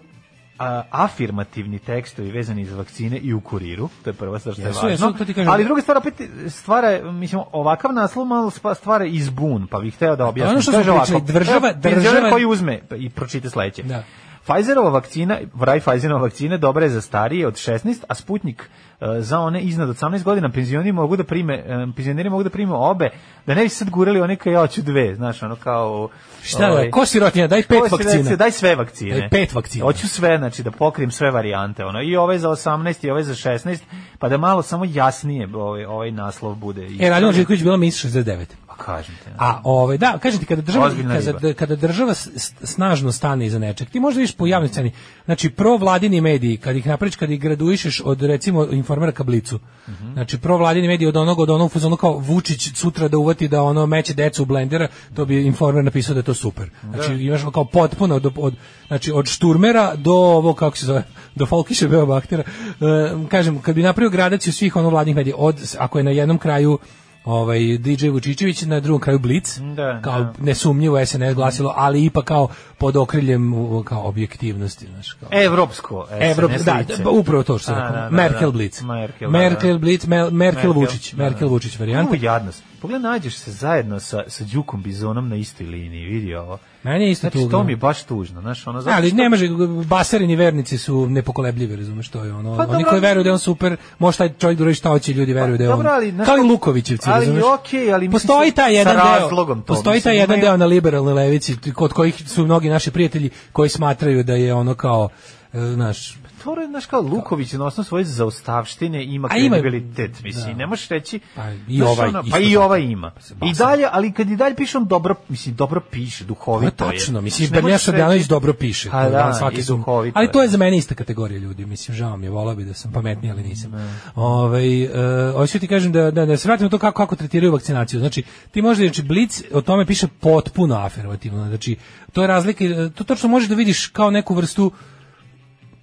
[SPEAKER 6] a, afirmativni tekstovi vezani za vakcine i u kuriru, to je prva stvar što je
[SPEAKER 7] Jesu,
[SPEAKER 6] važno.
[SPEAKER 7] jesu, to ti kažem.
[SPEAKER 6] Ali druga stvar opet stvara, mislim, ovakav naslov malo spa- stvara i zbun, pa bih hteo da objasnim.
[SPEAKER 7] ono što
[SPEAKER 6] Kaže
[SPEAKER 7] smo pričali,
[SPEAKER 6] ovako,
[SPEAKER 7] država-
[SPEAKER 6] evo, penzioner
[SPEAKER 7] država-
[SPEAKER 6] koji uzme pa i pročita sledeće.
[SPEAKER 7] Da.
[SPEAKER 6] Pfizerova vakcina, vraj Pfizerova vakcina dobra je za starije od 16, a Sputnik e, za one iznad od 18 godina penzioneri mogu da prime, e, penzioneri mogu da prime obe, da ne bi sad gurali one kao ja hoću dve, znaš, ono kao...
[SPEAKER 7] Šta
[SPEAKER 6] ovaj,
[SPEAKER 7] je? Ko sirotinja? Daj pet
[SPEAKER 6] Hoće da se-
[SPEAKER 7] vakcina.
[SPEAKER 6] Daj sve vakcine.
[SPEAKER 7] Daj pet vakcina.
[SPEAKER 6] Hoću sve, znači da pokrijem sve varijante, ono i ove za 18 i ove za 16, pa da malo samo jasnije ovaj ovaj naslov bude. I-
[SPEAKER 7] E, Radimo Živković bila Miss 69.
[SPEAKER 6] pa kažem ti. A
[SPEAKER 7] A ovaj da, kažete kada država
[SPEAKER 6] Ozbiljna
[SPEAKER 7] kada, kada država s- s- snažno stane iza nečeg, ti možda viš po javnoj sceni. Znači provladini mediji, kad ih napraviš, kad ih graduišeš od recimo informera ka blicu.
[SPEAKER 6] Mhm.
[SPEAKER 7] Znači provladini mediji od onog od onog fuzonu kao Vučić sutra da uvati da ono meće decu u blendera, to bi informer napisao da je to super. Znači imaš kao potpuno od, od znači od šturmera do ovo kako se zove, do folkiše beobaktera. E, kažem, kad bi napravio gradaciju svih ono vladnih medija od ako je na jednom kraju ovaj DJ Vučićević na drugom kraju Blic
[SPEAKER 6] Da,
[SPEAKER 7] kao
[SPEAKER 6] da.
[SPEAKER 7] nesumnjivo SNS glasilo ali ipak kao pod okriljem u- kao objektivnosti znaš kao
[SPEAKER 6] evropsko. SNS
[SPEAKER 7] Evropa, E, da,
[SPEAKER 6] lice.
[SPEAKER 7] da, upravo to što sam
[SPEAKER 6] Da,
[SPEAKER 7] rekao.
[SPEAKER 6] da, da,
[SPEAKER 7] Merkel
[SPEAKER 6] da.
[SPEAKER 7] Blitz.
[SPEAKER 6] Merkel, da,
[SPEAKER 7] Merkel
[SPEAKER 6] da.
[SPEAKER 7] Blitz, Mel- Merkel
[SPEAKER 6] Merkel,
[SPEAKER 7] Vučić.
[SPEAKER 6] da, da.
[SPEAKER 7] Merkel Vučić
[SPEAKER 6] Ovo
[SPEAKER 7] varijanta.
[SPEAKER 6] je jadnost. Pogledaj, nađeš se zajedno sa, sa Đukom Bizonom na istoj liniji, vidi ovo.
[SPEAKER 7] Meni je isto
[SPEAKER 6] Znači,
[SPEAKER 7] tužno.
[SPEAKER 6] to mi je baš tužno, znaš, ono, zato
[SPEAKER 7] ali
[SPEAKER 6] što-
[SPEAKER 7] ne može, baserini vernici su nepokolebljivi, razumeš, to je ono.
[SPEAKER 6] Pa
[SPEAKER 7] Oni
[SPEAKER 6] dobro,
[SPEAKER 7] koji
[SPEAKER 6] ali-
[SPEAKER 7] veruju da je on super, može taj čovjek da uradi šta hoće, ljudi veruju da je on.
[SPEAKER 6] dobro, ali, znaš
[SPEAKER 7] kao i
[SPEAKER 6] kako-
[SPEAKER 7] Lukovićevci,
[SPEAKER 6] ali
[SPEAKER 7] razumeš.
[SPEAKER 6] okej, ali mislim
[SPEAKER 7] postoji
[SPEAKER 6] sa-
[SPEAKER 7] taj
[SPEAKER 6] sa
[SPEAKER 7] jedan deo,
[SPEAKER 6] razlogom to,
[SPEAKER 7] postoji taj
[SPEAKER 6] mislim,
[SPEAKER 7] jedan
[SPEAKER 6] imaju-
[SPEAKER 7] deo na liberalnoj levici kod kojih su mnogi naši prijatelji koji smatraju da je ono kao e, znaš,
[SPEAKER 6] To je, znaš, kao Luković na osnovu svoje zaostavštine ima
[SPEAKER 7] A ima-
[SPEAKER 6] kredibilitet, mislim,
[SPEAKER 7] da.
[SPEAKER 6] ne možeš reći...
[SPEAKER 7] Pa i
[SPEAKER 6] znaš,
[SPEAKER 7] ovaj
[SPEAKER 6] ono,
[SPEAKER 7] isto
[SPEAKER 6] pa i
[SPEAKER 7] tako.
[SPEAKER 6] ovaj ima. I
[SPEAKER 7] Basan.
[SPEAKER 6] dalje, ali kad i dalje piše, on dobro, mislim, dobro piše,
[SPEAKER 7] To Pa je
[SPEAKER 6] duhovito je.
[SPEAKER 7] tačno, mislim,
[SPEAKER 6] Znaš, ne možeš
[SPEAKER 7] Bernjaša Danović
[SPEAKER 6] reći-
[SPEAKER 7] dobro piše.
[SPEAKER 6] A
[SPEAKER 7] to je
[SPEAKER 6] da,
[SPEAKER 7] svaki
[SPEAKER 6] i
[SPEAKER 7] su-
[SPEAKER 6] duhovito
[SPEAKER 7] Ali to je
[SPEAKER 6] je.
[SPEAKER 7] za mene ista kategorija ljudi, mislim, žao mi je, volao bi da sam pametniji, ali nisam. Ovaj, e, hoću ti kažem da, da, da se vratimo na to kako, kako tretiraju vakcinaciju. Znači, ti možda, znači, Blic o tome piše potpuno afirmativno, znači, to je razlika, e, to točno možeš da vidiš kao neku vrstu,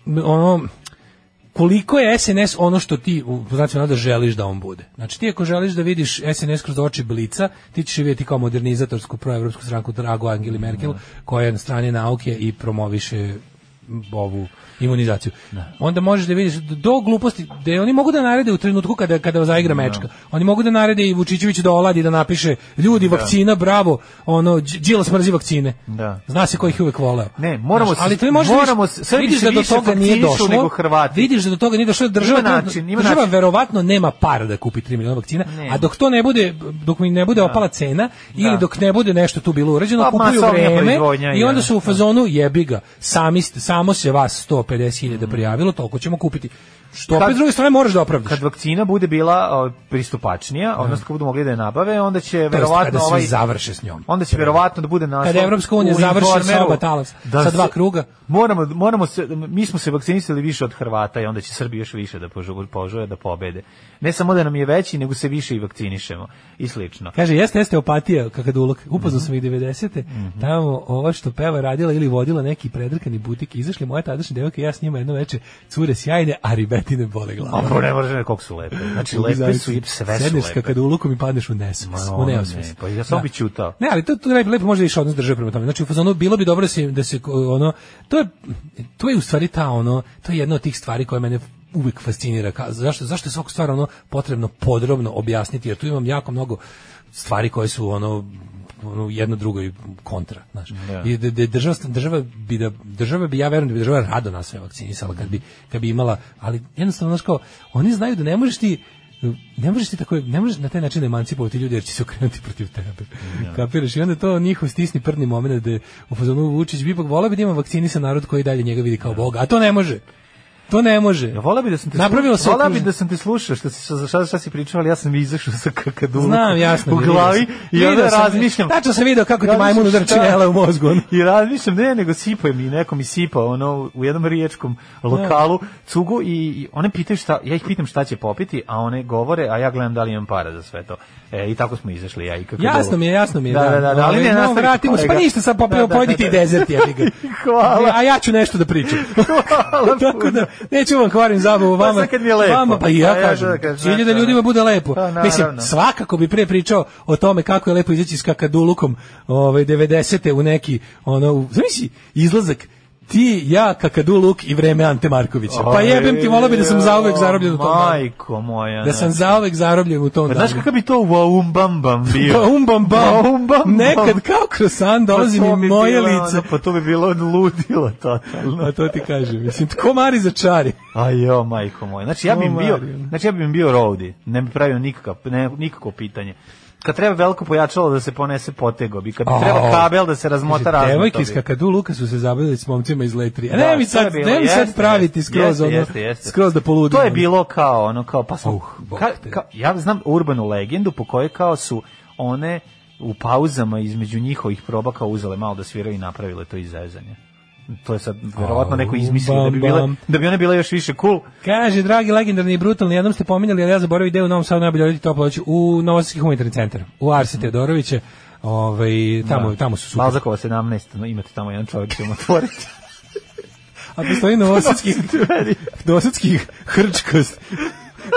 [SPEAKER 7] m, ono, koliko je SNS ono što ti u znači da želiš da on bude. Znači ti ako želiš da vidiš SNS kroz oči Blica, ti ćeš je vidjeti kao modernizatorsku proevropsku stranku Drago Angeli Merkel,
[SPEAKER 6] Da.
[SPEAKER 7] koja je na strani nauke i promoviše ovu imunizaciju. Onda možeš da vidiš do gluposti, da oni mogu da narede u trenutku kada kada zaigra mečka. Oni mogu da narede i Vučićević da oladi da napiše ljudi vakcina bravo, ono Đ- Đilas mrzi vakcine.
[SPEAKER 6] Da.
[SPEAKER 7] Zna se ko ih je uvek voleo.
[SPEAKER 6] Ne, moramo
[SPEAKER 7] Znaš,
[SPEAKER 6] se-
[SPEAKER 7] ali to je možda
[SPEAKER 6] moramo
[SPEAKER 7] vidiš-
[SPEAKER 6] se- Srbi
[SPEAKER 7] vidiš
[SPEAKER 6] se
[SPEAKER 7] da do
[SPEAKER 6] više
[SPEAKER 7] toga nije
[SPEAKER 6] vakcinišu
[SPEAKER 7] došlo.
[SPEAKER 6] nego Hrvati.
[SPEAKER 7] Vidiš da do toga nije došlo, država
[SPEAKER 6] Ima
[SPEAKER 7] trenutno-
[SPEAKER 6] način, ima
[SPEAKER 7] država
[SPEAKER 6] način.
[SPEAKER 7] verovatno nema para da kupi 3 miliona vakcina,
[SPEAKER 6] Ne.
[SPEAKER 7] a dok to ne bude dok mi ne bude opala cena ili dok ne bude nešto tu bilo urađeno,
[SPEAKER 6] Da. Pa,
[SPEAKER 7] kupuju
[SPEAKER 6] masovnija
[SPEAKER 7] vreme
[SPEAKER 6] proizvodnja, da.
[SPEAKER 7] i
[SPEAKER 6] ja.
[SPEAKER 7] onda
[SPEAKER 6] Mm.
[SPEAKER 7] su u fazonu jebi ga. Sami ste- samo se vas 150.000 prijavilo, toliko ćemo kupiti. Što opet s druge strane moraš da opravdaš.
[SPEAKER 6] kad vakcina bude bila o, pristupačnija, odnosno kad budu mogli da je nabave, onda će
[SPEAKER 7] To jest,
[SPEAKER 6] verovatno
[SPEAKER 7] kada svi
[SPEAKER 6] ovaj
[SPEAKER 7] završe s njom.
[SPEAKER 6] Onda će verovatno da bude naslov.
[SPEAKER 7] Kada Evropska unija
[SPEAKER 6] u
[SPEAKER 7] završi sa
[SPEAKER 6] Informeru da
[SPEAKER 7] oba talac, sa dva
[SPEAKER 6] se-
[SPEAKER 7] kruga.
[SPEAKER 6] Moramo moramo se mi smo se vakcinisali više od Hrvata i onda će Srbi još više da požu- požure da pobede. Ne samo da nam je veći, nego se više i vakcinišemo i slično.
[SPEAKER 7] Kaže, jeste, jeste opatija, kakadulok. Upoznao sam ih
[SPEAKER 6] Mhm.
[SPEAKER 7] 90. Tamo ova što peva radila ili vodila neki predrkani butik. Izašli moja tadašnja devojka i ja s njima jedno veče cure sjajne, a ribetine bole glava.
[SPEAKER 6] Ovo ne možeš koliko su lepe. Znači,
[SPEAKER 7] Mogu
[SPEAKER 6] lepe su i
[SPEAKER 7] zamisliti.
[SPEAKER 6] sve su
[SPEAKER 7] Sedneš
[SPEAKER 6] lepe.
[SPEAKER 7] kad u lukom i padneš u
[SPEAKER 6] Ma,
[SPEAKER 7] nesvest, u
[SPEAKER 6] ono
[SPEAKER 7] neosvest.
[SPEAKER 6] ne, pa ja sam bi ćutao.
[SPEAKER 7] Ne, ali to tu lepo, lepo može više odnos drže prema tome. Znači, u fazonu bilo bi dobro da se, da se ko- ono, to je, to je u stvari ta ono, to je jedna od tih stvari koja mene uvek fascinira. Ka, zašto, zašto je svaku stvar ono potrebno podrobno objasniti, jer tu imam jako mnogo stvari koje su ono ono jedno drugo i kontra, znaš. I da, da je država, država bi da država bi ja verujem da bi država rado nas sve vakcinisala kad bi kad bi imala, ali jednostavno znaš kao oni znaju da ne možeš ti ne možeš ti tako, ne možeš na taj način da emancipovati ljudi jer će se okrenuti protiv tebe.
[SPEAKER 6] Da.
[SPEAKER 7] Kapiraš? I onda to njihov stisni prdni moment da je u fazonu Vučić bi ipak volao bi da ima vakcinisan narod koji dalje njega vidi kao Boga, a to ne može. To ne može.
[SPEAKER 6] Da. Ja vola bi da sam te
[SPEAKER 7] Napravilo se
[SPEAKER 6] slušao, vola bi
[SPEAKER 7] okružen-
[SPEAKER 6] da sam te slušao što si šta, šta, šta si pričao, ali ja sam izašao sa kakadulom.
[SPEAKER 7] Znam, jasno.
[SPEAKER 6] U
[SPEAKER 7] vidio
[SPEAKER 6] glavi
[SPEAKER 7] sam.
[SPEAKER 6] i onda
[SPEAKER 7] Video sam-
[SPEAKER 6] razmišljam.
[SPEAKER 7] Tačno sam video kako ti
[SPEAKER 6] Razmišljam
[SPEAKER 7] majmun udar
[SPEAKER 6] šta-
[SPEAKER 7] činela u mozgu. ono.
[SPEAKER 6] I razmišljam, ne, nego sipao mi, neko mi sipao, ono, u jednom riječkom lokalu, cugu, i, i one pitaju šta, ja ih pitam šta će popiti, a one govore, a ja gledam da li imam para za sve to. E, i tako smo izašli, ja i kako
[SPEAKER 7] Jasno mi je, jasno mi je.
[SPEAKER 6] Da, da, da, da, ali ne,
[SPEAKER 7] no,
[SPEAKER 6] nastavi,
[SPEAKER 7] vratimo se, pa
[SPEAKER 6] kolega.
[SPEAKER 7] ništa sad popio,
[SPEAKER 6] Da, da, da,
[SPEAKER 7] pojedite i
[SPEAKER 6] da.
[SPEAKER 7] dezert, jebi ga.
[SPEAKER 6] Hvala.
[SPEAKER 7] A ja ću nešto da pričam.
[SPEAKER 6] Hvala
[SPEAKER 7] Tako da, neću vam kvarim zabavu
[SPEAKER 6] Pa
[SPEAKER 7] vama.
[SPEAKER 6] sad kad mi je lepo.
[SPEAKER 7] Vama, pa i ja
[SPEAKER 6] Pa ja
[SPEAKER 7] kažem.
[SPEAKER 6] da kažem,
[SPEAKER 7] Cilj je da
[SPEAKER 6] znaš,
[SPEAKER 7] ljudima
[SPEAKER 6] ono.
[SPEAKER 7] bude lepo.
[SPEAKER 6] Pa, naravno.
[SPEAKER 7] Mislim, svakako bi pre pričao o tome kako je lepo izaći s kakadulukom ovaj, 90. u neki, ono, u- zamisli, izlazak ti, ja, kakaduluk i vreme Ante Markovića. Pa jebem ti, volao bi da sam zauvek zarobljen u tom danu.
[SPEAKER 6] Majko moja.
[SPEAKER 7] Da sam zauvek zarobljen u tom
[SPEAKER 6] Pa
[SPEAKER 7] danu.
[SPEAKER 6] znaš kakav bi to waumbambam bio?
[SPEAKER 7] Pa um bam bam.
[SPEAKER 6] Pa um bam bam.
[SPEAKER 7] Nekad kao krosan dolazi
[SPEAKER 6] Pa to
[SPEAKER 7] mi
[SPEAKER 6] bi
[SPEAKER 7] moje
[SPEAKER 6] bilo, ono,
[SPEAKER 7] lice.
[SPEAKER 6] Pa to bi bilo ludilo totalno.
[SPEAKER 7] A to ti kažem. Mislim, tko mari za čari?
[SPEAKER 6] A jo, majko moj. Znači ja bih
[SPEAKER 7] O,
[SPEAKER 6] bio,
[SPEAKER 7] Mario.
[SPEAKER 6] znači ja bih bio roadie. Ne bi pravio nikakav, ne, nikako pitanje. Kad treba veliko pojačalo da se ponese potego bi, kad bi
[SPEAKER 7] Au.
[SPEAKER 6] trebao kabel da se razmota razmota.
[SPEAKER 7] Oh. Devojke
[SPEAKER 6] bi.
[SPEAKER 7] iz Kakadu Luka su se zabavili s momcima iz Letri. A
[SPEAKER 6] Da,
[SPEAKER 7] ne mi
[SPEAKER 6] to
[SPEAKER 7] sad,
[SPEAKER 6] je bilo,
[SPEAKER 7] ne mi sad
[SPEAKER 6] jeste,
[SPEAKER 7] praviti
[SPEAKER 6] jeste,
[SPEAKER 7] skroz
[SPEAKER 6] jeste,
[SPEAKER 7] ono,
[SPEAKER 6] jeste, jeste.
[SPEAKER 7] skroz da poludim.
[SPEAKER 6] To je bilo kao ono kao pa sam,
[SPEAKER 7] Uh, bog
[SPEAKER 6] ka,
[SPEAKER 7] te.
[SPEAKER 6] ka, ja znam urbanu legendu po kojoj kao su one u pauzama između njihovih proba kao uzele malo da sviraju i napravile to izvezanje. To je sad verovatno neko izmislio da bi bile
[SPEAKER 7] bam.
[SPEAKER 6] da bi one bile još više cool.
[SPEAKER 7] Kaže, dragi, legendarni i brutalni, jednom ste pominjali, ali ja zaboravio ideju u Novom Sadu najbolje odjeti toplo doći u Novosadski humanitarni centar, u
[SPEAKER 6] Mhm.
[SPEAKER 7] Arsi Teodorovića, ovaj, tamo,
[SPEAKER 6] Da.
[SPEAKER 7] tamo su super.
[SPEAKER 6] Balzakova 17, no, imate tamo jedan čovjek ćemo otvoriti.
[SPEAKER 7] A postoji Novosadski, Novosadski hrčkost,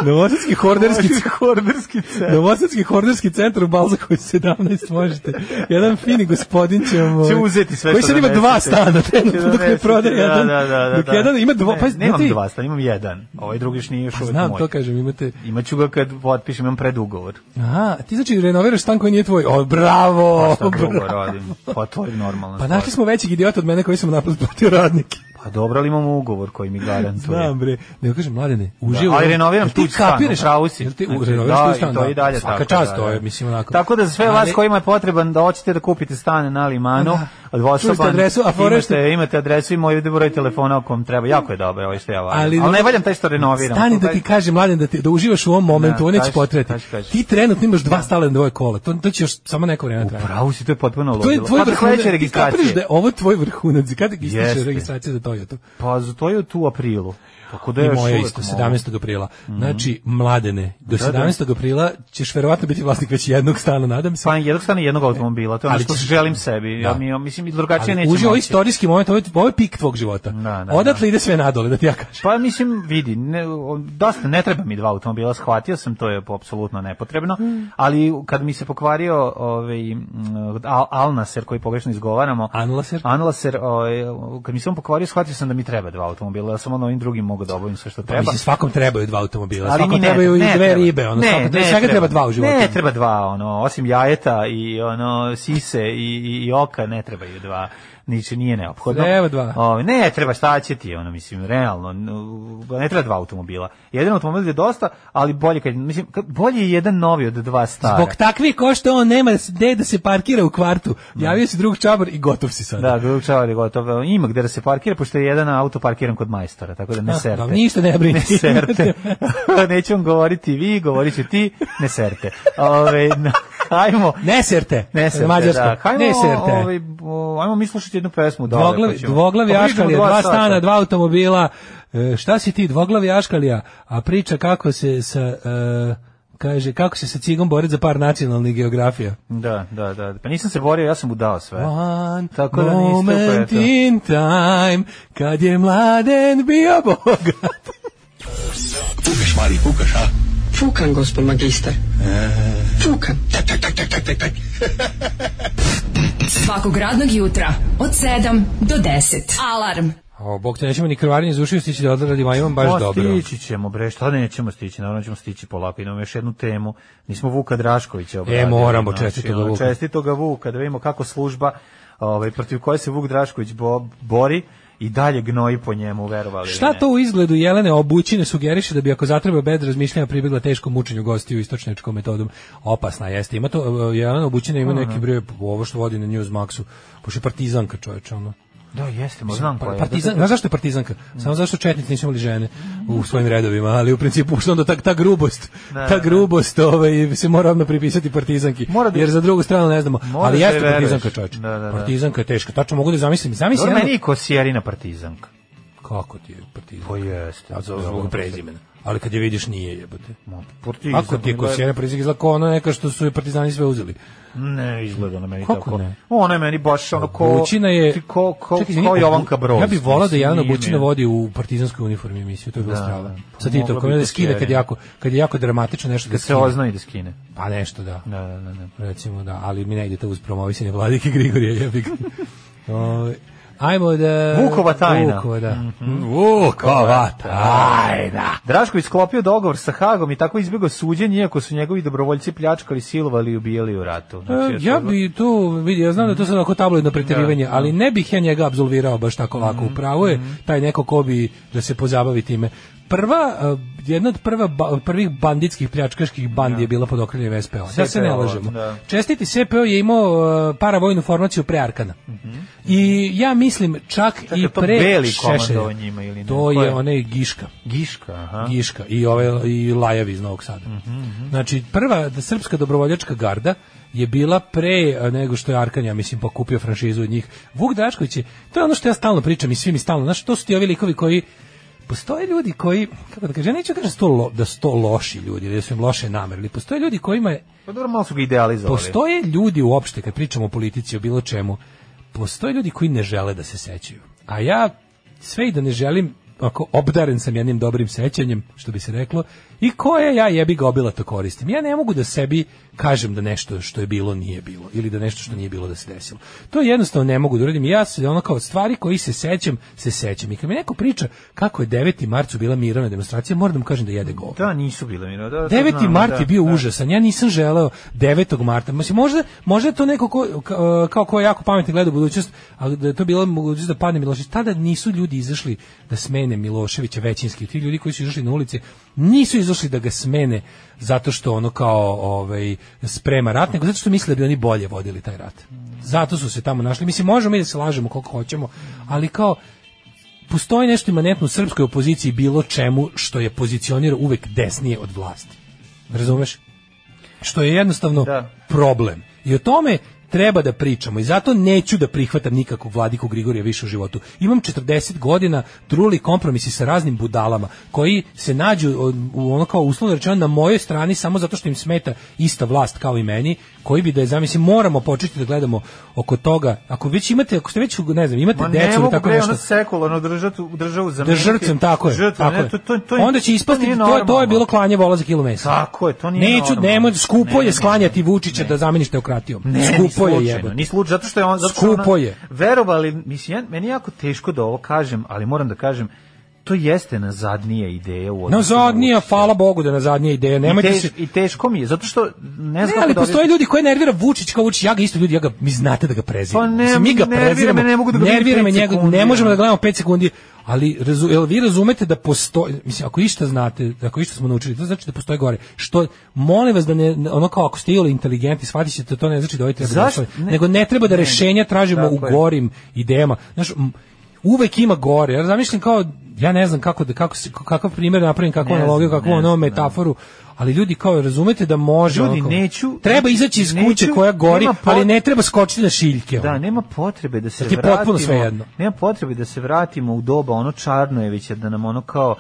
[SPEAKER 7] Novosadski horderski
[SPEAKER 6] horderski centar.
[SPEAKER 7] Novosadski horderski centar u Balzakovi 17 možete. Jedan fini gospodin će vam...
[SPEAKER 6] Će
[SPEAKER 7] ovaj,
[SPEAKER 6] uzeti sve
[SPEAKER 7] Koji
[SPEAKER 6] što
[SPEAKER 7] sad ima
[SPEAKER 6] donesete.
[SPEAKER 7] dva stana,
[SPEAKER 6] Će
[SPEAKER 7] trenutno, dok ne
[SPEAKER 6] donesete,
[SPEAKER 7] prodaje
[SPEAKER 6] da,
[SPEAKER 7] jedan.
[SPEAKER 6] Da, da, da,
[SPEAKER 7] dok
[SPEAKER 6] da.
[SPEAKER 7] jedan ima dva...
[SPEAKER 6] Ne,
[SPEAKER 7] Pa,
[SPEAKER 6] nemam
[SPEAKER 7] znate-
[SPEAKER 6] dva stana, imam jedan. Ovaj drugi još nije još
[SPEAKER 7] Pa
[SPEAKER 6] uvijek
[SPEAKER 7] znam,
[SPEAKER 6] moj.
[SPEAKER 7] to kažem, imate...
[SPEAKER 6] Imaću ga kad potpišem, imam predugovor.
[SPEAKER 7] Aha, ti znači renoviraš stan koji nije tvoj. O, bravo!
[SPEAKER 6] Pa šta drugo
[SPEAKER 7] bravo.
[SPEAKER 6] radim? Pa to je normalno.
[SPEAKER 7] Pa našli smo većeg idiota od mene koji sam napad platio radnike.
[SPEAKER 6] Pa dobro, ali imamo ugovor koji mi garantuje.
[SPEAKER 7] Znam bre, nego kažem mladene, uživo.
[SPEAKER 6] Da, ali renoviram
[SPEAKER 7] Jel ti
[SPEAKER 6] tu stan,
[SPEAKER 7] kapiraš?
[SPEAKER 6] u pravu si.
[SPEAKER 7] Jel ti
[SPEAKER 6] Znači,
[SPEAKER 7] renoviraš
[SPEAKER 6] da,
[SPEAKER 7] tu stan?
[SPEAKER 6] i to i dalje
[SPEAKER 7] Svaka
[SPEAKER 6] tako,
[SPEAKER 7] čast,
[SPEAKER 6] da,
[SPEAKER 7] to je,
[SPEAKER 6] da.
[SPEAKER 7] mislim, onako.
[SPEAKER 6] Tako da za sve
[SPEAKER 7] Ali-
[SPEAKER 6] vas kojima je potreban da hoćete da kupite stan na Limanu,
[SPEAKER 7] Da.
[SPEAKER 6] od Vosoban,
[SPEAKER 7] Čuli ste adresu, a fore što-
[SPEAKER 6] imate, imate adresu i moj broj telefona o kom treba. Jako je dobro ovo što ja valjam. Ali, ne valjam taj što renoviram.
[SPEAKER 7] Stani
[SPEAKER 6] To
[SPEAKER 7] da
[SPEAKER 6] taj-
[SPEAKER 7] ti kažem, mladen, da, ti, da uživaš u ovom momentu,
[SPEAKER 6] Da,
[SPEAKER 7] on neće
[SPEAKER 6] kaži,
[SPEAKER 7] potreti.
[SPEAKER 6] kaži, kaži.
[SPEAKER 7] Ti trenutno imaš dva stala na dvoje kola, to, to će još samo neko vreme trajati.
[SPEAKER 6] Pravo si, to je potpuno
[SPEAKER 7] To je
[SPEAKER 6] ludilo.
[SPEAKER 7] tvoj
[SPEAKER 6] Pa do
[SPEAKER 7] vrhunac,
[SPEAKER 6] sledeće
[SPEAKER 7] ti kapiraš
[SPEAKER 6] registracije.
[SPEAKER 7] da je ovo tvoj vrhunac, kada ističe
[SPEAKER 6] Jeste.
[SPEAKER 7] registracija za Toyota?
[SPEAKER 6] Pa za to je tu u aprilu. Tako da
[SPEAKER 7] I
[SPEAKER 6] još
[SPEAKER 7] moja
[SPEAKER 6] uvek
[SPEAKER 7] isto,
[SPEAKER 6] mogu.
[SPEAKER 7] 17. aprila. Znači, mladene, do
[SPEAKER 6] Da, da.
[SPEAKER 7] 17. aprila ćeš verovatno biti vlasnik već jednog stana, nadam se.
[SPEAKER 6] Pa jednog stana i jednog automobila, to je ono
[SPEAKER 7] E, Ali
[SPEAKER 6] što
[SPEAKER 7] ćeš-
[SPEAKER 6] želim sebi. Ja
[SPEAKER 7] Da.
[SPEAKER 6] mi, mislim, i drugačije
[SPEAKER 7] Ali
[SPEAKER 6] neće
[SPEAKER 7] uživo
[SPEAKER 6] moći.
[SPEAKER 7] istorijski moment, ovo je, ovo je pik tvog života.
[SPEAKER 6] Da, da,
[SPEAKER 7] Odatle ide sve nadole, da ti ja kažem.
[SPEAKER 6] Pa mislim, vidi, ne, o, dosta, ne treba mi dva automobila, shvatio sam, to je apsolutno nepotrebno, ali kad mi se pokvario ovaj, m, Al- Alnaser, koji pogrešno izgovaramo,
[SPEAKER 7] Anlaser?
[SPEAKER 6] Anlaser, ovaj, kad mi se on pokvario, shhvatio sam da mi treba dva automobila, da sam ono ovim drugim mogao da obavim sve što treba.
[SPEAKER 7] Pa Mislim, svakom trebaju dva automobila,
[SPEAKER 6] Ali mi
[SPEAKER 7] svakom
[SPEAKER 6] ne,
[SPEAKER 7] trebaju i
[SPEAKER 6] ne
[SPEAKER 7] dve
[SPEAKER 6] Da, treba.
[SPEAKER 7] ribe, ono, svakom treba, svega treba dva u životu.
[SPEAKER 6] Ne, treba dva, ono, osim jajeta i ono sise i, i, i oka, ne trebaju dva. Niče nije neophodno.
[SPEAKER 7] Treba dva.
[SPEAKER 6] O, ne, treba šta će ti, ono, mislim, realno, n- ne treba dva automobila. Jedan automobil je dosta, ali bolje, kad, mislim, kad- bolje je jedan novi od dva stara.
[SPEAKER 7] Zbog takvih ko što on nema gde da se parkira u kvartu. Javio si drug čabar i gotov si sad.
[SPEAKER 6] Da, Gručavar je gotovo. Ima gde da se parkira, pošto pošto je jedan auto parkiran kod majstora, tako da ne
[SPEAKER 7] Da,
[SPEAKER 6] serte.
[SPEAKER 7] da, ništa ne brini.
[SPEAKER 6] Ne serte. Neću vam govoriti vi, govorit ću ti, ne serte. Ove, na, ajmo.
[SPEAKER 7] Ne serte.
[SPEAKER 6] Ne serte,
[SPEAKER 7] Mađarsko.
[SPEAKER 6] da. Ajmo,
[SPEAKER 7] Ne serte.
[SPEAKER 6] Ovaj, o, ajmo mi slušati jednu pesmu. Dole,
[SPEAKER 7] Dvoglavi,
[SPEAKER 6] pa ćemo-
[SPEAKER 7] dvoglavi
[SPEAKER 6] Pa pričamo
[SPEAKER 7] Aškalija,
[SPEAKER 6] dva
[SPEAKER 7] dva
[SPEAKER 6] sata.
[SPEAKER 7] stana, dva automobila. E, šta si ti, dvoglavi Aškalija? A priča kako se sa... e, kaže, kako se sa cigom boriti za par nacionalnih geografija.
[SPEAKER 6] Da, da, da. Pa nisam se borio, ja sam mu dao sve.
[SPEAKER 7] One
[SPEAKER 6] Tako da niste
[SPEAKER 7] moment
[SPEAKER 6] upeto.
[SPEAKER 7] in time, kad je mladen bio bogat.
[SPEAKER 10] Fukan, gospod magistar. Fukan.
[SPEAKER 5] Svakog radnog jutra od 7 do 10. Alarm.
[SPEAKER 7] Pa, O, Bog te nećemo ni krvarenje iz ušiju stići da odradimo, a imam baš
[SPEAKER 6] Ma,
[SPEAKER 7] dobro.
[SPEAKER 6] Pa Stići ćemo, bre, šta da nećemo stići, naravno ćemo stići polako, imamo još jednu temu, nismo Vuka Draškovića obradili.
[SPEAKER 7] E, moramo,
[SPEAKER 6] znači,
[SPEAKER 7] čestito ga
[SPEAKER 6] ono,
[SPEAKER 7] Vuka.
[SPEAKER 6] Čestito ga Vuka, da vidimo kako služba ovaj, protiv koje se Vuk Drašković bo, bori i dalje gnoji po njemu, verovali ili
[SPEAKER 7] Šta
[SPEAKER 6] ne.
[SPEAKER 7] to u izgledu Jelene obućine sugeriše da bi ako zatreba bed razmišljanja pribjegla teškom mučenju gostiju istočnečkom metodom? Opasna jeste. Ima to, e, Jelena obućina ima neki broj, ovo što vodi na Newsmaxu, pošto je partizanka čoveče, ono.
[SPEAKER 6] Da, jeste, ma znam koja
[SPEAKER 7] Pa,
[SPEAKER 6] je. Da,
[SPEAKER 7] partizan, znaš zašto je partizanka? Samo zašto četnici nisu imali žene u svojim redovima, ali u principu što onda ta, ta grubost,
[SPEAKER 6] Da,
[SPEAKER 7] ta grubost ovaj, se mora odmah pripisati partizanki,
[SPEAKER 6] Mora da-
[SPEAKER 7] jer za drugu stranu ne znamo,
[SPEAKER 6] Mora
[SPEAKER 7] ali
[SPEAKER 6] da
[SPEAKER 7] jeste
[SPEAKER 6] veruješ.
[SPEAKER 7] partizanka čoveče.
[SPEAKER 6] Da, da, da.
[SPEAKER 7] Partizanka je teška, tačno mogu da zamislim. Zamislim
[SPEAKER 6] Dobro,
[SPEAKER 7] Jelenu-
[SPEAKER 6] meni je Kosjerina partizanka.
[SPEAKER 7] Kako ti je partizanka?
[SPEAKER 6] Pa jeste.
[SPEAKER 7] Ja zbog zbog prezimena. Ali kad je vidiš nije jebote.
[SPEAKER 6] Ma, partizan,
[SPEAKER 7] Ako ti je
[SPEAKER 6] pa mi
[SPEAKER 7] kosjera prezimena izgleda kao ono neka što su je partizani sve uzeli.
[SPEAKER 6] Ne, izgleda na meni
[SPEAKER 7] Kako
[SPEAKER 6] tako.
[SPEAKER 7] ne?
[SPEAKER 6] Ona je meni baš ono ko...
[SPEAKER 7] Vučina je...
[SPEAKER 6] ti Ko, ko,
[SPEAKER 7] Čekaj,
[SPEAKER 6] ko
[SPEAKER 7] izvini, pa
[SPEAKER 6] Jovanka Broz.
[SPEAKER 7] Ja bih volao da
[SPEAKER 6] mislim,
[SPEAKER 7] Jelena
[SPEAKER 6] nije mi
[SPEAKER 7] Bučina
[SPEAKER 6] je.
[SPEAKER 7] vodi u partizanskoj uniformi emisiju, to je bilo
[SPEAKER 6] Da,
[SPEAKER 7] strava.
[SPEAKER 6] da.
[SPEAKER 7] Sa Tito,
[SPEAKER 6] Mogla
[SPEAKER 7] kao
[SPEAKER 6] bi
[SPEAKER 7] da skine
[SPEAKER 6] Kosjera.
[SPEAKER 7] kad je jako, kad je jako dramatično nešto da
[SPEAKER 6] Da se
[SPEAKER 7] skine.
[SPEAKER 6] oznoji da skine.
[SPEAKER 7] Pa nešto, da.
[SPEAKER 6] Da, da, da. da.
[SPEAKER 7] Recimo, da. Ali mi ne idete uz promovisanje vladike Grigorija jebi ga. Ovaj, Ajmo da...
[SPEAKER 6] Vukova tajna. Mhm.
[SPEAKER 7] Vukova, da. Vukova tajna.
[SPEAKER 6] Drašković sklopio dogovor sa Hagom i tako izbjegao suđenje, iako su njegovi dobrovoljci pljačkali, silovali i ubijali u ratu.
[SPEAKER 7] E,
[SPEAKER 6] Znači,
[SPEAKER 7] ja
[SPEAKER 6] eto,
[SPEAKER 7] bi to vidio, ja znam da je to sad onako tabloidno preterivanje, ali ne bih ja njega absolvirao baš tako lako.
[SPEAKER 6] Mm,
[SPEAKER 7] Upravo je taj neko ko bi da se pozabavi time. Prva, e, jedna od prva, ba- prvih banditskih pljačkaških
[SPEAKER 6] Da.
[SPEAKER 7] bandi je bila pod okriljem SPO. Da se ne
[SPEAKER 6] SPO,
[SPEAKER 7] lažemo.
[SPEAKER 6] da.
[SPEAKER 7] Čestiti SPO je imao e, paravojnu formaciju pre Arkana. I ja mislim čak
[SPEAKER 6] Mhm, Čekaj,
[SPEAKER 7] i
[SPEAKER 6] to
[SPEAKER 7] pre
[SPEAKER 6] Beli
[SPEAKER 7] Šešelja.
[SPEAKER 6] komandovao njima ili ne?
[SPEAKER 7] To
[SPEAKER 6] Ko je?
[SPEAKER 7] je onaj Giška.
[SPEAKER 6] Giška, aha.
[SPEAKER 7] Giška i ove i Lajavi iz Novog Sada. Znači prva da srpska dobrovoljačka garda je bila pre e, nego što je Arkan ja mislim pokupio franšizu od njih. Vuk Drašković je to je ono što ja stalno pričam i svi mi stalno, znači to su ti ovi likovi koji postoje ljudi koji kako da kažem, ja neću kažem da su to lo- da su to loši ljudi, da su im loše namere, ali postoje ljudi kojima je
[SPEAKER 6] Pa dobro, malo su ga idealizovali.
[SPEAKER 7] Postoje ljudi uopšte, kad pričamo o politici, o bilo čemu, postoje ljudi koji ne žele da se sećaju. A ja sve i da ne želim, ako obdaren sam jednim dobrim sećanjem, što bi se reklo, i koje ja jebi ga obilato koristim. Ja ne mogu da sebi kažem da nešto što je bilo nije bilo, ili da nešto što nije bilo da se desilo. To jednostavno ne mogu da uradim. Ja se ono kao stvari koji se sećam, se sećam. I kad mi neko priča kako je 9. marcu bila mirovna demonstracija, moram da mu kažem da jede govno.
[SPEAKER 6] Da, nisu bile mino. Da, to
[SPEAKER 7] 9.
[SPEAKER 6] znamo,
[SPEAKER 7] mart
[SPEAKER 6] da,
[SPEAKER 7] je bio
[SPEAKER 6] da.
[SPEAKER 7] užasan. Ja nisam želeo 9. marta. Mislim možda možda je to neko ko ka- e, kao ko je jako pametno gleda u budućnost, ali da je to bila mogućnost da padne Milošević. Tada nisu ljudi izašli da smene Miloševića većinski. Ti ljudi koji su izašli na ulice nisu izašli da ga smene zato što ono kao ovaj sprema rat, nego zato što misle da bi oni bolje vodili taj rat. Zato su se tamo našli. Mislim možemo mi da se lažemo koliko hoćemo, ali kao postoji nešto imanentno u srpskoj opoziciji bilo čemu što je pozicionira uvek desnije od vlasti. Razumeš? Što je jednostavno
[SPEAKER 6] Da.
[SPEAKER 7] problem. I o tome treba da pričamo i zato neću da prihvatam nikakvog vladiku Grigorija više u životu. Imam 40 godina truli kompromisi sa raznim budalama koji se nađu od- u ono kao uslovno rečeno na mojoj strani samo zato što im smeta ista vlast kao i meni, koji bi da je zamislim moramo početi da gledamo oko toga. Ako već imate, ako ste već ne znam, imate
[SPEAKER 6] Ma ne
[SPEAKER 7] decu ili
[SPEAKER 6] mogu
[SPEAKER 7] tako
[SPEAKER 6] bre,
[SPEAKER 7] nešto.
[SPEAKER 6] ono sekularno držati državu za
[SPEAKER 7] Da žrtvom, tako je. tako
[SPEAKER 6] ne,
[SPEAKER 7] je.
[SPEAKER 6] to, to, to, je-
[SPEAKER 7] Onda će ispasti, da
[SPEAKER 6] nije
[SPEAKER 7] to, to, je, to je bilo
[SPEAKER 6] normalno.
[SPEAKER 7] klanje vola za kilo mesa.
[SPEAKER 6] Tako je, to nije
[SPEAKER 7] Neću,
[SPEAKER 6] normalno.
[SPEAKER 7] nemoj, skupo
[SPEAKER 6] Ne,
[SPEAKER 7] je
[SPEAKER 6] ne,
[SPEAKER 7] sklanjati Vučića da zameniš teokratijom.
[SPEAKER 6] Ne, ni
[SPEAKER 7] skupo je
[SPEAKER 6] slučajno,
[SPEAKER 7] jebote.
[SPEAKER 6] Ni slučajno, zato što je on... Zato što
[SPEAKER 7] Skupo
[SPEAKER 6] ona-
[SPEAKER 7] je.
[SPEAKER 6] Verovali, mislim, ja, meni je jako teško da ovo kažem, ali moram da kažem, to jeste nazadnija ideja u odnosu na
[SPEAKER 7] Nazadnija,
[SPEAKER 6] Vučića.
[SPEAKER 7] hvala Bogu da nazadnija ideja. Nemojte
[SPEAKER 6] I, teš-
[SPEAKER 7] se...
[SPEAKER 6] I teško mi je, zato što ne
[SPEAKER 7] Ne,
[SPEAKER 6] znam kako
[SPEAKER 7] ali
[SPEAKER 6] da
[SPEAKER 7] postoje
[SPEAKER 6] objasnim.
[SPEAKER 7] ljudi koje nervira Vučić kao Vučić, ja ga isto ljudi, ja ga, mi znate da ga preziramo.
[SPEAKER 6] Pa ne,
[SPEAKER 7] Mislim, mi ga
[SPEAKER 6] nervira me,
[SPEAKER 7] preziramo,
[SPEAKER 6] ne mogu da ga vidim
[SPEAKER 7] nervira
[SPEAKER 6] pet
[SPEAKER 7] me njega,
[SPEAKER 6] sekundi,
[SPEAKER 7] ne možemo
[SPEAKER 6] ono.
[SPEAKER 7] da gledamo 5 sekundi, ali razu, jel vi razumete da postoji, mislim, ako išta znate, ako išta smo naučili, to znači da postoji gore. Što, molim vas da ne, ono kao ako ste ili inteligentni, shvatit ćete, to ne znači da ovaj treba da
[SPEAKER 6] Zašto?
[SPEAKER 7] glasuje,
[SPEAKER 6] Ne.
[SPEAKER 7] nego ne treba da rešenja tražimo
[SPEAKER 6] Tako
[SPEAKER 7] u
[SPEAKER 6] je.
[SPEAKER 7] gorim idejama. Znaš, m, uvek ima gore. Ja zamišljam kao ja ne znam kako da kako se- kakav primjer napravim, kakvu
[SPEAKER 6] Ne znam,
[SPEAKER 7] analogiju,
[SPEAKER 6] ne
[SPEAKER 7] kakvu ono
[SPEAKER 6] znam, da.
[SPEAKER 7] metaforu, ali ljudi kao razumete da može
[SPEAKER 6] Ljudi,
[SPEAKER 7] ono kao-
[SPEAKER 6] neću-
[SPEAKER 7] treba izaći iz kuće
[SPEAKER 6] neću,
[SPEAKER 7] koja gori,
[SPEAKER 6] nema pot-
[SPEAKER 7] ali ne treba skočiti na šiljke.
[SPEAKER 6] Da,
[SPEAKER 7] ono.
[SPEAKER 6] nema potrebe da se
[SPEAKER 7] Da ti je potpuno
[SPEAKER 6] vratimo.
[SPEAKER 7] svejedno.
[SPEAKER 6] Nema potrebe da se vratimo u doba ono Čarnojevića da nam ono kao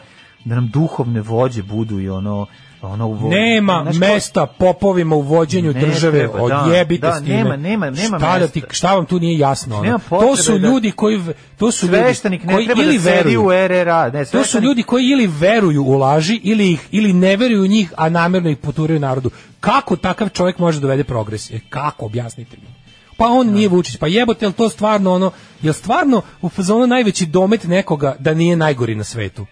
[SPEAKER 6] da nam duhovne vođe budu i ono ono u
[SPEAKER 7] Nema
[SPEAKER 6] znaš, kao-
[SPEAKER 7] mesta popovima u vođenju
[SPEAKER 6] Ne
[SPEAKER 7] države,
[SPEAKER 6] treba, da,
[SPEAKER 7] odjebite
[SPEAKER 6] da,
[SPEAKER 7] s time.
[SPEAKER 6] nema- nema- nema
[SPEAKER 7] šta, da
[SPEAKER 6] mesta.
[SPEAKER 7] ti, šta vam tu nije jasno? ono?
[SPEAKER 6] Nema
[SPEAKER 7] to
[SPEAKER 6] potrebe
[SPEAKER 7] su
[SPEAKER 6] da-
[SPEAKER 7] ljudi koji, v- to su
[SPEAKER 6] sveštenik
[SPEAKER 7] ljudi
[SPEAKER 6] ne
[SPEAKER 7] koji
[SPEAKER 6] treba
[SPEAKER 7] ili
[SPEAKER 6] da sedi
[SPEAKER 7] veruju,
[SPEAKER 6] u RRA. Ne,
[SPEAKER 7] To su
[SPEAKER 6] sveštenik-
[SPEAKER 7] ljudi koji ili veruju u laži ili ih ili ne veruju u njih, a namerno ih poturaju narodu. Kako takav čovjek može dovede progres? E, kako objasnite mi? Pa on
[SPEAKER 6] Da.
[SPEAKER 7] nije Vučić, pa jebote, jel to stvarno ono, jel stvarno u fazonu najveći domet nekoga da nije najgori na svetu?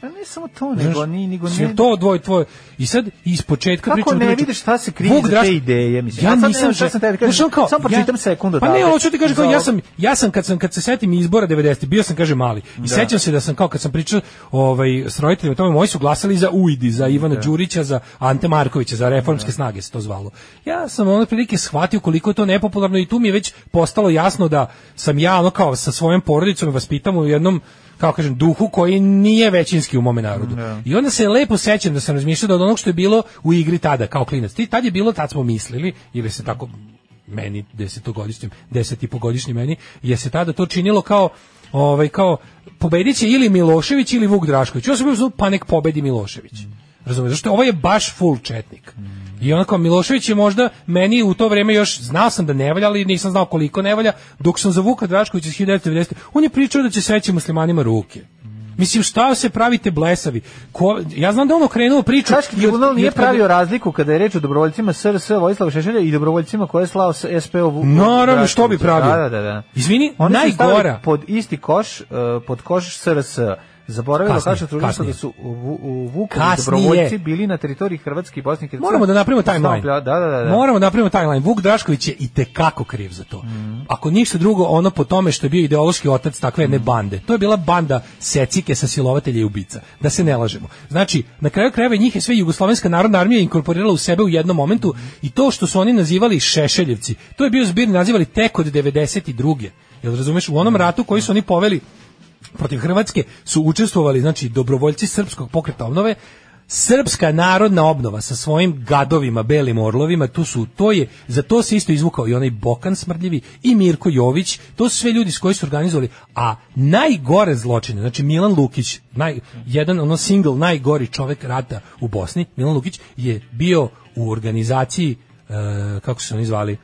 [SPEAKER 6] Pa ne samo to, nego ni nego
[SPEAKER 7] Jel
[SPEAKER 6] ne.
[SPEAKER 7] to odvoj tvoj i sad iz početka
[SPEAKER 6] Kako
[SPEAKER 7] pričam
[SPEAKER 6] ne
[SPEAKER 7] priču.
[SPEAKER 6] vidiš šta se krije
[SPEAKER 7] Vuk
[SPEAKER 6] iza
[SPEAKER 7] Draško-
[SPEAKER 6] te ideje, mislim?
[SPEAKER 7] ja
[SPEAKER 6] Ja sad ne
[SPEAKER 7] nisam
[SPEAKER 6] znam šta sam tebi
[SPEAKER 7] znaš,
[SPEAKER 6] kažem,
[SPEAKER 7] on kao,
[SPEAKER 6] samo pročitam sekundu
[SPEAKER 7] pa ne
[SPEAKER 6] odavde.
[SPEAKER 7] hoću ti kažem kao
[SPEAKER 6] Za
[SPEAKER 7] ja
[SPEAKER 6] ovo.
[SPEAKER 7] sam ja sam kad sam kad se setim izbora 90 bio sam kaže mali i sećam se da sam kao kad sam pričao ovaj s roditeljima o tome moji su glasali za Uidi za Ivana Đurića za Ante Markovića za reformske snage se to zvalo ja sam ono prilike shvatio koliko je to nepopularno i tu mi je već postalo jasno da sam ja ono kao sa svojom porodicom vaspitam u jednom kao kažem, duhu koji nije većinski u mome narodu. I onda se lepo sećam da sam razmišljao da od onog što je bilo u igri tada, kao klinac. Ti tad je bilo, tad smo mislili, ili se tako meni, desetogodišnjem, deset i pogodišnjem meni, je se tada to činilo kao ovaj kao pobedit će ili Milošević ili Vuk Drašković. Ja sam bio u fazonu, pa nek pobedi Milošević. Razumeš, zašto ovo je baš full četnik. I onako Milošević je možda meni u to vrijeme još znao sam da ne valja, ali nisam znao koliko ne valja, dok sam za Vuka Draškovića iz 1990. On je pričao da će sveći muslimanima ruke. Mislim, šta se pravite blesavi? Ko, ja znam da je on okrenuo priču.
[SPEAKER 6] Haški
[SPEAKER 7] i od-
[SPEAKER 6] tribunal
[SPEAKER 7] i
[SPEAKER 6] nije
[SPEAKER 7] od kad-
[SPEAKER 6] pravio razliku kada je reč o dobrovoljcima SRS Vojislava Šešelja i dobrovoljcima koje je slao s SPO Vuk.
[SPEAKER 7] Naravno, što bi
[SPEAKER 6] Draškovića.
[SPEAKER 7] pravio?
[SPEAKER 6] Da, da, da.
[SPEAKER 7] Izvini,
[SPEAKER 6] Oni su
[SPEAKER 7] najgora.
[SPEAKER 6] stavili pod isti koš, eh, pod koš SRS. Zaboravilo
[SPEAKER 7] Kasnije,
[SPEAKER 6] kaže tužilaštvo
[SPEAKER 7] kasnije.
[SPEAKER 6] da su u, Vu- u Vuku
[SPEAKER 7] Kasnije.
[SPEAKER 6] dobrovoljci bili na teritoriji Hrvatske i Bosne i Hercegovine.
[SPEAKER 7] Moramo da napravimo timeline.
[SPEAKER 6] Dakle, Da, da, da. da.
[SPEAKER 7] Moramo da napravimo timeline. Vuk Drašković je i tekako kriv za to.
[SPEAKER 6] Mhm.
[SPEAKER 7] Ako ništa drugo, ono po tome što je bio ideološki otac takve jedne
[SPEAKER 6] Mhm.
[SPEAKER 7] bande. To je bila banda secike sa silovatelja i ubica. Da se ne lažemo. Znači, na kraju krajeva njih je sve Jugoslovenska narodna armija inkorporirala u sebe u jednom momentu i to što su oni nazivali Šešeljevci, to je bio zbirni nazivali tek od 92. Jel razumeš? U
[SPEAKER 6] Mhm.
[SPEAKER 7] onom ratu koji su oni poveli protiv Hrvatske su učestvovali znači dobrovoljci srpskog pokreta obnove Srpska narodna obnova sa svojim gadovima, belim orlovima, tu su, to je, za to se isto izvukao i onaj Bokan Smrdljivi i Mirko Jović, to su sve ljudi s koji su organizovali, a najgore zločine, znači Milan Lukić, naj, jedan ono single najgori čovek rata u Bosni, Milan Lukić je bio u organizaciji, e, kako su se oni zvali,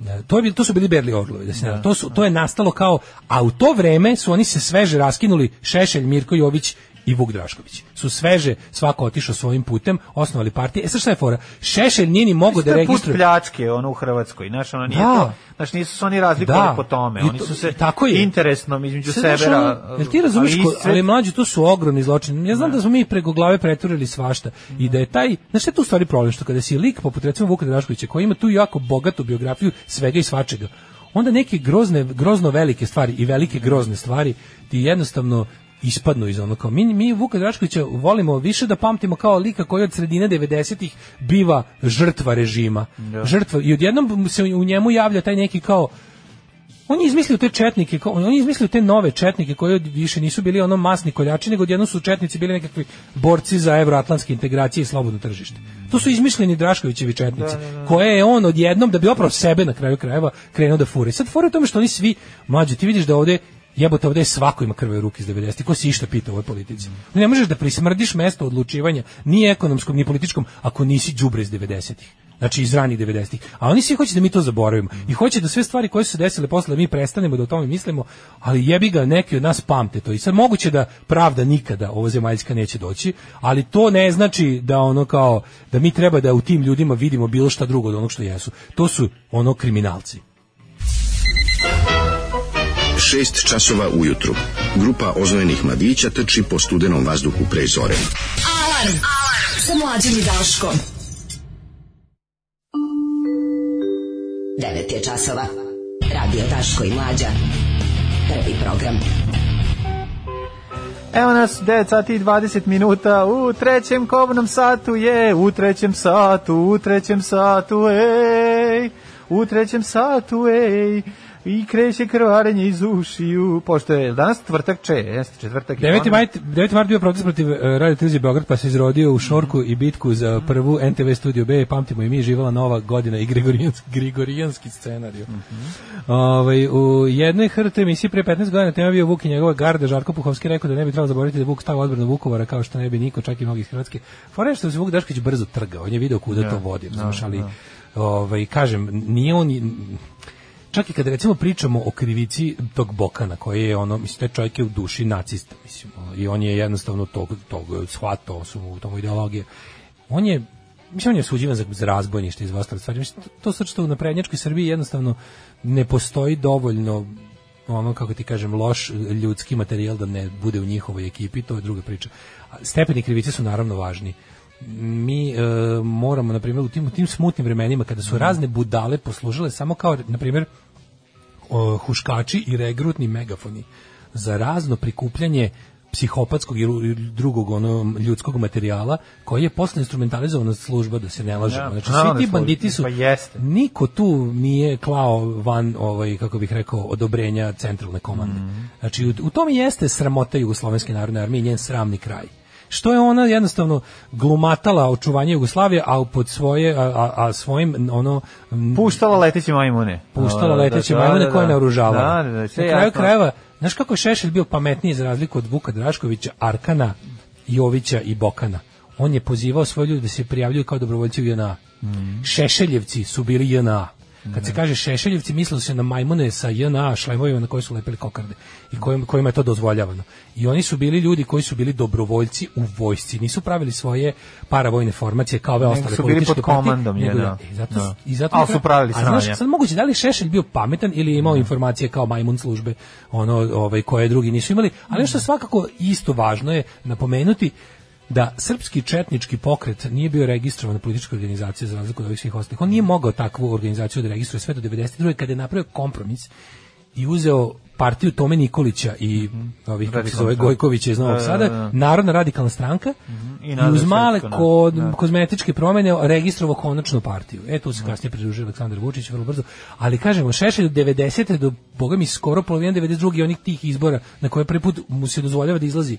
[SPEAKER 7] da, to, je, bil- to su bili Berli Orlovi, da se ne varam. to, su, to je nastalo kao, a u to vreme su oni se sveže raskinuli Šešelj, Mirko Jović i Vuk Drašković. Su sveže, svako otišao svojim putem, osnovali partije. E sad šta je fora? Šešelj nije ni mogao
[SPEAKER 6] Mislim,
[SPEAKER 7] da
[SPEAKER 6] to je put
[SPEAKER 7] registruje.
[SPEAKER 6] pljačke ono u Hrvatskoj, znaš, ono nije
[SPEAKER 7] Da.
[SPEAKER 6] to, znaš, nisu se oni razlikovali
[SPEAKER 7] Da.
[SPEAKER 6] po tome,
[SPEAKER 7] I
[SPEAKER 6] oni
[SPEAKER 7] to-
[SPEAKER 6] su se
[SPEAKER 7] i tako je.
[SPEAKER 6] interesnom između
[SPEAKER 7] Sad,
[SPEAKER 6] sebe,
[SPEAKER 7] znaš, ono, jel ti razumeš, ko- ali mlađi, to su ogromni zločini. Ja znam da smo mi preko glave preturili svašta i da je taj, znaš šta je tu u stvari problem, što kada si lik, poput recimo Vuka Draškovića, koji ima tu jako bogatu biografiju svega i svačega, onda neke grozne, grozno velike stvari i velike grozne stvari ti jednostavno ispadnu iz ono kao mi, mi Vuka Draškovića volimo više da pamtimo kao lika koji od sredine 90-ih biva žrtva režima. Žrtva i odjednom se u njemu javlja taj neki kao on je izmislio te četnike, ko- on je izmislio te nove četnike koji od- više nisu bili ono masni koljači, nego odjednom su četnici bili nekakvi borci za evroatlantske integracije i slobodno tržište. To su izmišljeni Draškovićevi četnici, koje je on odjednom, da bi opravo sebe na kraju krajeva, krenuo da furi. Sad fura u tome što oni svi, mlađi, ti vidiš da ovde jebote ovde je svako ima krve ruke iz 90 ko se išta pita u ovoj politici ne možeš da prismrdiš mesto odlučivanja ni ekonomskom ni političkom ako nisi đubre iz 90-ih znači iz ranih 90-ih a oni svi hoće da mi to zaboravimo i hoće da sve stvari koje su se desile posle da mi prestanemo da o tome mislimo ali jebi ga neki od nas pamte to i sad moguće da pravda nikada ovo zemaljska neće doći ali to ne znači da ono kao da mi treba da u tim ljudima vidimo bilo šta drugo od onog što jesu to su ono kriminalci
[SPEAKER 4] 6 časova ujutru. Grupa oznojenih mladića trči po studenom vazduhu pre zore.
[SPEAKER 5] Alarm! Alarm! Sa mlađom i Daškom.
[SPEAKER 9] 9 je časova. Radio Daško i Mlađa. Prvi program.
[SPEAKER 6] Evo nas, 9 sati i 20 minuta, u trećem kobnom satu je, u trećem satu, u trećem satu, ej, u trećem satu, ej. I kreće krvarenje iz ušiju, pošto je danas tvrtak če, jeste četvrtak. je
[SPEAKER 7] 9.
[SPEAKER 6] ono-
[SPEAKER 7] maj 9. mart bio protest protiv uh, Radio Televizije Beograd pa se izrodio u šorku i bitku za prvu NTV Studio B, pamtimo i mi, živala nova godina i gregorijanski, gregorijanski scenariju. Ovaj, u jednoj hrte emisiji pre 15 godina tema je bio Vuk i njegova garda, Žarko Puhovski rekao da ne bi trebalo zaboraviti da je Vuk stao odbrano Vukovara kao što ne bi niko, čak i mnogi iz Hrvatske. Fora je što se Vuk Dašković brzo trga, on je video kuda to vodi, znaš, ali ovaj, kažem, nije on, čak i kada recimo pričamo o krivici tog Bokana koji je ono mislim taj čovjek je u duši nacista mislim ono, i on je jednostavno tog tog shvatao su mu u tomu ideologije on je mislim on je osuđivan za, za razbojništvo iz ostalih stvari mislim, to, to sad što u naprednjačkoj Srbiji jednostavno ne postoji dovoljno ono kako ti kažem loš ljudski materijal da ne bude u njihovoj ekipi to je druga priča A stepeni krivice su naravno važni mi e, moramo na primjer u tim u tim smutnim vremenima kada su razne budale poslužile samo kao na primjer o, huškači i regrutni megafoni za razno prikupljanje psihopatskog i ru- i drugog ono ljudskog materijala koji je posle instrumentalizovana služba da se ne lažemo.
[SPEAKER 6] Da,
[SPEAKER 7] znači
[SPEAKER 6] naravno,
[SPEAKER 7] svi ti
[SPEAKER 6] služba,
[SPEAKER 7] banditi su
[SPEAKER 6] pa jeste.
[SPEAKER 7] niko tu nije klao van ovaj kako bih rekao odobrenja centralne komande.
[SPEAKER 6] Mhm.
[SPEAKER 7] Znači u, u tom i jeste sramota jugoslovenske narodne armije i njen sramni kraj. Što je ona jednostavno glumatala očuvanje Jugoslavije, a pod svoje a, a, a svojim ono m,
[SPEAKER 6] Puštala leteće majmune.
[SPEAKER 7] puštala leteće
[SPEAKER 6] Da,
[SPEAKER 7] majmune
[SPEAKER 6] da,
[SPEAKER 7] koje
[SPEAKER 6] da.
[SPEAKER 7] naoružavala.
[SPEAKER 6] Da, da, da, sve
[SPEAKER 7] Na kraju
[SPEAKER 6] jasno.
[SPEAKER 7] krajeva, znaš kako je Šešelj bio pametniji za razliku od Vuka Draškovića, Arkana, Jovića i Bokana. On je pozivao svoje ljude da se prijavljuju kao dobrovoljci u JNA.
[SPEAKER 6] Mhm.
[SPEAKER 7] Šešeljevci su bili JNA. Kad se kaže Šešeljevci, mislilo se na majmune sa JNA šlemovima na koje su lepili kokarde i kojim- kojima je to dozvoljavano. I oni su bili ljudi koji su bili dobrovoljci u vojsci, nisu pravili svoje paravojne formacije kao ove ostale
[SPEAKER 6] su bili
[SPEAKER 7] političke
[SPEAKER 6] pod
[SPEAKER 7] partije,
[SPEAKER 6] komandom
[SPEAKER 7] nego
[SPEAKER 6] JNA.
[SPEAKER 7] da- i zato,
[SPEAKER 6] Da.
[SPEAKER 7] i zato
[SPEAKER 6] Ali su pravili
[SPEAKER 7] A znaš,
[SPEAKER 6] sranja.
[SPEAKER 7] sad moguće da li je Šešelj bio pametan ili je imao informacije kao majmun službe ono ovaj koje drugi nisu imali ali što je svakako isto važno je napomenuti da srpski četnički pokret nije bio registrovan politička organizacija za razliku od ovih svih ostalih. On nije mogao takvu organizaciju da registruje sve do 92. kada je napravio kompromis i uzeo partiju Tome Nikolića i ovih kako se zove
[SPEAKER 6] Radikalna
[SPEAKER 7] Gojkovića iz Novog
[SPEAKER 6] Mhm. Da, da,
[SPEAKER 7] Sada,
[SPEAKER 6] da. Mhm.
[SPEAKER 7] Narodna radikalna stranka i,
[SPEAKER 6] Narodna
[SPEAKER 7] uz male
[SPEAKER 6] srpska,
[SPEAKER 7] kod,
[SPEAKER 6] da.
[SPEAKER 7] kozmetičke promene registrovao konačnu partiju. E, tu se kasnije pridružio Aleksandar Vučić vrlo brzo. Ali kažemo, Šešelj od 90. do, boga mi, skoro polovina 92. onih tih izbora na koje prvi put mu se dozvoljava da izlazi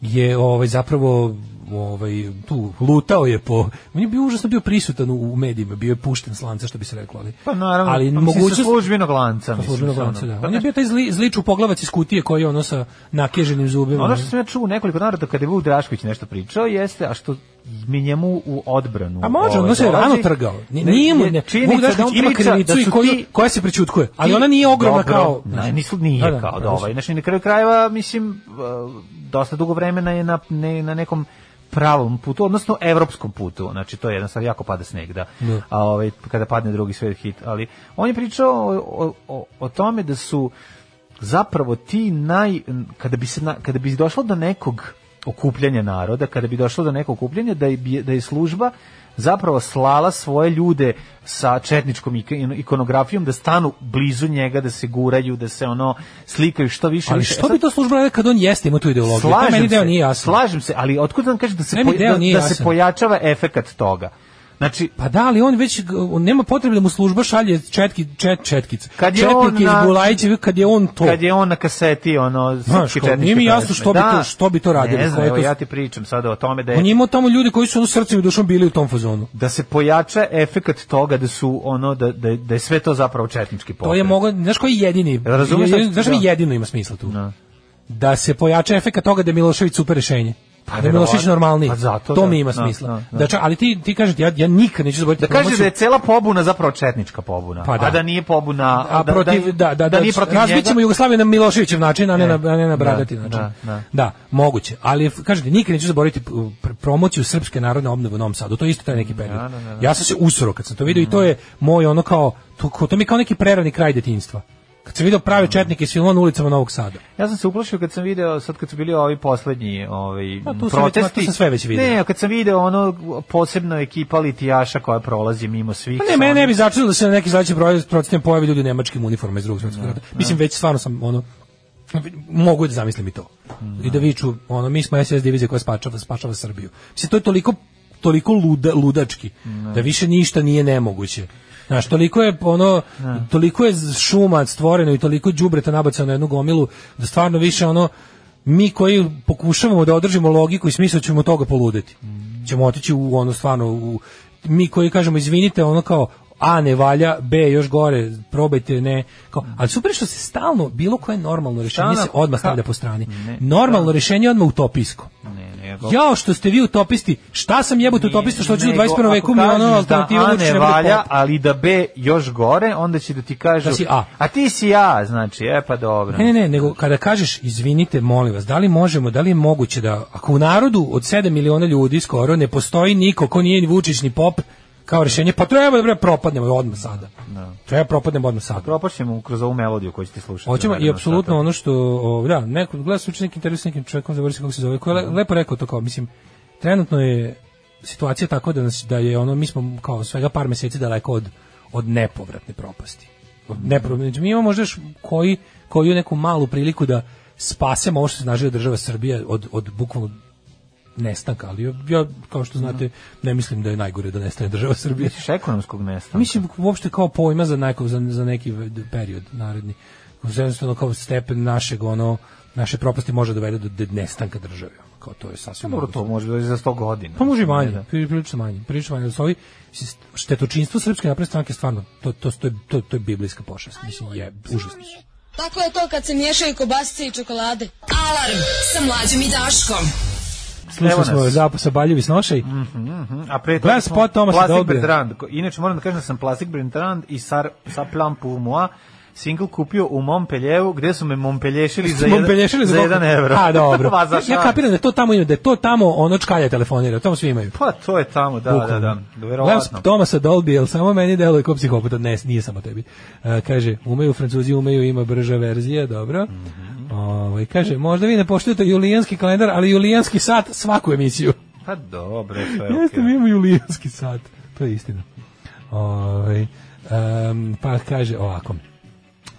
[SPEAKER 7] je ovaj zapravo ovaj tu lutao je po on je bio užasno bio prisutan u, u medijima bio je pušten s lanca što bi se reklo ali
[SPEAKER 6] Pa naravno,
[SPEAKER 7] ali
[SPEAKER 6] ali pa, mogućnost...
[SPEAKER 7] mogućnost
[SPEAKER 6] službenog lanca. mislim,
[SPEAKER 7] službenog
[SPEAKER 6] sa ono.
[SPEAKER 7] lanca, da.
[SPEAKER 6] Pa
[SPEAKER 7] on je bio taj zli, zliču poglavac iz kutije koji je ono sa nakeženim zubima
[SPEAKER 6] Pa, Ono što sam ja čuo u nekoliko navrata kada je Vuk Drašković nešto pričao jeste, a što mi njemu u odbranu.
[SPEAKER 7] A može,
[SPEAKER 6] ovaj,
[SPEAKER 7] on se je rano
[SPEAKER 6] dolazi,
[SPEAKER 7] trgao. Ni-
[SPEAKER 6] ne,
[SPEAKER 7] Nije mu,
[SPEAKER 6] je
[SPEAKER 7] ne,
[SPEAKER 6] činjenica
[SPEAKER 7] Vuk Drašković
[SPEAKER 6] on
[SPEAKER 7] ima
[SPEAKER 6] priča
[SPEAKER 7] krivicu
[SPEAKER 6] da
[SPEAKER 7] i
[SPEAKER 6] su
[SPEAKER 7] koju,
[SPEAKER 6] ti-
[SPEAKER 7] koja se prećutkuje, ali ona nije ogromna
[SPEAKER 6] Dobro,
[SPEAKER 7] kao...
[SPEAKER 6] Ne, nisu, nije
[SPEAKER 7] Da, da,
[SPEAKER 6] kao da,
[SPEAKER 7] da,
[SPEAKER 6] ovaj. Znači, na kraju krajeva, mislim, e, dosta dugo vremena je na, ne, na nekom pravom putu, odnosno evropskom putu. Znači, to je jednostavno jako pada sneg, da.
[SPEAKER 7] Da.
[SPEAKER 6] A ovaj, kada padne drugi svet hit. Ali, on je pričao o, o, o, o tome da su zapravo ti naj... Kada bi, se, na- kada bi došlo do nekog okupljanja naroda, kada bi došlo do nekog okupljanja, da je, bi- da je služba zapravo slala svoje ljude sa četničkom ik- ikonografijom da stanu blizu njega, da se guraju, da se ono slikaju što više.
[SPEAKER 7] Ali
[SPEAKER 6] više.
[SPEAKER 7] što
[SPEAKER 6] E
[SPEAKER 7] bi
[SPEAKER 6] sad,
[SPEAKER 7] to služba radila kad on jeste ima tu ideologiju? to
[SPEAKER 6] Slažem
[SPEAKER 7] meni deo
[SPEAKER 6] se,
[SPEAKER 7] nije jasno.
[SPEAKER 6] slažem se, ali otkud nam kaže da se,
[SPEAKER 7] Meni
[SPEAKER 6] poja-
[SPEAKER 7] deo
[SPEAKER 6] da-
[SPEAKER 7] nije
[SPEAKER 6] da se
[SPEAKER 7] jasan.
[SPEAKER 6] pojačava efekat toga? Znači,
[SPEAKER 7] Pa da, ali on već g- on nema potrebe da mu služba šalje četki, čet, četkice.
[SPEAKER 6] Kad je on
[SPEAKER 7] Četnike iz
[SPEAKER 6] na-
[SPEAKER 7] Bulajićevi, kad je on to.
[SPEAKER 6] kad je on na kaseti ono
[SPEAKER 7] Znaš,
[SPEAKER 6] srpski
[SPEAKER 7] kao,
[SPEAKER 6] četnički
[SPEAKER 7] nije mi jasno
[SPEAKER 6] pesme.
[SPEAKER 7] što bi
[SPEAKER 6] Da.
[SPEAKER 7] to- što bi to radili,
[SPEAKER 6] ne znam,
[SPEAKER 7] koje
[SPEAKER 6] evo,
[SPEAKER 7] to-
[SPEAKER 6] ja ti pričam sada o tome da je
[SPEAKER 7] On je imao tamo ljudi koji su ono srcem i dušom bili u tom fazonu.
[SPEAKER 6] da se pojača efekat toga da su ono da da, da je sve to zapravo četnički pokret.
[SPEAKER 7] To je moglo, znaš koji je jedini?
[SPEAKER 6] Razumeš šta-
[SPEAKER 7] je- Znaš mi
[SPEAKER 6] da.
[SPEAKER 7] jedino ima smisla tu?
[SPEAKER 6] Da.
[SPEAKER 7] Da se pojača efekat toga da je Milošević super rešenje.
[SPEAKER 6] Pa,
[SPEAKER 7] da je Milošević
[SPEAKER 6] verovatno.
[SPEAKER 7] normalniji.
[SPEAKER 6] Pa zato,
[SPEAKER 7] to
[SPEAKER 6] da.
[SPEAKER 7] mi ima
[SPEAKER 6] Da,
[SPEAKER 7] smisla.
[SPEAKER 6] da, da.
[SPEAKER 7] Da ča- ali ti, ti kažeš, ja, ja nikad neću zaboraviti
[SPEAKER 6] Da kaže
[SPEAKER 7] promociju-
[SPEAKER 6] da je cela pobuna zapravo četnička pobuna,
[SPEAKER 7] Pa da.
[SPEAKER 6] a da nije pobuna
[SPEAKER 7] a protiv da da da,
[SPEAKER 6] nije protiv
[SPEAKER 7] razbit ćemo
[SPEAKER 6] njega. E,
[SPEAKER 7] Jugoslaviju na Miloševićev način, a ne, na a ne na bradati
[SPEAKER 6] Da,
[SPEAKER 7] način.
[SPEAKER 6] da, da.
[SPEAKER 7] Da, moguće. Ali kažete nikad neću zaboraviti uh, pr- promociju srpske narodne obnove u Novom Sadu. To je isto taj neki period.
[SPEAKER 6] Da, da, da, Mhm. da.
[SPEAKER 7] Ja sam se usro kad sam to video i to je moj ono kao to, ko- to mi je kao neki prerani kraj detinjstva. Kad sam video
[SPEAKER 6] Mhm.
[SPEAKER 7] prave četnike s filmon ulicama Novog Sada.
[SPEAKER 6] Ja sam se uplašio kad sam video sad kad su bili ovi poslednji ovaj
[SPEAKER 7] Pa, tu sam već-
[SPEAKER 6] protesti.
[SPEAKER 7] tu sam sve već video.
[SPEAKER 6] Ne, kad sam video ono posebno ekipa litijaša koja prolazi mimo svih.
[SPEAKER 7] Pa
[SPEAKER 6] sa
[SPEAKER 7] ne, mene ne
[SPEAKER 6] onim-
[SPEAKER 7] bi začudilo da se na neki sledeći broj procentima pojavi ljudi u nemačkim uniformama iz drugog svetskog rata. Mislim, već stvarno sam, ono, mogu da zamislim i to. I da viču, ono, mi smo SS divizija koja spačava, spačava Srbiju. Mislim, to je toliko toliko luda, ludački, da više ništa nije nemoguće. Znaš, toliko je ono, toliko je šuma stvoreno i toliko đubreta nabacano na jednu gomilu da stvarno više ono mi koji pokušavamo da održimo logiku i smisao ćemo toga poludeti. Ćemo otići u ono stvarno u mi koji kažemo izvinite ono kao A ne valja, B još gore, probajte ne. Kao, ali super što se stalno bilo koje normalno rješenje
[SPEAKER 6] Stalno-
[SPEAKER 7] se odmah
[SPEAKER 6] ka-
[SPEAKER 7] stavlja po strani.
[SPEAKER 6] Ne,
[SPEAKER 7] Normalno rješenje je odmah utopijsko.
[SPEAKER 6] Ne, ne,
[SPEAKER 7] Jao što ste vi utopisti, šta sam jebote utopista što hoću u
[SPEAKER 6] Nego,
[SPEAKER 7] 21. veku
[SPEAKER 6] ako
[SPEAKER 7] mi je ono
[SPEAKER 6] kažeš
[SPEAKER 7] alternativa
[SPEAKER 6] da A
[SPEAKER 7] da
[SPEAKER 6] ne valja, ali da B još gore, onda će da ti kažu
[SPEAKER 7] Da si A.
[SPEAKER 6] ti si A, znači, e pa dobro.
[SPEAKER 7] Ne, ne, ne, nego kada kažeš izvinite, molim vas, da li možemo, da li je moguće da ako u narodu od 7 miliona ljudi skoro ne postoji niko ko nije ni Vučić ni Pop kao rješenje, pa treba da bre propadnemo odmah sada. Treba propadnemo odmah sada.
[SPEAKER 6] Propašćemo kroz ovu melodiju koju ćete slušati.
[SPEAKER 7] Hoćemo i
[SPEAKER 6] narednog
[SPEAKER 7] apsolutno
[SPEAKER 6] sata.
[SPEAKER 7] ono što, o, da, neko gleda slučaj neki intervju sa nekim čovjekom, zaboravio sam kako se zove, koji je le- lepo rekao to kao, mislim, trenutno je situacija tako da nas da je ono mi smo kao svega par mjeseci daleko od od nepovratne propasti. Od nepro- znači, mi imamo možda još koji koju neku malu priliku da spasemo ovo što se snažila država Srbija od od bukvalno nestanka, ali ja kao što znate ne mislim da je najgore da nestane država Srbija.
[SPEAKER 6] Misliš ekonomskog mesta.
[SPEAKER 7] Mislim uopšte kao pojma za neko za, za neki v- period naredni. Jednostavno kao stepen našeg ono naše propasti može da dovede do de- nestanka države. ono, Kao to da je sasvim
[SPEAKER 6] Dobro, to
[SPEAKER 7] moguće.
[SPEAKER 6] može doći za 100 godina.
[SPEAKER 7] Pa može i manje,
[SPEAKER 6] Da.
[SPEAKER 7] pri- prilično manje, prilično manje. da Ovi štetočinstvo srpske napredne stranke stvarno to to to je, to, to je biblijska pošast, mislim je užasno.
[SPEAKER 5] Tako je to kad se miješaju kobasice i čokolade. Alarm sa mlađom i Daškom.
[SPEAKER 6] Evo
[SPEAKER 7] Slušali
[SPEAKER 6] nas.
[SPEAKER 7] smo zapad sa Baljevi snošaj. Mm,
[SPEAKER 6] Mhm, da. A pre
[SPEAKER 7] Gledam
[SPEAKER 6] toga smo
[SPEAKER 7] spot Tomasa
[SPEAKER 6] Plastic
[SPEAKER 7] Dolbija.
[SPEAKER 6] Bertrand. ko- Inače moram da kažem da sam Plastic Bertrand i Sar, sa Plan pour moi single kupio u Montpellieru, gde su me Montpelliešili za, jedan-
[SPEAKER 7] Montpellier
[SPEAKER 6] za 1 evro.
[SPEAKER 7] A dobro.
[SPEAKER 6] Pa, za
[SPEAKER 7] ja
[SPEAKER 6] šans.
[SPEAKER 7] kapiram da je to tamo ima, da je to tamo ono čkalja telefonira, to svi imaju.
[SPEAKER 6] Pa to je tamo, da, da, da.
[SPEAKER 7] Gledam
[SPEAKER 6] Verovatno.
[SPEAKER 7] Tomasa Dolby, jel samo meni deluje kao psihopata? Ne, nije samo tebi. E, kaže, umeju Francuzi, umeju, ima brža verzija, dobro.
[SPEAKER 6] Mhm.
[SPEAKER 7] Ovaj, kaže, možda vi ne poštujete julijanski kalendar, ali julijanski sat svaku emisiju.
[SPEAKER 6] Pa dobro, to je
[SPEAKER 7] Jeste,
[SPEAKER 6] okej.
[SPEAKER 7] mi imamo julijanski sat. To je istina. Ovaj, em, pa kaže ovako.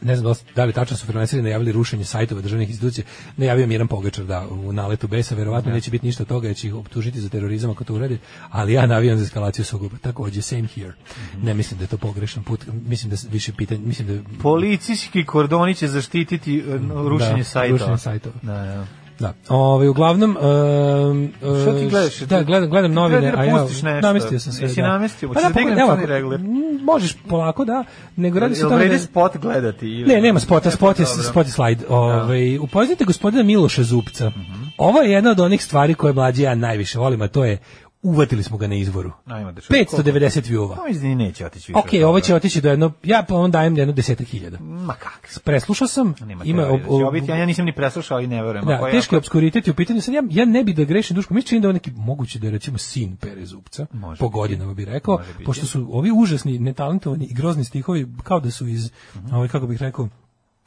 [SPEAKER 7] Ne znam da li, da li tačno su freelanceri najavili rušenje sajtova državnih institucija. Najavio je Miran Pogačar da u naletu Besa verovatno neće biti ništa od toga jer će ih optužiti za terorizam ako to uradi, ali ja navijam za eskalaciju sukoba. Takođe same here. Ne mislim da je to pogrešan put. Mislim da s- više pitanje, mislim da
[SPEAKER 6] Policijski kordoni će zaštititi e, n- rušenje
[SPEAKER 7] Da,
[SPEAKER 6] sajtova.
[SPEAKER 7] rušenje sajtova.
[SPEAKER 6] Da, da.
[SPEAKER 7] Da. Ovaj uglavnom em,
[SPEAKER 6] Šta ti
[SPEAKER 7] e,
[SPEAKER 6] gledaš?
[SPEAKER 7] Da, gledam gledam
[SPEAKER 6] Ti
[SPEAKER 7] novine,
[SPEAKER 6] gledaj da pustiš nešto.
[SPEAKER 7] namestio sam se.
[SPEAKER 6] Jesi
[SPEAKER 7] da.
[SPEAKER 6] namestio? Hoćeš da
[SPEAKER 7] pogledaj,
[SPEAKER 6] dignem
[SPEAKER 7] evo,
[SPEAKER 6] crni regler?
[SPEAKER 7] m, Možeš polako, da. Nego radi se o
[SPEAKER 6] Jel
[SPEAKER 7] tome
[SPEAKER 6] vredi
[SPEAKER 7] da-
[SPEAKER 6] spot gledati? Ili...
[SPEAKER 7] Ne, nema spota, spot je, spot je
[SPEAKER 6] Da.
[SPEAKER 7] slajd. Ovaj, upoznajte gospodina Miloša Zupca.
[SPEAKER 6] Mhm.
[SPEAKER 7] Ovo je jedna od onih stvari koje mlađi ja najviše volim, a to je uvatili smo ga na izvoru.
[SPEAKER 6] Ajmo da čujemo.
[SPEAKER 7] 590 view-ova.
[SPEAKER 6] Pa mislim da neće otići. više
[SPEAKER 7] Ok,
[SPEAKER 6] od
[SPEAKER 7] ovo
[SPEAKER 6] toga.
[SPEAKER 7] će otići do jedno, ja pa on dajem jedno desetak hiljada.
[SPEAKER 6] Ma kak.
[SPEAKER 7] Preslušao sam,
[SPEAKER 6] Nema
[SPEAKER 7] ima...
[SPEAKER 6] teorije da
[SPEAKER 7] ob-
[SPEAKER 6] će
[SPEAKER 7] ob-
[SPEAKER 6] obiti, ja, ja nisam ni preslušao i ne verujem.
[SPEAKER 7] Da,
[SPEAKER 6] Ako je-
[SPEAKER 7] teški obskuritet je u pitanju. Sad ja, ja ne bi da grešim duško. Mi se čini da je on neki moguće da je recimo sin Pere Zupca.
[SPEAKER 6] Može
[SPEAKER 7] po
[SPEAKER 6] biti.
[SPEAKER 7] godinama bi rekao.
[SPEAKER 6] Može biti.
[SPEAKER 7] Pošto su ovi užasni, netalentovani i grozni stihovi kao da su iz,
[SPEAKER 6] Mhm.
[SPEAKER 7] ovaj, kako bih rekao,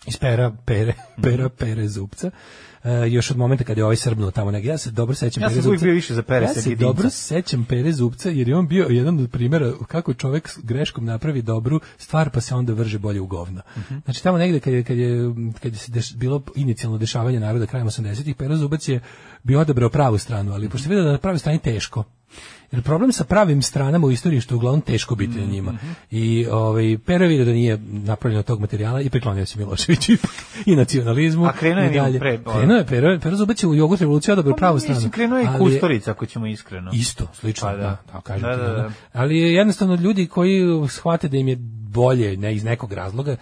[SPEAKER 7] iz pera, pere, pera, pere zupca. E, još od momenta kada je ovaj srbnuo tamo negdje. Ja se dobro sećam
[SPEAKER 6] Ja sam
[SPEAKER 7] Pere
[SPEAKER 6] uvijek
[SPEAKER 7] Zupca.
[SPEAKER 6] bio više za Pere
[SPEAKER 7] Ja se
[SPEAKER 6] Segedinca.
[SPEAKER 7] dobro sećam Pere Zupca jer je on bio jedan od primjera kako čovjek s greškom napravi dobru stvar pa se onda vrže bolje u govna.
[SPEAKER 6] Mhm.
[SPEAKER 7] Znači tamo negdje kad je, kad je, kad je se deš- bilo inicijalno dešavanje naroda krajem 80-ih, Pere Zubac je bio odabrao pravu stranu, ali pošto je vidio da je na pravoj strani teško. Jer problem sa pravim stranama u istoriji je što je uglavnom teško biti
[SPEAKER 6] Mhm.
[SPEAKER 7] na njima. I ovaj, Pero je vidio da nije napravljeno tog materijala i priklonio se Miloševiću ipak i nacionalizmu.
[SPEAKER 6] A krenuo je
[SPEAKER 7] i
[SPEAKER 6] njemu
[SPEAKER 7] dalje.
[SPEAKER 6] pre-
[SPEAKER 7] Krenuo je Pero, Pero Zubac je u jogurt revoluciju odabrao pravu stranu.
[SPEAKER 6] Pa Mislim, krenuo je i
[SPEAKER 7] ali je-
[SPEAKER 6] Kustorica, ako ćemo iskreno.
[SPEAKER 7] Isto, slično,
[SPEAKER 6] Pa da.
[SPEAKER 7] da. da, kažem
[SPEAKER 6] Da,
[SPEAKER 7] ti,
[SPEAKER 6] da,
[SPEAKER 7] ono.
[SPEAKER 6] da.
[SPEAKER 7] Ali je jednostavno ljudi koji shvate da im je bolje ne, iz nekog razloga,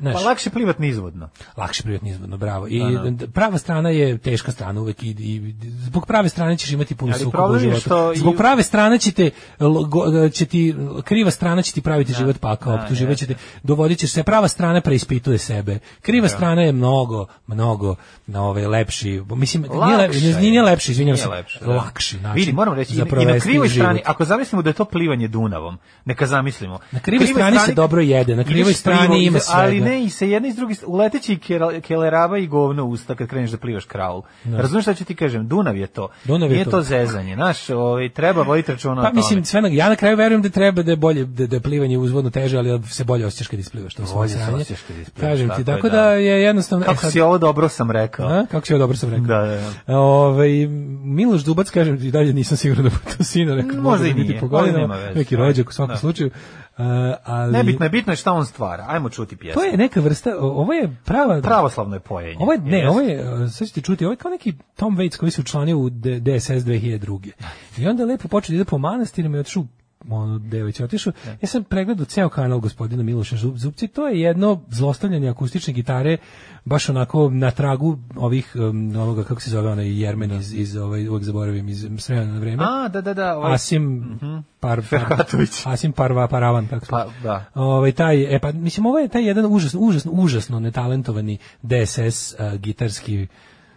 [SPEAKER 7] znaš,
[SPEAKER 6] Pa lakše plivat nizvodno.
[SPEAKER 7] lakše privatni izvodno, bravo. I
[SPEAKER 6] Da,
[SPEAKER 7] d- prava strana je teška strana uvek i, i zbog prave strane ćeš imati puno
[SPEAKER 6] Ali
[SPEAKER 7] sukoba u
[SPEAKER 6] problem je
[SPEAKER 7] životu.
[SPEAKER 6] što i-
[SPEAKER 7] Zbog prave strane će te, l- go- će ti, kriva strana će ti praviti život pakao,
[SPEAKER 6] da,
[SPEAKER 7] optuživat će te, dovodit ćeš se, prava strana preispituje sebe. Kriva
[SPEAKER 6] Da.
[SPEAKER 7] strana je mnogo, mnogo na ovaj lepši, mislim, nije, lep-
[SPEAKER 6] Lakše
[SPEAKER 7] nije,
[SPEAKER 6] je.
[SPEAKER 7] nije lepši, izvinjam
[SPEAKER 6] Nije
[SPEAKER 7] se,
[SPEAKER 6] lepše, da.
[SPEAKER 7] lakši način.
[SPEAKER 6] Vidi, moram reći, i,
[SPEAKER 7] za
[SPEAKER 6] i na
[SPEAKER 7] provesti
[SPEAKER 6] krivoj
[SPEAKER 7] život.
[SPEAKER 6] strani, ako zamislimo da je to plivanje Dunavom, neka zamislimo.
[SPEAKER 7] Na krivoj strani se dobro jede, na krivoj
[SPEAKER 6] ideš
[SPEAKER 7] strani
[SPEAKER 6] plivo,
[SPEAKER 7] ima
[SPEAKER 6] iz- Ali
[SPEAKER 7] svega.
[SPEAKER 6] ne, i sa jedne i s druge, str- uleteći i kera- keleraba i govno u usta kad kreneš da plivaš kraul. Razumeš šta ću ti kažem? Dunav je to.
[SPEAKER 7] Dunav je
[SPEAKER 6] Nije
[SPEAKER 7] to.
[SPEAKER 6] to zezanje, znaš, ovaj, treba voditi računa o
[SPEAKER 7] Pa
[SPEAKER 6] tome.
[SPEAKER 7] mislim sve na, ja na kraju verujem da treba da je bolje da, da je plivanje uzvodno teže, ali da se bolje osjećaš kad isplivaš, to je svoje
[SPEAKER 6] Bolje se
[SPEAKER 7] sranje.
[SPEAKER 6] osjećaš kad isplivaš,
[SPEAKER 7] Kažem ti,
[SPEAKER 6] tako je,
[SPEAKER 7] tako
[SPEAKER 6] da.
[SPEAKER 7] da je jednostavno e,
[SPEAKER 6] Kako
[SPEAKER 7] sad-
[SPEAKER 6] si ovo dobro sam rekao.
[SPEAKER 7] A? Kako si ovo dobro sam rekao.
[SPEAKER 6] Da, da,
[SPEAKER 7] Ovaj, Miloš Dubac, kažem ti, dalje nisam siguran da bude to sina, rekao,
[SPEAKER 6] Možda
[SPEAKER 7] može
[SPEAKER 6] i
[SPEAKER 7] da biti
[SPEAKER 6] nije,
[SPEAKER 7] po
[SPEAKER 6] ali
[SPEAKER 7] godinama,
[SPEAKER 6] nema veze.
[SPEAKER 7] neki rođak u svakom
[SPEAKER 6] Da.
[SPEAKER 7] slučaju. ali...
[SPEAKER 6] Nebitno je, bitno je šta on stvara. Ajmo čuti pjesmu.
[SPEAKER 7] To je neka vrsta, o- ovo je prava...
[SPEAKER 6] Pravoslavno je pojenje.
[SPEAKER 7] Ovo je, Ovaj, ne,
[SPEAKER 6] Ovaj Jeste.
[SPEAKER 7] ovo je, e, sad ćete čuti, ovo je kao neki Tom Waits koji se učlanio u D- DSS 2002. I onda je lepo počeo da ide po manastirima i otišu ono, gde je već otišao.
[SPEAKER 6] Da.
[SPEAKER 7] Ja sam pregledao ceo kanal gospodina Miloša Zub, Zupci, to je jedno zlostavljanje akustične gitare, baš onako na tragu ovih, um, onoga, kako se zove, onaj Jermen iz, iz ovaj, uvek zaboravim, iz s vremena na vreme.
[SPEAKER 6] A, da, da, da. Ovaj...
[SPEAKER 7] Asim par, par,
[SPEAKER 6] Ferhatović.
[SPEAKER 7] Asim Parva Paravan kako se
[SPEAKER 6] Pa, da.
[SPEAKER 7] Ovaj taj e pa mislim ovo je taj jedan užasno užasno užasno netalentovani DSS uh, gitarski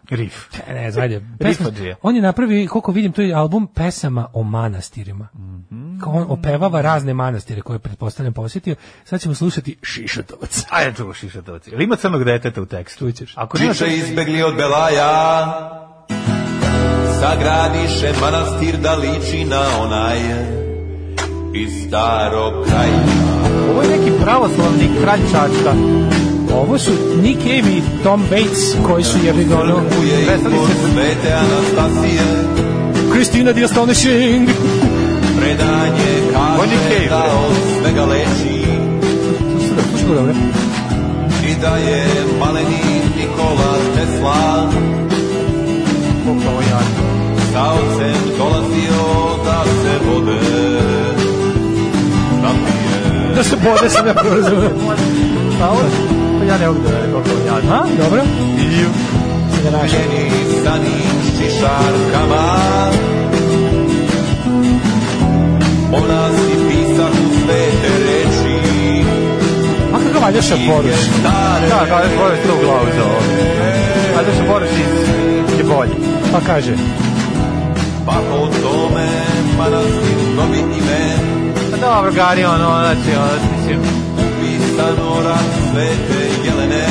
[SPEAKER 6] Riff.
[SPEAKER 7] e, ne znam, ajde, pesma-
[SPEAKER 6] Riffadžija.
[SPEAKER 7] on je napravio, koliko vidim, to je album pesama o manastirima.
[SPEAKER 6] Mhm.
[SPEAKER 7] Kao on opevava razne manastire koje je, pretpostavljam posjetio. Sad ćemo slušati Šišatovac.
[SPEAKER 6] Ajde, čuo šišatovci. Ili ima crnog deteta u tekstu?
[SPEAKER 7] Čućeš.
[SPEAKER 6] Ako nema
[SPEAKER 11] Čiče
[SPEAKER 6] crnog-
[SPEAKER 11] izbegli od Belaja Sagradiše manastir da liči na onaj Iz starog kraja
[SPEAKER 6] Ovo je neki pravoslavni kralj Čačka.
[SPEAKER 7] Ovo su Nick Cave i Tom Waits koji su jebi ga ono...
[SPEAKER 11] Kuje i
[SPEAKER 6] veseli
[SPEAKER 11] kod
[SPEAKER 6] se.
[SPEAKER 11] svete Anastasije
[SPEAKER 7] Kristina Diastonishing!
[SPEAKER 11] Predanje
[SPEAKER 6] On je
[SPEAKER 11] kaže
[SPEAKER 6] Cave,
[SPEAKER 11] da
[SPEAKER 6] bre.
[SPEAKER 11] od svega leči
[SPEAKER 6] da
[SPEAKER 7] Slušamo dobro.
[SPEAKER 11] I da je maleni Nikola Tesla Sa ocem dolazio da se vode Napije
[SPEAKER 7] Da se bode sam ja prvo razumio.
[SPEAKER 6] A ovo? Pa ja ne mogu da ne koliko ja.
[SPEAKER 7] A, dobro. I...
[SPEAKER 11] Njeni sani šišarkama Ona si pisah u svete reči
[SPEAKER 7] A kako valjaša poruč?
[SPEAKER 11] Inventare
[SPEAKER 6] Da, kao je Boris to u glavu za ovo. Ajde što Boris iz je bolji.
[SPEAKER 7] Pa kaže,
[SPEAKER 11] Pa po tome manastir novi ime
[SPEAKER 6] Pa dobro, Gari, ono, znači, ono, mislim,
[SPEAKER 11] Pisano rad svete jelene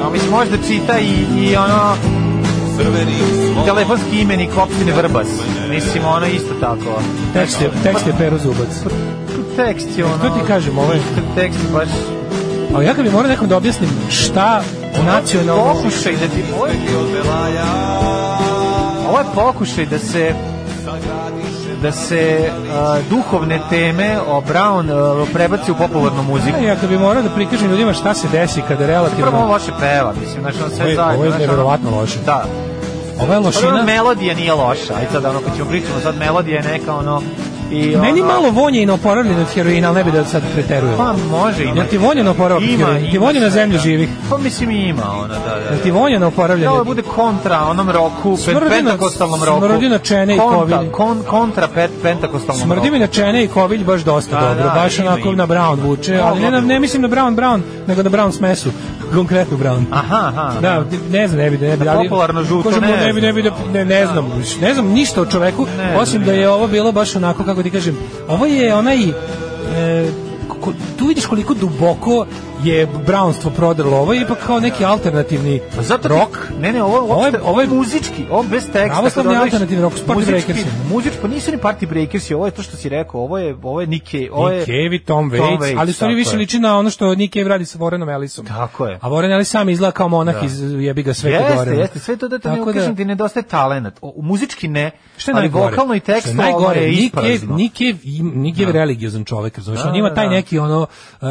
[SPEAKER 6] ono, mislim, možda čita i, i ono,
[SPEAKER 11] Crveni slon
[SPEAKER 6] telefonski imenik opštine Vrbas. Mislim, ono, isto tako.
[SPEAKER 7] tekst je, tekst je pero zubac.
[SPEAKER 6] Tekst je, ono...
[SPEAKER 7] Što ti kažem, ovo je...
[SPEAKER 6] Tekst baš...
[SPEAKER 7] Ali ja kad bi morao nekom da objasnim šta nacionalno...
[SPEAKER 6] Pokušaj da ti... Ovo je,
[SPEAKER 11] I od Belaja
[SPEAKER 6] ovo je pokušaj da se da se a, duhovne teme o Brown a, prebaci u popularnu muziku.
[SPEAKER 7] Ja kad bi morao da prikažem ljudima šta se desi kada
[SPEAKER 6] Prvo
[SPEAKER 7] relativno...
[SPEAKER 6] ovo loše peva, mislim, znači on
[SPEAKER 7] Ovo
[SPEAKER 6] sve
[SPEAKER 7] je-
[SPEAKER 6] zajedno.
[SPEAKER 7] ovo je
[SPEAKER 6] znaš, ono-
[SPEAKER 7] nevjerovatno loše.
[SPEAKER 6] Da.
[SPEAKER 7] Ova je
[SPEAKER 6] Prvo,
[SPEAKER 7] lošina...
[SPEAKER 6] melodija nije loša, ajde sad ono, kad ćemo pričamo, sad melodija je neka ono... I, ono,
[SPEAKER 7] Meni malo vonje i na oporavljen od heroina, ali ne bi da sad preterujem.
[SPEAKER 6] Pa može ima.
[SPEAKER 7] Jel ti vonje na oporavak heroina? Ti vonje na
[SPEAKER 6] svega.
[SPEAKER 7] zemlju živih?
[SPEAKER 6] Pa mislim i ima ona, da, da.
[SPEAKER 7] Jel
[SPEAKER 6] da.
[SPEAKER 7] ti vonje na
[SPEAKER 6] Da
[SPEAKER 7] oporavljen?
[SPEAKER 6] ovo bude kontra onom roku, pen,
[SPEAKER 7] Smrdi na-
[SPEAKER 6] pentakostalnom roku.
[SPEAKER 7] smrdi na čene i
[SPEAKER 6] kontra,
[SPEAKER 7] kovine.
[SPEAKER 6] kon, kontra pet, pentakostalnom
[SPEAKER 7] Smrdi
[SPEAKER 6] roku.
[SPEAKER 7] mi na čene i kovilj baš dosta
[SPEAKER 6] Da,
[SPEAKER 7] dobro,
[SPEAKER 6] da,
[SPEAKER 7] baš
[SPEAKER 6] ima,
[SPEAKER 7] onako
[SPEAKER 6] ima.
[SPEAKER 7] na brown vuče, ali ne, na- ne mislim na brown brown, nego na brown smesu, konkretno brown.
[SPEAKER 6] Aha, aha.
[SPEAKER 7] Da, ne znam, ne bi, ne bi, ali...
[SPEAKER 6] popularno žuto,
[SPEAKER 7] Kažem,
[SPEAKER 6] ne
[SPEAKER 7] ne bi, ne bi, da,
[SPEAKER 6] znam.
[SPEAKER 7] ne, ne znam, ne znam ništa o čoveku,
[SPEAKER 6] Ne
[SPEAKER 7] osim
[SPEAKER 6] znam,
[SPEAKER 7] da
[SPEAKER 6] ne
[SPEAKER 7] je ovo bilo baš onako, kako ti kažem, ovo je onaj... E, ko- tu vidiš koliko duboko je brownstvo prodrlo, ovo je ipak kao neki alternativni
[SPEAKER 6] Pa zato ti-
[SPEAKER 7] rock.
[SPEAKER 6] Ne, ne, ovo je
[SPEAKER 7] Ovo je-
[SPEAKER 6] uopšte, ovo
[SPEAKER 7] ovo
[SPEAKER 6] je
[SPEAKER 7] je-
[SPEAKER 6] muzički, ovo bez teksta.
[SPEAKER 7] Pravoslavni
[SPEAKER 6] kad odvojiš
[SPEAKER 7] alternativni rock, su Party
[SPEAKER 6] muzički-
[SPEAKER 7] Breakersi.
[SPEAKER 6] Muzički, pa nisu ni Party Breakersi, ovo je to što si rekao, ovo je, ovo je Nike, ovo je...
[SPEAKER 7] Nick Cave i Tom Waits, ali u stvari
[SPEAKER 6] tako
[SPEAKER 7] više
[SPEAKER 6] je.
[SPEAKER 7] liči na ono što Nick Cave radi sa Warrenom Ellisom.
[SPEAKER 6] Tako je.
[SPEAKER 7] A Warren Ellis sam izgleda kao monah iz jebi ga Svete
[SPEAKER 6] E. Da. Jeste,
[SPEAKER 7] Gore.
[SPEAKER 6] jeste, sve to da te ne
[SPEAKER 7] Tako da-
[SPEAKER 6] ukažem ti nedostaje talenat. O, muzički ne,
[SPEAKER 7] Što je
[SPEAKER 6] ali
[SPEAKER 7] najgore?
[SPEAKER 6] vokalno i
[SPEAKER 7] Što je
[SPEAKER 6] tekst
[SPEAKER 7] najgore,
[SPEAKER 6] je
[SPEAKER 7] Nick Cave-
[SPEAKER 6] isprazno.
[SPEAKER 7] Nick Cave, im- Nick Cave je religiozan čovjek, razumiješ?
[SPEAKER 6] Da,
[SPEAKER 7] On ima
[SPEAKER 6] da,
[SPEAKER 7] taj
[SPEAKER 6] da.
[SPEAKER 7] neki ono... uh,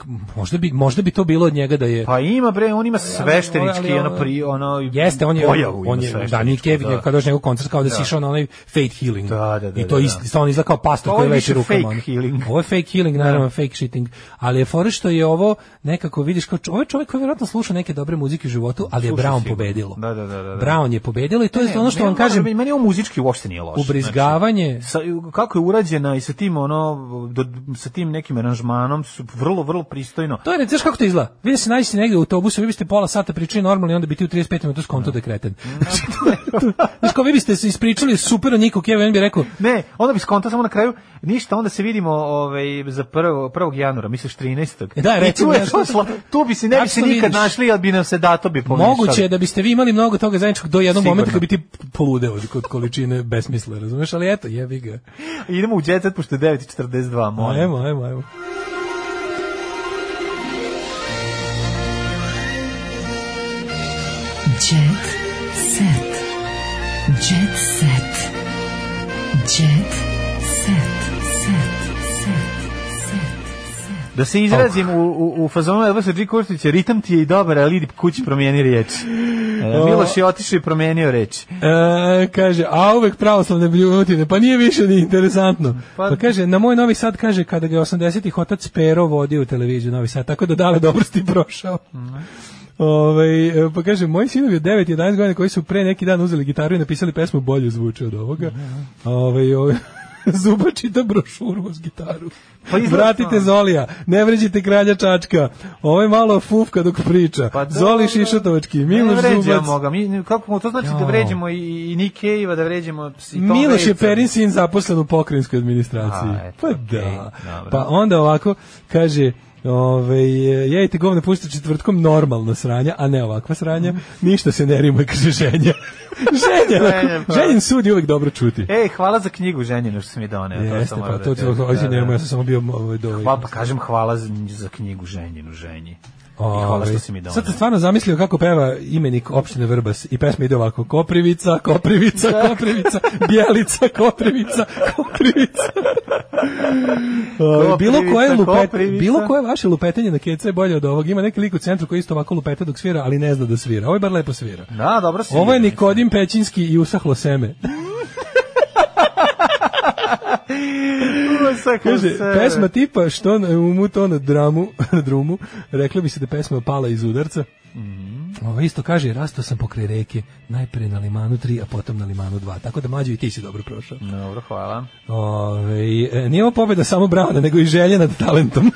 [SPEAKER 7] k- možda bi, možda bi to bilo od njega da je...
[SPEAKER 6] Pa ima bre, on ima sveštenički,
[SPEAKER 7] ali,
[SPEAKER 6] ono,
[SPEAKER 7] ali,
[SPEAKER 6] pri, ono, i
[SPEAKER 7] Jeste, on je,
[SPEAKER 6] pojavu ima
[SPEAKER 7] on je da Nick
[SPEAKER 6] svešteničku,
[SPEAKER 7] Cave, da. kada dođe na njegov koncert, kao da, si išao na onaj Fate Healing.
[SPEAKER 6] Da, da, da,
[SPEAKER 7] I to
[SPEAKER 6] da,
[SPEAKER 7] isto,
[SPEAKER 6] da.
[SPEAKER 7] on izgleda kao pastor
[SPEAKER 6] Ovo
[SPEAKER 7] koji
[SPEAKER 6] je
[SPEAKER 7] leči
[SPEAKER 6] više
[SPEAKER 7] rukama.
[SPEAKER 6] fake
[SPEAKER 7] ono.
[SPEAKER 6] healing. Da.
[SPEAKER 7] Ovo je fake healing, naravno, fake shitting. Ali je fora što je ovo nekako, vidiš, kao, čo- ovo je čovjek koji vjerojatno sluša neke dobre muzike u životu, ali je
[SPEAKER 6] Sluša
[SPEAKER 7] Brown
[SPEAKER 6] sigurno.
[SPEAKER 7] pobedilo.
[SPEAKER 6] Da, da, da, da, da.
[SPEAKER 7] Brown je pobedilo i to je ono što
[SPEAKER 6] Ne,
[SPEAKER 7] vam
[SPEAKER 6] moram
[SPEAKER 7] kažem,
[SPEAKER 6] da- meni ovo muzički uopšte nije loše. Znači,
[SPEAKER 7] ubrizgavanje...
[SPEAKER 6] sa, kako je urađena i sa tim ono do, sa tim nekim aranžmanom su vrlo vrlo pristojno.
[SPEAKER 7] To je, ne, znaš kako to izgleda? Vi da se nađete negdje u autobusu, vi biste pola sata pričali normalno i onda bi ti u 35 minuta skonto da je kreten. Znači, to je to. Znaš kao, vi biste se ispričali super o Niku Kevu, on bi rekao,
[SPEAKER 6] Ne, onda bi skonta samo na kraju, ništa, onda se vidimo ovaj, za 1. 1. januara, misliš 13.
[SPEAKER 7] E, da,
[SPEAKER 6] I
[SPEAKER 7] recimo,
[SPEAKER 6] tu, je,
[SPEAKER 7] nešto-
[SPEAKER 6] to sla- tu bi se ne bi se
[SPEAKER 7] Tačno
[SPEAKER 6] nikad
[SPEAKER 7] vidiš.
[SPEAKER 6] našli, ali bi nam se dato bi pomešali.
[SPEAKER 7] moguće je da biste vi imali mnogo toga zajedničkog do jednog
[SPEAKER 6] Sigurno.
[SPEAKER 7] momenta kad bi ti poludeo kod količine besmisla, razumeš? Ali eto, jebi ga.
[SPEAKER 6] Idemo u džet set, pošto je 9.42, molim.
[SPEAKER 7] Ajmo, ajmo, ajmo.
[SPEAKER 5] Jet set. Jet set. Jet set. Set. Set.
[SPEAKER 6] Da se izrazim u, u, u fazonu Elvisa G. Kurtića, ritam ti je i dobar, ali idi kući promijeni riječ. E, Miloš je otišao i promijenio reč.
[SPEAKER 7] E, kaže, a uvek pravoslavne bljutine, pa nije više ni interesantno. Pa, kaže, na moj Novi Sad, kaže, kada ga je 80-ih otac Pero vodio u televiziju Novi Sad, tako da dale dobro si ti prošao.
[SPEAKER 6] Mhm.
[SPEAKER 7] Ovaj e, pa kaže, moji sinovi od 9 i 11 godina koji su pre neki dan uzeli gitaru i napisali pesmu bolje zvuči od ovoga.
[SPEAKER 6] Mhm.
[SPEAKER 7] Ovaj, ovaj, Zuba čita brošuru uz gitaru.
[SPEAKER 6] Pa izgleda
[SPEAKER 7] Vratite
[SPEAKER 6] stvarno.
[SPEAKER 7] Zolija, ne vređite kralja Čačka. Ovo je malo fufka dok priča.
[SPEAKER 6] Pa
[SPEAKER 7] Zoli
[SPEAKER 6] dobro.
[SPEAKER 7] Šišatovački,
[SPEAKER 6] Ne
[SPEAKER 7] Miloš Zubac.
[SPEAKER 6] vređamo ga. Mi, kako, mu- to znači da
[SPEAKER 7] Jo.
[SPEAKER 6] vređamo i, i Nikejeva, da vređamo i Tom
[SPEAKER 7] Miloš je
[SPEAKER 6] Vejca.
[SPEAKER 7] Perin sin zaposlen u pokrajinskoj administraciji.
[SPEAKER 6] A, eto,
[SPEAKER 7] pa
[SPEAKER 6] okej,
[SPEAKER 7] da.
[SPEAKER 6] dobro.
[SPEAKER 7] Pa onda ovako kaže Ove, jejte govne pušta četvrtkom normalno sranja, a ne ovakva sranja. Ništa se ne rima, kaže ženja. ženja,
[SPEAKER 6] Ženja, pa.
[SPEAKER 7] ženjen sud je uvek dobro čuti.
[SPEAKER 6] Ej, hvala za knjigu ženjinu što si mi doneo. to
[SPEAKER 7] Jeste,
[SPEAKER 6] sam
[SPEAKER 7] pa
[SPEAKER 6] morao
[SPEAKER 7] to
[SPEAKER 6] da
[SPEAKER 7] ti
[SPEAKER 6] kažem.
[SPEAKER 7] hoće,
[SPEAKER 6] Da, da.
[SPEAKER 7] nema, ja sam samo bio ovaj, dole.
[SPEAKER 6] Hvala, pa kažem hvala za, za knjigu ženjinu, ženji. I hvala što si mi doneo.
[SPEAKER 7] Ovaj, Sad da sam stvarno zamislio kako peva imenik opštine Vrbas i pesma ide ovako Koprivica, Koprivica, Koprivica, Bjelica, Koprivica, Koprivica. Ovaj, bilo koje lupet,
[SPEAKER 6] Koprivica.
[SPEAKER 7] bilo koje vaše lupetanje na keca je bolje od ovog. Ima neki lik u centru koji isto ovako lupeta dok svira, ali ne zna da svira. Ovo je bar lepo svira.
[SPEAKER 6] Da, dobro si.
[SPEAKER 7] Ovo je Nikodim Pećinski i usahlo seme. Kaže, pesma tipa što na umu to na dramu, na drumu, reklo bi se da pesma je pala iz udarca.
[SPEAKER 6] Mhm.
[SPEAKER 7] Ovo isto kaže, rastao sam pokraj reke, najpre na limanu 3, a potom na limanu 2. Tako da mlađo i ti si dobro prošao.
[SPEAKER 6] Dobro, hvala.
[SPEAKER 7] Ove, e, nije ovo pobjeda samo Brauna, nego i želje nad talentom.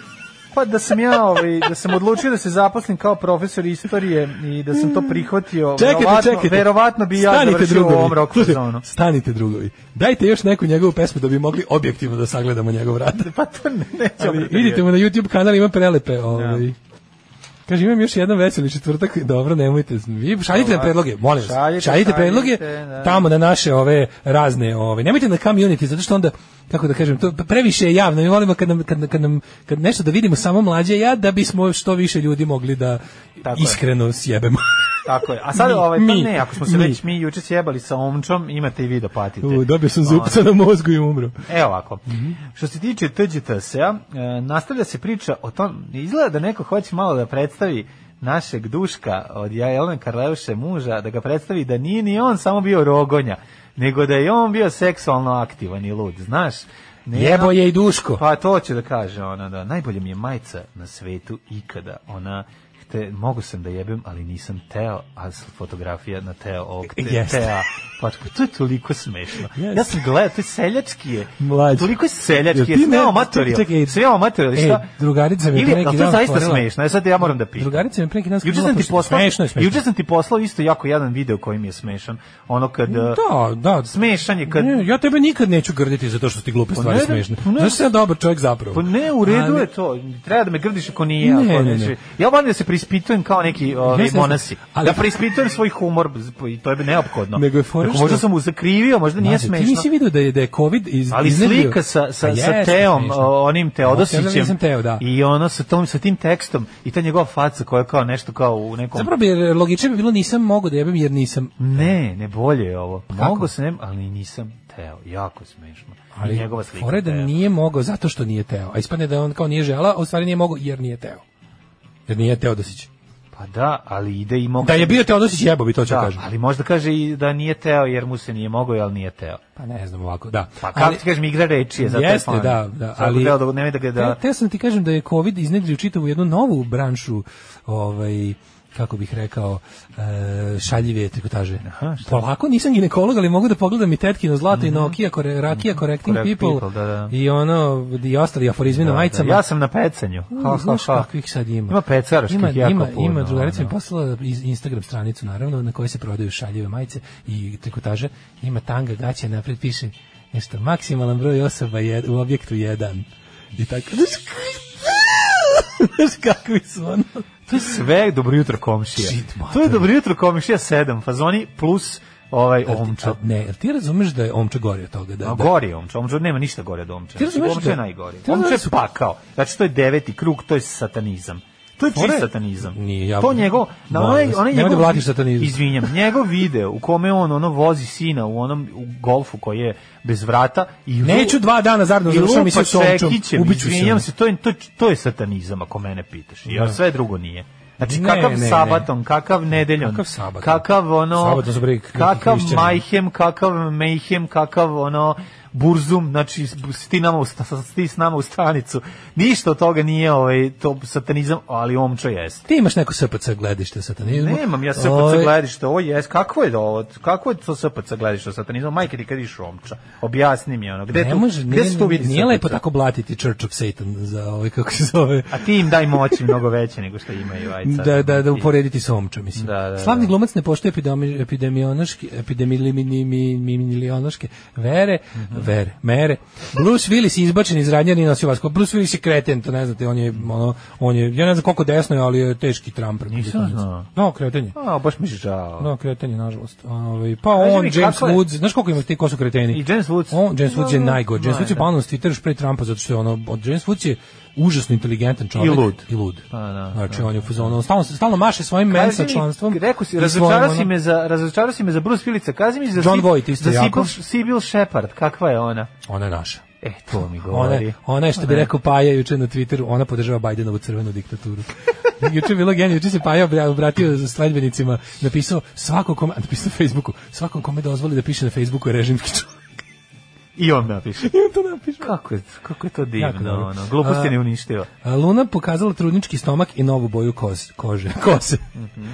[SPEAKER 6] Pa da sam ja, ovaj, da sam odlučio da se zaposlim kao profesor istorije i da sam to prihvatio,
[SPEAKER 7] Čekajte,
[SPEAKER 6] verovatno,
[SPEAKER 7] čekajte.
[SPEAKER 6] verovatno bi ja
[SPEAKER 7] Stanite,
[SPEAKER 6] završio u
[SPEAKER 7] drugovi.
[SPEAKER 6] ovom rock
[SPEAKER 7] Slušaj,
[SPEAKER 6] fazonu.
[SPEAKER 7] Stanite drugovi. Dajte još neku njegovu pesmu da bi mogli objektivno da sagledamo njegov rad.
[SPEAKER 6] Pa to ne, da neću
[SPEAKER 7] Ali
[SPEAKER 6] opet
[SPEAKER 7] idite mu na YouTube kanal, ima prelepe.
[SPEAKER 6] Da.
[SPEAKER 7] Ovaj. Kaže, imam još jedan veseli četvrtak, dobro, nemojte, vi šaljite nam predloge, molim vas, šaljite,
[SPEAKER 6] Šaljite,
[SPEAKER 7] predloge
[SPEAKER 6] šaljite, da.
[SPEAKER 7] tamo na naše ove razne, ove, nemojte na community, zato što onda, kako da kažem, to previše je javno, mi volimo kad nam, kad, kad nam kad nešto da vidimo samo mlađe i ja, da bismo što više ljudi mogli da
[SPEAKER 6] Tako je.
[SPEAKER 7] iskreno sjebemo.
[SPEAKER 6] Tako je. A sad
[SPEAKER 7] Mi,
[SPEAKER 6] ovaj,
[SPEAKER 7] mi,
[SPEAKER 6] pa ne, ako smo se
[SPEAKER 7] mi.
[SPEAKER 6] već mi juče sjebali sa omčom, imate i vi da patite.
[SPEAKER 7] U, dobio sam Mhm.
[SPEAKER 6] Ono,
[SPEAKER 7] zupca na mozgu i umro.
[SPEAKER 6] Evo ovako. Što se tiče TGTS-a, e, nastavlja se priča o tom, izgleda da neko hoće malo da predstavi našeg duška od Jelena Karleuše muža, da ga predstavi da nije ni on samo bio rogonja, nego da je on bio seksualno aktivan i lud, znaš? Ne,
[SPEAKER 7] Jebo
[SPEAKER 6] ona-
[SPEAKER 7] je i Duško.
[SPEAKER 6] Pa to ću da kaže ona, da. Najbolje mi je majica na svetu ikada, ona te, mogu sam da jebem, ali nisam teo, a s- fotografija na teo ovog te,
[SPEAKER 7] Jeste.
[SPEAKER 6] tea. Pa to je toliko smešno.
[SPEAKER 7] Jeste.
[SPEAKER 6] Ja sam gledao, to je seljački je.
[SPEAKER 7] Mlađe.
[SPEAKER 6] Toliko je
[SPEAKER 7] Jel
[SPEAKER 6] seljački,
[SPEAKER 7] ti
[SPEAKER 6] je sve
[SPEAKER 7] ne-
[SPEAKER 6] amatorijalno.
[SPEAKER 7] čekaj,
[SPEAKER 6] Sve amatorijalno,
[SPEAKER 7] ej,
[SPEAKER 6] šta?
[SPEAKER 7] drugarica mi je
[SPEAKER 6] Ili-
[SPEAKER 7] pre neki
[SPEAKER 6] ali to je
[SPEAKER 7] dan
[SPEAKER 6] zaista
[SPEAKER 7] otvorila-
[SPEAKER 6] smešno, ja sad ja moram da pitam.
[SPEAKER 7] Drugarica mi je pre neki dan
[SPEAKER 6] Juče
[SPEAKER 7] skrenula
[SPEAKER 6] sam ti
[SPEAKER 7] pošto-
[SPEAKER 6] poslao,
[SPEAKER 7] smešno je, smešno.
[SPEAKER 6] Juče sam ti poslao isto jako jedan video koji mi je smešan. Ono kad...
[SPEAKER 7] Da, da.
[SPEAKER 6] Smešan je kad...
[SPEAKER 7] Ne, ja tebe nikad neću grditi zato što su ti glupe stvari
[SPEAKER 6] ne,
[SPEAKER 7] smešne.
[SPEAKER 6] pa ne.
[SPEAKER 7] Znaš sam ja dobar čovjek zapravo.
[SPEAKER 6] Pa ne, u redu
[SPEAKER 7] Ali-
[SPEAKER 6] je to. Treba da me grdiš ako nije.
[SPEAKER 7] Ne,
[SPEAKER 6] ako
[SPEAKER 7] ne,
[SPEAKER 6] neće.
[SPEAKER 7] ne.
[SPEAKER 6] Ja volim da se preispitujem kao neki ovi,
[SPEAKER 7] Jeste,
[SPEAKER 6] monasi.
[SPEAKER 7] jeste. Ali-
[SPEAKER 6] da preispitujem svoj humor, z- i to je neophodno.
[SPEAKER 7] Nego je fora
[SPEAKER 6] Ako
[SPEAKER 7] što-
[SPEAKER 6] možda sam mu zakrivio, možda nije
[SPEAKER 7] Mlađe, Ti
[SPEAKER 6] smešno.
[SPEAKER 7] nisi vidio da je, da je COVID iz,
[SPEAKER 6] Ali
[SPEAKER 7] iznedrio-
[SPEAKER 6] slika sa,
[SPEAKER 7] Pa
[SPEAKER 6] sa, sa
[SPEAKER 7] jeste
[SPEAKER 6] Teom,
[SPEAKER 7] smešno.
[SPEAKER 6] o, onim Teodosićem,
[SPEAKER 7] Ja nisam Teo, da.
[SPEAKER 6] i ono sa, tom, sa tim tekstom, i ta njegova faca koja je kao nešto kao u nekom...
[SPEAKER 7] Zapravo bi logično bi bilo nisam mogao da jebem jer nisam.
[SPEAKER 6] Ne, ne bolje je ovo.
[SPEAKER 7] Pa kako?
[SPEAKER 6] Mogu sam, ali nisam Teo. Jako smešno. I njegova slika.
[SPEAKER 7] fora je da
[SPEAKER 6] Teo.
[SPEAKER 7] nije mogao zato što nije Teo. A ispadne da on kao nije žela, a u stvari nije mogao jer nije Teo. Jer nije Teodosić.
[SPEAKER 6] Pa da, ali ide i mogu...
[SPEAKER 7] Da je bio Teodosić jebo bi to ću
[SPEAKER 6] Da,
[SPEAKER 7] kažem.
[SPEAKER 6] ali možda kaže i da nije teo jer mu se nije mogao, ali nije teo.
[SPEAKER 7] Pa ne znam ovako, da.
[SPEAKER 6] Pa kako ti kažem, igra reči je za
[SPEAKER 7] Jeste,
[SPEAKER 6] telefon.
[SPEAKER 7] da, da,
[SPEAKER 6] Svako
[SPEAKER 7] ali
[SPEAKER 6] teo da, nemoj da ga da...
[SPEAKER 7] Te, te sam ti kažem da je COVID iznedrio čitavu jednu novu branšu, ovaj kako bih rekao, e, šaljive trikotaže.
[SPEAKER 6] šta? Mhm.
[SPEAKER 7] Polako nisam ginekolog, ali mogu da pogledam i tetkino zlato i Nokia, kore, rakija, correcting
[SPEAKER 6] Correct
[SPEAKER 7] people,
[SPEAKER 6] people, da, da.
[SPEAKER 7] i ono, i ostali aforizmi na majicama.
[SPEAKER 6] Ja sam na pecanju. Ha, ha,
[SPEAKER 7] Znaš
[SPEAKER 6] ha.
[SPEAKER 7] kakvih sad ima?
[SPEAKER 6] Ima pecaraških
[SPEAKER 7] ima,
[SPEAKER 6] jako
[SPEAKER 7] ima,
[SPEAKER 6] puno, da,
[SPEAKER 7] Ima, drugarica mi
[SPEAKER 6] ono.
[SPEAKER 7] poslala iz- Instagram stranicu, naravno, na kojoj se prodaju šaljive majice i trikotaže. Ima tanga gaća, napred piše nešto, maksimalan broj osoba je u objektu jedan. I tako, znaš, k- znaš kakvi su ono.
[SPEAKER 6] To je sve dobro jutro komšija.
[SPEAKER 7] Shit, mater.
[SPEAKER 6] To je dobro jutro komšija 7, fazoni plus ovaj omča.
[SPEAKER 7] A Ne, jel ti razumeš da je omča gori od toga? Da,
[SPEAKER 6] A
[SPEAKER 7] da,
[SPEAKER 6] gori je omča, omča nema ništa gore od omča.
[SPEAKER 7] Ti razumeš
[SPEAKER 6] Omča je
[SPEAKER 7] da-
[SPEAKER 6] najgori.
[SPEAKER 7] ti razumeš
[SPEAKER 6] Omča je
[SPEAKER 7] da su-
[SPEAKER 6] pakao. Znači to je deveti krug, to je satanizam. To je čist
[SPEAKER 7] Fore-
[SPEAKER 6] satanizam.
[SPEAKER 7] Nije, ja-
[SPEAKER 6] to njegov, na
[SPEAKER 7] Molim
[SPEAKER 6] onaj,
[SPEAKER 7] vas,
[SPEAKER 6] onaj
[SPEAKER 7] nemoj da
[SPEAKER 6] njegov,
[SPEAKER 7] blatiš satanizam.
[SPEAKER 6] Izvinjam, njegov video u kome on ono vozi sina u onom u golfu koji je bez vrata i lu-
[SPEAKER 7] Neću da dva dana zaradno
[SPEAKER 6] i
[SPEAKER 7] završavam i
[SPEAKER 6] lupa
[SPEAKER 7] sve s ovčom.
[SPEAKER 6] čekićem,
[SPEAKER 7] Ubiću se.
[SPEAKER 6] izvinjam
[SPEAKER 7] ono.
[SPEAKER 6] se, to je, to, je- to je satanizam ako mene pitaš, jer
[SPEAKER 7] Da.
[SPEAKER 6] sve drugo nije. Znači,
[SPEAKER 7] Ne,
[SPEAKER 6] kakav
[SPEAKER 7] ne, ne.
[SPEAKER 6] sabaton, kakav nedeljom,
[SPEAKER 7] Kakav sabaton?
[SPEAKER 6] kakav ono,
[SPEAKER 7] Sabaton su bre neki
[SPEAKER 6] kakav
[SPEAKER 7] hrišćani.
[SPEAKER 6] majhem, kakav mejhem, kakav ono, burzum, znači s- ti, nama u, sta- s- ti s nama u stanicu. Ništa od toga nije ovaj, to satanizam, ali omčo jeste.
[SPEAKER 7] Ti imaš neko SPC gledište satanizmu?
[SPEAKER 6] Nemam ja SPC
[SPEAKER 7] Ovaj,
[SPEAKER 6] gledište, ovo je, kakvo je ovo, kakvo je to SPC gledište satanizma, majke ti kad iš romča, objasni mi ono, gde
[SPEAKER 7] Ne
[SPEAKER 6] tu,
[SPEAKER 7] može,
[SPEAKER 6] gde se tu
[SPEAKER 7] nije,
[SPEAKER 6] vidi
[SPEAKER 7] nije
[SPEAKER 6] SPC?
[SPEAKER 7] lepo tako blatiti Church of Satan za ovaj, kako se zove.
[SPEAKER 6] A ti im daj moći mnogo veće nego što imaju aj sad.
[SPEAKER 7] Da, da, da uporediti sa omčom, mislim.
[SPEAKER 6] Da, da,
[SPEAKER 7] Slavni
[SPEAKER 6] da.
[SPEAKER 7] glumac ne poštuje epidemi, epidemiološke, epidemiološke vere,
[SPEAKER 6] Mhm.
[SPEAKER 7] vere, mere. Bruce Willis je izbačen iz radnje, nije nosio vasku. Bruce Willis je kreten, to ne znate, on je, ono, on je, ja ne znam koliko desno je, ali je teški Trump. republikanac.
[SPEAKER 6] znao.
[SPEAKER 7] No, kreten je.
[SPEAKER 6] A, baš mi je žao.
[SPEAKER 7] No, kreten je, nažalost. Ovaj, pa
[SPEAKER 6] Kaži
[SPEAKER 7] on,
[SPEAKER 6] mi,
[SPEAKER 7] James
[SPEAKER 6] kako je-
[SPEAKER 7] Woods, znaš koliko ima ti, ko su kreteni?
[SPEAKER 6] I James Woods.
[SPEAKER 7] On, James Woods je
[SPEAKER 6] No,
[SPEAKER 7] najgod. James
[SPEAKER 6] no,
[SPEAKER 7] Woods je pa-
[SPEAKER 6] da.
[SPEAKER 7] banuo s Twittera još pre Trumpa, zato što je ono, James Woods je užasno inteligentan čovjek.
[SPEAKER 6] I lud.
[SPEAKER 7] I lud.
[SPEAKER 6] Pa, da,
[SPEAKER 7] znači, on je u fazonu, on stalno, stalno maše svojim
[SPEAKER 6] Kaži
[SPEAKER 7] mensa
[SPEAKER 6] mi,
[SPEAKER 7] članstvom.
[SPEAKER 6] Rekao si,
[SPEAKER 7] i
[SPEAKER 6] razočarao
[SPEAKER 7] svojim,
[SPEAKER 6] si
[SPEAKER 7] ono-
[SPEAKER 6] me za, razočarao si me za Bruce Willis-a, kazi mi za,
[SPEAKER 7] John
[SPEAKER 6] Sib-
[SPEAKER 7] Voight isto
[SPEAKER 6] za
[SPEAKER 7] jako.
[SPEAKER 6] Sibyl, Sibyl Shepard, kakva je ona?
[SPEAKER 7] Ona je naša.
[SPEAKER 6] E, to mi
[SPEAKER 7] Ona,
[SPEAKER 6] govori.
[SPEAKER 7] ona je što bi
[SPEAKER 6] Ona je-
[SPEAKER 7] rekao Paja juče na Twitteru, ona podržava Bajdenovu crvenu diktaturu. juče je bilo genijalno, juče se Paja obra- obratio za sledbenicima, napisao svakom kome, a napisao na Facebooku, svakom kome dozvoli da piše na Facebooku je režimski čovjek.
[SPEAKER 6] I on napiše.
[SPEAKER 7] I on to napiše.
[SPEAKER 6] Kako je, kako je to
[SPEAKER 7] Jako dobro.
[SPEAKER 6] divno, ono. Gluposti
[SPEAKER 7] A-
[SPEAKER 6] ne uništio.
[SPEAKER 7] A, Luna pokazala trudnički stomak i novu boju koz, kože, kose.
[SPEAKER 6] Mhm.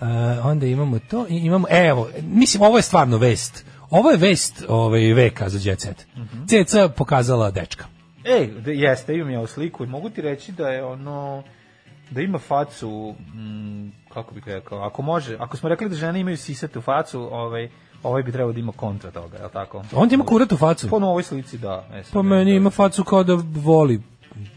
[SPEAKER 7] A, onda imamo to i imamo, e, evo, mislim, ovo je stvarno vest. Ovo je vest ovaj, veka za Jet Set.
[SPEAKER 6] Mhm.
[SPEAKER 7] Ceca pokazala dečka.
[SPEAKER 6] Ej, da, jeste, imam ja u sliku i mogu ti reći da je ono da ima facu mm, kako bih rekao, ako može, ako smo rekli da žene imaju sisatu facu, ovaj ovaj bi trebao da ima kontra toga, je li tako?
[SPEAKER 7] On ti ima kurat u
[SPEAKER 6] Po
[SPEAKER 7] facu.
[SPEAKER 6] novoj slici, da. E, sad
[SPEAKER 7] Pa
[SPEAKER 6] ne,
[SPEAKER 7] meni
[SPEAKER 6] da.
[SPEAKER 7] ima facu kao da voli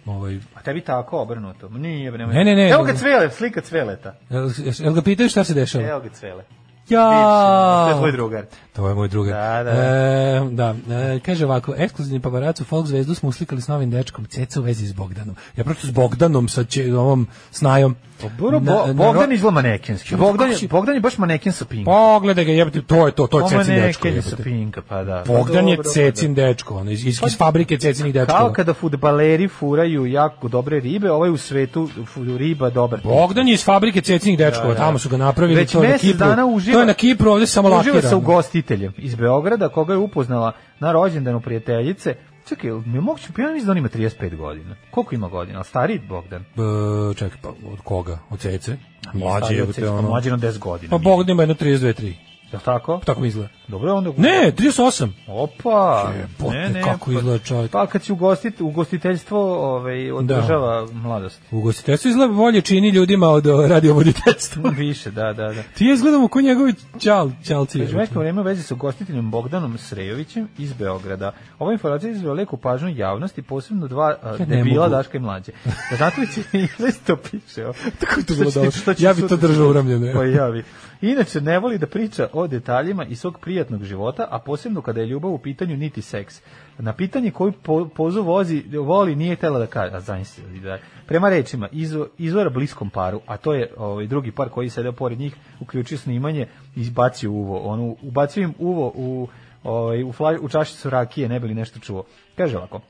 [SPEAKER 7] ovaj,
[SPEAKER 6] A tebi tako obrnuto. Nije, nemoj.
[SPEAKER 7] Ne, ne, ne.
[SPEAKER 6] Evo ga cvele, slika cveleta.
[SPEAKER 7] Jel, jel ga pitaju šta se dešava?
[SPEAKER 6] Evo ga cvele. To je
[SPEAKER 7] Ja.
[SPEAKER 6] tvoj drugar.
[SPEAKER 7] To je moj drugar.
[SPEAKER 6] Da, da, da.
[SPEAKER 7] E, da. E, kaže ovako, ekskluzivni paparacu Folk zvezdu smo uslikali s novim dečkom Ceca u vezi s Bogdanom. Ja prosto s Bogdanom sa će, ovom snajom.
[SPEAKER 6] Pa Bro,
[SPEAKER 7] Na-
[SPEAKER 6] Bo,
[SPEAKER 7] na-
[SPEAKER 6] Bogdan je izgleda manekinski.
[SPEAKER 7] Kako
[SPEAKER 6] Bogdan, je-
[SPEAKER 7] si-
[SPEAKER 6] Bogdan je baš maneken sa pinka.
[SPEAKER 7] Pogledaj Pa, ga, jebati, to je to, to je
[SPEAKER 6] Ovo
[SPEAKER 7] Cecin dečko.
[SPEAKER 6] maneken je sa
[SPEAKER 7] jebote.
[SPEAKER 6] pinka, pa da. Pa
[SPEAKER 7] Bogdan je
[SPEAKER 6] dobro, pa da.
[SPEAKER 7] Cecin dečko, ono, iz, iz, iz fabrike Cecinih
[SPEAKER 6] Kao
[SPEAKER 7] dečkova.
[SPEAKER 6] kada fudbaleri furaju jako dobre ribe, ovaj u svetu fu- riba dobar.
[SPEAKER 7] Bogdan je iz fabrike Cecinih dečkova, tamo su ga napravili,
[SPEAKER 6] Da, Već
[SPEAKER 7] to je na
[SPEAKER 6] mesec
[SPEAKER 7] Kipru.
[SPEAKER 6] dana uživa-
[SPEAKER 7] To je na Kipru, ovdje samo
[SPEAKER 6] Uživa sa
[SPEAKER 7] lakirano.
[SPEAKER 6] ugostiteljem iz Beograda, koga je upoznala na rođendanu prijateljice. Čekaj, jel mi je moguće, pa ja mislim da on ima 35 godina. Koliko ima godina? A Stariji Bogdan?
[SPEAKER 7] E, čekaj, pa od koga? Od Cece? Mlađe,
[SPEAKER 6] Stariji od
[SPEAKER 7] jebote,
[SPEAKER 6] Cecka,
[SPEAKER 7] ono.
[SPEAKER 6] Mlađi na 10 godina.
[SPEAKER 7] Pa Bogdan ima jedno 32, 3.
[SPEAKER 6] Jel tako?
[SPEAKER 7] Tako mi izgleda.
[SPEAKER 6] Dobro, onda...
[SPEAKER 7] Ne, 38.
[SPEAKER 6] Opa!
[SPEAKER 7] Jebote, E, kako izgleda Da. čovjek.
[SPEAKER 6] Pa kad si ugostit, ugostiteljstvo ovaj, održava mladost.
[SPEAKER 7] Ugostiteljstvo izgleda bolje čini ljudima od o, radiovoditeljstva.
[SPEAKER 6] Više, da, da, da.
[SPEAKER 7] Ti je izgledamo ko njegovi čal, čalci.
[SPEAKER 6] Međuvremeno vreme u vezi sa gostiteljem Bogdanom Srejovićem iz Beograda. Ova informacija je izvela veliku pažnju javnosti, posebno dva a,
[SPEAKER 7] ne
[SPEAKER 6] debila
[SPEAKER 7] mogu.
[SPEAKER 6] Daška i mlađe. Da znate li će listo piše? o.
[SPEAKER 7] Tako je
[SPEAKER 6] Što
[SPEAKER 7] to bilo
[SPEAKER 6] će-
[SPEAKER 7] dobro.
[SPEAKER 6] što će
[SPEAKER 7] Ja bi
[SPEAKER 6] sutra-
[SPEAKER 7] to držao uramljeno.
[SPEAKER 6] Pa ja bi. Inače, ne voli da priča o detaljima iz svog prijatnog života, a posebno kada je ljubav u pitanju niti seks. Na pitanje koju po, pozu vozi, voli, nije tela da kaže. A zamisli, da. Prema rečima, izvo- izvora bliskom paru, a to je ovaj, drugi par koji sedeo pored njih, uključio snimanje, izbacio uvo. Ono, ubacio im uvo u, ovaj, u, fla- u čašicu rakije, ne bi li nešto čuo. Kaže ovako,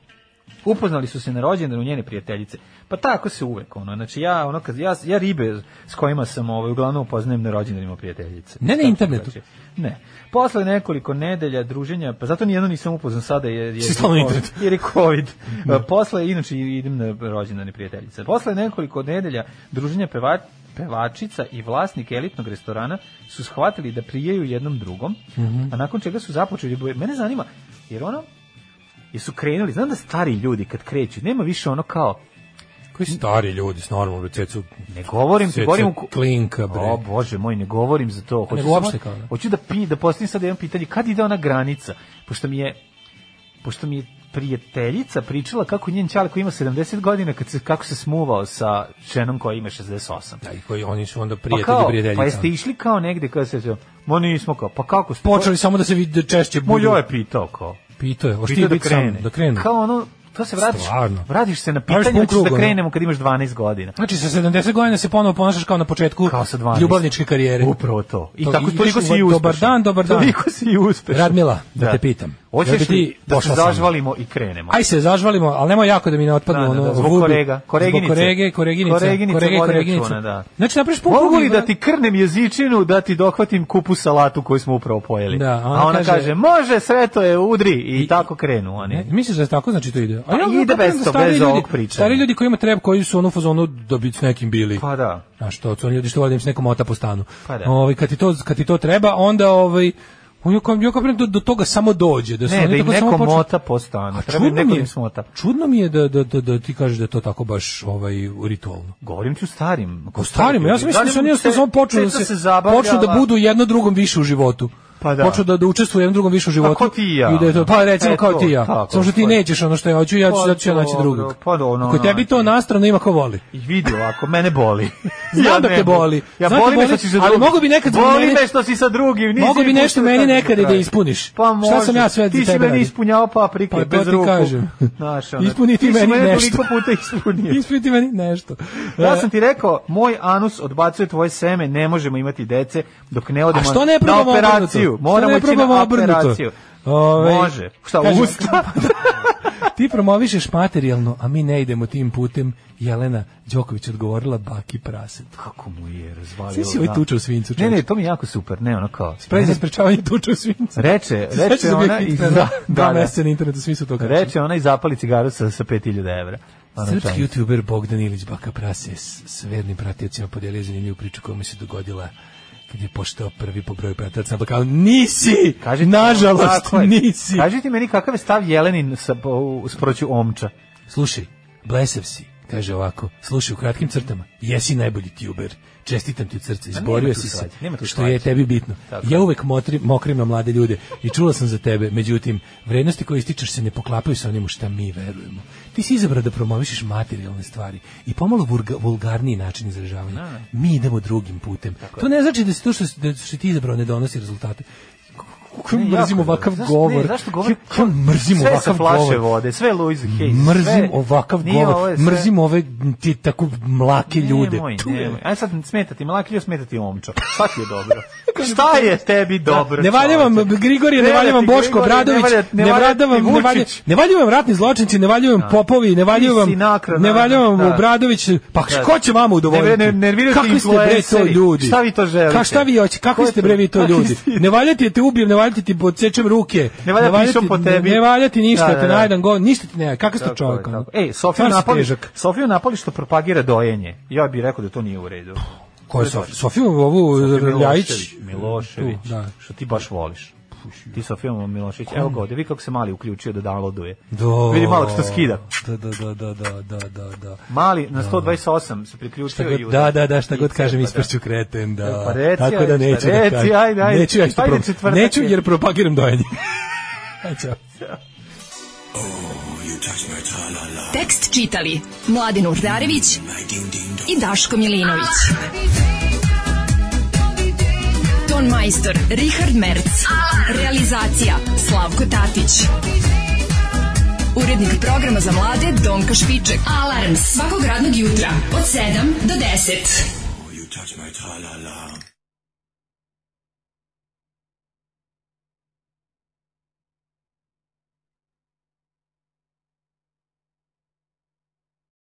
[SPEAKER 6] Upoznali su se na rođendanu njene prijateljice. Pa tako se uvek ono. Znači ja ono kad ja ja ribe s kojima sam ovaj uglavnom upoznajem na rođendanima prijateljice.
[SPEAKER 7] Ne na
[SPEAKER 6] Šta ću
[SPEAKER 7] internetu?
[SPEAKER 6] drugačije? Znači, Ne. Posle nekoliko nedelja druženja, pa zato nijedno nisam upoznan sada jer je
[SPEAKER 7] Si stalno na internetu.
[SPEAKER 6] jer je COVID. E, Posle, inače idem na rođendane prijateljice. Posle nekoliko nedelja druženja peva, pevačica i vlasnik elitnog restorana su shvatili da prijeju jednom drugom, a nakon čega su započeli... boje- Mene zanima, jer ono, jesu krenuli, znam da stari ljudi kad kreću, nema više ono kao,
[SPEAKER 7] Koji stari ljudi s normalno cecu.
[SPEAKER 6] ne govorim, ti
[SPEAKER 7] Ceca
[SPEAKER 6] govorim... u-
[SPEAKER 7] klinka, bre.
[SPEAKER 6] O, bože moj, ne govorim za to. Hoću,
[SPEAKER 7] nego uopšte
[SPEAKER 6] samo-
[SPEAKER 7] kao da.
[SPEAKER 6] hoću da, pi, da postavim sad jedno pitanje, kad ide ona granica? Pošto mi je, pošto mi je prijateljica pričala kako njen čale koji ima 70 godina, kad se, kako se smuvao sa ženom koja ima 68.
[SPEAKER 7] Da, i koji oni su onda
[SPEAKER 6] Pa
[SPEAKER 7] prijatelji
[SPEAKER 6] kao,
[SPEAKER 7] prijateljica.
[SPEAKER 6] pa jeste išli kao negde, kao se, ma nismo kao, pa kako? ste-
[SPEAKER 7] Počeli samo da se vidi da češće
[SPEAKER 6] Moj
[SPEAKER 7] budu.
[SPEAKER 6] joj je pitao kao.
[SPEAKER 7] Pitao je, hoćeš ti
[SPEAKER 6] Pitao da
[SPEAKER 7] biti sam, da krenu.
[SPEAKER 6] Kao ono, To se vratiš,
[SPEAKER 7] Stvarno.
[SPEAKER 6] vratiš se na
[SPEAKER 7] Praviš
[SPEAKER 6] pitanje,
[SPEAKER 7] pun
[SPEAKER 6] hoćeš da
[SPEAKER 7] krug, ono.
[SPEAKER 6] krenemo kad imaš 12 godina.
[SPEAKER 7] Znači, sa 70 godina se ponovo ponašaš kao na početku
[SPEAKER 6] Kao sa 12.
[SPEAKER 7] ljubavničke karijere.
[SPEAKER 6] Upravo to. I
[SPEAKER 7] To-
[SPEAKER 6] tako
[SPEAKER 7] ideš
[SPEAKER 6] toliko
[SPEAKER 7] u-
[SPEAKER 6] si i uspešan.
[SPEAKER 7] Dobar dan, dobar dan.
[SPEAKER 6] Toliko si i uspešan.
[SPEAKER 7] Radmila, da te pitam. Jel
[SPEAKER 6] Hoćeš
[SPEAKER 7] bi
[SPEAKER 6] li
[SPEAKER 7] ti
[SPEAKER 6] da se
[SPEAKER 7] pošla sa mnom?
[SPEAKER 6] zažvalimo i krenemo?
[SPEAKER 7] Aj se zažvalimo, ali nemoj jako da mi ne otpadne
[SPEAKER 6] Pa. Da, da,
[SPEAKER 7] ono
[SPEAKER 6] da, zbog
[SPEAKER 7] vudu.
[SPEAKER 6] korega, koreginice.
[SPEAKER 7] Zbog korege, koreginice,
[SPEAKER 6] Koreginice,
[SPEAKER 7] korege,
[SPEAKER 6] vodi
[SPEAKER 7] koreginice.
[SPEAKER 6] računa, da.
[SPEAKER 7] Znači napraviš pun
[SPEAKER 6] Mogu
[SPEAKER 7] krug
[SPEAKER 6] li
[SPEAKER 7] i-
[SPEAKER 6] da ti krnem jezičinu da ti dohvatim kupu salatu koju smo upravo pojeli?
[SPEAKER 7] Da,
[SPEAKER 6] a ona, kaže, može, sve to je, udri i, tako krenu oni.
[SPEAKER 7] Ne, misliš da je tako znači to ide?
[SPEAKER 6] Pa ide
[SPEAKER 7] kapiram
[SPEAKER 6] bez
[SPEAKER 7] da
[SPEAKER 6] to,
[SPEAKER 7] stari
[SPEAKER 6] bez
[SPEAKER 7] ljudi-
[SPEAKER 6] ovog pričanja.
[SPEAKER 7] Stari ljudi koji ima treb, koji su ono u fazonu da bi s nekim bili.
[SPEAKER 6] Pa da.
[SPEAKER 7] Znaš što, to su oni ljudi što volim s nekom ota po stanu.
[SPEAKER 6] Pa da.
[SPEAKER 7] Ovaj kad ti to kad ti to treba, onda ovaj on je kao ja kapiram da do, toga samo dođe, da su
[SPEAKER 6] Ne,
[SPEAKER 7] oni
[SPEAKER 6] da im
[SPEAKER 7] tako
[SPEAKER 6] neko
[SPEAKER 7] samo počnu-
[SPEAKER 6] mota po stanu.
[SPEAKER 7] A
[SPEAKER 6] Treba im
[SPEAKER 7] čudno
[SPEAKER 6] neko
[SPEAKER 7] mi
[SPEAKER 6] da
[SPEAKER 7] je,
[SPEAKER 6] im smota.
[SPEAKER 7] čudno mi je da, da, da, da ti kažeš da je to tako baš ovaj ritualno.
[SPEAKER 6] Govorim ti u starim.
[SPEAKER 7] Po starima, ja sam mislio da su oni jednostavno samo počnu da
[SPEAKER 6] često
[SPEAKER 7] se,
[SPEAKER 6] zabavljala.
[SPEAKER 7] počnu da budu jedno drugom više u životu.
[SPEAKER 6] Pa da.
[SPEAKER 7] Počnu da, da učestvuju jednom drugom više u životu.
[SPEAKER 6] kao ti i ja.
[SPEAKER 7] I da je to, pa recimo
[SPEAKER 6] E,
[SPEAKER 7] kao
[SPEAKER 6] to,
[SPEAKER 7] ti i ja.
[SPEAKER 6] tako,
[SPEAKER 7] Samo što ti
[SPEAKER 6] pa-
[SPEAKER 7] nećeš ono što ja hoću, ja ću,
[SPEAKER 6] Pa
[SPEAKER 7] da ću ja naći
[SPEAKER 6] dobro,
[SPEAKER 7] drugog.
[SPEAKER 6] pa da, ono,
[SPEAKER 7] Ako tebi to
[SPEAKER 6] naći.
[SPEAKER 7] nastrano ima ko voli.
[SPEAKER 6] I vidi ovako, mene boli.
[SPEAKER 7] Znam da
[SPEAKER 6] ne
[SPEAKER 7] te
[SPEAKER 6] mogu.
[SPEAKER 7] boli.
[SPEAKER 6] Ja
[SPEAKER 7] Znam te
[SPEAKER 6] boli me što
[SPEAKER 7] boli,
[SPEAKER 6] si sa
[SPEAKER 7] ali
[SPEAKER 6] drugim.
[SPEAKER 7] mogu bi nekad zbog
[SPEAKER 6] Boli
[SPEAKER 7] mene-
[SPEAKER 6] me što si sa drugim. nisi
[SPEAKER 7] Mogu bi
[SPEAKER 6] mi
[SPEAKER 7] nešto
[SPEAKER 6] pustio
[SPEAKER 7] meni
[SPEAKER 6] tako do
[SPEAKER 7] nekad i da
[SPEAKER 6] kraja.
[SPEAKER 7] ispuniš.
[SPEAKER 6] Pa
[SPEAKER 7] Šta
[SPEAKER 6] može.
[SPEAKER 7] sam ja sve za
[SPEAKER 6] Ti si
[SPEAKER 7] tebe
[SPEAKER 6] meni
[SPEAKER 7] radio?
[SPEAKER 6] ispunjavao paprike
[SPEAKER 7] Pa to
[SPEAKER 6] bez
[SPEAKER 7] ti
[SPEAKER 6] ruku.
[SPEAKER 7] kažem.
[SPEAKER 6] Znaš,
[SPEAKER 7] Ispuni ti
[SPEAKER 6] ti si
[SPEAKER 7] meni
[SPEAKER 6] mene
[SPEAKER 7] nešto. E.
[SPEAKER 6] toliko puta ispunio.
[SPEAKER 7] Ispriti meni nešto.
[SPEAKER 6] Ja sam ti rekao, moj anus odbacuje tvoje seme, ne možemo imati dece dok ne odemo
[SPEAKER 7] A što ne
[SPEAKER 6] na
[SPEAKER 7] probamo
[SPEAKER 6] operaciju.
[SPEAKER 7] obrnuto?
[SPEAKER 6] Moramo
[SPEAKER 7] Što ne
[SPEAKER 6] ići
[SPEAKER 7] probamo
[SPEAKER 6] na
[SPEAKER 7] obrnuto?
[SPEAKER 6] operaciju.
[SPEAKER 7] Ovaj,
[SPEAKER 6] Može. Šta,
[SPEAKER 7] kažem-
[SPEAKER 6] usta?
[SPEAKER 7] Ti promovišeš materijalno, a mi ne idemo tim putem. Jelena Đoković odgovorila baki praset.
[SPEAKER 6] Kako mu je razvalio.
[SPEAKER 7] Svi si ovaj
[SPEAKER 6] da.
[SPEAKER 7] tuče u svincu.
[SPEAKER 6] Ne, ne,
[SPEAKER 7] čoveče.
[SPEAKER 6] to mi je jako super, ne, ono kao.
[SPEAKER 7] Pre za sprečavanje tuče u svincu.
[SPEAKER 6] Reče,
[SPEAKER 7] Sve će
[SPEAKER 6] reče
[SPEAKER 7] za bio
[SPEAKER 6] ona
[SPEAKER 7] hit
[SPEAKER 6] i
[SPEAKER 7] trend.
[SPEAKER 6] da,
[SPEAKER 7] dva
[SPEAKER 6] da, da.
[SPEAKER 7] meseca na internetu, svi su to kačili.
[SPEAKER 6] Reče ona i zapali cigaru sa, sa 5000 evra. Ono čaj.
[SPEAKER 7] Srpski youtuber Bogdan Ilić Baka Prase s s vernim pratiocima podelio zanimljivu priču koja mu se dogodila kad je poštao prvi po broju pratilaca na Balkanu. Nisi!
[SPEAKER 6] Kaži ti-
[SPEAKER 7] Nažalost,
[SPEAKER 6] Tako je.
[SPEAKER 7] nisi!
[SPEAKER 6] Kaži ti meni kakav je stav Jelenin sa, u- sproću omča.
[SPEAKER 7] Slušaj, blesav si, kaže ovako, slušaj u kratkim crtama, jesi najbolji tuber, čestitam ti od srca, izborio
[SPEAKER 6] tu
[SPEAKER 7] si se,
[SPEAKER 6] svađe, Pa nema tu
[SPEAKER 7] što je
[SPEAKER 6] svađe.
[SPEAKER 7] tebi bitno.
[SPEAKER 6] Tako
[SPEAKER 7] Ja uvek motri, mokrim na mlade ljude i čula sam za tebe, međutim, vrednosti koje ističeš se ne poklapaju sa onim u šta mi verujemo. Ti si izabrao da promovišeš materijalne stvari i pomalo vulga, vulgarniji način izražavanja.
[SPEAKER 6] Da,
[SPEAKER 7] Mi idemo drugim putem. to ne znači da si to što, si- da što ti izabrao ne donosi rezultate. Kako
[SPEAKER 6] Ne, jako
[SPEAKER 7] mrzim
[SPEAKER 6] dobro.
[SPEAKER 7] ovakav
[SPEAKER 6] Zašto-
[SPEAKER 7] govor.
[SPEAKER 6] Ne, zašto govor?
[SPEAKER 7] Kako mrzim
[SPEAKER 6] sve
[SPEAKER 7] ovakav
[SPEAKER 6] sa flaše
[SPEAKER 7] govor.
[SPEAKER 6] vode, sve Louis Hayes. sve-
[SPEAKER 7] Mrzim ovakav
[SPEAKER 6] Nije, ovo
[SPEAKER 7] govor,
[SPEAKER 6] je sve-
[SPEAKER 7] mrzim ove ti tako mlake ljude.
[SPEAKER 6] Nemoj,
[SPEAKER 7] Tu je.
[SPEAKER 6] nemoj. Aj sad smetati, malaki ljus smetati omčo. Šta ti je dobro? Šta je tebi dobro?
[SPEAKER 7] da- Ne valja vam
[SPEAKER 6] čoveče?
[SPEAKER 7] Grigorije, ne
[SPEAKER 6] Ne valja
[SPEAKER 7] valja
[SPEAKER 6] ti
[SPEAKER 7] vam Boško
[SPEAKER 6] Grigorije, ne
[SPEAKER 7] Bradović,
[SPEAKER 6] valja- ne
[SPEAKER 7] ne
[SPEAKER 6] valja
[SPEAKER 7] valja
[SPEAKER 6] ti
[SPEAKER 7] vam ne valja,
[SPEAKER 6] Vučić. Da.
[SPEAKER 7] ne valja vam ratni zločinci, ne valja vam Popovi, ne valja
[SPEAKER 6] Ti
[SPEAKER 7] vam
[SPEAKER 6] si nakran,
[SPEAKER 7] ne valja vam
[SPEAKER 6] da.
[SPEAKER 7] Obradović. Pa
[SPEAKER 6] Da.
[SPEAKER 7] ko će vama udovoljiti?
[SPEAKER 6] Ne, ne, nervirate
[SPEAKER 7] Kakvi ste bre to
[SPEAKER 6] influenceri.
[SPEAKER 7] ljudi?
[SPEAKER 6] Šta vi to želite?
[SPEAKER 7] Ka šta vi hoćete? Kakvi
[SPEAKER 6] Ko je
[SPEAKER 7] ste
[SPEAKER 6] to?
[SPEAKER 7] bre vi to
[SPEAKER 6] Kakvi
[SPEAKER 7] ljudi?
[SPEAKER 6] ste?
[SPEAKER 7] Ne valja ti da te ubijem, ne valja ti da ti podsečem ruke.
[SPEAKER 6] Ne valja
[SPEAKER 7] ti-
[SPEAKER 6] pišom po tebi.
[SPEAKER 7] Ne valja ti ništa,
[SPEAKER 6] Da, da,
[SPEAKER 7] te
[SPEAKER 6] da.
[SPEAKER 7] najdan go, ništa ti ne valja. Kakav ste
[SPEAKER 6] Tako je,
[SPEAKER 7] čovjek? ono?
[SPEAKER 6] tako. Ej, Sofiju
[SPEAKER 7] Stvarno si
[SPEAKER 6] napali,
[SPEAKER 7] težak.
[SPEAKER 6] Sofiju napali što propagira dojenje. Ja bih rekao da to nije u redu.
[SPEAKER 7] Ko je Sofiju? Sofiju ovu
[SPEAKER 6] Sofiju
[SPEAKER 7] Ljajić?
[SPEAKER 6] Milošević,
[SPEAKER 7] Tu, Da.
[SPEAKER 6] što ti baš voliš. Ti Sofijom Milošević, evo ga ovde, vi kako se mali uključio da downloaduje.
[SPEAKER 7] Do.
[SPEAKER 6] Vidi malo što skida.
[SPEAKER 7] Da, da, da, da, da, da, da, da.
[SPEAKER 6] Mali na 128 se
[SPEAKER 7] Šta
[SPEAKER 6] priključio i
[SPEAKER 7] god,
[SPEAKER 6] udar.
[SPEAKER 7] da, da, da, šta
[SPEAKER 6] I
[SPEAKER 7] god
[SPEAKER 6] sve,
[SPEAKER 7] kažem
[SPEAKER 6] pa da.
[SPEAKER 7] ispršću kreten, da.
[SPEAKER 6] Pa reci,
[SPEAKER 7] Tako da
[SPEAKER 6] ajde,
[SPEAKER 7] neću
[SPEAKER 6] šta,
[SPEAKER 7] da
[SPEAKER 6] reci,
[SPEAKER 7] kažem.
[SPEAKER 6] ajde, ajde.
[SPEAKER 7] Neću ja što
[SPEAKER 6] Ajde,
[SPEAKER 7] pro-
[SPEAKER 6] četvrtak
[SPEAKER 7] Neću
[SPEAKER 6] je.
[SPEAKER 7] jer propagiram dojenje. Ajde, Ćao.
[SPEAKER 5] Tekst čitali Mladin Urdarević i Daško Milinović. Ton majstor Richard Merc. Realizacija Slavko Tatić. Urednik programa za mlade Donka Špiček. Alarms svakog radnog jutra od 7 do 10.